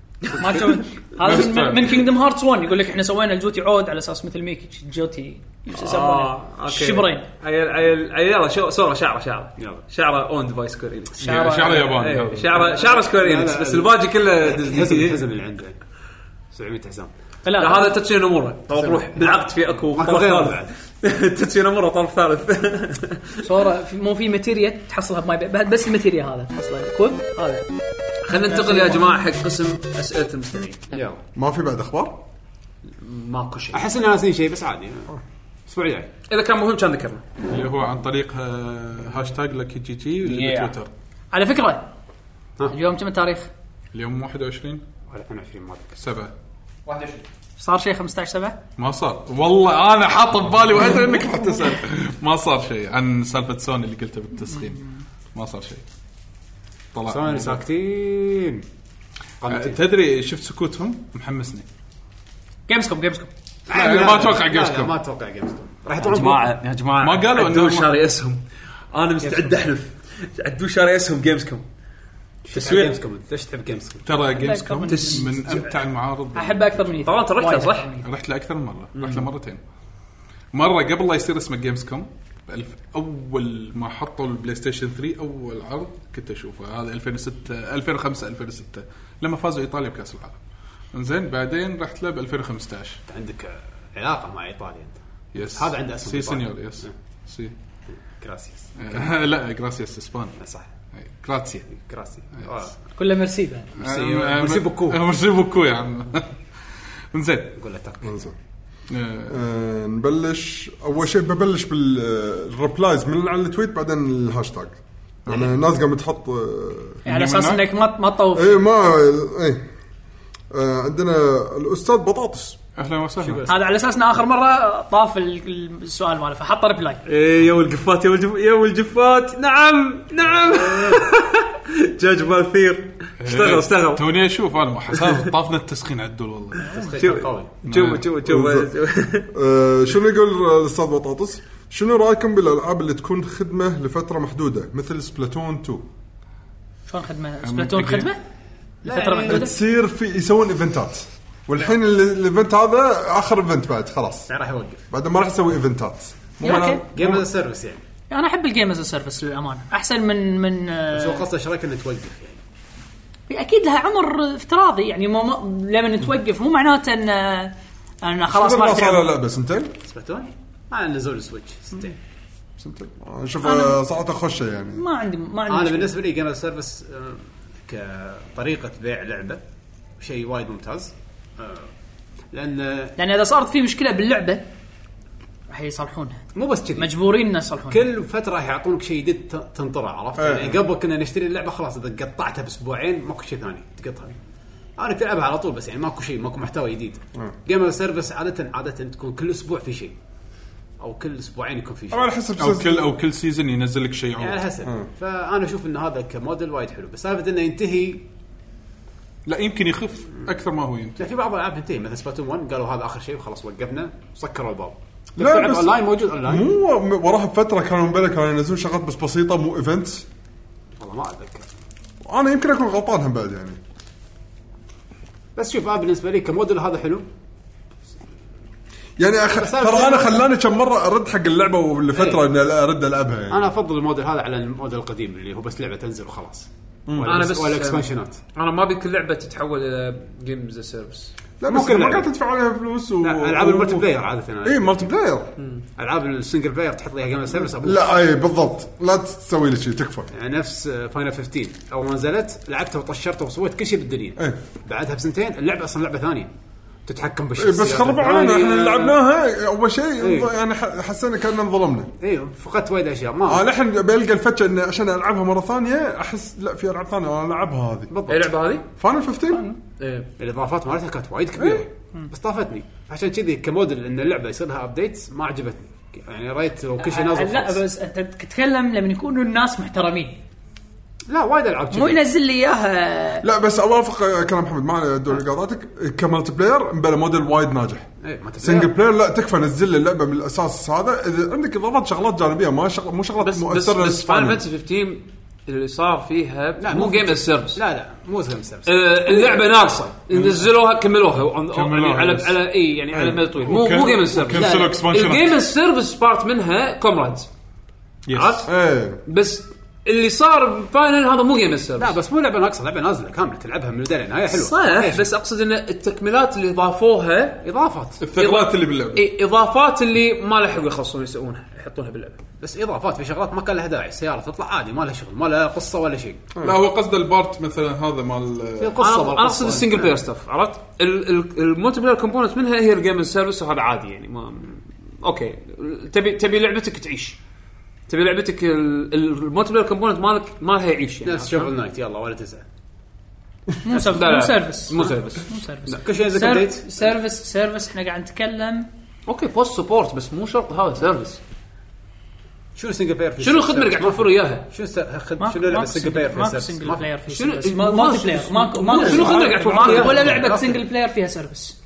ما تسوي هذا من- من كينجدم هارتس 1 يقول لك احنا سوينا الجوتي عود على اساس مثل ميكي جوتي شو يسمونه
آه، أوكي.
الشبرين
عيل عيل عيل يلا شو- سورا شعره شعره
يلا.
شعره اوند باي سكوير انكس
يعني شعره ياباني
إيه،
هذا
شعره شعره سكوير
لا،
انكس
لا،
بس
لا.
الباجي كله
الحزم
ديزني إيه؟
الحزم اللي عنده 700 حزام
لا
لا هذا تاتشي نامورا طب روح بالعقد في اكو
ماكو
طرف
غيره
ثالث تاتشي نامورا طرف ثالث
صورة في- مو في ماتيريا تحصلها بماي بي- بس الماتيريا هذا اصلا كوب هذا
خلينا ننتقل يا جماعه حق قسم اسئله المستمعين
يلا
ما في بعد اخبار؟
ماكو شيء
احس اني ناسين شيء بس عادي الاسبوع الجاي
اذا كان مهم كان ذكرنا
اللي هو عن طريق آه، هاشتاج لكي جي جي اللي
Yeah.
بتويتر
على فكره اليوم كم التاريخ؟
اليوم 21
ولا 22 ما اذكر
7
صار شيء 15 7
ما صار والله انا حاط ببالي وادري انك راح تسال ما صار شيء عن سالفه سوني اللي قلتها بالتسخين ما صار شيء طلع
سوني ساكتين
آه، تدري شفت سكوتهم محمسني
جيمز كوم جيمز كوم
لا، لا، يعني ما اتوقع جيمز
لا، لا، ما
كوم
اتوقع جيمز كوم
راح يا جماعه يا جماعه
ما قالوا
عدول
إنه-
شاري اسهم انا مستعد احلف عدول شاري اسهم جيمز كوم تسويق
جيمز كوم ليش تحب جيمز كوم؟
ترى جيمز كوم
تس-
من امتع المعارض
احبه اكثر من
طبعاً أنت رحت
وايد
صح؟
أكثر من يث.
رحت له اكثر من مره رحت له مرتين مره قبل لا يصير اسمه جيمز كوم بألف اول ما حطوا البلاي ستيشن 3 اول عرض كنت اشوفه هذا 2006 2005 2006 لما فازوا ايطاليا بكاس العالم زين بعدين رحت له ب 2015
عندك آه، علاقه مع ايطاليا انت
يس
هذا عنده اسم
سي
نعم.
إيطالي.
سنيور يس سي
كراسيس
لا جراسياس اسباني
صح
جراتسيا
كراسي
آه.
كلها ميرسي بعد
eh,
Um,
مرسي بوكو.
مرسي بوكو يا عم يعني. زين Uh,
اقول له تك
انزين آه، نبلش اول شيء ببلش بالريبلايز من على التويت بعدين الهاشتاج يعني الناس قامت تحط آه،
يعني
على اساس
منها؟
انك ما ما
إيه.
تطوف
اي ما اي آه، عندنا الاستاذ بطاطس
اهلا وسهلا
هذا على اساس انه اخر مره طاف ال- السؤال ماله فحط ريبلاي
إيه يا والجفات يا والجف... يا والجفات نعم نعم جاج بالثير
إيه.
اشتغل اشتغل
توني اشوف انا حساب طافنا التسخين عدول والله
شوف شوف شوف شوف
آه، شنو يقول الاستاذ بطاطس؟ شنو رايكم بالالعاب اللي تكون خدمه لفتره محدوده مثل سبلاتون 2
شلون خدمه سبلاتون خدمه؟ لفتره
يعني
محدوده
تصير في يسوون ايفنتات والحين ال- الايفنت هذا اخر ايفنت بعد خلاص
يعني راح يوقف
بعدين ما راح يسوي ايفنتات
يا اوكي
جيم از سيرفيس يعني
انا احب الجيم از سيرفيس للامانه احسن من من آه،
بس هو قصده ايش رايك انه توقف يعني
اكيد لها عمر افتراضي يعني مو مو- لما توقف مو معناته ان آه، انا خلاص ما يعني. راح
صار له
تلعب.
لعبه سنتين
سبلاتون مع نزول سويتش سنتين
سنتين آه، شوف آه، صراحه خوشه يعني
ما عندي ما عندي
انا
مشكلة.
بالنسبه لي جيم از سيرفيس كطريقه آه، بيع لعبه شيء وايد ممتاز آه، لان
لان اذا صارت في مشكله باللعبه راح يصلحونها
مو بس كذي
مجبورين انه يصلحونها
كل فتره راح يعطونك شيء جديد ت- تنطره عرفت؟
إيه.
يعني قبل كنا نشتري اللعبه خلاص اذا قطعتها باسبوعين ماكو شيء ثاني تقطها. انا تلعبها على طول بس يعني ماكو شيء ماكو محتوى جديد. جيم سيرفيس عاده عاده تكون كل اسبوع في شيء. او كل اسبوعين يكون في
طبعا
شيء.
على حسب
او
سيزن.
كل او كل سيزون ينزل لك شيء
يعني على
عوض
حسب فانا اشوف ان هذا كموديل وايد حلو بس سالفه انه ينتهي
لا يمكن يخف اكثر ما هو يمكن
لا، في بعض الالعاب تنتهي مثلا سباتون 1 قالوا هذا اخر شيء وخلاص وقفنا سكروا الباب.
لا،
لا بس
بس-
اونلاين موجود اونلاين
مو م- وراها بفتره كانوا مبلا كانوا ينزلون شغلات بس بسيطه مو ايفنت
والله ما اتذكر
انا يمكن اكون غلطان هم بعد يعني
بس شوف انا بالنسبه لي كموديل هذا حلو
يعني أخ...
بس أنا- إيه.
ترى انا خلاني كم مره ارد حق اللعبه ولفتره اني ارد العبها يعني
انا افضل الموديل هذا على الموديل القديم اللي هو بس لعبه تنزل وخلاص
أنا بس-
ولا اكسبانشنات
انا ما ابي كل لعبه تتحول الى جيم از سيرفيس
لا بس
ممكن
ما
لعبة.
قاعد تدفع عليها فلوس و... إيه،
لا العاب الملتي بلاير عاده
اي
أنا.
مالتي بلاير
العاب السنجل بلاير تحط لها جيم سيرفيس
لا اي بالضبط لا تسوي لي شيء تكفى
يعني نفس فاينل 15 اول ما نزلت لعبتها وطشرتها وسويت كل شيء بالدنيا
إيه.
بعدها بسنتين اللعبه اصلا لعبه ثانيه تتحكم
إيه،
بالشخصيات آه،
بس خربوا علينا
الثانية.
احنا لعبناها اول شيء
يعني إيه.
يعني ح- حسينا كاننا انظلمنا
اي إيه، فقدت وايد اشياء
انا
ما
الحين بلقى الفتشه اني عشان العبها مره ثانيه احس لا في العاب ثانيه انا العبها هذه
إيه،
اي
بالضبط
لعبه هذه؟
فاينل 15
ايه
الاضافات مالتها كانت وايد
إيه.
كبيره بس طافتني عشان كذي كموديل ان اللعبه يصير لها ابديتس ما عجبتني يعني ريت لو كل شيء نازل
آه، لا
خلاص.
بس انت تتكلم لما يكونوا الناس محترمين
لا وايد العاب كذي.
مو ينزل لي اياها
لا بس اوافق كلام محمد ما دول قاطعتك كمالتي بلاير مبلا موديل وايد ناجح
إيه، ما تدري.
سنجل بلاير لا تكفى نزل لي اللعبه من الاساس هذا اذا عندك اضافات شغلات جانبيه ما شغل مو شغلات
بس بس,
مؤثره
بس فاينل فانتسي 15 اللي صار فيها مو جيم از سيرفيس
لا لا مو سيرفيس سيرفيس.
آه، اللعبه ناقصه نزلوها كملوها وعن- يعني
كملوها،
على
يس.
على اي يعني على مدى طويل مو
وكان-
مو جيم السيرفس
وكنسلوا
لا، لا.
expansionات.
الجيم السيرفس بارت منها كومرادز عرفت؟
ايه
بس اللي صار فاينل هذا مو جيم السيرفس
لا بس مو لعبه ناقصه لعبه نازله كامله تلعبها من البدايه للنهايه حلوه
صح بس اقصد ان التكملات اللي ضافوها
اضافات
الثغرات اللي باللعبه
اي اضافات اللي ما لحقوا يخلصون يسوونها يحطونها باللعبه
بس اضافات في شغلات ما كان لها داعي سياره تطلع عادي ما لها شغل ما لها قصه ولا شيء
إيه.
لا هو قصده البارت مثلا هذا مال
هي
انا
قصه
أنا اقصد السنجل بلاير ستاف عرفت؟ ال- ال- الملتي بلاير كومبوننت منها هي الجيم سيرفيس وهذا عادي يعني ما اوكي تبي تبي لعبتك تعيش تبي لعبتك ال- ال- الملتي بلاير كومبوننت مالك ما لها يعيش يعني
نفس شوفل نايت يلا ولا تزعل
مو سيرفس
لا، لا.
مو سيرفس
مو سيرفس
مو سيرفس
كل شيء ينزل
سيرف-
ابديت
سيرفس سيرفس احنا قاعد نتكلم
اوكي بوست سبورت بس مو شرط هذا سيرفس
شنو السنجل بلاير في
شنو الخدمه اللي قاعد توفر اياها؟
شنو س- خد-
ماكو-
شنو لعبه
ماكو
السنجل
سنجل-
بلاير في
ماكو
السيرفس؟
سنجل
ما في-
بلاير في
شنو-
سيرفس
ما-
مالتي بلاير ماكو ماكو
شنو خدمة قاعد تفهم فيها؟
ولا لعبه سنجل بلاير فيها سيرفس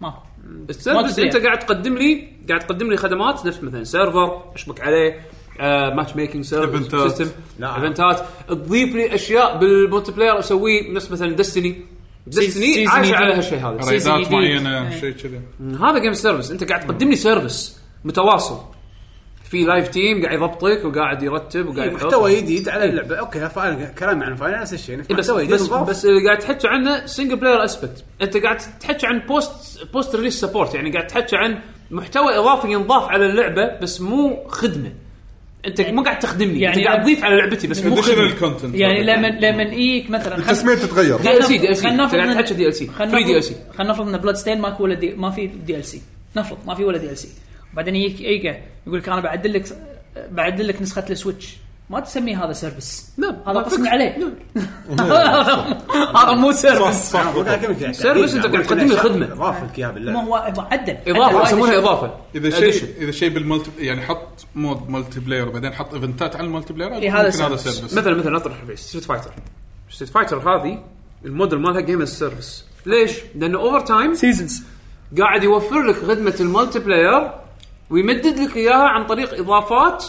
ماكو Multiplayer.
السيرفس انت قاعد تقدم لي قاعد تقدم لي خدمات نفس مثلا سيرفر اشبك عليه آه، ماتش ميكنج سيرفر
إيفنتات.
سيستم
نعم.
ايفنتات تضيف لي اشياء بالملتي بلاير اسويه نفس مثلا ديستني ديستني
سيزن
عايش
جديد.
على هالشيء هذا
سيزن جديد.
ريدات معينه
إيه.
شيء كذا
هذا جيم سيرفس انت قاعد تقدم لي سيرفس متواصل في لايف تيم قاعد يضبطك وقاعد يرتب وقاعد يحط
محتوى جديد على اللعبه اوكي فاين كلام عن فاين نفس الشيء
إيه بس
محتوى جديد
بس,
مضاف.
بس اللي قاعد تحكي عنه سنجل بلاير اسبكت انت قاعد تحكي عن بوست بوست ريليس سبورت يعني قاعد تحكي عن محتوى اضافي ينضاف على اللعبه بس مو خدمه انت مو قاعد تخدمني يعني
يعني
انت قاعد
لما-
تضيف على لعبتي بس مو خدمة.
اديشنال كونتنت
يعني لما لما يجيك مثلا خل-
التسميه تتغير
دي ال سي دي ال سي
خلنا
انت
نفرض
قاعد
إن-
تحكي دي ال سي
خلينا
فري دي ال سي
نفرض- خلينا نفرض ان بلاد ستين ماكو ولا دي ما في دي ال سي نفرض ما في ولا دي ال سي وبعدين يجيك ايجا يقول لك انا بعدل لك بعدل لك نسخه السويتش ما تسميه هذا سيرفس
نعم.
هذا قسم عليه هذا مو سيرفس
صح
سيرفيس أنت قاعد تقدم لي خدمة.
اضاف لك اياها بالله
ما هو هو عدل
اضافه
عدل.
يسمونها اضافه
اذا
Addition.
شيء اذا شيء بالملتي يعني حط مود ملتي بلاير وبعدين حط ايفنتات على الملتي بلاير
إي،
إيه،
هذا
ممكن
service.
سيرفس
مثلا مثلا اطرح بيس ستريت فايتر ستريت فايتر هذه الموديل مالها جيم از سيرفيس ليش؟ لان اوفر تايم
سيزونز
قاعد يوفر لك خدمه المالتي بلاير ويمدد لك اياها عن طريق اضافات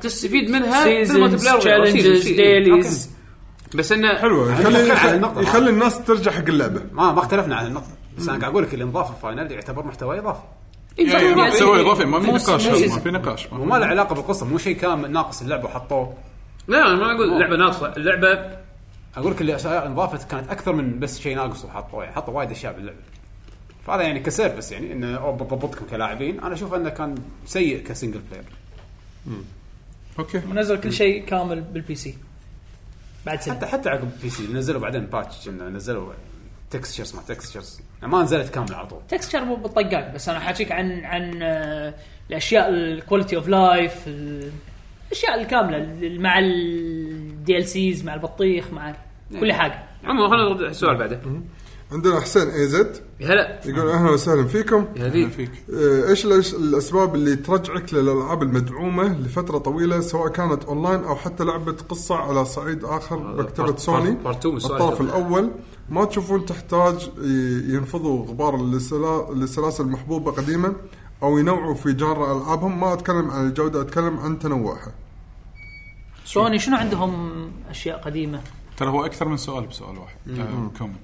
تستفيد منها في المالتي
سيزونز
بلاير
تشالنجز
Seasons، إي،
ديليز
أوكي. بس انه
حلوه
نتكلم
يخلي
على النقطة.
يخلي الناس ترجع حق اللعبه
ما ما اختلفنا على النقطه بس انا قاعد اقول لك الانضافه الفاينل يعتبر محتوى اضافي
يعني سوي اضافه ما في
مو-
نقاش
مو
هذا، ما
season.
في نقاش ما
وما له علاقه بالقصه مو شيء كامل ناقص اللعبه وحطوه
لا انا ما اقول اللعبه ناقصه اللعبه
اقول لك اللي أشياء انضافت كانت اكثر من بس شيء ناقص وحطوه يعني حطوا وايد اشياء باللعبه فهذا يعني كسيرفس يعني انه أو بضبطكم كلاعبين انا اشوف انه كان سيء كسنجل بلاير
في- اوكي
ونزل كل شيء كامل بالبي سي بعد سنه
حتى حتى عقب بي سي نزلوا بعدين باتش كنا نزلوا تكستشرز ما تكستشرز يعني ما نزلت كامله على طول
تكستشر مو بالطقاق بس انا حاكيك عن عن آه، الاشياء الكواليتي اوف لايف الاشياء الكامله ال- مع الدي ال سيز مع البطيخ مع
إيه.
كل حاجه
عموما خلينا نرد على السؤال بعده
عندنا حسين اي زد
يا هلا
يقول اهلا وسهلا فيكم
يا هذي
فيك
آه، ايش الأش- الاسباب اللي ترجعك للالعاب المدعومه لفتره طويله سواء كانت اونلاين او حتى لعبه قصه على صعيد اخر مكتبه
part-
سوني
part- part two من السؤال
الطرف
هذا.
الاول ما تشوفون تحتاج ي- ينفضوا غبار السلا- السلاسل المحبوبه قديما او ينوعوا في جانر العابهم ما اتكلم عن الجوده اتكلم عن تنوعها
سوني شنو عندهم اشياء قديمه
ترى هو اكثر من سؤال بسؤال واحد آه، كومنت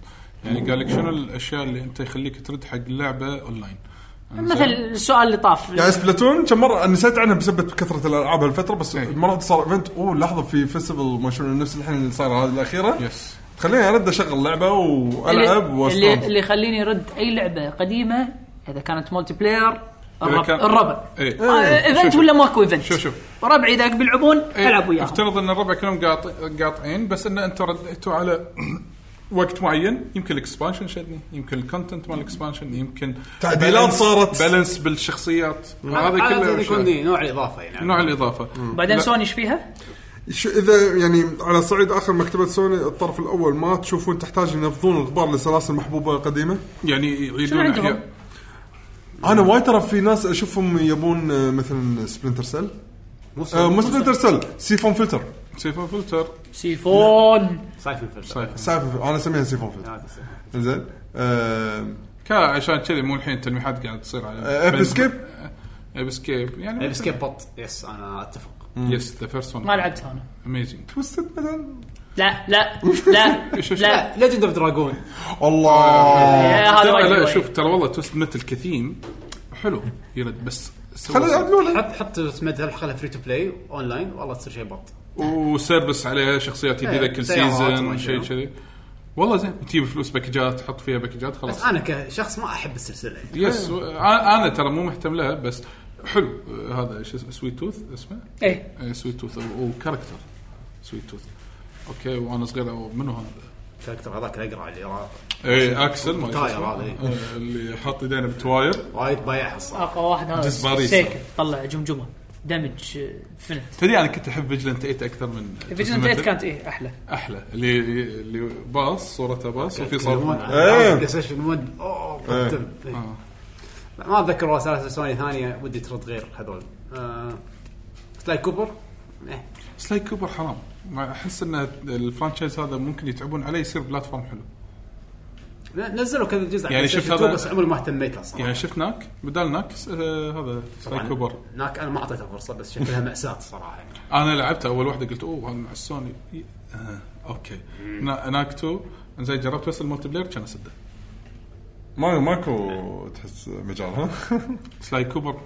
يعني قال لك شنو الاشياء اللي انت يخليك ترد حق اللعبه اونلاين
مثل السؤال اللي طاف
يعني سبلاتون كم مره نسيت عنها بسبب كثره الالعاب هالفتره بس
إيه.
مرات صار ايفنت اوه لحظه في فيستيفال ما شنو نفس الحين اللي صار هذه الاخيره
يس
خليني ارد اشغل لعبه والعب
اللي- اللي,
واستانس
اللي يخليني ارد اي لعبه قديمه اذا كانت مولتي بلاير الربع
كان-
الربع
إيه.
آه، ايفنت ولا ماكو ايفنت
شوف- شوف.
ربعي اذا بيلعبون
إيه،
العب وياهم
افترض ان الربع كلهم قاط- قاطعين بس ان انت رديتوا على وقت معين يمكن الاكسبانشن شدني يمكن الكونتنت مال الاكسبانشن يمكن
تعديلات
balance-
صارت.
بالانس بالشخصيات هذا
هذا
كله أشياء.
يكون نوع الاضافه يعني
نوع الاضافه
بعدين
لا.
سوني ايش فيها؟
شو اذا يعني على صعيد اخر مكتبه سوني الطرف الاول ما تشوفون تحتاج ينفضون الغبار لسلاسل محبوبه قديمه؟
يعني يعيدون
شنو عندهم؟
احياء
انا وايد ترى في ناس اشوفهم يبون آه، مثلا سبلنتر سيل
مو
آه، مو سبلنتر سيل سيفون فلتر
سيفون فلتر
سيفون
سايفن فلتر
صحيح
سالفه انا اسميها سيفون فلتر زين آه،
كا عشان كذي مو الحين تلميحات قاعد تصير على
ايب اسكيب
ابسكيب يعني
ايب سكيب بط يس انا اتفق
يس ذا فيرست ون
ما لعبتها انا
اميزنج
توستد مثلا
لا لا لا
شوف-
لا
ليجند اوف دراجون
الله
يا هذا وايد
ترى لا
وايد.
شوف ترى والله توست متل كثيم حلو يرد بس سوى-
خلينا نلعب لولا
حط حط تمد هالحلقه لها فري تو بلاي اون لاين والله تصير شيء بط
وسيرفس عليه شخصيات جديده
إيه،
كل
سيارات
سيزون
وما
شيء
شنو.
كذي والله زين تجيب فلوس باكجات تحط فيها باكجات
بس
خلاص
انا كشخص ما احب السلسله يعني.
يس و- انا أنا ترى مو مهتم لها بس حلو آه، هذا شو اسمه سويت توث اسمه
ايه
آه، سويت توث وكاركتر سويت توث اوكي وانا صغير أو منو هذا؟
الكاركتر هذاك الاقرع اللي را-
اي اكسل ما
طاير
اسمه.
هذا، إيه.
آه، اللي حاط يدينه بتواير
وايد بايعها الصراحه
اقوى واحد هذا
جزباري
سيكل طلع آه، جمجمه دمج فنت
تدري انا كنت احب فيجلنت 8 اكثر من
فيجن 8 كانت ايه احلى
احلى اللي اللي باص صورته باص وفي
يتكلمون
صار
عن
إيه.
بلاي ستيشن 1 اوه قدم. إيه.
آه.
لا، ما اتذكر والله سلاسل سوني ثانيه ودي ترد غير هذول آه، سلاي كوبر إيه.
سلاي كوبر حرام ما احس ان الفرانشايز هذا ممكن يتعبون عليه يصير بلاتفورم حلو
ن- نزلوا كذا جزء على
يعني
PlayStation
شفت هذا-
2 بس عمري ما اهتميت له الصراحه
يعني شفت ناك بدال ناك س- آه هذا سلاي
طبعاً
كوبر
هناك انا ما اعطيته فرصه بس شكلها ماساه صراحه يعني
انا لعبته اول واحده قلت اوه هذا مع السوني ي- آه اوكي نا- ناك 2 زين جربت بس الملتي بلاير كان اسده
ماكو ماكو تحس مجال ها
سلاي كوبر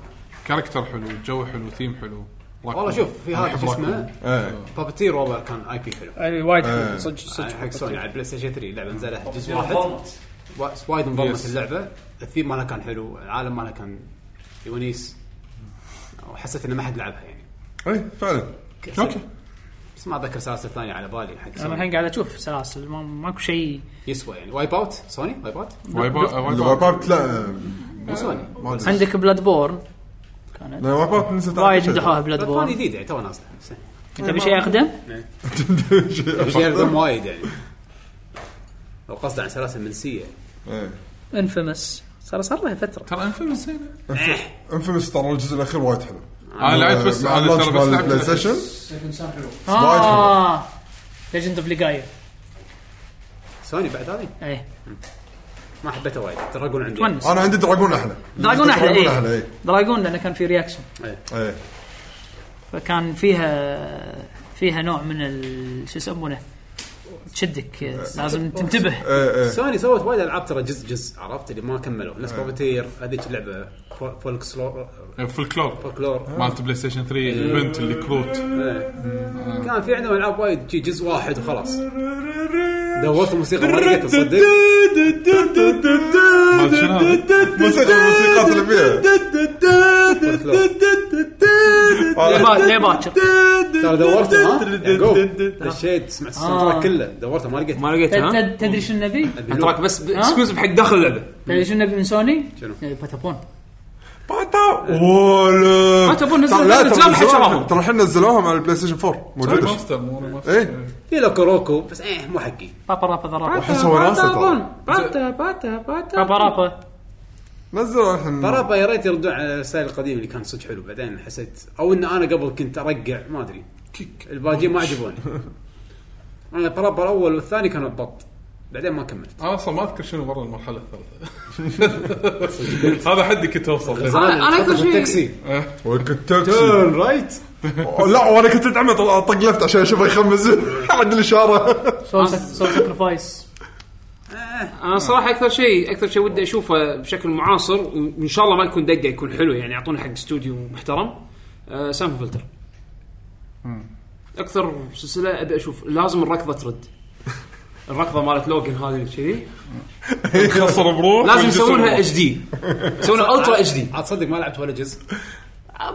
كاركتر حلو جو حلو ثيم حلو آه.
والله شوف في هذا شو اسمه
آه.
إيه.
بابتير والله كان اي بي حلو
وايد
حلو،
صدق
يعني حق سوني على البلاي ستيشن 3 لعبه نزلها جزء واحد وا- وايد
Yes.
انضمت اللعبه الثيم مالها كان حلو العالم مالها كان يونيس وحسيت انه ما حد لعبها يعني
اي فعلا اوكي
بس ما اتذكر سلاسل ثانيه على بالي حق
انا
سوني
الحين قاعد اشوف سلاسل ما- ماكو شيء
يسوى يعني وايب اوت سوني وايب اوت
وايب أوت- وايب
الوايب
أوت.
اوت لا
مو سوني
ما أدري.
عندك بلاد بورن
لا الوايب اوت نزلت على
وايد
كل شيء.
مدحوها بلاد
بلاد
بورن
جديد يعني تو نازله بس
انت بشيء اقدم؟
شيء يردم وايد يعني لو قصد عن سلاسل منسيه
إيه.
انفيمس صار صار لها فتره
ترى انفيمس زينه
انفيمس ترى الجزء الاخير وايد حلو آه،
انا لعبت بس
مع
انا
اللانش
ترى بس
مال
لعبت
البلاي
الأخير.
ستيشن وايد
اه ليجند اوف ليجايا
سوني بعد هذه
ايه
ما حبيتها وايد دراجون عندي
تونس
انا عندي دراجون احلى
دراجون احلى
دراجون
ايه
احلى ايه
دراجون لانه كان في رياكشن
ايه
فكان فيها فيها نوع من ال- شو يسمونه تشدك لازم تنتبه
ايه ايه
سوني سوت وايد العاب ترى جزء جزء عرفت اللي ما كملوا نفس بوبتير هذيك لعبه فو- فولك سلو
في الكلور
فولكلور
مالت بلاي ستيشن 3 البنت اللي كروت
كان في عندهم العاب وايد شي جزء واحد وخلاص دورت الموسيقى ما لقيتها تصدق
مالت شنو هذا؟
موسيقى الموسيقات اللي فيها
فولكلور.
آه.
ليه با- ليه باكر
ترى دورته ها يعقوب. دشيت سمعت الساوند تراك كله دورته ما لقيته
ما لقيت ها
تد- تدري شو نبي؟
أبي
التراك
لوك.
بس اكسكلوسيف حق داخل اللعبه
تدري شو نبي من سوني؟
شنو؟
إيه، باتابون
باتا ولا
باتابون نزل
ترى لا،
نزل
ترى
جاب حق
نزلوها-
شبابهم
ترى الحين نزلوها على البلاي ستيشن 4 موجوده
ريماستر مو ريماستر
ايه
في لوكو روكو بس ايه مو حقي
بابا رابا ذرابا
احس وناسه ترى
باتا باتا باتا
بابا رابا
نزلوا الحين
فرابا يا ريت يردون على الستايل القديم اللي كان صدق حلو بعدين حسيت او ان انا قبل كنت ارقع ما ادري الباجين ما عجبوني انا فرابا الاول والثاني كانوا بط بعدين ما كملت
انا اصلا ما اذكر شنو مره المرحله الثالثه هذا حدي كنت اوصل
آه،
أنا- أنا أكثر شيء-
بالتاكسي
وكنت تاكسي
رايت
لا وانا كنت ادعمه طل- اطق لفت عشان اشوفه يخمز عند الاشاره
سول ساكرفايس
انا صراحه اكثر شيء اكثر شيء ودي اشوفه بشكل معاصر وان شاء الله ما يكون دقه يكون حلو يعني يعطونا حق استوديو محترم آه سامبل فلتر اكثر سلسله ابي اشوف لازم الركضه ترد الركضه مالت لوجن هذه اللي كذي
خسر بروح
لازم يسوونها اتش دي يسوونها الترا اتش دي
عاد صدق ما لعبت ولا جزء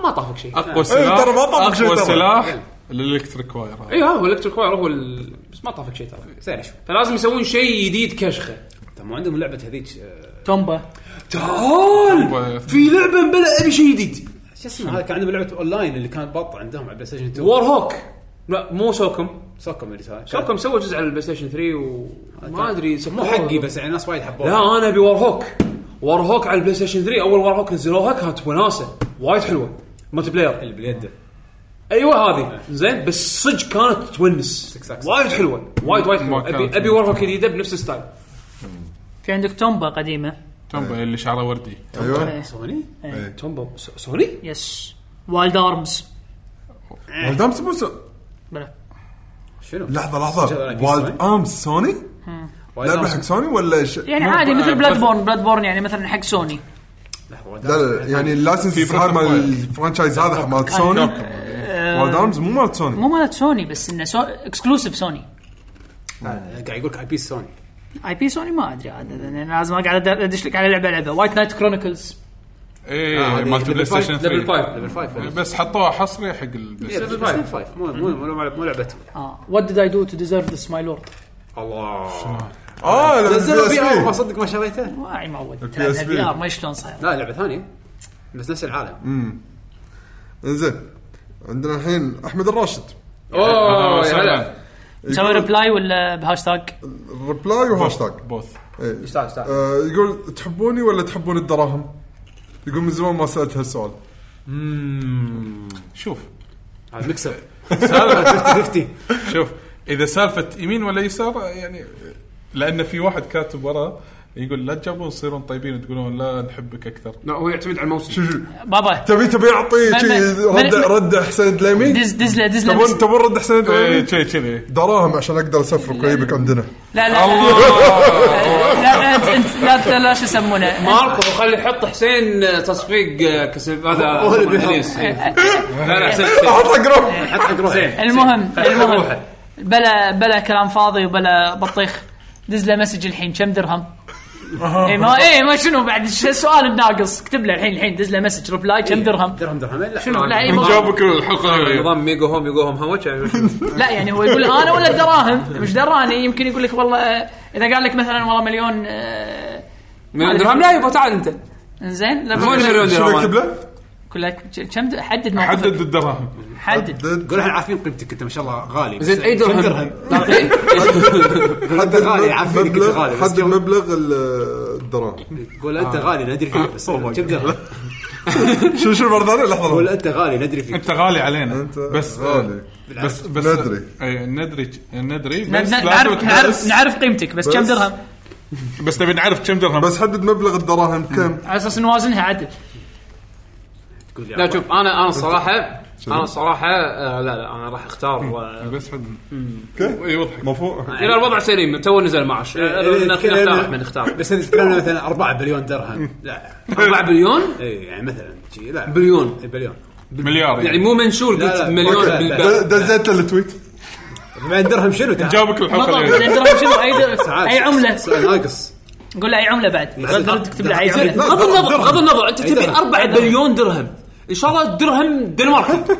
ما طافك شيء
اقوى
إيه،
سلاح
ترى ما طبق شيء
اقوى
ترى.
سلاح الالكتريك واير هذا.
اي إيه، هذا هو الكتريك واير هو ال... بس ما طافك شيء ترى
زين شوف
فلازم يسوون شيء جديد كشخه
طب ما عندهم لعبه هذيك آه،
تومبا
تعال في لعبه مبلا ابي شيء جديد
شو اسمه هذا كان عندهم لعبه اونلاين اللي كان بط عندهم على البلاي ستيشن 2
وور هوك لا مو سوكم
سوكم اللي سواه.
شوكم سوى جزء على البلاي ستيشن 3 وما ادري
مو
سكروه.
حقي بس يعني ناس وايد حبوه
لا انا ابي وار هوك وار هوك على البلاي ستيشن 3 اول وار هوك نزلوها كانت وناسه وايد حلوه ملتي بلاير
يعني
اللي باليد
ايوه هذه زين بس صدق كانت تونس
سكس.
وايد حلوه وايد وايد
ما
حلوه
كانت.
ابي ابي وار هوك جديده بنفس الستايل
في عندك تومبا قديمه
تومبا اللي شعره وردي
ايوه
سوني
تومبو س- سوني
يس وايلد ارمز
والدام سموس
بلا
شنو؟
لحظه لحظه
شغلة
وايلد امز سوني
وايد
لعبه
ناس-
حق سوني ولا ش...
يعني عادي مثل بلاد بورن بلاد بورن يعني مثلا حق سوني
لحظة، وايد
لا
ناس-
لا يعني اللايسنس
في
هاي مال
Breath of
الفرانشايز هذا مال سوني وايلد امز مو مال سوني
مو مالت سوني بس انه سو... اكسكلوسيف سوني
آه، قاعد يقول لك اي بي سوني
اي بي سوني ما ادري عاد يعني أنا لازم اقعد ادش لك على لعبه لعبه وايت نايت كرونيكلز
ايه مالت البلاي ستيشن 3
ليفل 5
ليفل 5
بس حطوها حصري حق البلاي ستيشن
ليفل 5 مو مو مو- مو لعبتهم
اه وات ديد اي دو تو ديزيرف ذس ماي لورد
الله
اه لما
نزلوا فيها أول ما
PSP.
صدق ما شريته
واعي معود
ال PSP.
في ار ما شلون صاير
لا لعبه ثانيه بس نفس العالم
انزين عندنا الحين احمد الراشد
أهلاً
اوه يا
وسهلاً.
هلا
تسوي ريبلاي ولا بهاشتاج
ريبلاي وهاشتاج
بوث
إيه.
تعال، إيش تعال.
آه، يقول تحبوني ولا تحبون الدراهم؟ يقول من زمان ما سالت هالسؤال
شوف
هذا ميكسر سالفه 50
شوف اذا سالفه يمين ولا يسار يعني لان في واحد كاتب وراه يقول لا تجاوبون تصيرون طيبين تقولون لا نحبك اكثر
لا
نعم.
هو يعتمد على الموسم
شو شو
بابا
تبي تبي اعطيه
من-
شي
من-
رد
من-
رد حسين دليمي؟
دز دز له دز له
تبون
مس-
تبون رد حسين
ايه
دليمي؟
كذي كذي
دراهم عشان اقدر اسفرك ويبك عندنا
لا لا لا لا انت انت لا لا- لا شو يسمونه
ماركو آه، خلي يحط حسين آه، تصفيق آه، كسب هذا هو اللي بيحط لا لا حسين حسين.
احطها
إيه.
جروب
حسين
المهم المهم
روحه.
بلا بلا كلام فاضي وبلا بطيخ دز له مسج الحين كم درهم؟ اي ما اي ما شنو بعد شو السؤال الناقص اكتب له الحين الحين دز له مسج ريبلاي كم درهم
درهم درهم لا
شنو لا إيه، اي
من
ما-
جابك الحلقه هاي
نظام ميجو هوم يجو هوم هاو ماتش
لا يعني هو يقول انا ولا الدراهم مش دراني يمكن يقول لك والله آه، اذا قال لك مثلا والله مليون آه،
مليون درهم لا يبا تعال انت
زين
مو مليون
شنو اكتب
درهم
له؟
كل لك كم د- حدد موقفك
حدد الدراهم
حدد
قول احنا عارفين قيمتك انت ما شاء الله غالي بس
زين اي درهم
انت غالي عارفين انك أنت غالي بس
مبلغ حدد
قول-
مبلغ ال- الدراهم
قول
آه.
انت غالي ندري فيك بس
Oh
كم درهم
شو شو مره ثانيه
قول
لحظه
انت غالي ندري فيك
انت غالي علينا
أنت
بس آه.
غالي.
بس بس
ندري.
اي ندري ندري
ن-
بس
ن-
لازم
نعرف نعرف
تحس-
نعرف قيمتك بس كم
بس.
درهم
بس نبي نعرف كم درهم
بس حدد مبلغ الدراهم كم
على اساس نوازنها عدل
لا شوف انا انا الصراحه انا الصراحه آه، لا لا انا راح اختار آه،
بس حد يوضحك
مفهوم
الى الوضع سليم تو نزل معش
إيه،
آه، لو إن نختار احمد نختار
يعني بس تتكلم مثلا 4 بليون درهم لا
4 بليون
اي يعني مثلا شي، لا
بليون
إي، بليون
مليار
يعني
يعني
مو منشور
لا،
قلت
لا.
مليون
لا، لا.
بالبلد.
دزيت له التويت
بعد درهم شنو تعال
جابك الحلقه
بالضبط
الجاية.
لأن درهم يعني شنو اي در-
تعال.
اي عمله
سؤال ناقص
قول له اي عمله بعد ترد تكتب له اي
زين،
عمله
بغض النظر بغض النظر انت
أي
تبي
درهم.
4 بليون درهم ان شاء الله درهم دنمارك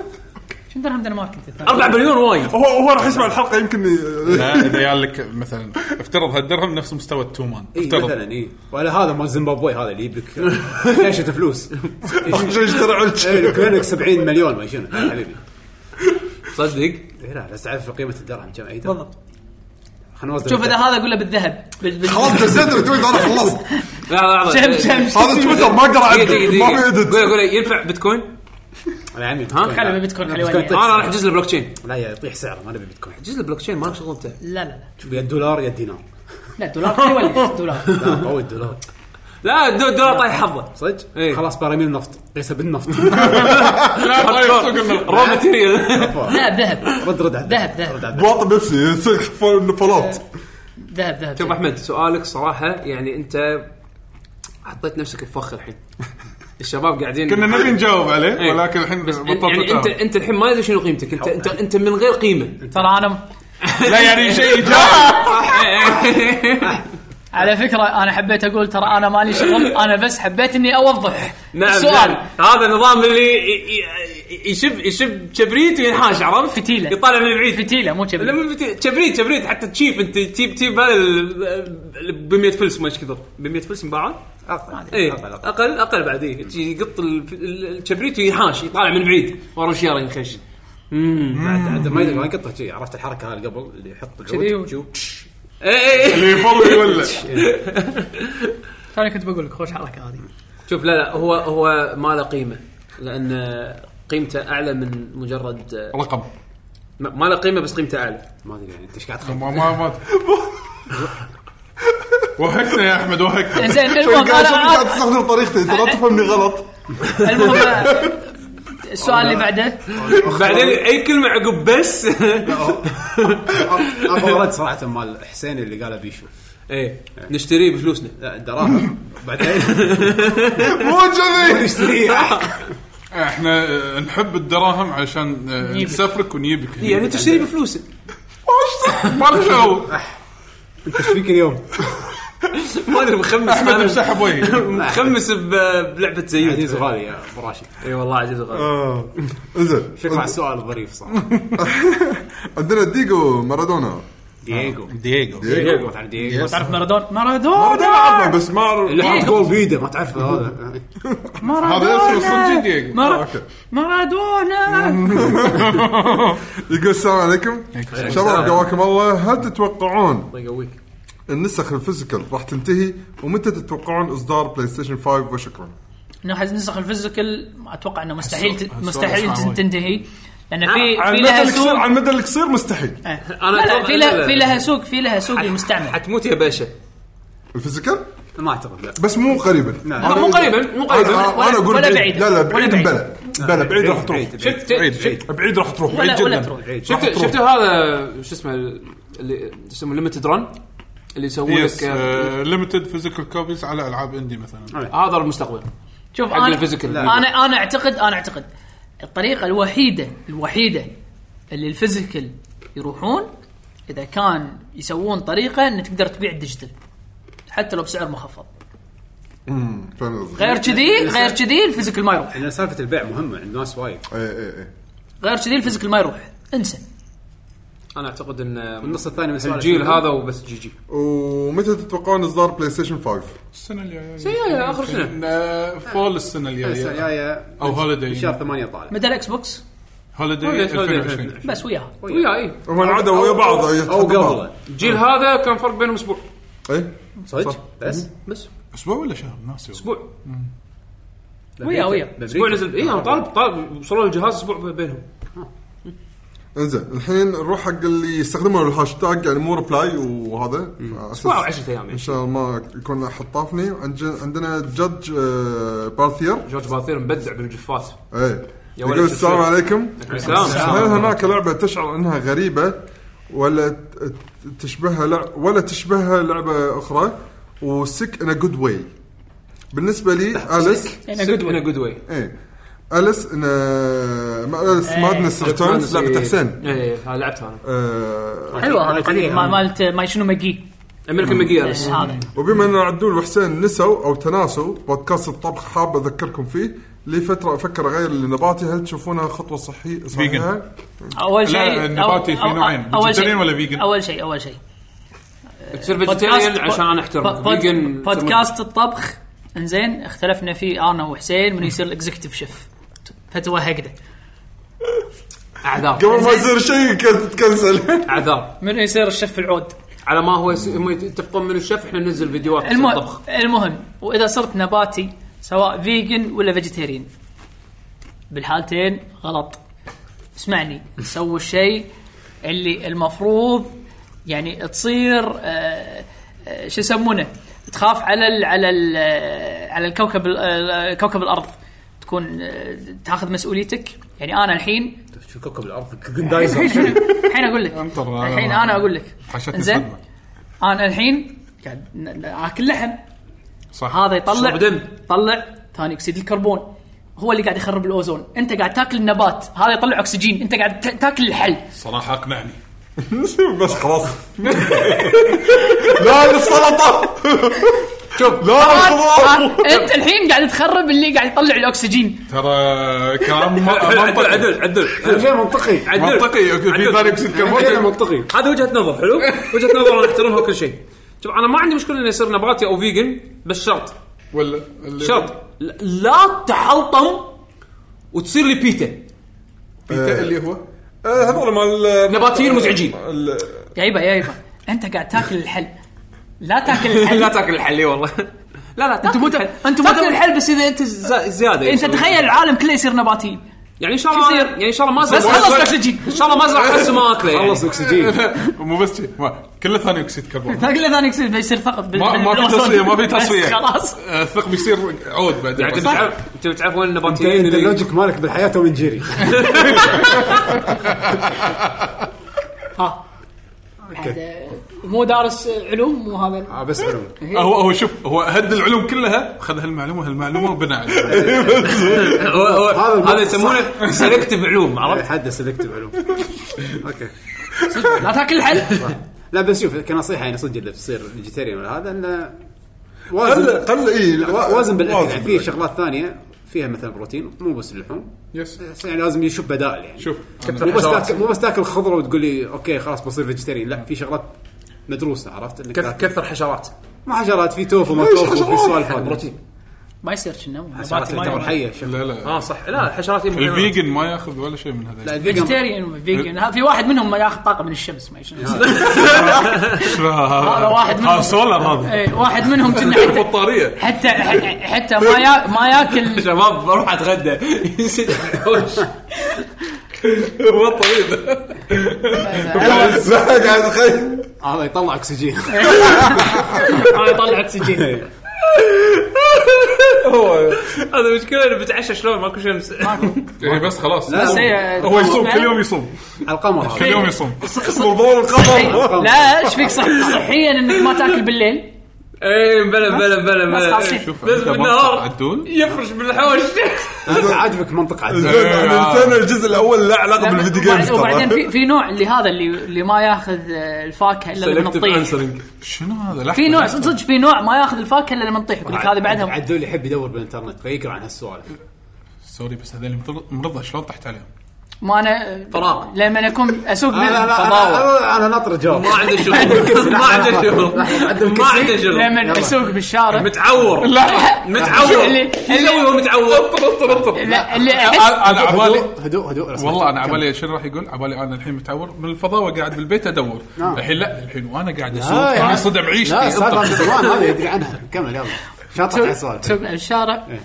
شنو درهم دنمارك انت
4 بليون وايد
هو هو راح يسمع الحلقه يمكن ي-
لا اذا قال لك مثلا افترض هالدرهم نفس مستوى التومان
إيه،
اي
افترض
مثلا اي ولا هذا مال زيمبابوي هذا اللي يجيب لك كاشة فلوس
شو يشتري
إي،
عندك
يكون لك 70 مليون ما شنو لا، حبيبي
تصدق
إي، لا بس تعرف قيمه الدرهم كم اي درهم.
بالضبط
خلنا نوزن
شوف اذا هذا قول له بالذهب بال- بال-
خلاص دزيت له التويت انا خلصت
لا لا
كم كم
هذا تويتر ما اقرا عنه
دقيقة دقيقة
ما في
قول
ادت
قول إيه. ينفع بيتكوين؟
انا عمي
ها؟
خلي بالبيتكوين، خلي
بيتكوين
وني.
انا راح
طيب.
احجز له بلوك تشين
لا يا يطيح سعره ما نبي بيتكوين
احجز له بلوك تشين ما شغل انت
لا لا لا
شوف يا الدولار يا الدينار
لا دولار ولا دولار
لا قوي الدولار
لا الدو- الدولار آه، طايح حظه
صدق؟
إي.
خلاص براميل نفط قيسه بالنفط
لا طيب سوق النقد.
رو ماتيريال
لا بذهب
رد رد على الدولار.
ذهب ذهب
بواطي بيبسي يصير فل- فلاط
ذهب ذهب
شوف احمد سؤالك صراحه يعني انت حطيت نفسك بفخ الحين الشباب قاعدين
كنا نبي نجاوب عليه
إيه.
ولكن الحين
بس
بطلت
يعني انت
أتعب.
انت الحين ما ادري شنو قيمتك انت انت انت من غير قيمه
ترى انا
لا يعني شيء جاء
على فكره انا حبيت اقول ترى انا مالي شغل انا بس حبيت اني اوضح
نعم
السؤال
نعم. هذا النظام اللي ي- ي- يشب يشب كبريت وينحاش عرفت؟
فتيلة.
يطالع من بعيد
فتيله مو
لا
كذي
مو بت- كبريت كبريت حتى تشيب انت تجيب تجيب هذا ب 100 فلس ما ايش كثر ب 100 فلس مباعه؟ اي
أقل، أقل.
اقل اقل بعد اي يقط ال- ال- الكبريت وينحاش يطالع من بعيد ورا الشياره ينخش
بعد عاد ما يدري ما يقطع شيء عرفت الحركه هذه قبل اللي يحط العود إيه،
اي اي
اللي يفضل يولع
ترى كنت بقول لك خوش حركه هذه
شوف لا لا هو هو ما له قيمه لان قيمته اعلى من مجرد
رقم
ما له قيمه بس قيمته اعلى
ما ادري يعني انت ايش قاعد تخمم
ما ما ما وهكنا يا احمد وهكنا
زين المهم
قاعد شوف
أنا-
قاعد تستخدم طريقتي انت لا تفهمني غلط
المهم السؤال اللي بعده
بعدين اي كلمه عقب بس
ابغى رد صراحه مال حسين اللي قاله بيشو
ايه نشتريه بفلوسنا
لا دراهم بعدين
مو كذي
احنا آه، نحب الدراهم عشان آه،
نجيبك.
نسافرك ونجيبك
إيه،
يعني انت تشتري بفلوسك
ما له شغل
انت ايش فيك اليوم؟
ما ادري مخمس
احمد
أنا
مسحب وجهي
مخمس ب- بلعبه زيوت
عزيز غالي يا ابو راشد
اي والله عجيب غالي
آه. انزين
شكرا على السؤال الظريف صراحه
عندنا ديجو مارادونا
دييغو
دييغو
دييغو تعرف دييغو
تعرف مارادونا مارادونا
مارادونا عرفه بس ما أعرف-
اللي
إيه.
حاط جول بيده ما تعرفه هذا
هذا اسمه صدق
مارادونا
دييغو
مارا-
اوكي
مارادونا
يقول السلام عليكم شباب قواكم الله هل تتوقعون
الله يقويك
النسخ الفيزيكال راح تنتهي ومتى تتوقعون اصدار بلاي ستيشن 5 وشكرا
إيه، نحن نسخ الفيزيكال اتوقع انه مستحيل ت-
السؤال-
مستحيل
السؤال
ت- تنتهي
نعم،
لان في
على
في
المدى
لها
القصير
سوق
على المدى القصير مستحيل
إيه.
أنا
لا لا
أتوقع-
في
لا، لا.
لها في لها سوق في لها سوق للمستعمل
حتموت يا باشا
الفيزيكال
ما اعتقد لا
بس مو قريبا
لا.
مو قريبا مو
انا
قريبا
ولا-
أنا اقول
ولا
بعيد
بعيد.
لا لا
ولا
بعيد
بعيد.
بلا بلا بعيد راح
إيه،
تروح
بعيد، بعيد.
شفت شفت
بعيد راح تروح بعيد
ولا ولا
جدا
تروح
شفت شفت هذا شو اسمه اللي يسمونه ليمتد رن اللي يسوون
يس
لك آه،
ليمتد فيزيكال كوبيز على العاب اندي مثلا
هذا المستقبل
شوف
حق
انا
الفيزيكال. لا.
انا انا اعتقد انا اعتقد الطريقه الوحيده الوحيده اللي الفيزيكال يروحون اذا كان يسوون طريقه ان تقدر تبيع الديجيتال حتى لو بسعر مخفض
امم فاهم قصدي
غير كذي غير كذي الفيزيكال ما يروح
لان سالفه يعني البيع مهمه عند ناس وايد
اي اي اي
غير كذي الفيزيكال ما يروح انسى
انا اعتقد ان
النص الثاني من سؤال
الجيل هذا وبس جي جي
ومتى تتوقعون اصدار بلاي ستيشن 5؟
السنه الجايه
يا اخر سنه
آه، فول
السنة
السنه الجايه
الجاية
او
من
هوليداي
شهر 8 طالع
مدى الاكس بوكس
هوليداي 2020
بس وياها
ويا اي
هم انعدوا ويا بعض إيه؟
او قبله
الجيل هذا كان فرق بينهم اسبوع
اي
صدق بس
بس
اسبوع ولا شهر ناسي والله.
اسبوع
ويا ويا
اسبوع نزل اي انا طالب طالب وصلوا الجهاز اسبوع بينهم
انزين الحين نروح حق اللي يستخدموا الهاشتاج يعني مو ريبلاي وهذا
اسبوع او
اسبوع
10 ايام
ان
يعني
شاء الله ما يكون احد طافني عند- عندنا جدج آه، بارثير
جورج باثير مبدع بالجفات
اي
ولد
يقول السلام
الشيخ.
عليكم
السلام
هل هناك لعبه تشعر انها غريبه ولا ت- ت- تشبهها لع... ولا تشبهها لعبه اخرى وسك ان جود واي بالنسبه لي اليس
انا جود
انا جود واي
ايه اليس ان ما اليس
إيه.
مادنس ريتيرنز لعبه حسين
اي إيه، هذا لعبتها انا
آه،
حلوه هذا قديم ما- مالت ما شنو ماجي
امريكان ماجي
إيه.
بس هذا
وبما ان عدول وحسين نسوا او تناسوا بودكاست الطبخ حاب اذكركم فيه لي فتره افكر اغير لنباتي هل تشوفونها خطوه صحي صحيحه؟
اول
لا،
شيء
النباتي في
أو- أو-
نوعين،
أول شيء-
vegetarian ولا vegan؟
اول شيء اول شيء
تصير فيجيتيريان عشان انا احترمك
بود-
فيجن-
بودكاست الطبخ انزين اختلفنا فيه انا وحسين من يصير الاكزكتيف شيف فتوى هكذا
اعذار
قبل ما يصير شيء كانت تتكنسل
اعذار
من يصير الشيف العود
على ما هو يس- هم يتفقون من الشيف احنا ننزل فيديوهات
المهم
الطبخ
المهم واذا صرت نباتي سواء فيجن ولا فيجيتيريان بالحالتين غلط اسمعني سووا الشيء اللي المفروض يعني تصير آه، آه، شو يسمونه تخاف على ال على ال على الكوكب ال- آه، كوكب الارض تكون آه، تاخذ مسؤوليتك يعني انا الحين
شوف كوكب الارض
الحين
جندايزر
الحين اقول لك
انطر.
الحين انا اقول لك
حشتني
انزين
صدمة.
انا الحين قاعد ن- ن- اكل لحم
صح
هذا يطلع
شرب دم.
طلع ثاني اكسيد الكربون هو اللي قاعد يخرب الاوزون انت قاعد تاكل النبات هذا يطلع اكسجين انت قاعد تا- تاكل الحل
صراحه اقنعني
بس خلاص لا للسلطه شوف لا
آه،
للخضار
انت الحين قاعد تخرب اللي قاعد يطلع الاكسجين
ترى كلام م-
عدل
منطقي
عدل عدل
شيء منطقي
منطقي في ثاني اكسيد
شيء
كربون
منطقي
هذا وجهه نظر حلو وجهه نظر انا احترمها وكل شيء شوف انا ما عندي مشكله انه يصير نباتي او فيجن بس شرط
ولا اللي-
شرط ل- لا تحلطم وتصير لي بيتا
بيتا اللي هو
آه، هذول مال
نباتيين مزعجين
جايبه جايبه انت قاعد تاكل الحل لا تاكل الحل
لا تاكل الحلي والله لا لا
انتم مو
تاكل الحل.
انتم
تاكل
مو
الحل بس اذا انت ز- زياده
انت تخيل العالم كله يصير نباتي
يعني ان شاء
شو
الله
يصير؟
يعني ان شاء الله ما
بس
ازرع
خلص الاكسجين
ان شاء الله ما ازرع حس ما اكله يعني
خلص اكسجين
مو بس شي، ما- كله ثاني اكسيد كربون
تاكل ثاني اكسيد بيصير فقط بال-
ما ما في
بالأوزون.
تصفيه ما في
بس
تصفيه
خلاص
آه، الثقب يصير عود
يعني
بعدين
تبي تعرف تبي تعرف وين
انت
إيه،
انت
النباتيين
اللوجيك مالك بالحياه توم جيري
ها هذا مو دارس علوم وهذا
آه، بس علوم
هو هو شوف هو هد العلوم كلها خذ هالمعلومه هالمعلومه وبنى عليها
هو- هو- هذا
هذا الموقف
يسمونه سلكتيف علوم عرفت
حد سلكتيف علوم اوكي
لا تاكل الحل
لا بس شوف كنصيحه يعني صدق اللي تصير فيجيتيريان ولا هذا انه
قل
وازن
قل إيه، اي
وازن بالاكل يعني في
بالأكل.
شغلات ثانيه فيها مثلا بروتين مو بس اللحوم
يس
بس يعني لازم يشوف بدائل يعني
شوف
مو بس تاكل مو بس تاكل خضره وتقول لي اوكي خلاص بصير فيجيتيريان لا في شغلات مدروسه عرفت انك
كث-
تاكل-
كثر حشرات
ما حشرات في توفو ما توفو في سوالف هذه.
بروتين
ما يصير كنا
حشرات تعتبر حيه شوف.
لا لا
اه صح لا الحشرات هي مهمة.
الفيجن ما ياخذ ولا شيء من هذا
فيجيتيريان فيجن ها، في واحد منهم ياخذ طاقه من الشمس ما يشوف.
هذا
هذا واحد منهم.
هذا سولر آه، هذا
إيه، واحد منهم كنا حتى
بطاريه
حتى ح- حتى ما يا ما ياكل
شباب بروح اتغدى يصير حوش بطاريه
لا قاعد اتخيل
هذا يطلع اكسجين
ما يطلع اكسجين
هذا مشكله انا بتعشى شلون ماكو شمس
يعني بس خلاص
بس هي-
هو يصوم كل يوم يصوم
على القمر
كل يوم يصوم
موضوع القمر
لا ايش فيك صح صحيا انك ما تاكل بالليل
اي إيه، بلا بلا بلا بلا
خالصين.
إيه، شوف
بس
عنده
بالنهار.
منطق عدول
يفرش بالحوش
انت عاجبك منطق عدل
زين يعني الانسان الجزء الاول له علاقه بالفيديو جيمز
وبعدين- وبعدين
ترى
في في نوع اللي هذا اللي اللي ما ياخذ آه، الفاكهه الا لما تطيح
انسرنج
شنو هذا لحظة،
في نوع
لحظة.
صدق صدق في نوع ما ياخذ الفاكهه الا لما تطيح يقول لك هذه بعدها
عدول يحب يدور بالانترنت فيقرا عن هالسوالف
سوري بس هذول مطر- مرضى شلون طحت عليهم؟
ما انا
فراغ.
لما اكون اسوق بالفضاء
انا انا ناطر جواب
ما عنده شغل ما عنده شغل ما عنده شغل
لما اسوق بالشارع
متعور متعور
اللي-
شو يسوي وهو متعور
لا اللي احس
انا أنا عبالي
هدوء هدوء رسمي.
والله انا عبالي شنو راح يقول؟ عبالي انا الحين متعور من الفضاء وقاعد بالبيت ادور الحين لا الحين وانا قاعد اسوق
نعم. لا،
انا
يعني-
صدم
لا
إيه،
عيشتي
السالفه من زمان هذا يدري عنها كمل يلا شاطر على السؤال
تسوق بالشارع
إيه.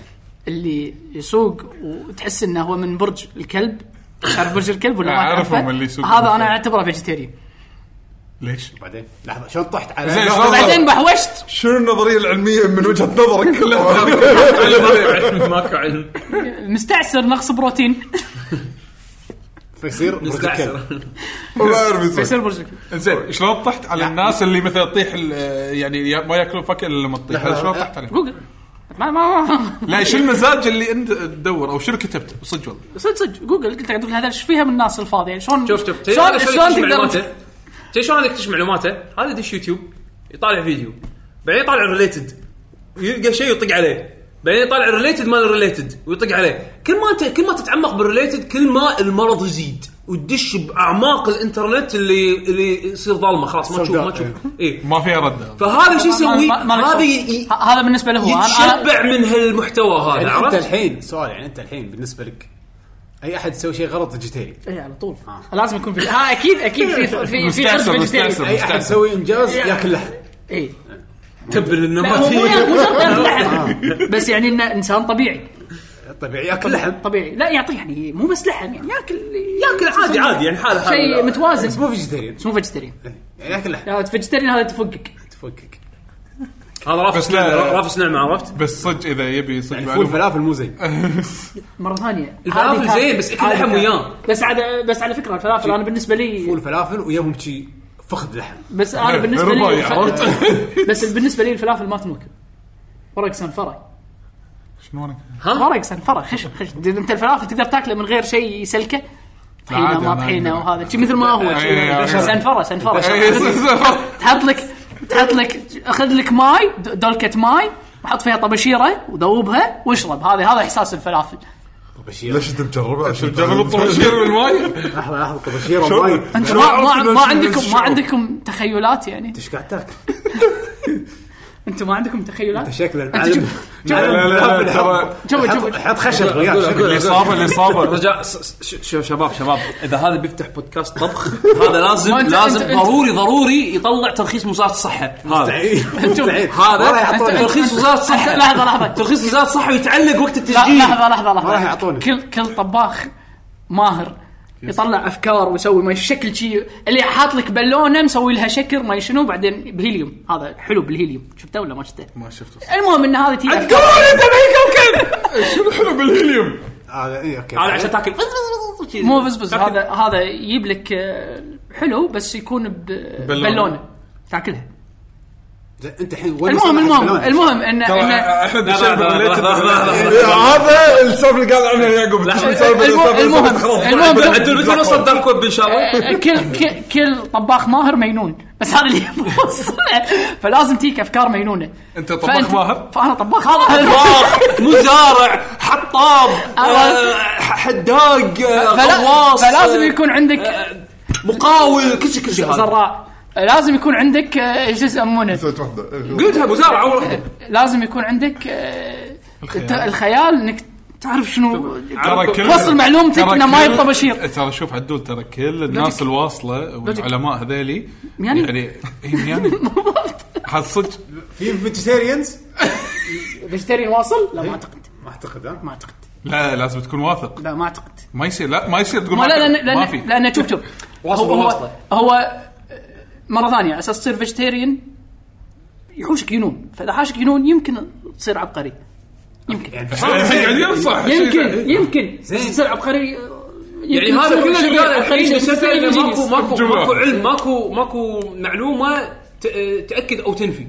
اللي يسوق وتحس انه هو من برج الكلب تعرف برج الكلب ولا ما
آه، أعرفهم
تعرفه؟
اللي يسوق
هذا
بالفعل.
انا اعتبره فيجيتيريان
ليش؟
بعدين لحظه شلون طحت
زين
على
شلون
بعدين بحوشت
شنو النظريه العلميه من وجهه نظرك
ماكو علم
مستعسر نقص بروتين
فيصير
ما اعرف يسوي.
فيصير برج الكلب
زين شلون طحت على الناس اللي مثلا تطيح ال- يعني يا- ما ياكلون فاكهه الا لما تطيح هذا شلون طحت عليهم؟
جوجل ما ما
لا شو المزاج اللي انت تدور او شنو كتبت صدق والله
صدق صدق جوجل قلت لك أقول هذا ايش فيها من الناس الفاضيه يعني شلون
شوف شوف تدري
شلون
هذا شلون
شلون
يكتشف
تقدر
معلوماته تدري شلون هذا يكتشف معلوماته هذا يدش يوتيوب يطالع فيديو بعدين يطالع ريليتد يلقى شيء يطق عليه بعدين يطالع الريليتد مال الريليتد ويطق عليه كل ما انت كل ما تتعمق بالريليتد كل ما المرض يزيد وتدش باعماق الانترنت اللي اللي يصير ظلمه خلاص ما تشوف ما تشوف اي
ما فيها رد
فهذا شو يسوي
إيه. ما- ما- ما-
هذا ي- ي-
ه- هذا بالنسبه له هو انا أنا-
يتشبع من هالمحتوى هذا
يعني انت
عرفت؟
الحين سؤال يعني انت الحين بالنسبه لك اي احد يسوي شيء غلط فيجيتيري
اي إيه، على طول لازم يكون في ها اكيد اكيد في في في إيه. عرس
مستعسر
فيجيتيريان
مستعسر
اي احد
مستعسر
إيه، يسوي انجاز ياكل لحم
اي
تبل
لا، هو مو
النمط
مو شرط ياكل لحم بس يعني انه انسان طبيعي
طبيعي طيب، ياكل لحم
طبيعي لا يعطيه يعني مو بس لحم يعني ياكل
ياكل عادي عادي يعني حاله حاله
شيء
بس
متوازن
مو فيجيتيريان
بس مو فيجيتيريان
إيه.
يعني ياكل لحم
لا فيجيتيريان هذا تفكك
تفكك
هذا رافس
بس لا-
نعمه رافس نعمه عرفت؟
بس صدق اذا يبي صدق
يعني فول
معلومة. أه.
فلافل مو زين
مره ثانيه
الفلافل
هذه كان-
زين، بس اكل
هذه
لحم
كان-
وياه.
بس على بس على فكره الفلافل انا بالنسبه لي
فول فلافل وياهم شي فخذ لحم
بس انا بالنسبه لي
رباعي، إيه، عرفت؟
بس بالنسبه لي الفلافل ما تنوكل ورق سنفره
شنو انا
ورق سنفره خشن خشن انت الفلافل تقدر تاكله من غير شيء يسلكه طحينه
عادي،
ما
أنا-
طحينه وهذا شي مثل ما هو شي.
إيه، إيه،
سنفره سنفره
إيه، صدق.
تحط لك تحط لك خذ لك ماي د- دلكه ماي وحط فيها طبشيره وذوبها واشرب هذا هذا احساس الفلافل
ليش انت مجربه عشان
جرب الطباشير بالماي
لحظه لحظه طبشير وماي
انت
شو
ما
أعرف
ما,
إن
ما
شو-
عندكم
شو-
ما عندكم تخيلات يعني
ايش قاعد تاكل؟
انتم ما عندكم تخيلات
شكله
أنت
المعلم
لا لا لا ترى
شوف شوف
حط خشب وياك
الاصابه الاصابه
رجاء س- س- ش- شوف شباب شباب اذا هذا بيفتح بودكاست طبخ هذا لازم
ما أنت- أنت-
لازم
أنت-
ضروري ضروري يطلع ترخيص وزاره الصحه هذا
إيه. مستحيل
إيه.
ولا
هذا
يحطون
ترخيص وزاره
أنت-
الصحه
لحظه لحظه
ترخيص وزاره الصحه ويتعلق وقت
لا-
التسجيل
لحظه لحظه لحظه
ما راح يعطونك.
كل كل طباخ ماهر يطلع افكار ويسوي ما شكل شيء اللي حاط لك بالونه مسوي لها شكر ما شنو بعدين بهيليوم هذا حلو بالهيليوم شفته ولا ما شفته؟
ما شفته
المهم ان هذه تي
حلو بالهيليوم
هذا اي
آه.
اوكي
هذا عشان تاكل
مو بزبز هذا هذا يجيب لك آه، حلو بس يكون ب- بالونه تاكلها
زين، انت الحين وين
المهم
وصلنا حق
المهم
بلونة؟
المهم ان ان
احنا
لا، لا، لا، لا، لا، لا،
دشينا
إيه، هذا السالفه اللي قال عنها يعقوب شو السالفه
المهم-
السالفة-
المهم-
السالفة- خلاص.
المهم-
بعد-
عدل متى نوصل دارك ويب ان شاء الله؟
آه، كل كل كل طباخ ماهر مينون بس هذا اللي يوصله فلازم تيك افكار مينونه
أنت طباخ
فأنت-
ماهر؟
فانا طباخ هذا
طباخ مزارع حطاب آه، ح- حداق آه،
فلا
غواص
فلازم
آه،
يكون عندك
مقاول كل شيء كل شيء هذا.
زراع لازم يكون عندك آه، شو يسمونه
سويت واحده إيه،
قلتها مزارع اول واحده
لازم يكون عندك آه، الت- الخيال انك تعرف شنو
ترى كل
توصل معلومتك
ترى
انه ما
كل- إيه،
يبقى بشير
ترى شوف عدول ترى كل الناس الواصله والعلماء هذيلي
مياني.
يعني إيه، مياني هذا صدق
في فيجيتيريانز
فيجيتيريان واصل؟ لا ما اعتقد
ما اعتقد ها
ما اعتقد
لا لازم تكون واثق
لا ما اعتقد
ما يصير لا ما يصير تقول
ما لا لان
ما
لان
في
لان شوف شوف هو هو, هو آه، مره ثانيه على اساس تصير فيجيتيريان يحوشك ينون فاذا حاشك ينون يمكن تصير عبقري يمكن
يعني ينصح
يمكن يمكن بس تصير عبقري آه،
يعني
يمكن
هذا
تصير
كله اللي قال
عبقري
الحين
شيء
بس
يصير
إنه
يجيني.
ماكو ماكو
جملة.
ماكو علم ماكو ماكو معلومه ت- تاكد او تنفي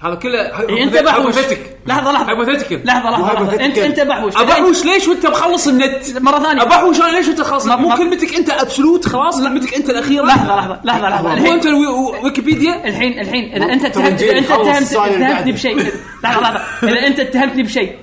هذا كله
إيه،
يعني انت بحوش
هايبوثيتك
لحظه لحظه
هايبوثيتيكال
لحظه لحظه انت انت بحوش
أبحوش ليش وانت
خلص النت مره ثانيه
ابحوش انا ليش انت خلاص
ما-
مو
ما-
كلمتك انت ابسولوت خلاص كلمتك انت الاخيره
لحظه لحظه لحظه لحظه
مو
الحين
انت الوي- و- ويكيبيديا
الحين الحين اذا انت اتهمت
جيل
اذا انت
خلص
اتهمت
الصاير
اتهمتني
بعده.
بشيء لحظه لحظه اذا انت اتهمتني بشيء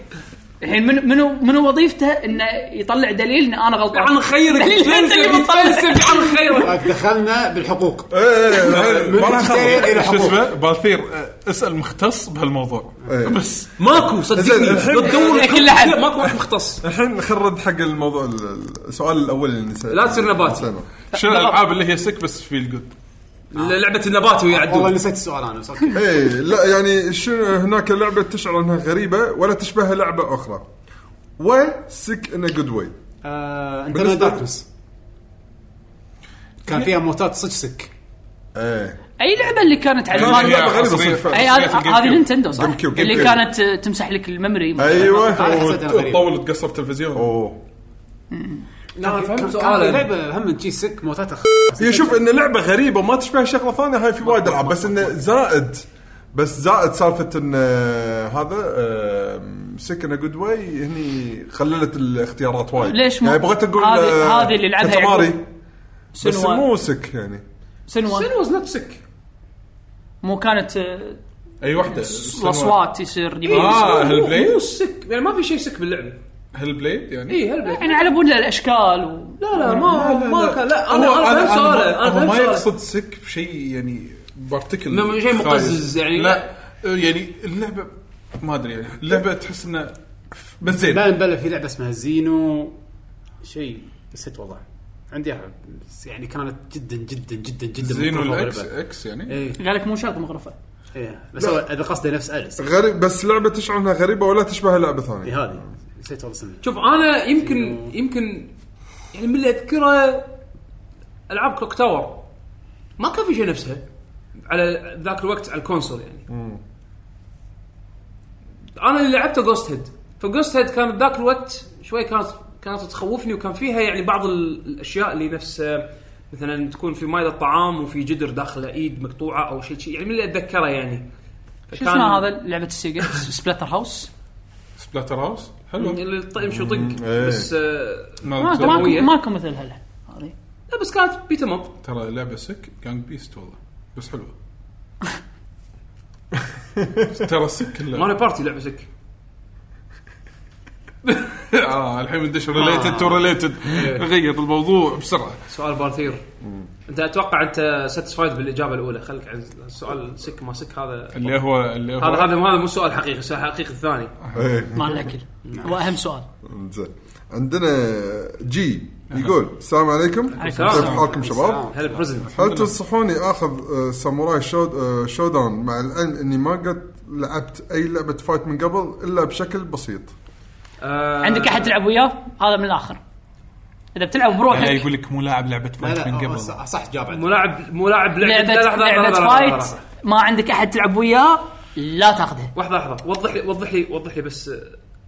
الحين منو منو منو وظيفته انه يطلع دليل ان انا غلطان
عن يعني خيرك
دليل انت اللي بتطلع
عن خيرك
هاك دخلنا
إيه،
بالحقوق
ما راح
مشتريين إلى
أخلص. شو
حقوق.
اسمه باثير آه، اسال مختص بهالموضوع
إيه.
بس
ماكو صدقني
زين، الحين- آه.
لو تدور
إيه، كل أحد.
ماكو واحد مختص
الحين خرد حق الموضوع ال- السؤال الاول اللي سأل
لا تصير نباتي.
شنو الالعاب اللي هي سك بس فيل جود
لعبه النبات ويا
والله
عدول
نسيت السؤال انا بس اوكي
اي لا يعني شنو هناك لعبه تشعر انها غريبه ولا تشبه لعبه اخرى وسك ان جود واي
انترنت داركنس كان فيها موتات صدق سك
ايه
اي لعبه اللي كانت على
كانت
المال-
لعبة
لعبه غريبه صدق
حصرية.
فعلاً.
اي هذا
Game Cube.
هذه نينتندو صح
Game Cube.
اللي
Game Cube.
كانت آه، تمسح لك الميموري
ايوه
حسيتها غريبة.
طول تقصر تلفزيون
اوه
لا فهمت
كان في
سؤالك
لعبه هم شي سك موتات أخ...
هي شوف ان لعبه غريبه ما تشبه شغله ثانيه هاي في وايد العاب بس انه زائد بس زائد سالفه ان آه، هذا سكن جود واي هني خللت الاختيارات وايد
ليش مو-
يعني بغيت اقول
هذه-
آه،
هذه اللي لعبها
كاتاماري
يعقوب.
بس
سنوا
مو سك يعني
سنوا
سينوز نوت سك
مو كانت آه،
اي واحده
الاصوات يصير يبي-
اه
مو- مو
هالبليد
سك يعني ما في شيء سك باللعبه
هالبليد يعني
اي هالبلد
يعني على بنا الاشكال و...
لا لا ما ما كان لا انا
هو-
انا فهمت
ما-
سؤاله انا
هو ما
فهمت سؤاله
يقصد سك بشيء يعني بارتكل
إنه شيء مقزز يعني.
لا يعني اللعبه ما ادري يعني اللعبه تحس انه بس زين
بلا بلا في لعبه اسمها زينو شيء نسيت والله عندي احد بس يعني كانت جدا جدا جدا جدا
زينو
مكرفة
الاكس
وغريبة.
اكس يعني
ايه
قالك مو شرط مغرفه
ايه بس هو انا قصدي نفس اليس
غريب بس لعبه تشعر انها غريبه ولا تشبه لعبه
إيه
ثانيه
هذه نسيت والله اسمها
شوف انا يمكن يمكن يعني من اللي اذكره العاب كلوك تاور ما كان في شيء نفسها على ذاك الوقت على الكونسول يعني انا اللي لعبته جوست هيد فجوست هيد كان بذاك الوقت شوي كانت كانت تخوفني وكان فيها يعني بعض ال- الاشياء اللي نفس آه، مثلا تكون في مائده طعام وفي جدر داخل ايد مقطوعه او شيء شيء يعني من اللي اتذكره يعني
شو اسمها هذا لعبه السيجا سبلاتر هاوس
سبلاتر هاوس حلو
اللي يط- يمشي ويطق
إيه.
بس آه،
ما
ماكو
تدري.
ماكو
سوية.
ماكو مثل هلا هذه
لا بس كانت بيت اب
ترى لعبه سك جانج بيست والله بس حلوه ترى السك كله
ماري بارتي لعبه سك
اه الحين ندش
آه.
ريليتد تو ريليتد
إيه.
غير الموضوع بسرعه
سؤال بارثير انت اتوقع انت ساتسفايد بالاجابه الاولى خليك عن السؤال سك ما سك هذا
اللي هو اللي
هذا
هو
هذا هذا مو سؤال حقيقي السؤال الحقيقي الثاني
إيه.
مال الاكل هو اهم سؤال
زين عندنا جي يقول السلام عليكم كيف حالكم شباب؟
هل بريزن
هل تنصحوني اخذ آه، ساموراي شود آه، شوداون مع العلم اني ما قد لعبت اي لعبه فايت من قبل الا بشكل بسيط
عندك احد تلعب وياه هذا من الاخر اذا بتلعب بروحك
يعني يقول لك مو لاعب لعبه
لا
فايت
لا
من
هو
قبل
صح- صح جاب عندي.
ملاعب ملاعب
لعبه لعبه فايت ما عندك احد تلعب وياه لا تاخذها
لحظه لحظه وضح لي وضح لي وضح لي بس آه،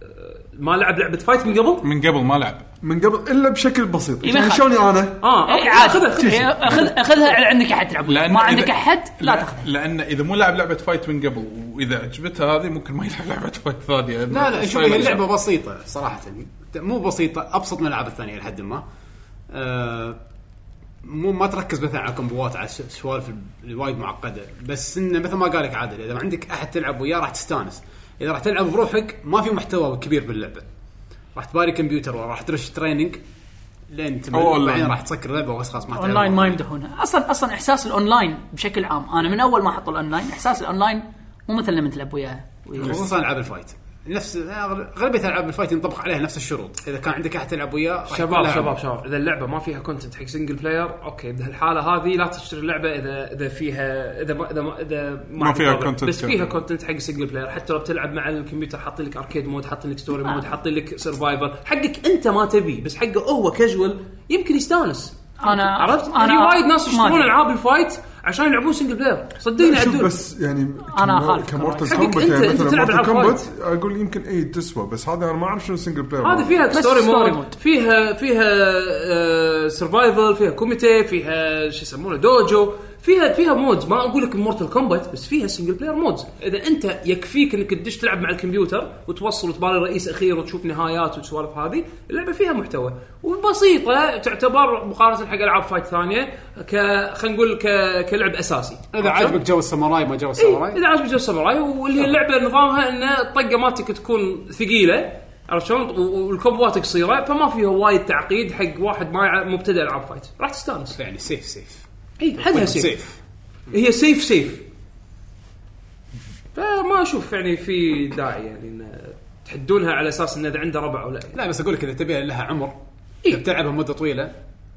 آه، ما لعب لعبه فايت من قبل
من قبل ما لعب
من قبل الا بشكل
إيه،
بسيط
يبا
يعني
خ-
شلوني انا
اه
إيه،
اوكي
عادي
خذها خذها
إيه، اخذ اخذها على عندك احد تلعب وياه
لأن
ما
إذا-
عندك احد لا تاخذها
لان اذا مو لعب لعبه فايت من قبل واذا عجبته هذه ممكن ما يلعب لعبه فايت ثانيه
لا لا شوف هي اللعبه بسيطه صراحه مو بسيطه ابسط من الالعاب الثانيه لحد ما آه، مو ما تركز مثلا على كومبوات على ش- سوالف الوايد معقده بس انه مثل ما قال لك عادل اذا ما عندك احد تلعب وياه راح تستانس اذا راح تلعب بروحك ما في محتوى كبير باللعبه راح تباري كمبيوتر وراح ترش تريننج لين تمل
أو أونلاين.
بعدين راح تسكر اللعبه وبس خلاص ما تلعب
اونلاين ما يمدحونه اصلا اصلا احساس الاونلاين بشكل عام انا من اول ما احط الاونلاين احساس الاونلاين مو مثل لما تلعب وياه
خصوصا العاب الفايت نفس غالبيه العاب الفايت ينطبق عليها نفس الشروط اذا كان عندك احد تلعب وياه راح يكون
شباب
لها
شباب شباب اذا اللعبه ما فيها كونتنت حق سنجل بلاير اوكي بهالحاله هذه لا تشتري اللعبه اذا اذا فيها اذا ما اذا ما, إذا
ما
عندك
فيها
رابع.
content
بس فيها
يعني.
كونتنت حق سنجل بلاير حتى لو بتلعب مع الكمبيوتر حاطين لك اركيد مود حاطين لك ستوري
آه.
مود حاطين لك سرفايفر حقك انت ما تبي بس حقه هو كاجوال يمكن يستانس
انا
عرفت؟
أنا-
في وايد ناس
ما
يشترون
أدري.
العاب الفايت عشان يلعبون سنجل بلاير صدقني
شوف
عدول
بس يعني
أنا أخالف
كمورتل
حقك أنت-
كومبات يعني
أنت
مثلا
تلعب
مورتل
ألعاب
كومبات اقول يمكن اي تسوى بس هذا انا ما اعرف شنو سنجل بلاير
هذه فيها
بس
ستوري
ستوري
مود
مود.
آه، فيها فيها سرفايفل فيها كوميتي فيها شو يسمونه دوجو فيها فيها مودز ما اقول لك مورتال كومبات بس فيها سنجل بلاير مودز اذا انت يكفيك انك تدش تلعب مع الكمبيوتر وتوصل وتباري رئيس اخير وتشوف نهايات والسوالف هذه اللعبه فيها محتوى وبسيطه تعتبر مقارنه حق العاب فايت ثانيه ك خلينا نقول ك... كلعب اساسي
اذا عجبك جو الساموراي ما جو
إيه،
الساموراي
اذا عجبك جو الساموراي واللي هي اللعبه نظامها ان الطقه مالتك تكون ثقيله عرفت شلون؟ و- والكومبوات قصيره فما فيها وايد تعقيد حق واحد ما يع- مبتدئ العاب فايت راح تستانس
يعني سيف سيف
اي حدها سيف
سيف
هي سيف سيف فما اشوف يعني في داعي يعني ان تحدونها على اساس انه اذا عنده ربع او لا يعني.
لا بس اقول لك اذا تبيها لها عمر
إيه.
إيه؟ بتلعبها مده طويله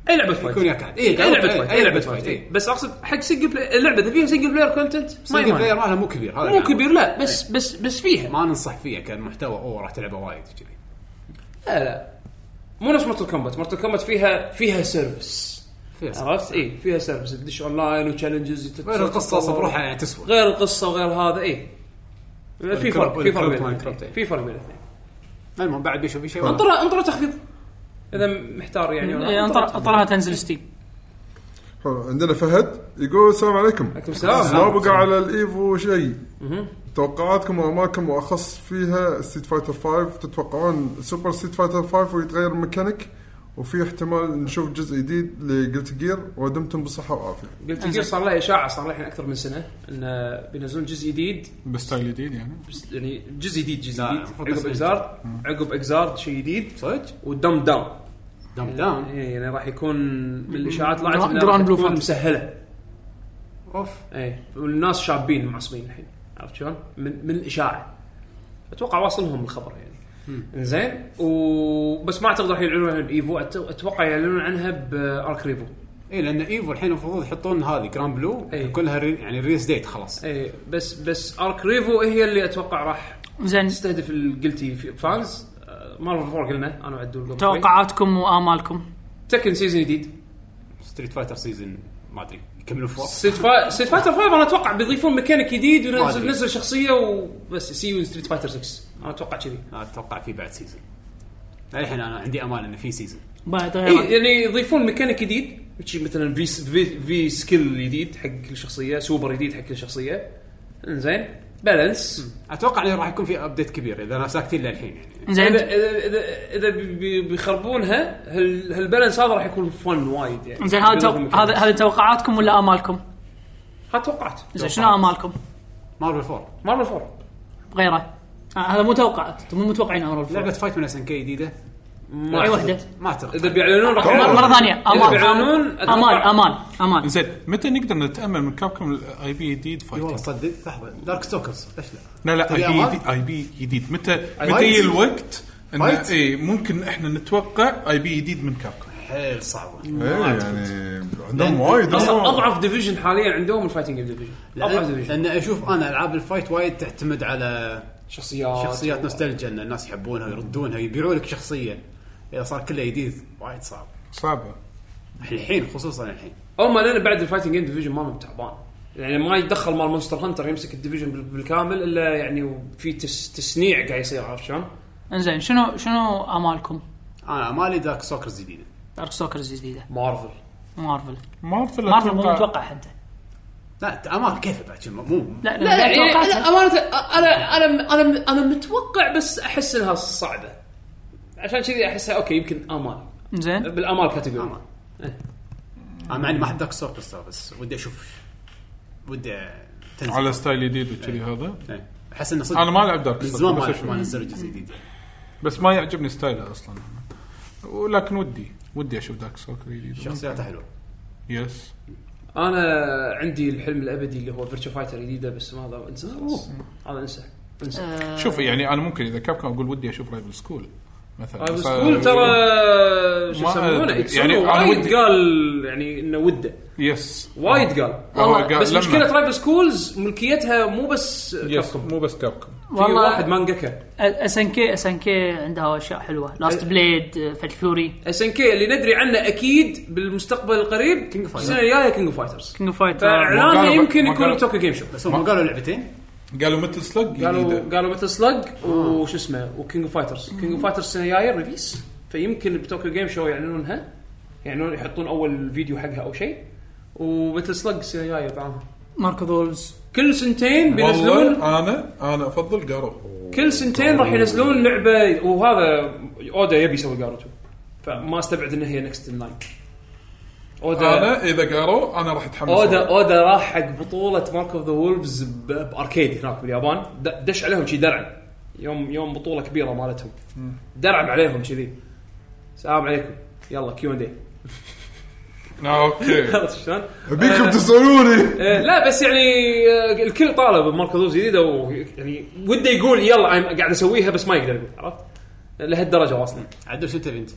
اي لعبه فايت
يكون ياك عاد.
اي
إيه،
لعبه
إيه،
فايت
إيه،
اي لعبه
لعبة
فايت
فايت.
إيه. بس اقصد حق سنجل بلاي اللعبه اذا فيها سنجل بلاير كونتنت ما
سنجل
يمانع
بلاير مالها مو إيه. كبير هذا
مو
العمر.
كبير لا بس بس بس فيها
ما ننصح فيها كمحتوى اوه راح تلعبها وايد كذي
لا لا مو نفس مورتل كومبات مورتل كومبات فيها فيها سيرفس عرفت اي فيها سيرفس تدش اونلاين وتشالنجز
غير القصه بروحها يعني تسوى
غير القصه وغير هذا اي في فرق في فرق بين
والكروت مال
الاثنين.
الكروت.
في فرق بين الاثنين
المهم بعد بيشوف في شيء ولا؟
انطر انطر تخفيض اذا محتار يعني ولا
إيه، انطر- انطرها تنزل ستيم
حلو عندنا فهد يقول السلام عليكم
عليكم السلام. نعم.
ما بقى على الايفو شيء توقعاتكم واماكنكم واخص فيها ستيت فايتر 5 تتوقعون سوبر ستيت فايتر 5 ويتغير الميكانيك وفي احتمال نشوف جزء جديد لجلت جير ودمتم بالصحه والعافيه
قلت يصير صار له اشاعه صار له الحين اكثر من سنه انه بينزلون جزء جديد
بستايل جديد يعني
بس- يعني جزء جديد جزء
لا،
جديد
المفروض
عقب
بس-
اكزارد عقب اكزارد شيء جديد
صدق
ودم داون
دام دام
اي يعني راح يكون من الاشاعات طلعت
جراند
إنها راح
بلو
تكون
فانتسي.
مسهله
اوف
اي إيه. والناس شابين معصبين الحين عرفت شلون؟ من من الاشاعه اتوقع واصلهم الخبر يعني زين وبس ما اعتقد راح يعلنون عنها بايفو أت- اتوقع يعلنون عنها بارك ريفو
اي لان ايفو إيه، الحين المفروض يحطون هذه جران بلو
إيه.
كلها ري... يعني ريليس ديت خلاص
اي إيه. بس بس ارك ريفو هي اللي اتوقع راح
زين
تستهدف الجلتي فانز مارفل فور قلنا انا وعدول قبل شوي.
توقعاتكم وامالكم
تكن سيزون جديد
ستريت فايتر سيزون ما ادري يكملوا فوق
ستريت فا- ستريت فايتر 5 انا اتوقع بيضيفون ميكانيك جديد
ما
وينزل
أدري.
نزل شخصيه وبس سي يو ستريت فايتر 6 انا اتوقع كذي
اتوقع في بعد سيزون الحين انا عندي امال انه في سيزون
بعد
اي
غير
يعني يضيفون ميكانيك جديد شي مثلا في في, في سكيل جديد حق كل شخصيه سوبر جديد حق كل شخصيه انزين بالانس
اتوقع انه راح يكون في ابديت كبير اذا انا ساكتين للحين يعني
زين
اذا اذا اذا, إذا بي- بي- بيخربونها هال- هالبالانس هذا راح يكون فن وايد يعني
زين هذا تو- هذا هذا توقعاتكم ولا امالكم؟
هذا توقعت
زين شنو امالكم؟
مارفل 4
مارفل فور
غيره آه هذا مو توقعات انتم مو متوقعين امر
لعبه
الفور
فايت من اس ان كي جديده
ما
اي
أعتقد.
وحده
ما اعتقد
اذا بيعلنون راح
مرة- مره ثانيه
اذا
امال
بيعلنون أتوقع-
امال امال امال
زين متى نقدر نتامل من كابكم الاي بي جديد
اي والله
فايتنج؟
صدق لحظه دارك ستوكرز ليش لا؟
لا لا
تبي
اي بي
أمال؟
جديد اي بي جديد متى متى
فايت؟
يجي الوقت إن
فايت؟
اي ممكن احنا نتوقع اي بي جديد من كابكم
حيل صعبه
ايه
نعم.
يعني عندهم وايد
اصلا
أصلاً.
اضعف ديفيجن حاليا عندهم الفايتنج ديفيجن اضعف
لأن,
ديفيجن
لان اشوف انا العاب الفايت وايد تعتمد على
شخصيات
شخصيات نوستالجيا ان الناس يحبونها ويردونها يبيعوا لك شخصيه اذا صار كله جديد وايد صعب
صعبه
الحين خصوصا الحين
هم لان بعد الفايتنج جيم ديفيجن مالهم تعبان يعني ما يتدخل مال مونستر هانتر يمسك الديفيجن بال- بالكامل الا يعني في تس تسنيع قاعد يصير عرفت شلون؟
انزين شنو شنو امالكم؟
انا مالي دارك سوكرز جديده
دارك سوكرز جديده
مارفل
مارفل
مارفل
مارفل مو
أتوقع-
متوقع حتى
لا امان كيف بعد شنو؟ مو
لا
لا
لا
يعني
توقعتها.
امانه انا انا انا انا متوقع بس احس انها صعبه عشان كذي احسها اوكي يمكن امال
زين
بالامال كاتيجوري
أمال. انا مع اني ما احب دارك سوكرز ترى، بس ودي اشوف ودي تنزل
على ستايل جديد وكذي هذا
إيه. احس انه صدق
انا ما العب دارك
من
سولز،
زمان
بس
ما-
أشوف.
ما نزلوا جزء جديد
بس ما يعجبني ستايله اصلا ولكن ودي ودي اشوف دارك سولز جديد
شخصياته حلوه
يس
انا عندي الحلم الابدي اللي هو فيرتشو فايتر جديده بس ما هذا انسى خلاص هذا انسى انسى
شوف يعني انا ممكن اذا كابكم اقول ودي اشوف رايفل سكول مثلا
رايفل
بس-
سكول ترى شو
ما
يسمونه
أدري.
يعني
يعني أنا
وايد
ودي-
قال يعني انه وده
يس
وايد قال
والله
والله
قال
بس
لما.
مشكله رايفل سكولز ملكيتها مو بس
يس
كابكوم
مو بس كابكم
في واحد
والله
مانجاكا
اس ان كي اس ان كي عندها اشياء حلوه لاست
إيه.
بليد فات فيوري
اس ان كي اللي ندري عنه اكيد بالمستقبل القريب
King of Fighters.
السنه الجايه كينج اوف فايترز
كينج فايتر
ما
فاعلانه
قالوا-
يمكن
ما
يكون
قالوا-
بتوكيو جيم شو
بس هم قالوا لعبتين
قالوا متل سلج جديده
قالوا قالوا مثل سلاج وش اسمه وكينج اوف فايترز كينج اوف فايترز السنه الجايه ريليس فيمكن بتوكيو جيم شو يعلنونها يعلنون يحطون اول فيديو حقها او شيء ومثل سلج جاي يطعمها
ماركو دولز
كل سنتين بينزلون
والله انا انا افضل قارو
كل سنتين راح ينزلون لعبه وهذا اودا يبي يسوي جاروتو فما استبعد ان هي نكست ان لاين اودا
انا اذا قارو انا راح اتحمس
اودا اودا راح حق بطوله مارك اوف ذا وولفز باركيد هناك باليابان د- دش عليهم شي درع يوم يوم بطوله كبيره مالتهم درعم عليهم كذي السلام عليكم يلا كيو ان دي
آه، اوكي
عرفت شلون؟
ابيكم تسالوني
آه، لا بس يعني آه، الكل طالب بمركز جديده ويعني وده يقول يلا انا قاعد اسويها بس ما يقدر يقول عرفت؟ لهالدرجه واصلين
عدل شو تبي انت؟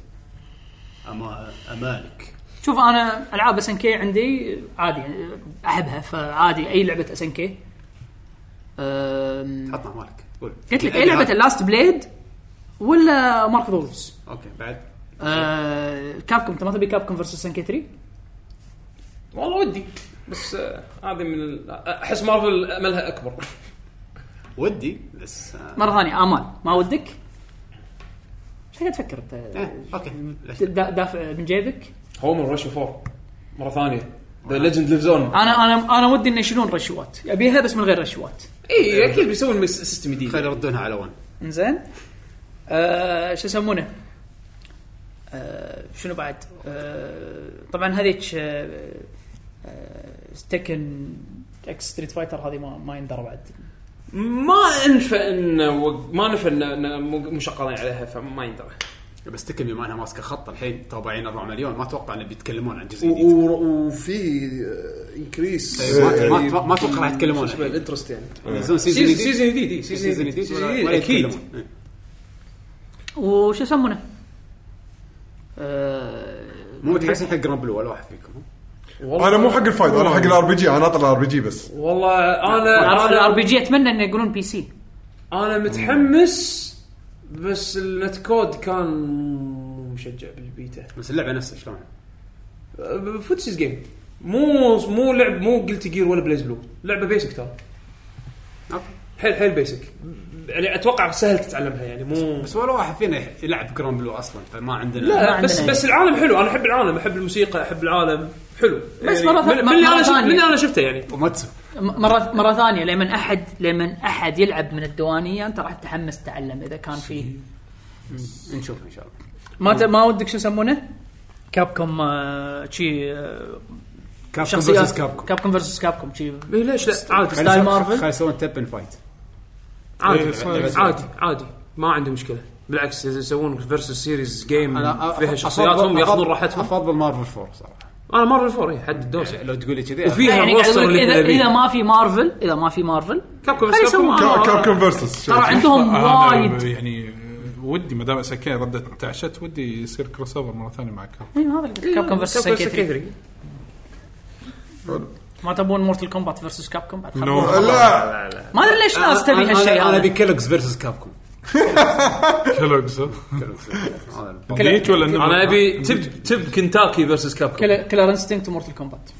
أما امالك
شوف انا العاب اس ان كي عندي عادي يعني احبها فعادي اي لعبه اس ان كي
عطنا امالك قول
قلت لك اي لعبه لاست بليد ولا مارك دولز
اوكي بعد
كابكم انت أه، ما تبي كابكم فيرسس اس ان كي 3
والله ودي بس آه، هذه من ال- احس مارفل املها اكبر
ودي بس آه،
مره ثانيه امال ما ودك؟ ايش قاعد تفكر انت؟
إيه.
اوكي ليش؟
دا- دافع من جيبك؟
هوم رش 4 مره ثانيه ذا ليجند ليف زون
انا انا انا ودي انه يشيلون رشوات ابيها بس من غير رشوات
اي اكيد بيسوون مس- سيستم جديد
خلي يردونها على ون
انزين آه شو يسمونه؟ آه شنو بعد؟ آه طبعا هذيك آه آه تكن اكس ستريت فايتر هذه ما ما يندرى بعد
ما انفى ان وق- ما نفى ان إن مو- مشغلين عليها فما يندرى
بس تكن بما انها ماسكه خط الحين تو باعين 4 مليون ما اتوقع انه بيتكلمون عن جزء جديد
و- و- وفي انكريس
إيه، ما- ما- ما- ما أتوقع راح يتكلمون.
الانترست يعني
ينزلون سيزون
سيزون
جديد
سيزون جديد إي، سيزون
سيزون جديد
سيزون
ولا-
جديد
ولا
اكيد
يتكلمون. إيه.
وشو يسمونه؟ آه
مو متحمسين حق رامبل ولا واحد فيكم
انا مو حق الفايت انا حق الار بي جي انا اطلع الار بي جي بس
والله
آه،
انا
الار
انا
بي جي اتمنى انه يقولون بي سي
انا متحمس بس النت كود كان مو مشجع بالبيتا
بس اللعبه نفسها شلون؟
فوتسيز جيم مو مو لعب مو قلت جير ولا بليز بلو لعبه بيسك ترى
أوكي.
حيل حيل بيسك يعني اتوقع سهل تتعلمها يعني مو
بس ولا واحد فينا يح- يلعب جرام بلو اصلا فما عندنا
ما
لا
عندنا
بس
يعني.
بس العالم حلو انا احب العالم احب الموسيقى احب العالم حلو
بس
يعني
مرة ث-
من من اللي
مرة
انا شفت-
ثانية.
من اللي انا شفته يعني
وماتسو
م- مرة مرة ثانية لمن احد لمن احد يلعب من الديوانية انت راح تتحمس تتعلم اذا كان فيه
نشوف ان شاء الله
ما ت... ما ودك شو يسمونه؟ كابكم آه، شي آه، شخصيات
كابكم
كابكم فيرسس كابكم شي
إيه، ليش لا عادي
ستايل مارفل
خلي يسوون تب ان فايت
عادي
إيه، صحيح.
عادي عادي ما عندي مشكله بالعكس إذا يسوون فيرسس سيريز جيم
أنا أ-
فيها
أفضل-
شخصياتهم
أفضل-
ياخذون راحتهم
افضل مارفل 4 صراحه
انا مارفل فور إيه، حد الدوسه
لو تقول لي كذي
وفيها
يعني قاعد
الروستر
أقول
اللي
لك
احنا
اذا اذا
نبيه
ما في مارفل اذا ما في مارفل
كابكم بس
خلي
كابكم
يسوون آه،
أنا-
كاب كاب كاب فيرسس
ترى
آه،
عندهم
أنا
وايد
يعني آه، ودي ما دام اسكين ردت تعشت ودي يصير كروس اوفر مره ثانيه مع كاب
إيه، هذا اللي- كابكم فيرسس
كابكم
سيكيتري
سكيتري.
ما تبون مورتل كومبات فيرسس كابكم بعد خلاص.
نو
لا
ما ادري
آه،
ليش ناس تبي هالشيء
انا
هذا
ابي كيلوكس فيرسز كابكم
كلوكس ديت ولا نمر؟
انا ابي تب تب كنتاكي فيرسس كابكم
كلا- كلر انستنكت ومورتل كومبات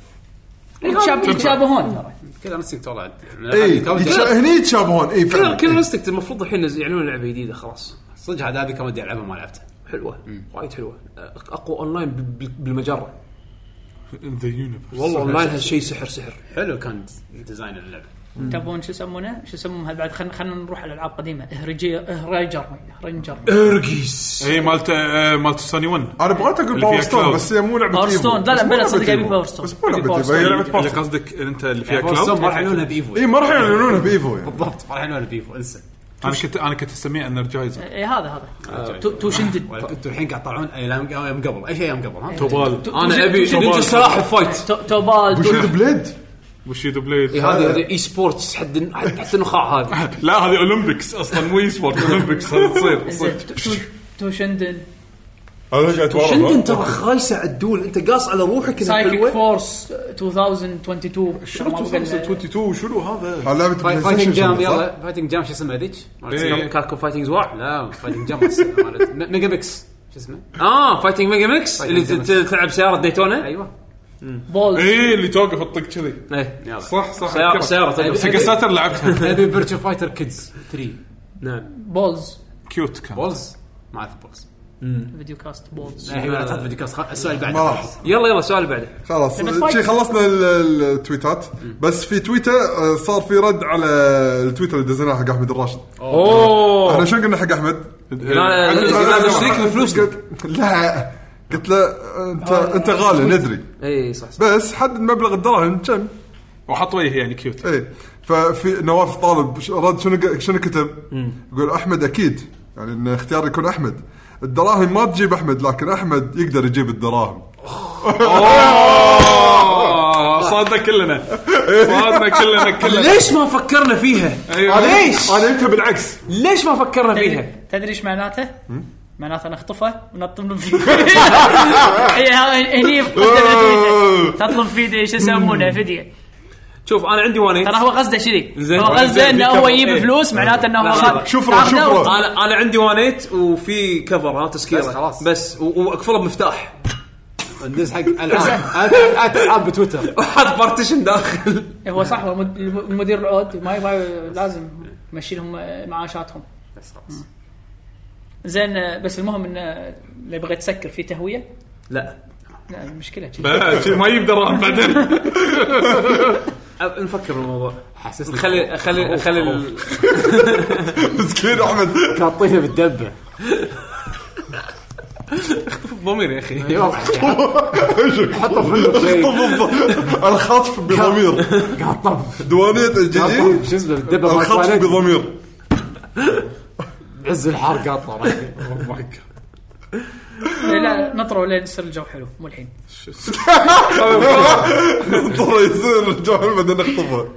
يتشاب- يتشابهون ترى
كذا نسيت والله عاد.
إيه.
اي
كابكم-
إيه، هني إيه، يتشابهون اي
كل
فعلا
كل رستكت المفروض الحين ينزل- يعلنون لعبه جديده خلاص
صدق عاد هذه كان ودي العبها ما لعبتها
حلوه وايد حلوه أق- اقوى اونلاين بال- بال- بالمجره
ذا يونيفرس
والله اونلاين هالشيء سحر سحر
حلو كان ديزاين اللعبه
تبون شو يسمونه؟ شو يسمون هذا بعد خلينا خلينا نروح على العاب قديمه اهرجي اهرجر اهرنجر
ارجيس
اي مالت آه، مالت سوني 1
انا بغيت اقول
اللي
باور
فيها
ستون
كلاود.
بس هي مو لعبه
باور
إيفو.
ستون. لا، لا،
بس مو
بلا،
لعبة
صدق يعني أبي
إيفو.
باور ستون.
بس مو
أبي
لعبه
باور
إيفو، هي
ستون.
لعبه باور
اللي
ستون.
قصدك انت اللي فيها
يعني بورستون ما
كلاود
راح يعلنونها بايفو
اي ما راح يعلنونها بايفو يعني
بالضبط ما راح يعلنونها بايفو انسى
انا كنت انا كنت اسميه انرجايزر
اي إيه، هذا هذا تو تو شندد
ولا كنتوا الحين قاعد تطلعون ايام أيام قبل اي شيء ايام قبل ها
توبال
انا ابي نينجا سلاحف فايت
تو- توبال تو-
وشيلد بليد
وشيدو بليد
هذا هذا اي سبورتس حد حد حتى النخاع إيه، هذا
لا هذه اولمبيكس اصلا مو اي سبورت اولمبيكس هذا تصير
زين،
صدق
تو- تو- تو شندن
انا قاعد
شندن ترى خايسه على الدول انت قاص على روحك انها
سايكيك
حلوه
فورس 2022 ما بقى لنا-
22 شنو هذا؟
على لعبه بلاي
فايتنج
ستيشن
جام
شندن، صح؟
يلا فايتنج جام شو اسمها ذيك؟ مالت-
إيه.
كاتكو فايتنج زواع
لا فايتنج جام مالت- مالت- م- ميجا ميكس شو اسمه؟
اه فايتنج ميجا ميكس
فايتنج
اللي ت-
ميجا
ت- تلعب سياره ديتونا
ايوه
بولز
اي إيه، اللي توقف تطق كذي
ايه
يلا
صح صح
سياره سياره تقدر.
سيجا ساتر لعبتها
ابي فيرتشو فايتر كيدز 3
نعم
بولز
كيوت كان
بولز ما اعرف بولز
فيديو كاست بولز
إيه.
هي ولا تعطي فيديو كاست خ- السؤال بعد
ما راح
يلا يلا السؤال اللي بعده
خلاص
فايت.
شي خلصنا ال- ال- التويتات بس في تويتر آه، صار في رد على التويتر اللي دزيناه حق احمد الراشد
اوه
احنا شو قلنا حق احمد؟
لا، لا، لا، نشتريك بفلوسنا.
قلت- لا قلت له انت انت غالي ندري
اي إيه، صح صح
بس حدد مبلغ الدراهم كم
وحط وجهي يعني كيوت
ايه ففي نواف طالب ش- رد شنو شنو كتب؟ يقول احمد اكيد يعني ان اختيار يكون احمد الدراهم ما تجيب احمد لكن احمد يقدر يجيب الدراهم
آه، صادنا كلنا صادنا كلنا كلنا
ليش ما فكرنا فيها؟
أيوة.
ليش؟
انا جبتها بالعكس
ليش ما فكرنا فيها؟
إيه. تدري تدري ايش معناته؟ معناته نخطفه ونطلب فيه هي- هني قصده تويتر. تطلب فيه شو يسمونه فديه
شوف انا عندي وانيت
ترى هو قصده كذي
زين.
هو قصده
زين.
انه
في
هو
كفر.
يجيب
إيه. نعم.
فلوس معناته انه
لا،
هو
شوفره،
تاخذه
شوفره.
وت-
انا انا عندي وانيت وفي كفر ها تسكيره بس خلاص بس و- واقفله بمفتاح
ندز حق العاب العاب بتويتر
وحط بارتيشن داخل
إيه، هو صح هو المد- المدير العود ما ما لازم آه، يمشي لهم معاشاتهم زين آه، بس المهم ان آه، اللي بغيت تسكر فيه تهويه
لا
لا المشكله كذي
لا، شي ما يبدا راح بعدين
أب- نفكر بالموضوع
حسسني
خلي خلي خلي ال-
مسكين احمد
حاطينه بالدبه
ضمير يا اخي
اي واضح حطه في شيء
الخطف بضمير
قطب
دوانية الجديد
إيه.
قطب شو اسمه بالدبه مال
الخطف
تواليت.
بضمير
عز الحر قطه
إيه، لا نطروا لين يصير الجو حلو مو الحين
ترى يصير الجوال بعدين نخطفه
آه.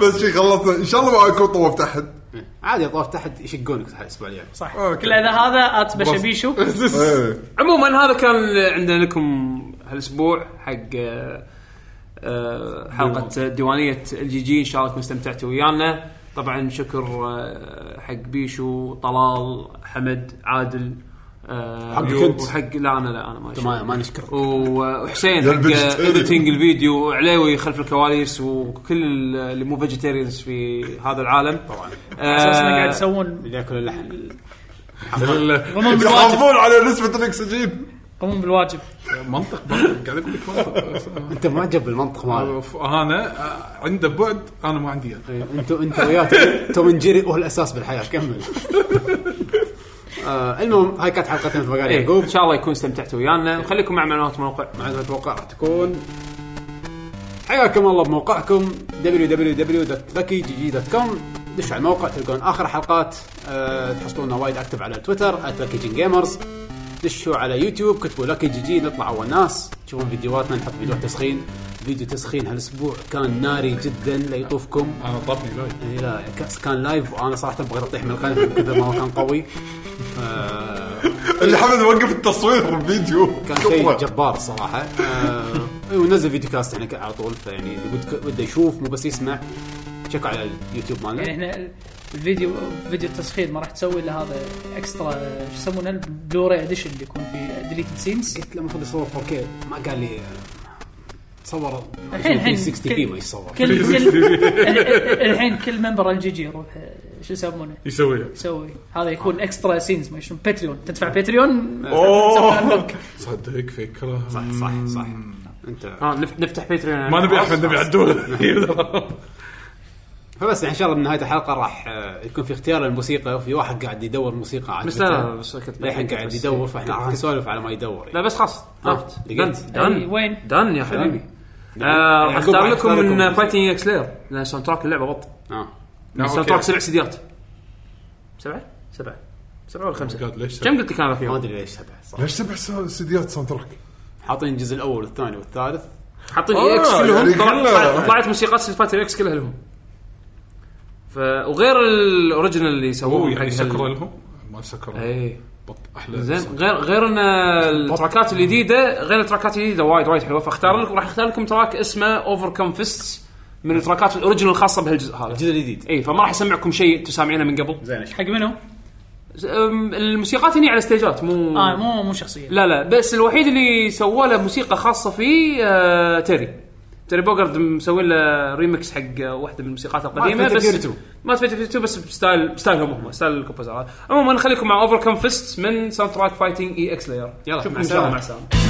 بس شي خلصنا ان شاء الله ما اكون طوفت احد
عادي طاف تحت يشقونك الاسبوع الجاي
صح
أوكي.
كل هذا هذا ات
آه،
بشبيشو
إيه.
عموما هذا كان عندنا لكم هالاسبوع حق آه، آه، حلقه ديوانيه الجي جي ان شاء الله تكونوا استمتعتوا ويانا طبعا شكر آه، حق بيشو طلال حمد عادل آه،
حقك
أيوب،
أنت.
وحق لا انا لا انا ما
ما ما نشكرك
و- وحسين
يا
حق
الفيجيتيريان.
اديتنج الفيديو وعليوي خلف الكواليس وكل اللي مو فيجيتيريانز في هذا العالم آه، طبعا
اساسا قاعد يسوون
اللي ياكل اللحم
قمون بالواجب
يحافظون على نسبة الاكسجين
قمون بالواجب
منطق منطق قاعد اقول لك منطق
انت ما جاب المنطق ماله
انا آه، عنده بعد انا ما عندي إياه.
انت انت وياه توم إند جيري هو الاساس بالحياه كمل آه، المهم هاي كانت حلقتنا في مقال
إيه،
يعقوب
ان شاء الله يكون استمتعتوا ويانا وخليكم مع معلومات الموقع
عندنا اتوقع راح تكون حياكم الله بموقعكم www.luckygg.com دشوا على الموقع تلقون اخر حلقات أه تحصلونا وايد اكتب على تويتر @luckygengamers دشوا على يوتيوب كتبوا لكي جي جي نطلع اول ناس تشوفون فيديوهاتنا نحط فيديوهات تسخين فيديو تسخين هالاسبوع كان ناري جدا لا يطوفكم
انا طافني لايك
يعني لا كأس كان لايف وانا صراحه بغيت اطيح من القلب من كثر ما هو كان قوي آه،
اللي حمد وقف التصوير الفيديو
كان شيء جبار الصراحه آه، إيه، ونزل فيديو كاست هناك على طول فيعني اللي ود- وده يشوف مو بس يسمع شكوا على اليوتيوب
يعني
مالنا
احنا الفيديو فيديو التسخين ما راح تسوي الا هذا اكسترا شو يسمونه البلوراي اديشن اللي يكون فيه ديليتد سينز
قلت له المفروض يصور 4K ما قال لي آه، تصور
الحين- الحين
60 بي ما يصور
كل كل الحين كل ممبر الجي جي يروح آه، شو يسمونه
يسويها
يسوي هذا يكون اكسترا سينز ما شنو باتريون تدفع باتريون
أوه.
أوه.
صدق فكره
صح صح صح انت
آه، نف- نفتح بيتريون
ما نبي احمد نبي عدول
فبس يعني ان شاء الله بنهايه الحلقه راح آه، يكون في اختيار للموسيقى وفي واحد قاعد يدور موسيقى عاد
بس لا لا بس كنت
للحين قاعد يدور فاحنا راح نسولف على ما يدور
لا بس خلاص آه، عرفت دن
لقيت.
أي،
دن
وين؟
دن يا حبيبي
يعني
آه، راح
يعقوب
اختار
راح
لكم
يختار
من
لكم.
فايتنج اكس لير لان ساوند تراك اللعبه بط
آه.
ساوند تراك سبع سيديات سبعه؟ سبعه سبعه ولا خمسه؟
God، ليش
كم قلت لك انا
ما
فيهم؟
ادري ليش سبعه صح
ليش سبع سو- سديات ساوند تراك؟
حاطين الجزء الاول والثاني والثالث
حاطين
آه،
اي اكس
يعني
كلهم طلعت-
كلها.
طلعت- طلعت موسيقى سيل فايتر اكس كلها لهم ف وغير الاوريجنال اللي
هو
سووه
يعني سكر لهم ما سكر
اي
بط احلى
إيه. زين غير غير ان التراكات الجديده غير التراكات الجديده وايد وايد حلوه فاختار لكم راح اختار لكم تراك اسمه اوفر كم فيست من التراكات الاوريجنال الخاصه بهالجزء هذا
الجزء الجديد
اي فما راح اسمعكم شيء تسامعينه من قبل
زين
حق منو؟
أم، الموسيقات هني على ستيجات مو
اه مو مو شخصيه
لا لا بس الوحيد اللي سوى له موسيقى خاصه فيه آه تيري تري بوجارد مسوي له ريمكس حق واحده من الموسيقات القديمه
فيتا
بس
فيرتو.
ما فيتا فيرتو بس بستايل ستايلهم هم ستايل الكومبوزر عموما خليكم مع اوفر كم فيست من ساوند تراك فايتنج اي اكس لاير
يلا،
شوفكم
مع
ان شاء الله
السلامة.
مع السلامه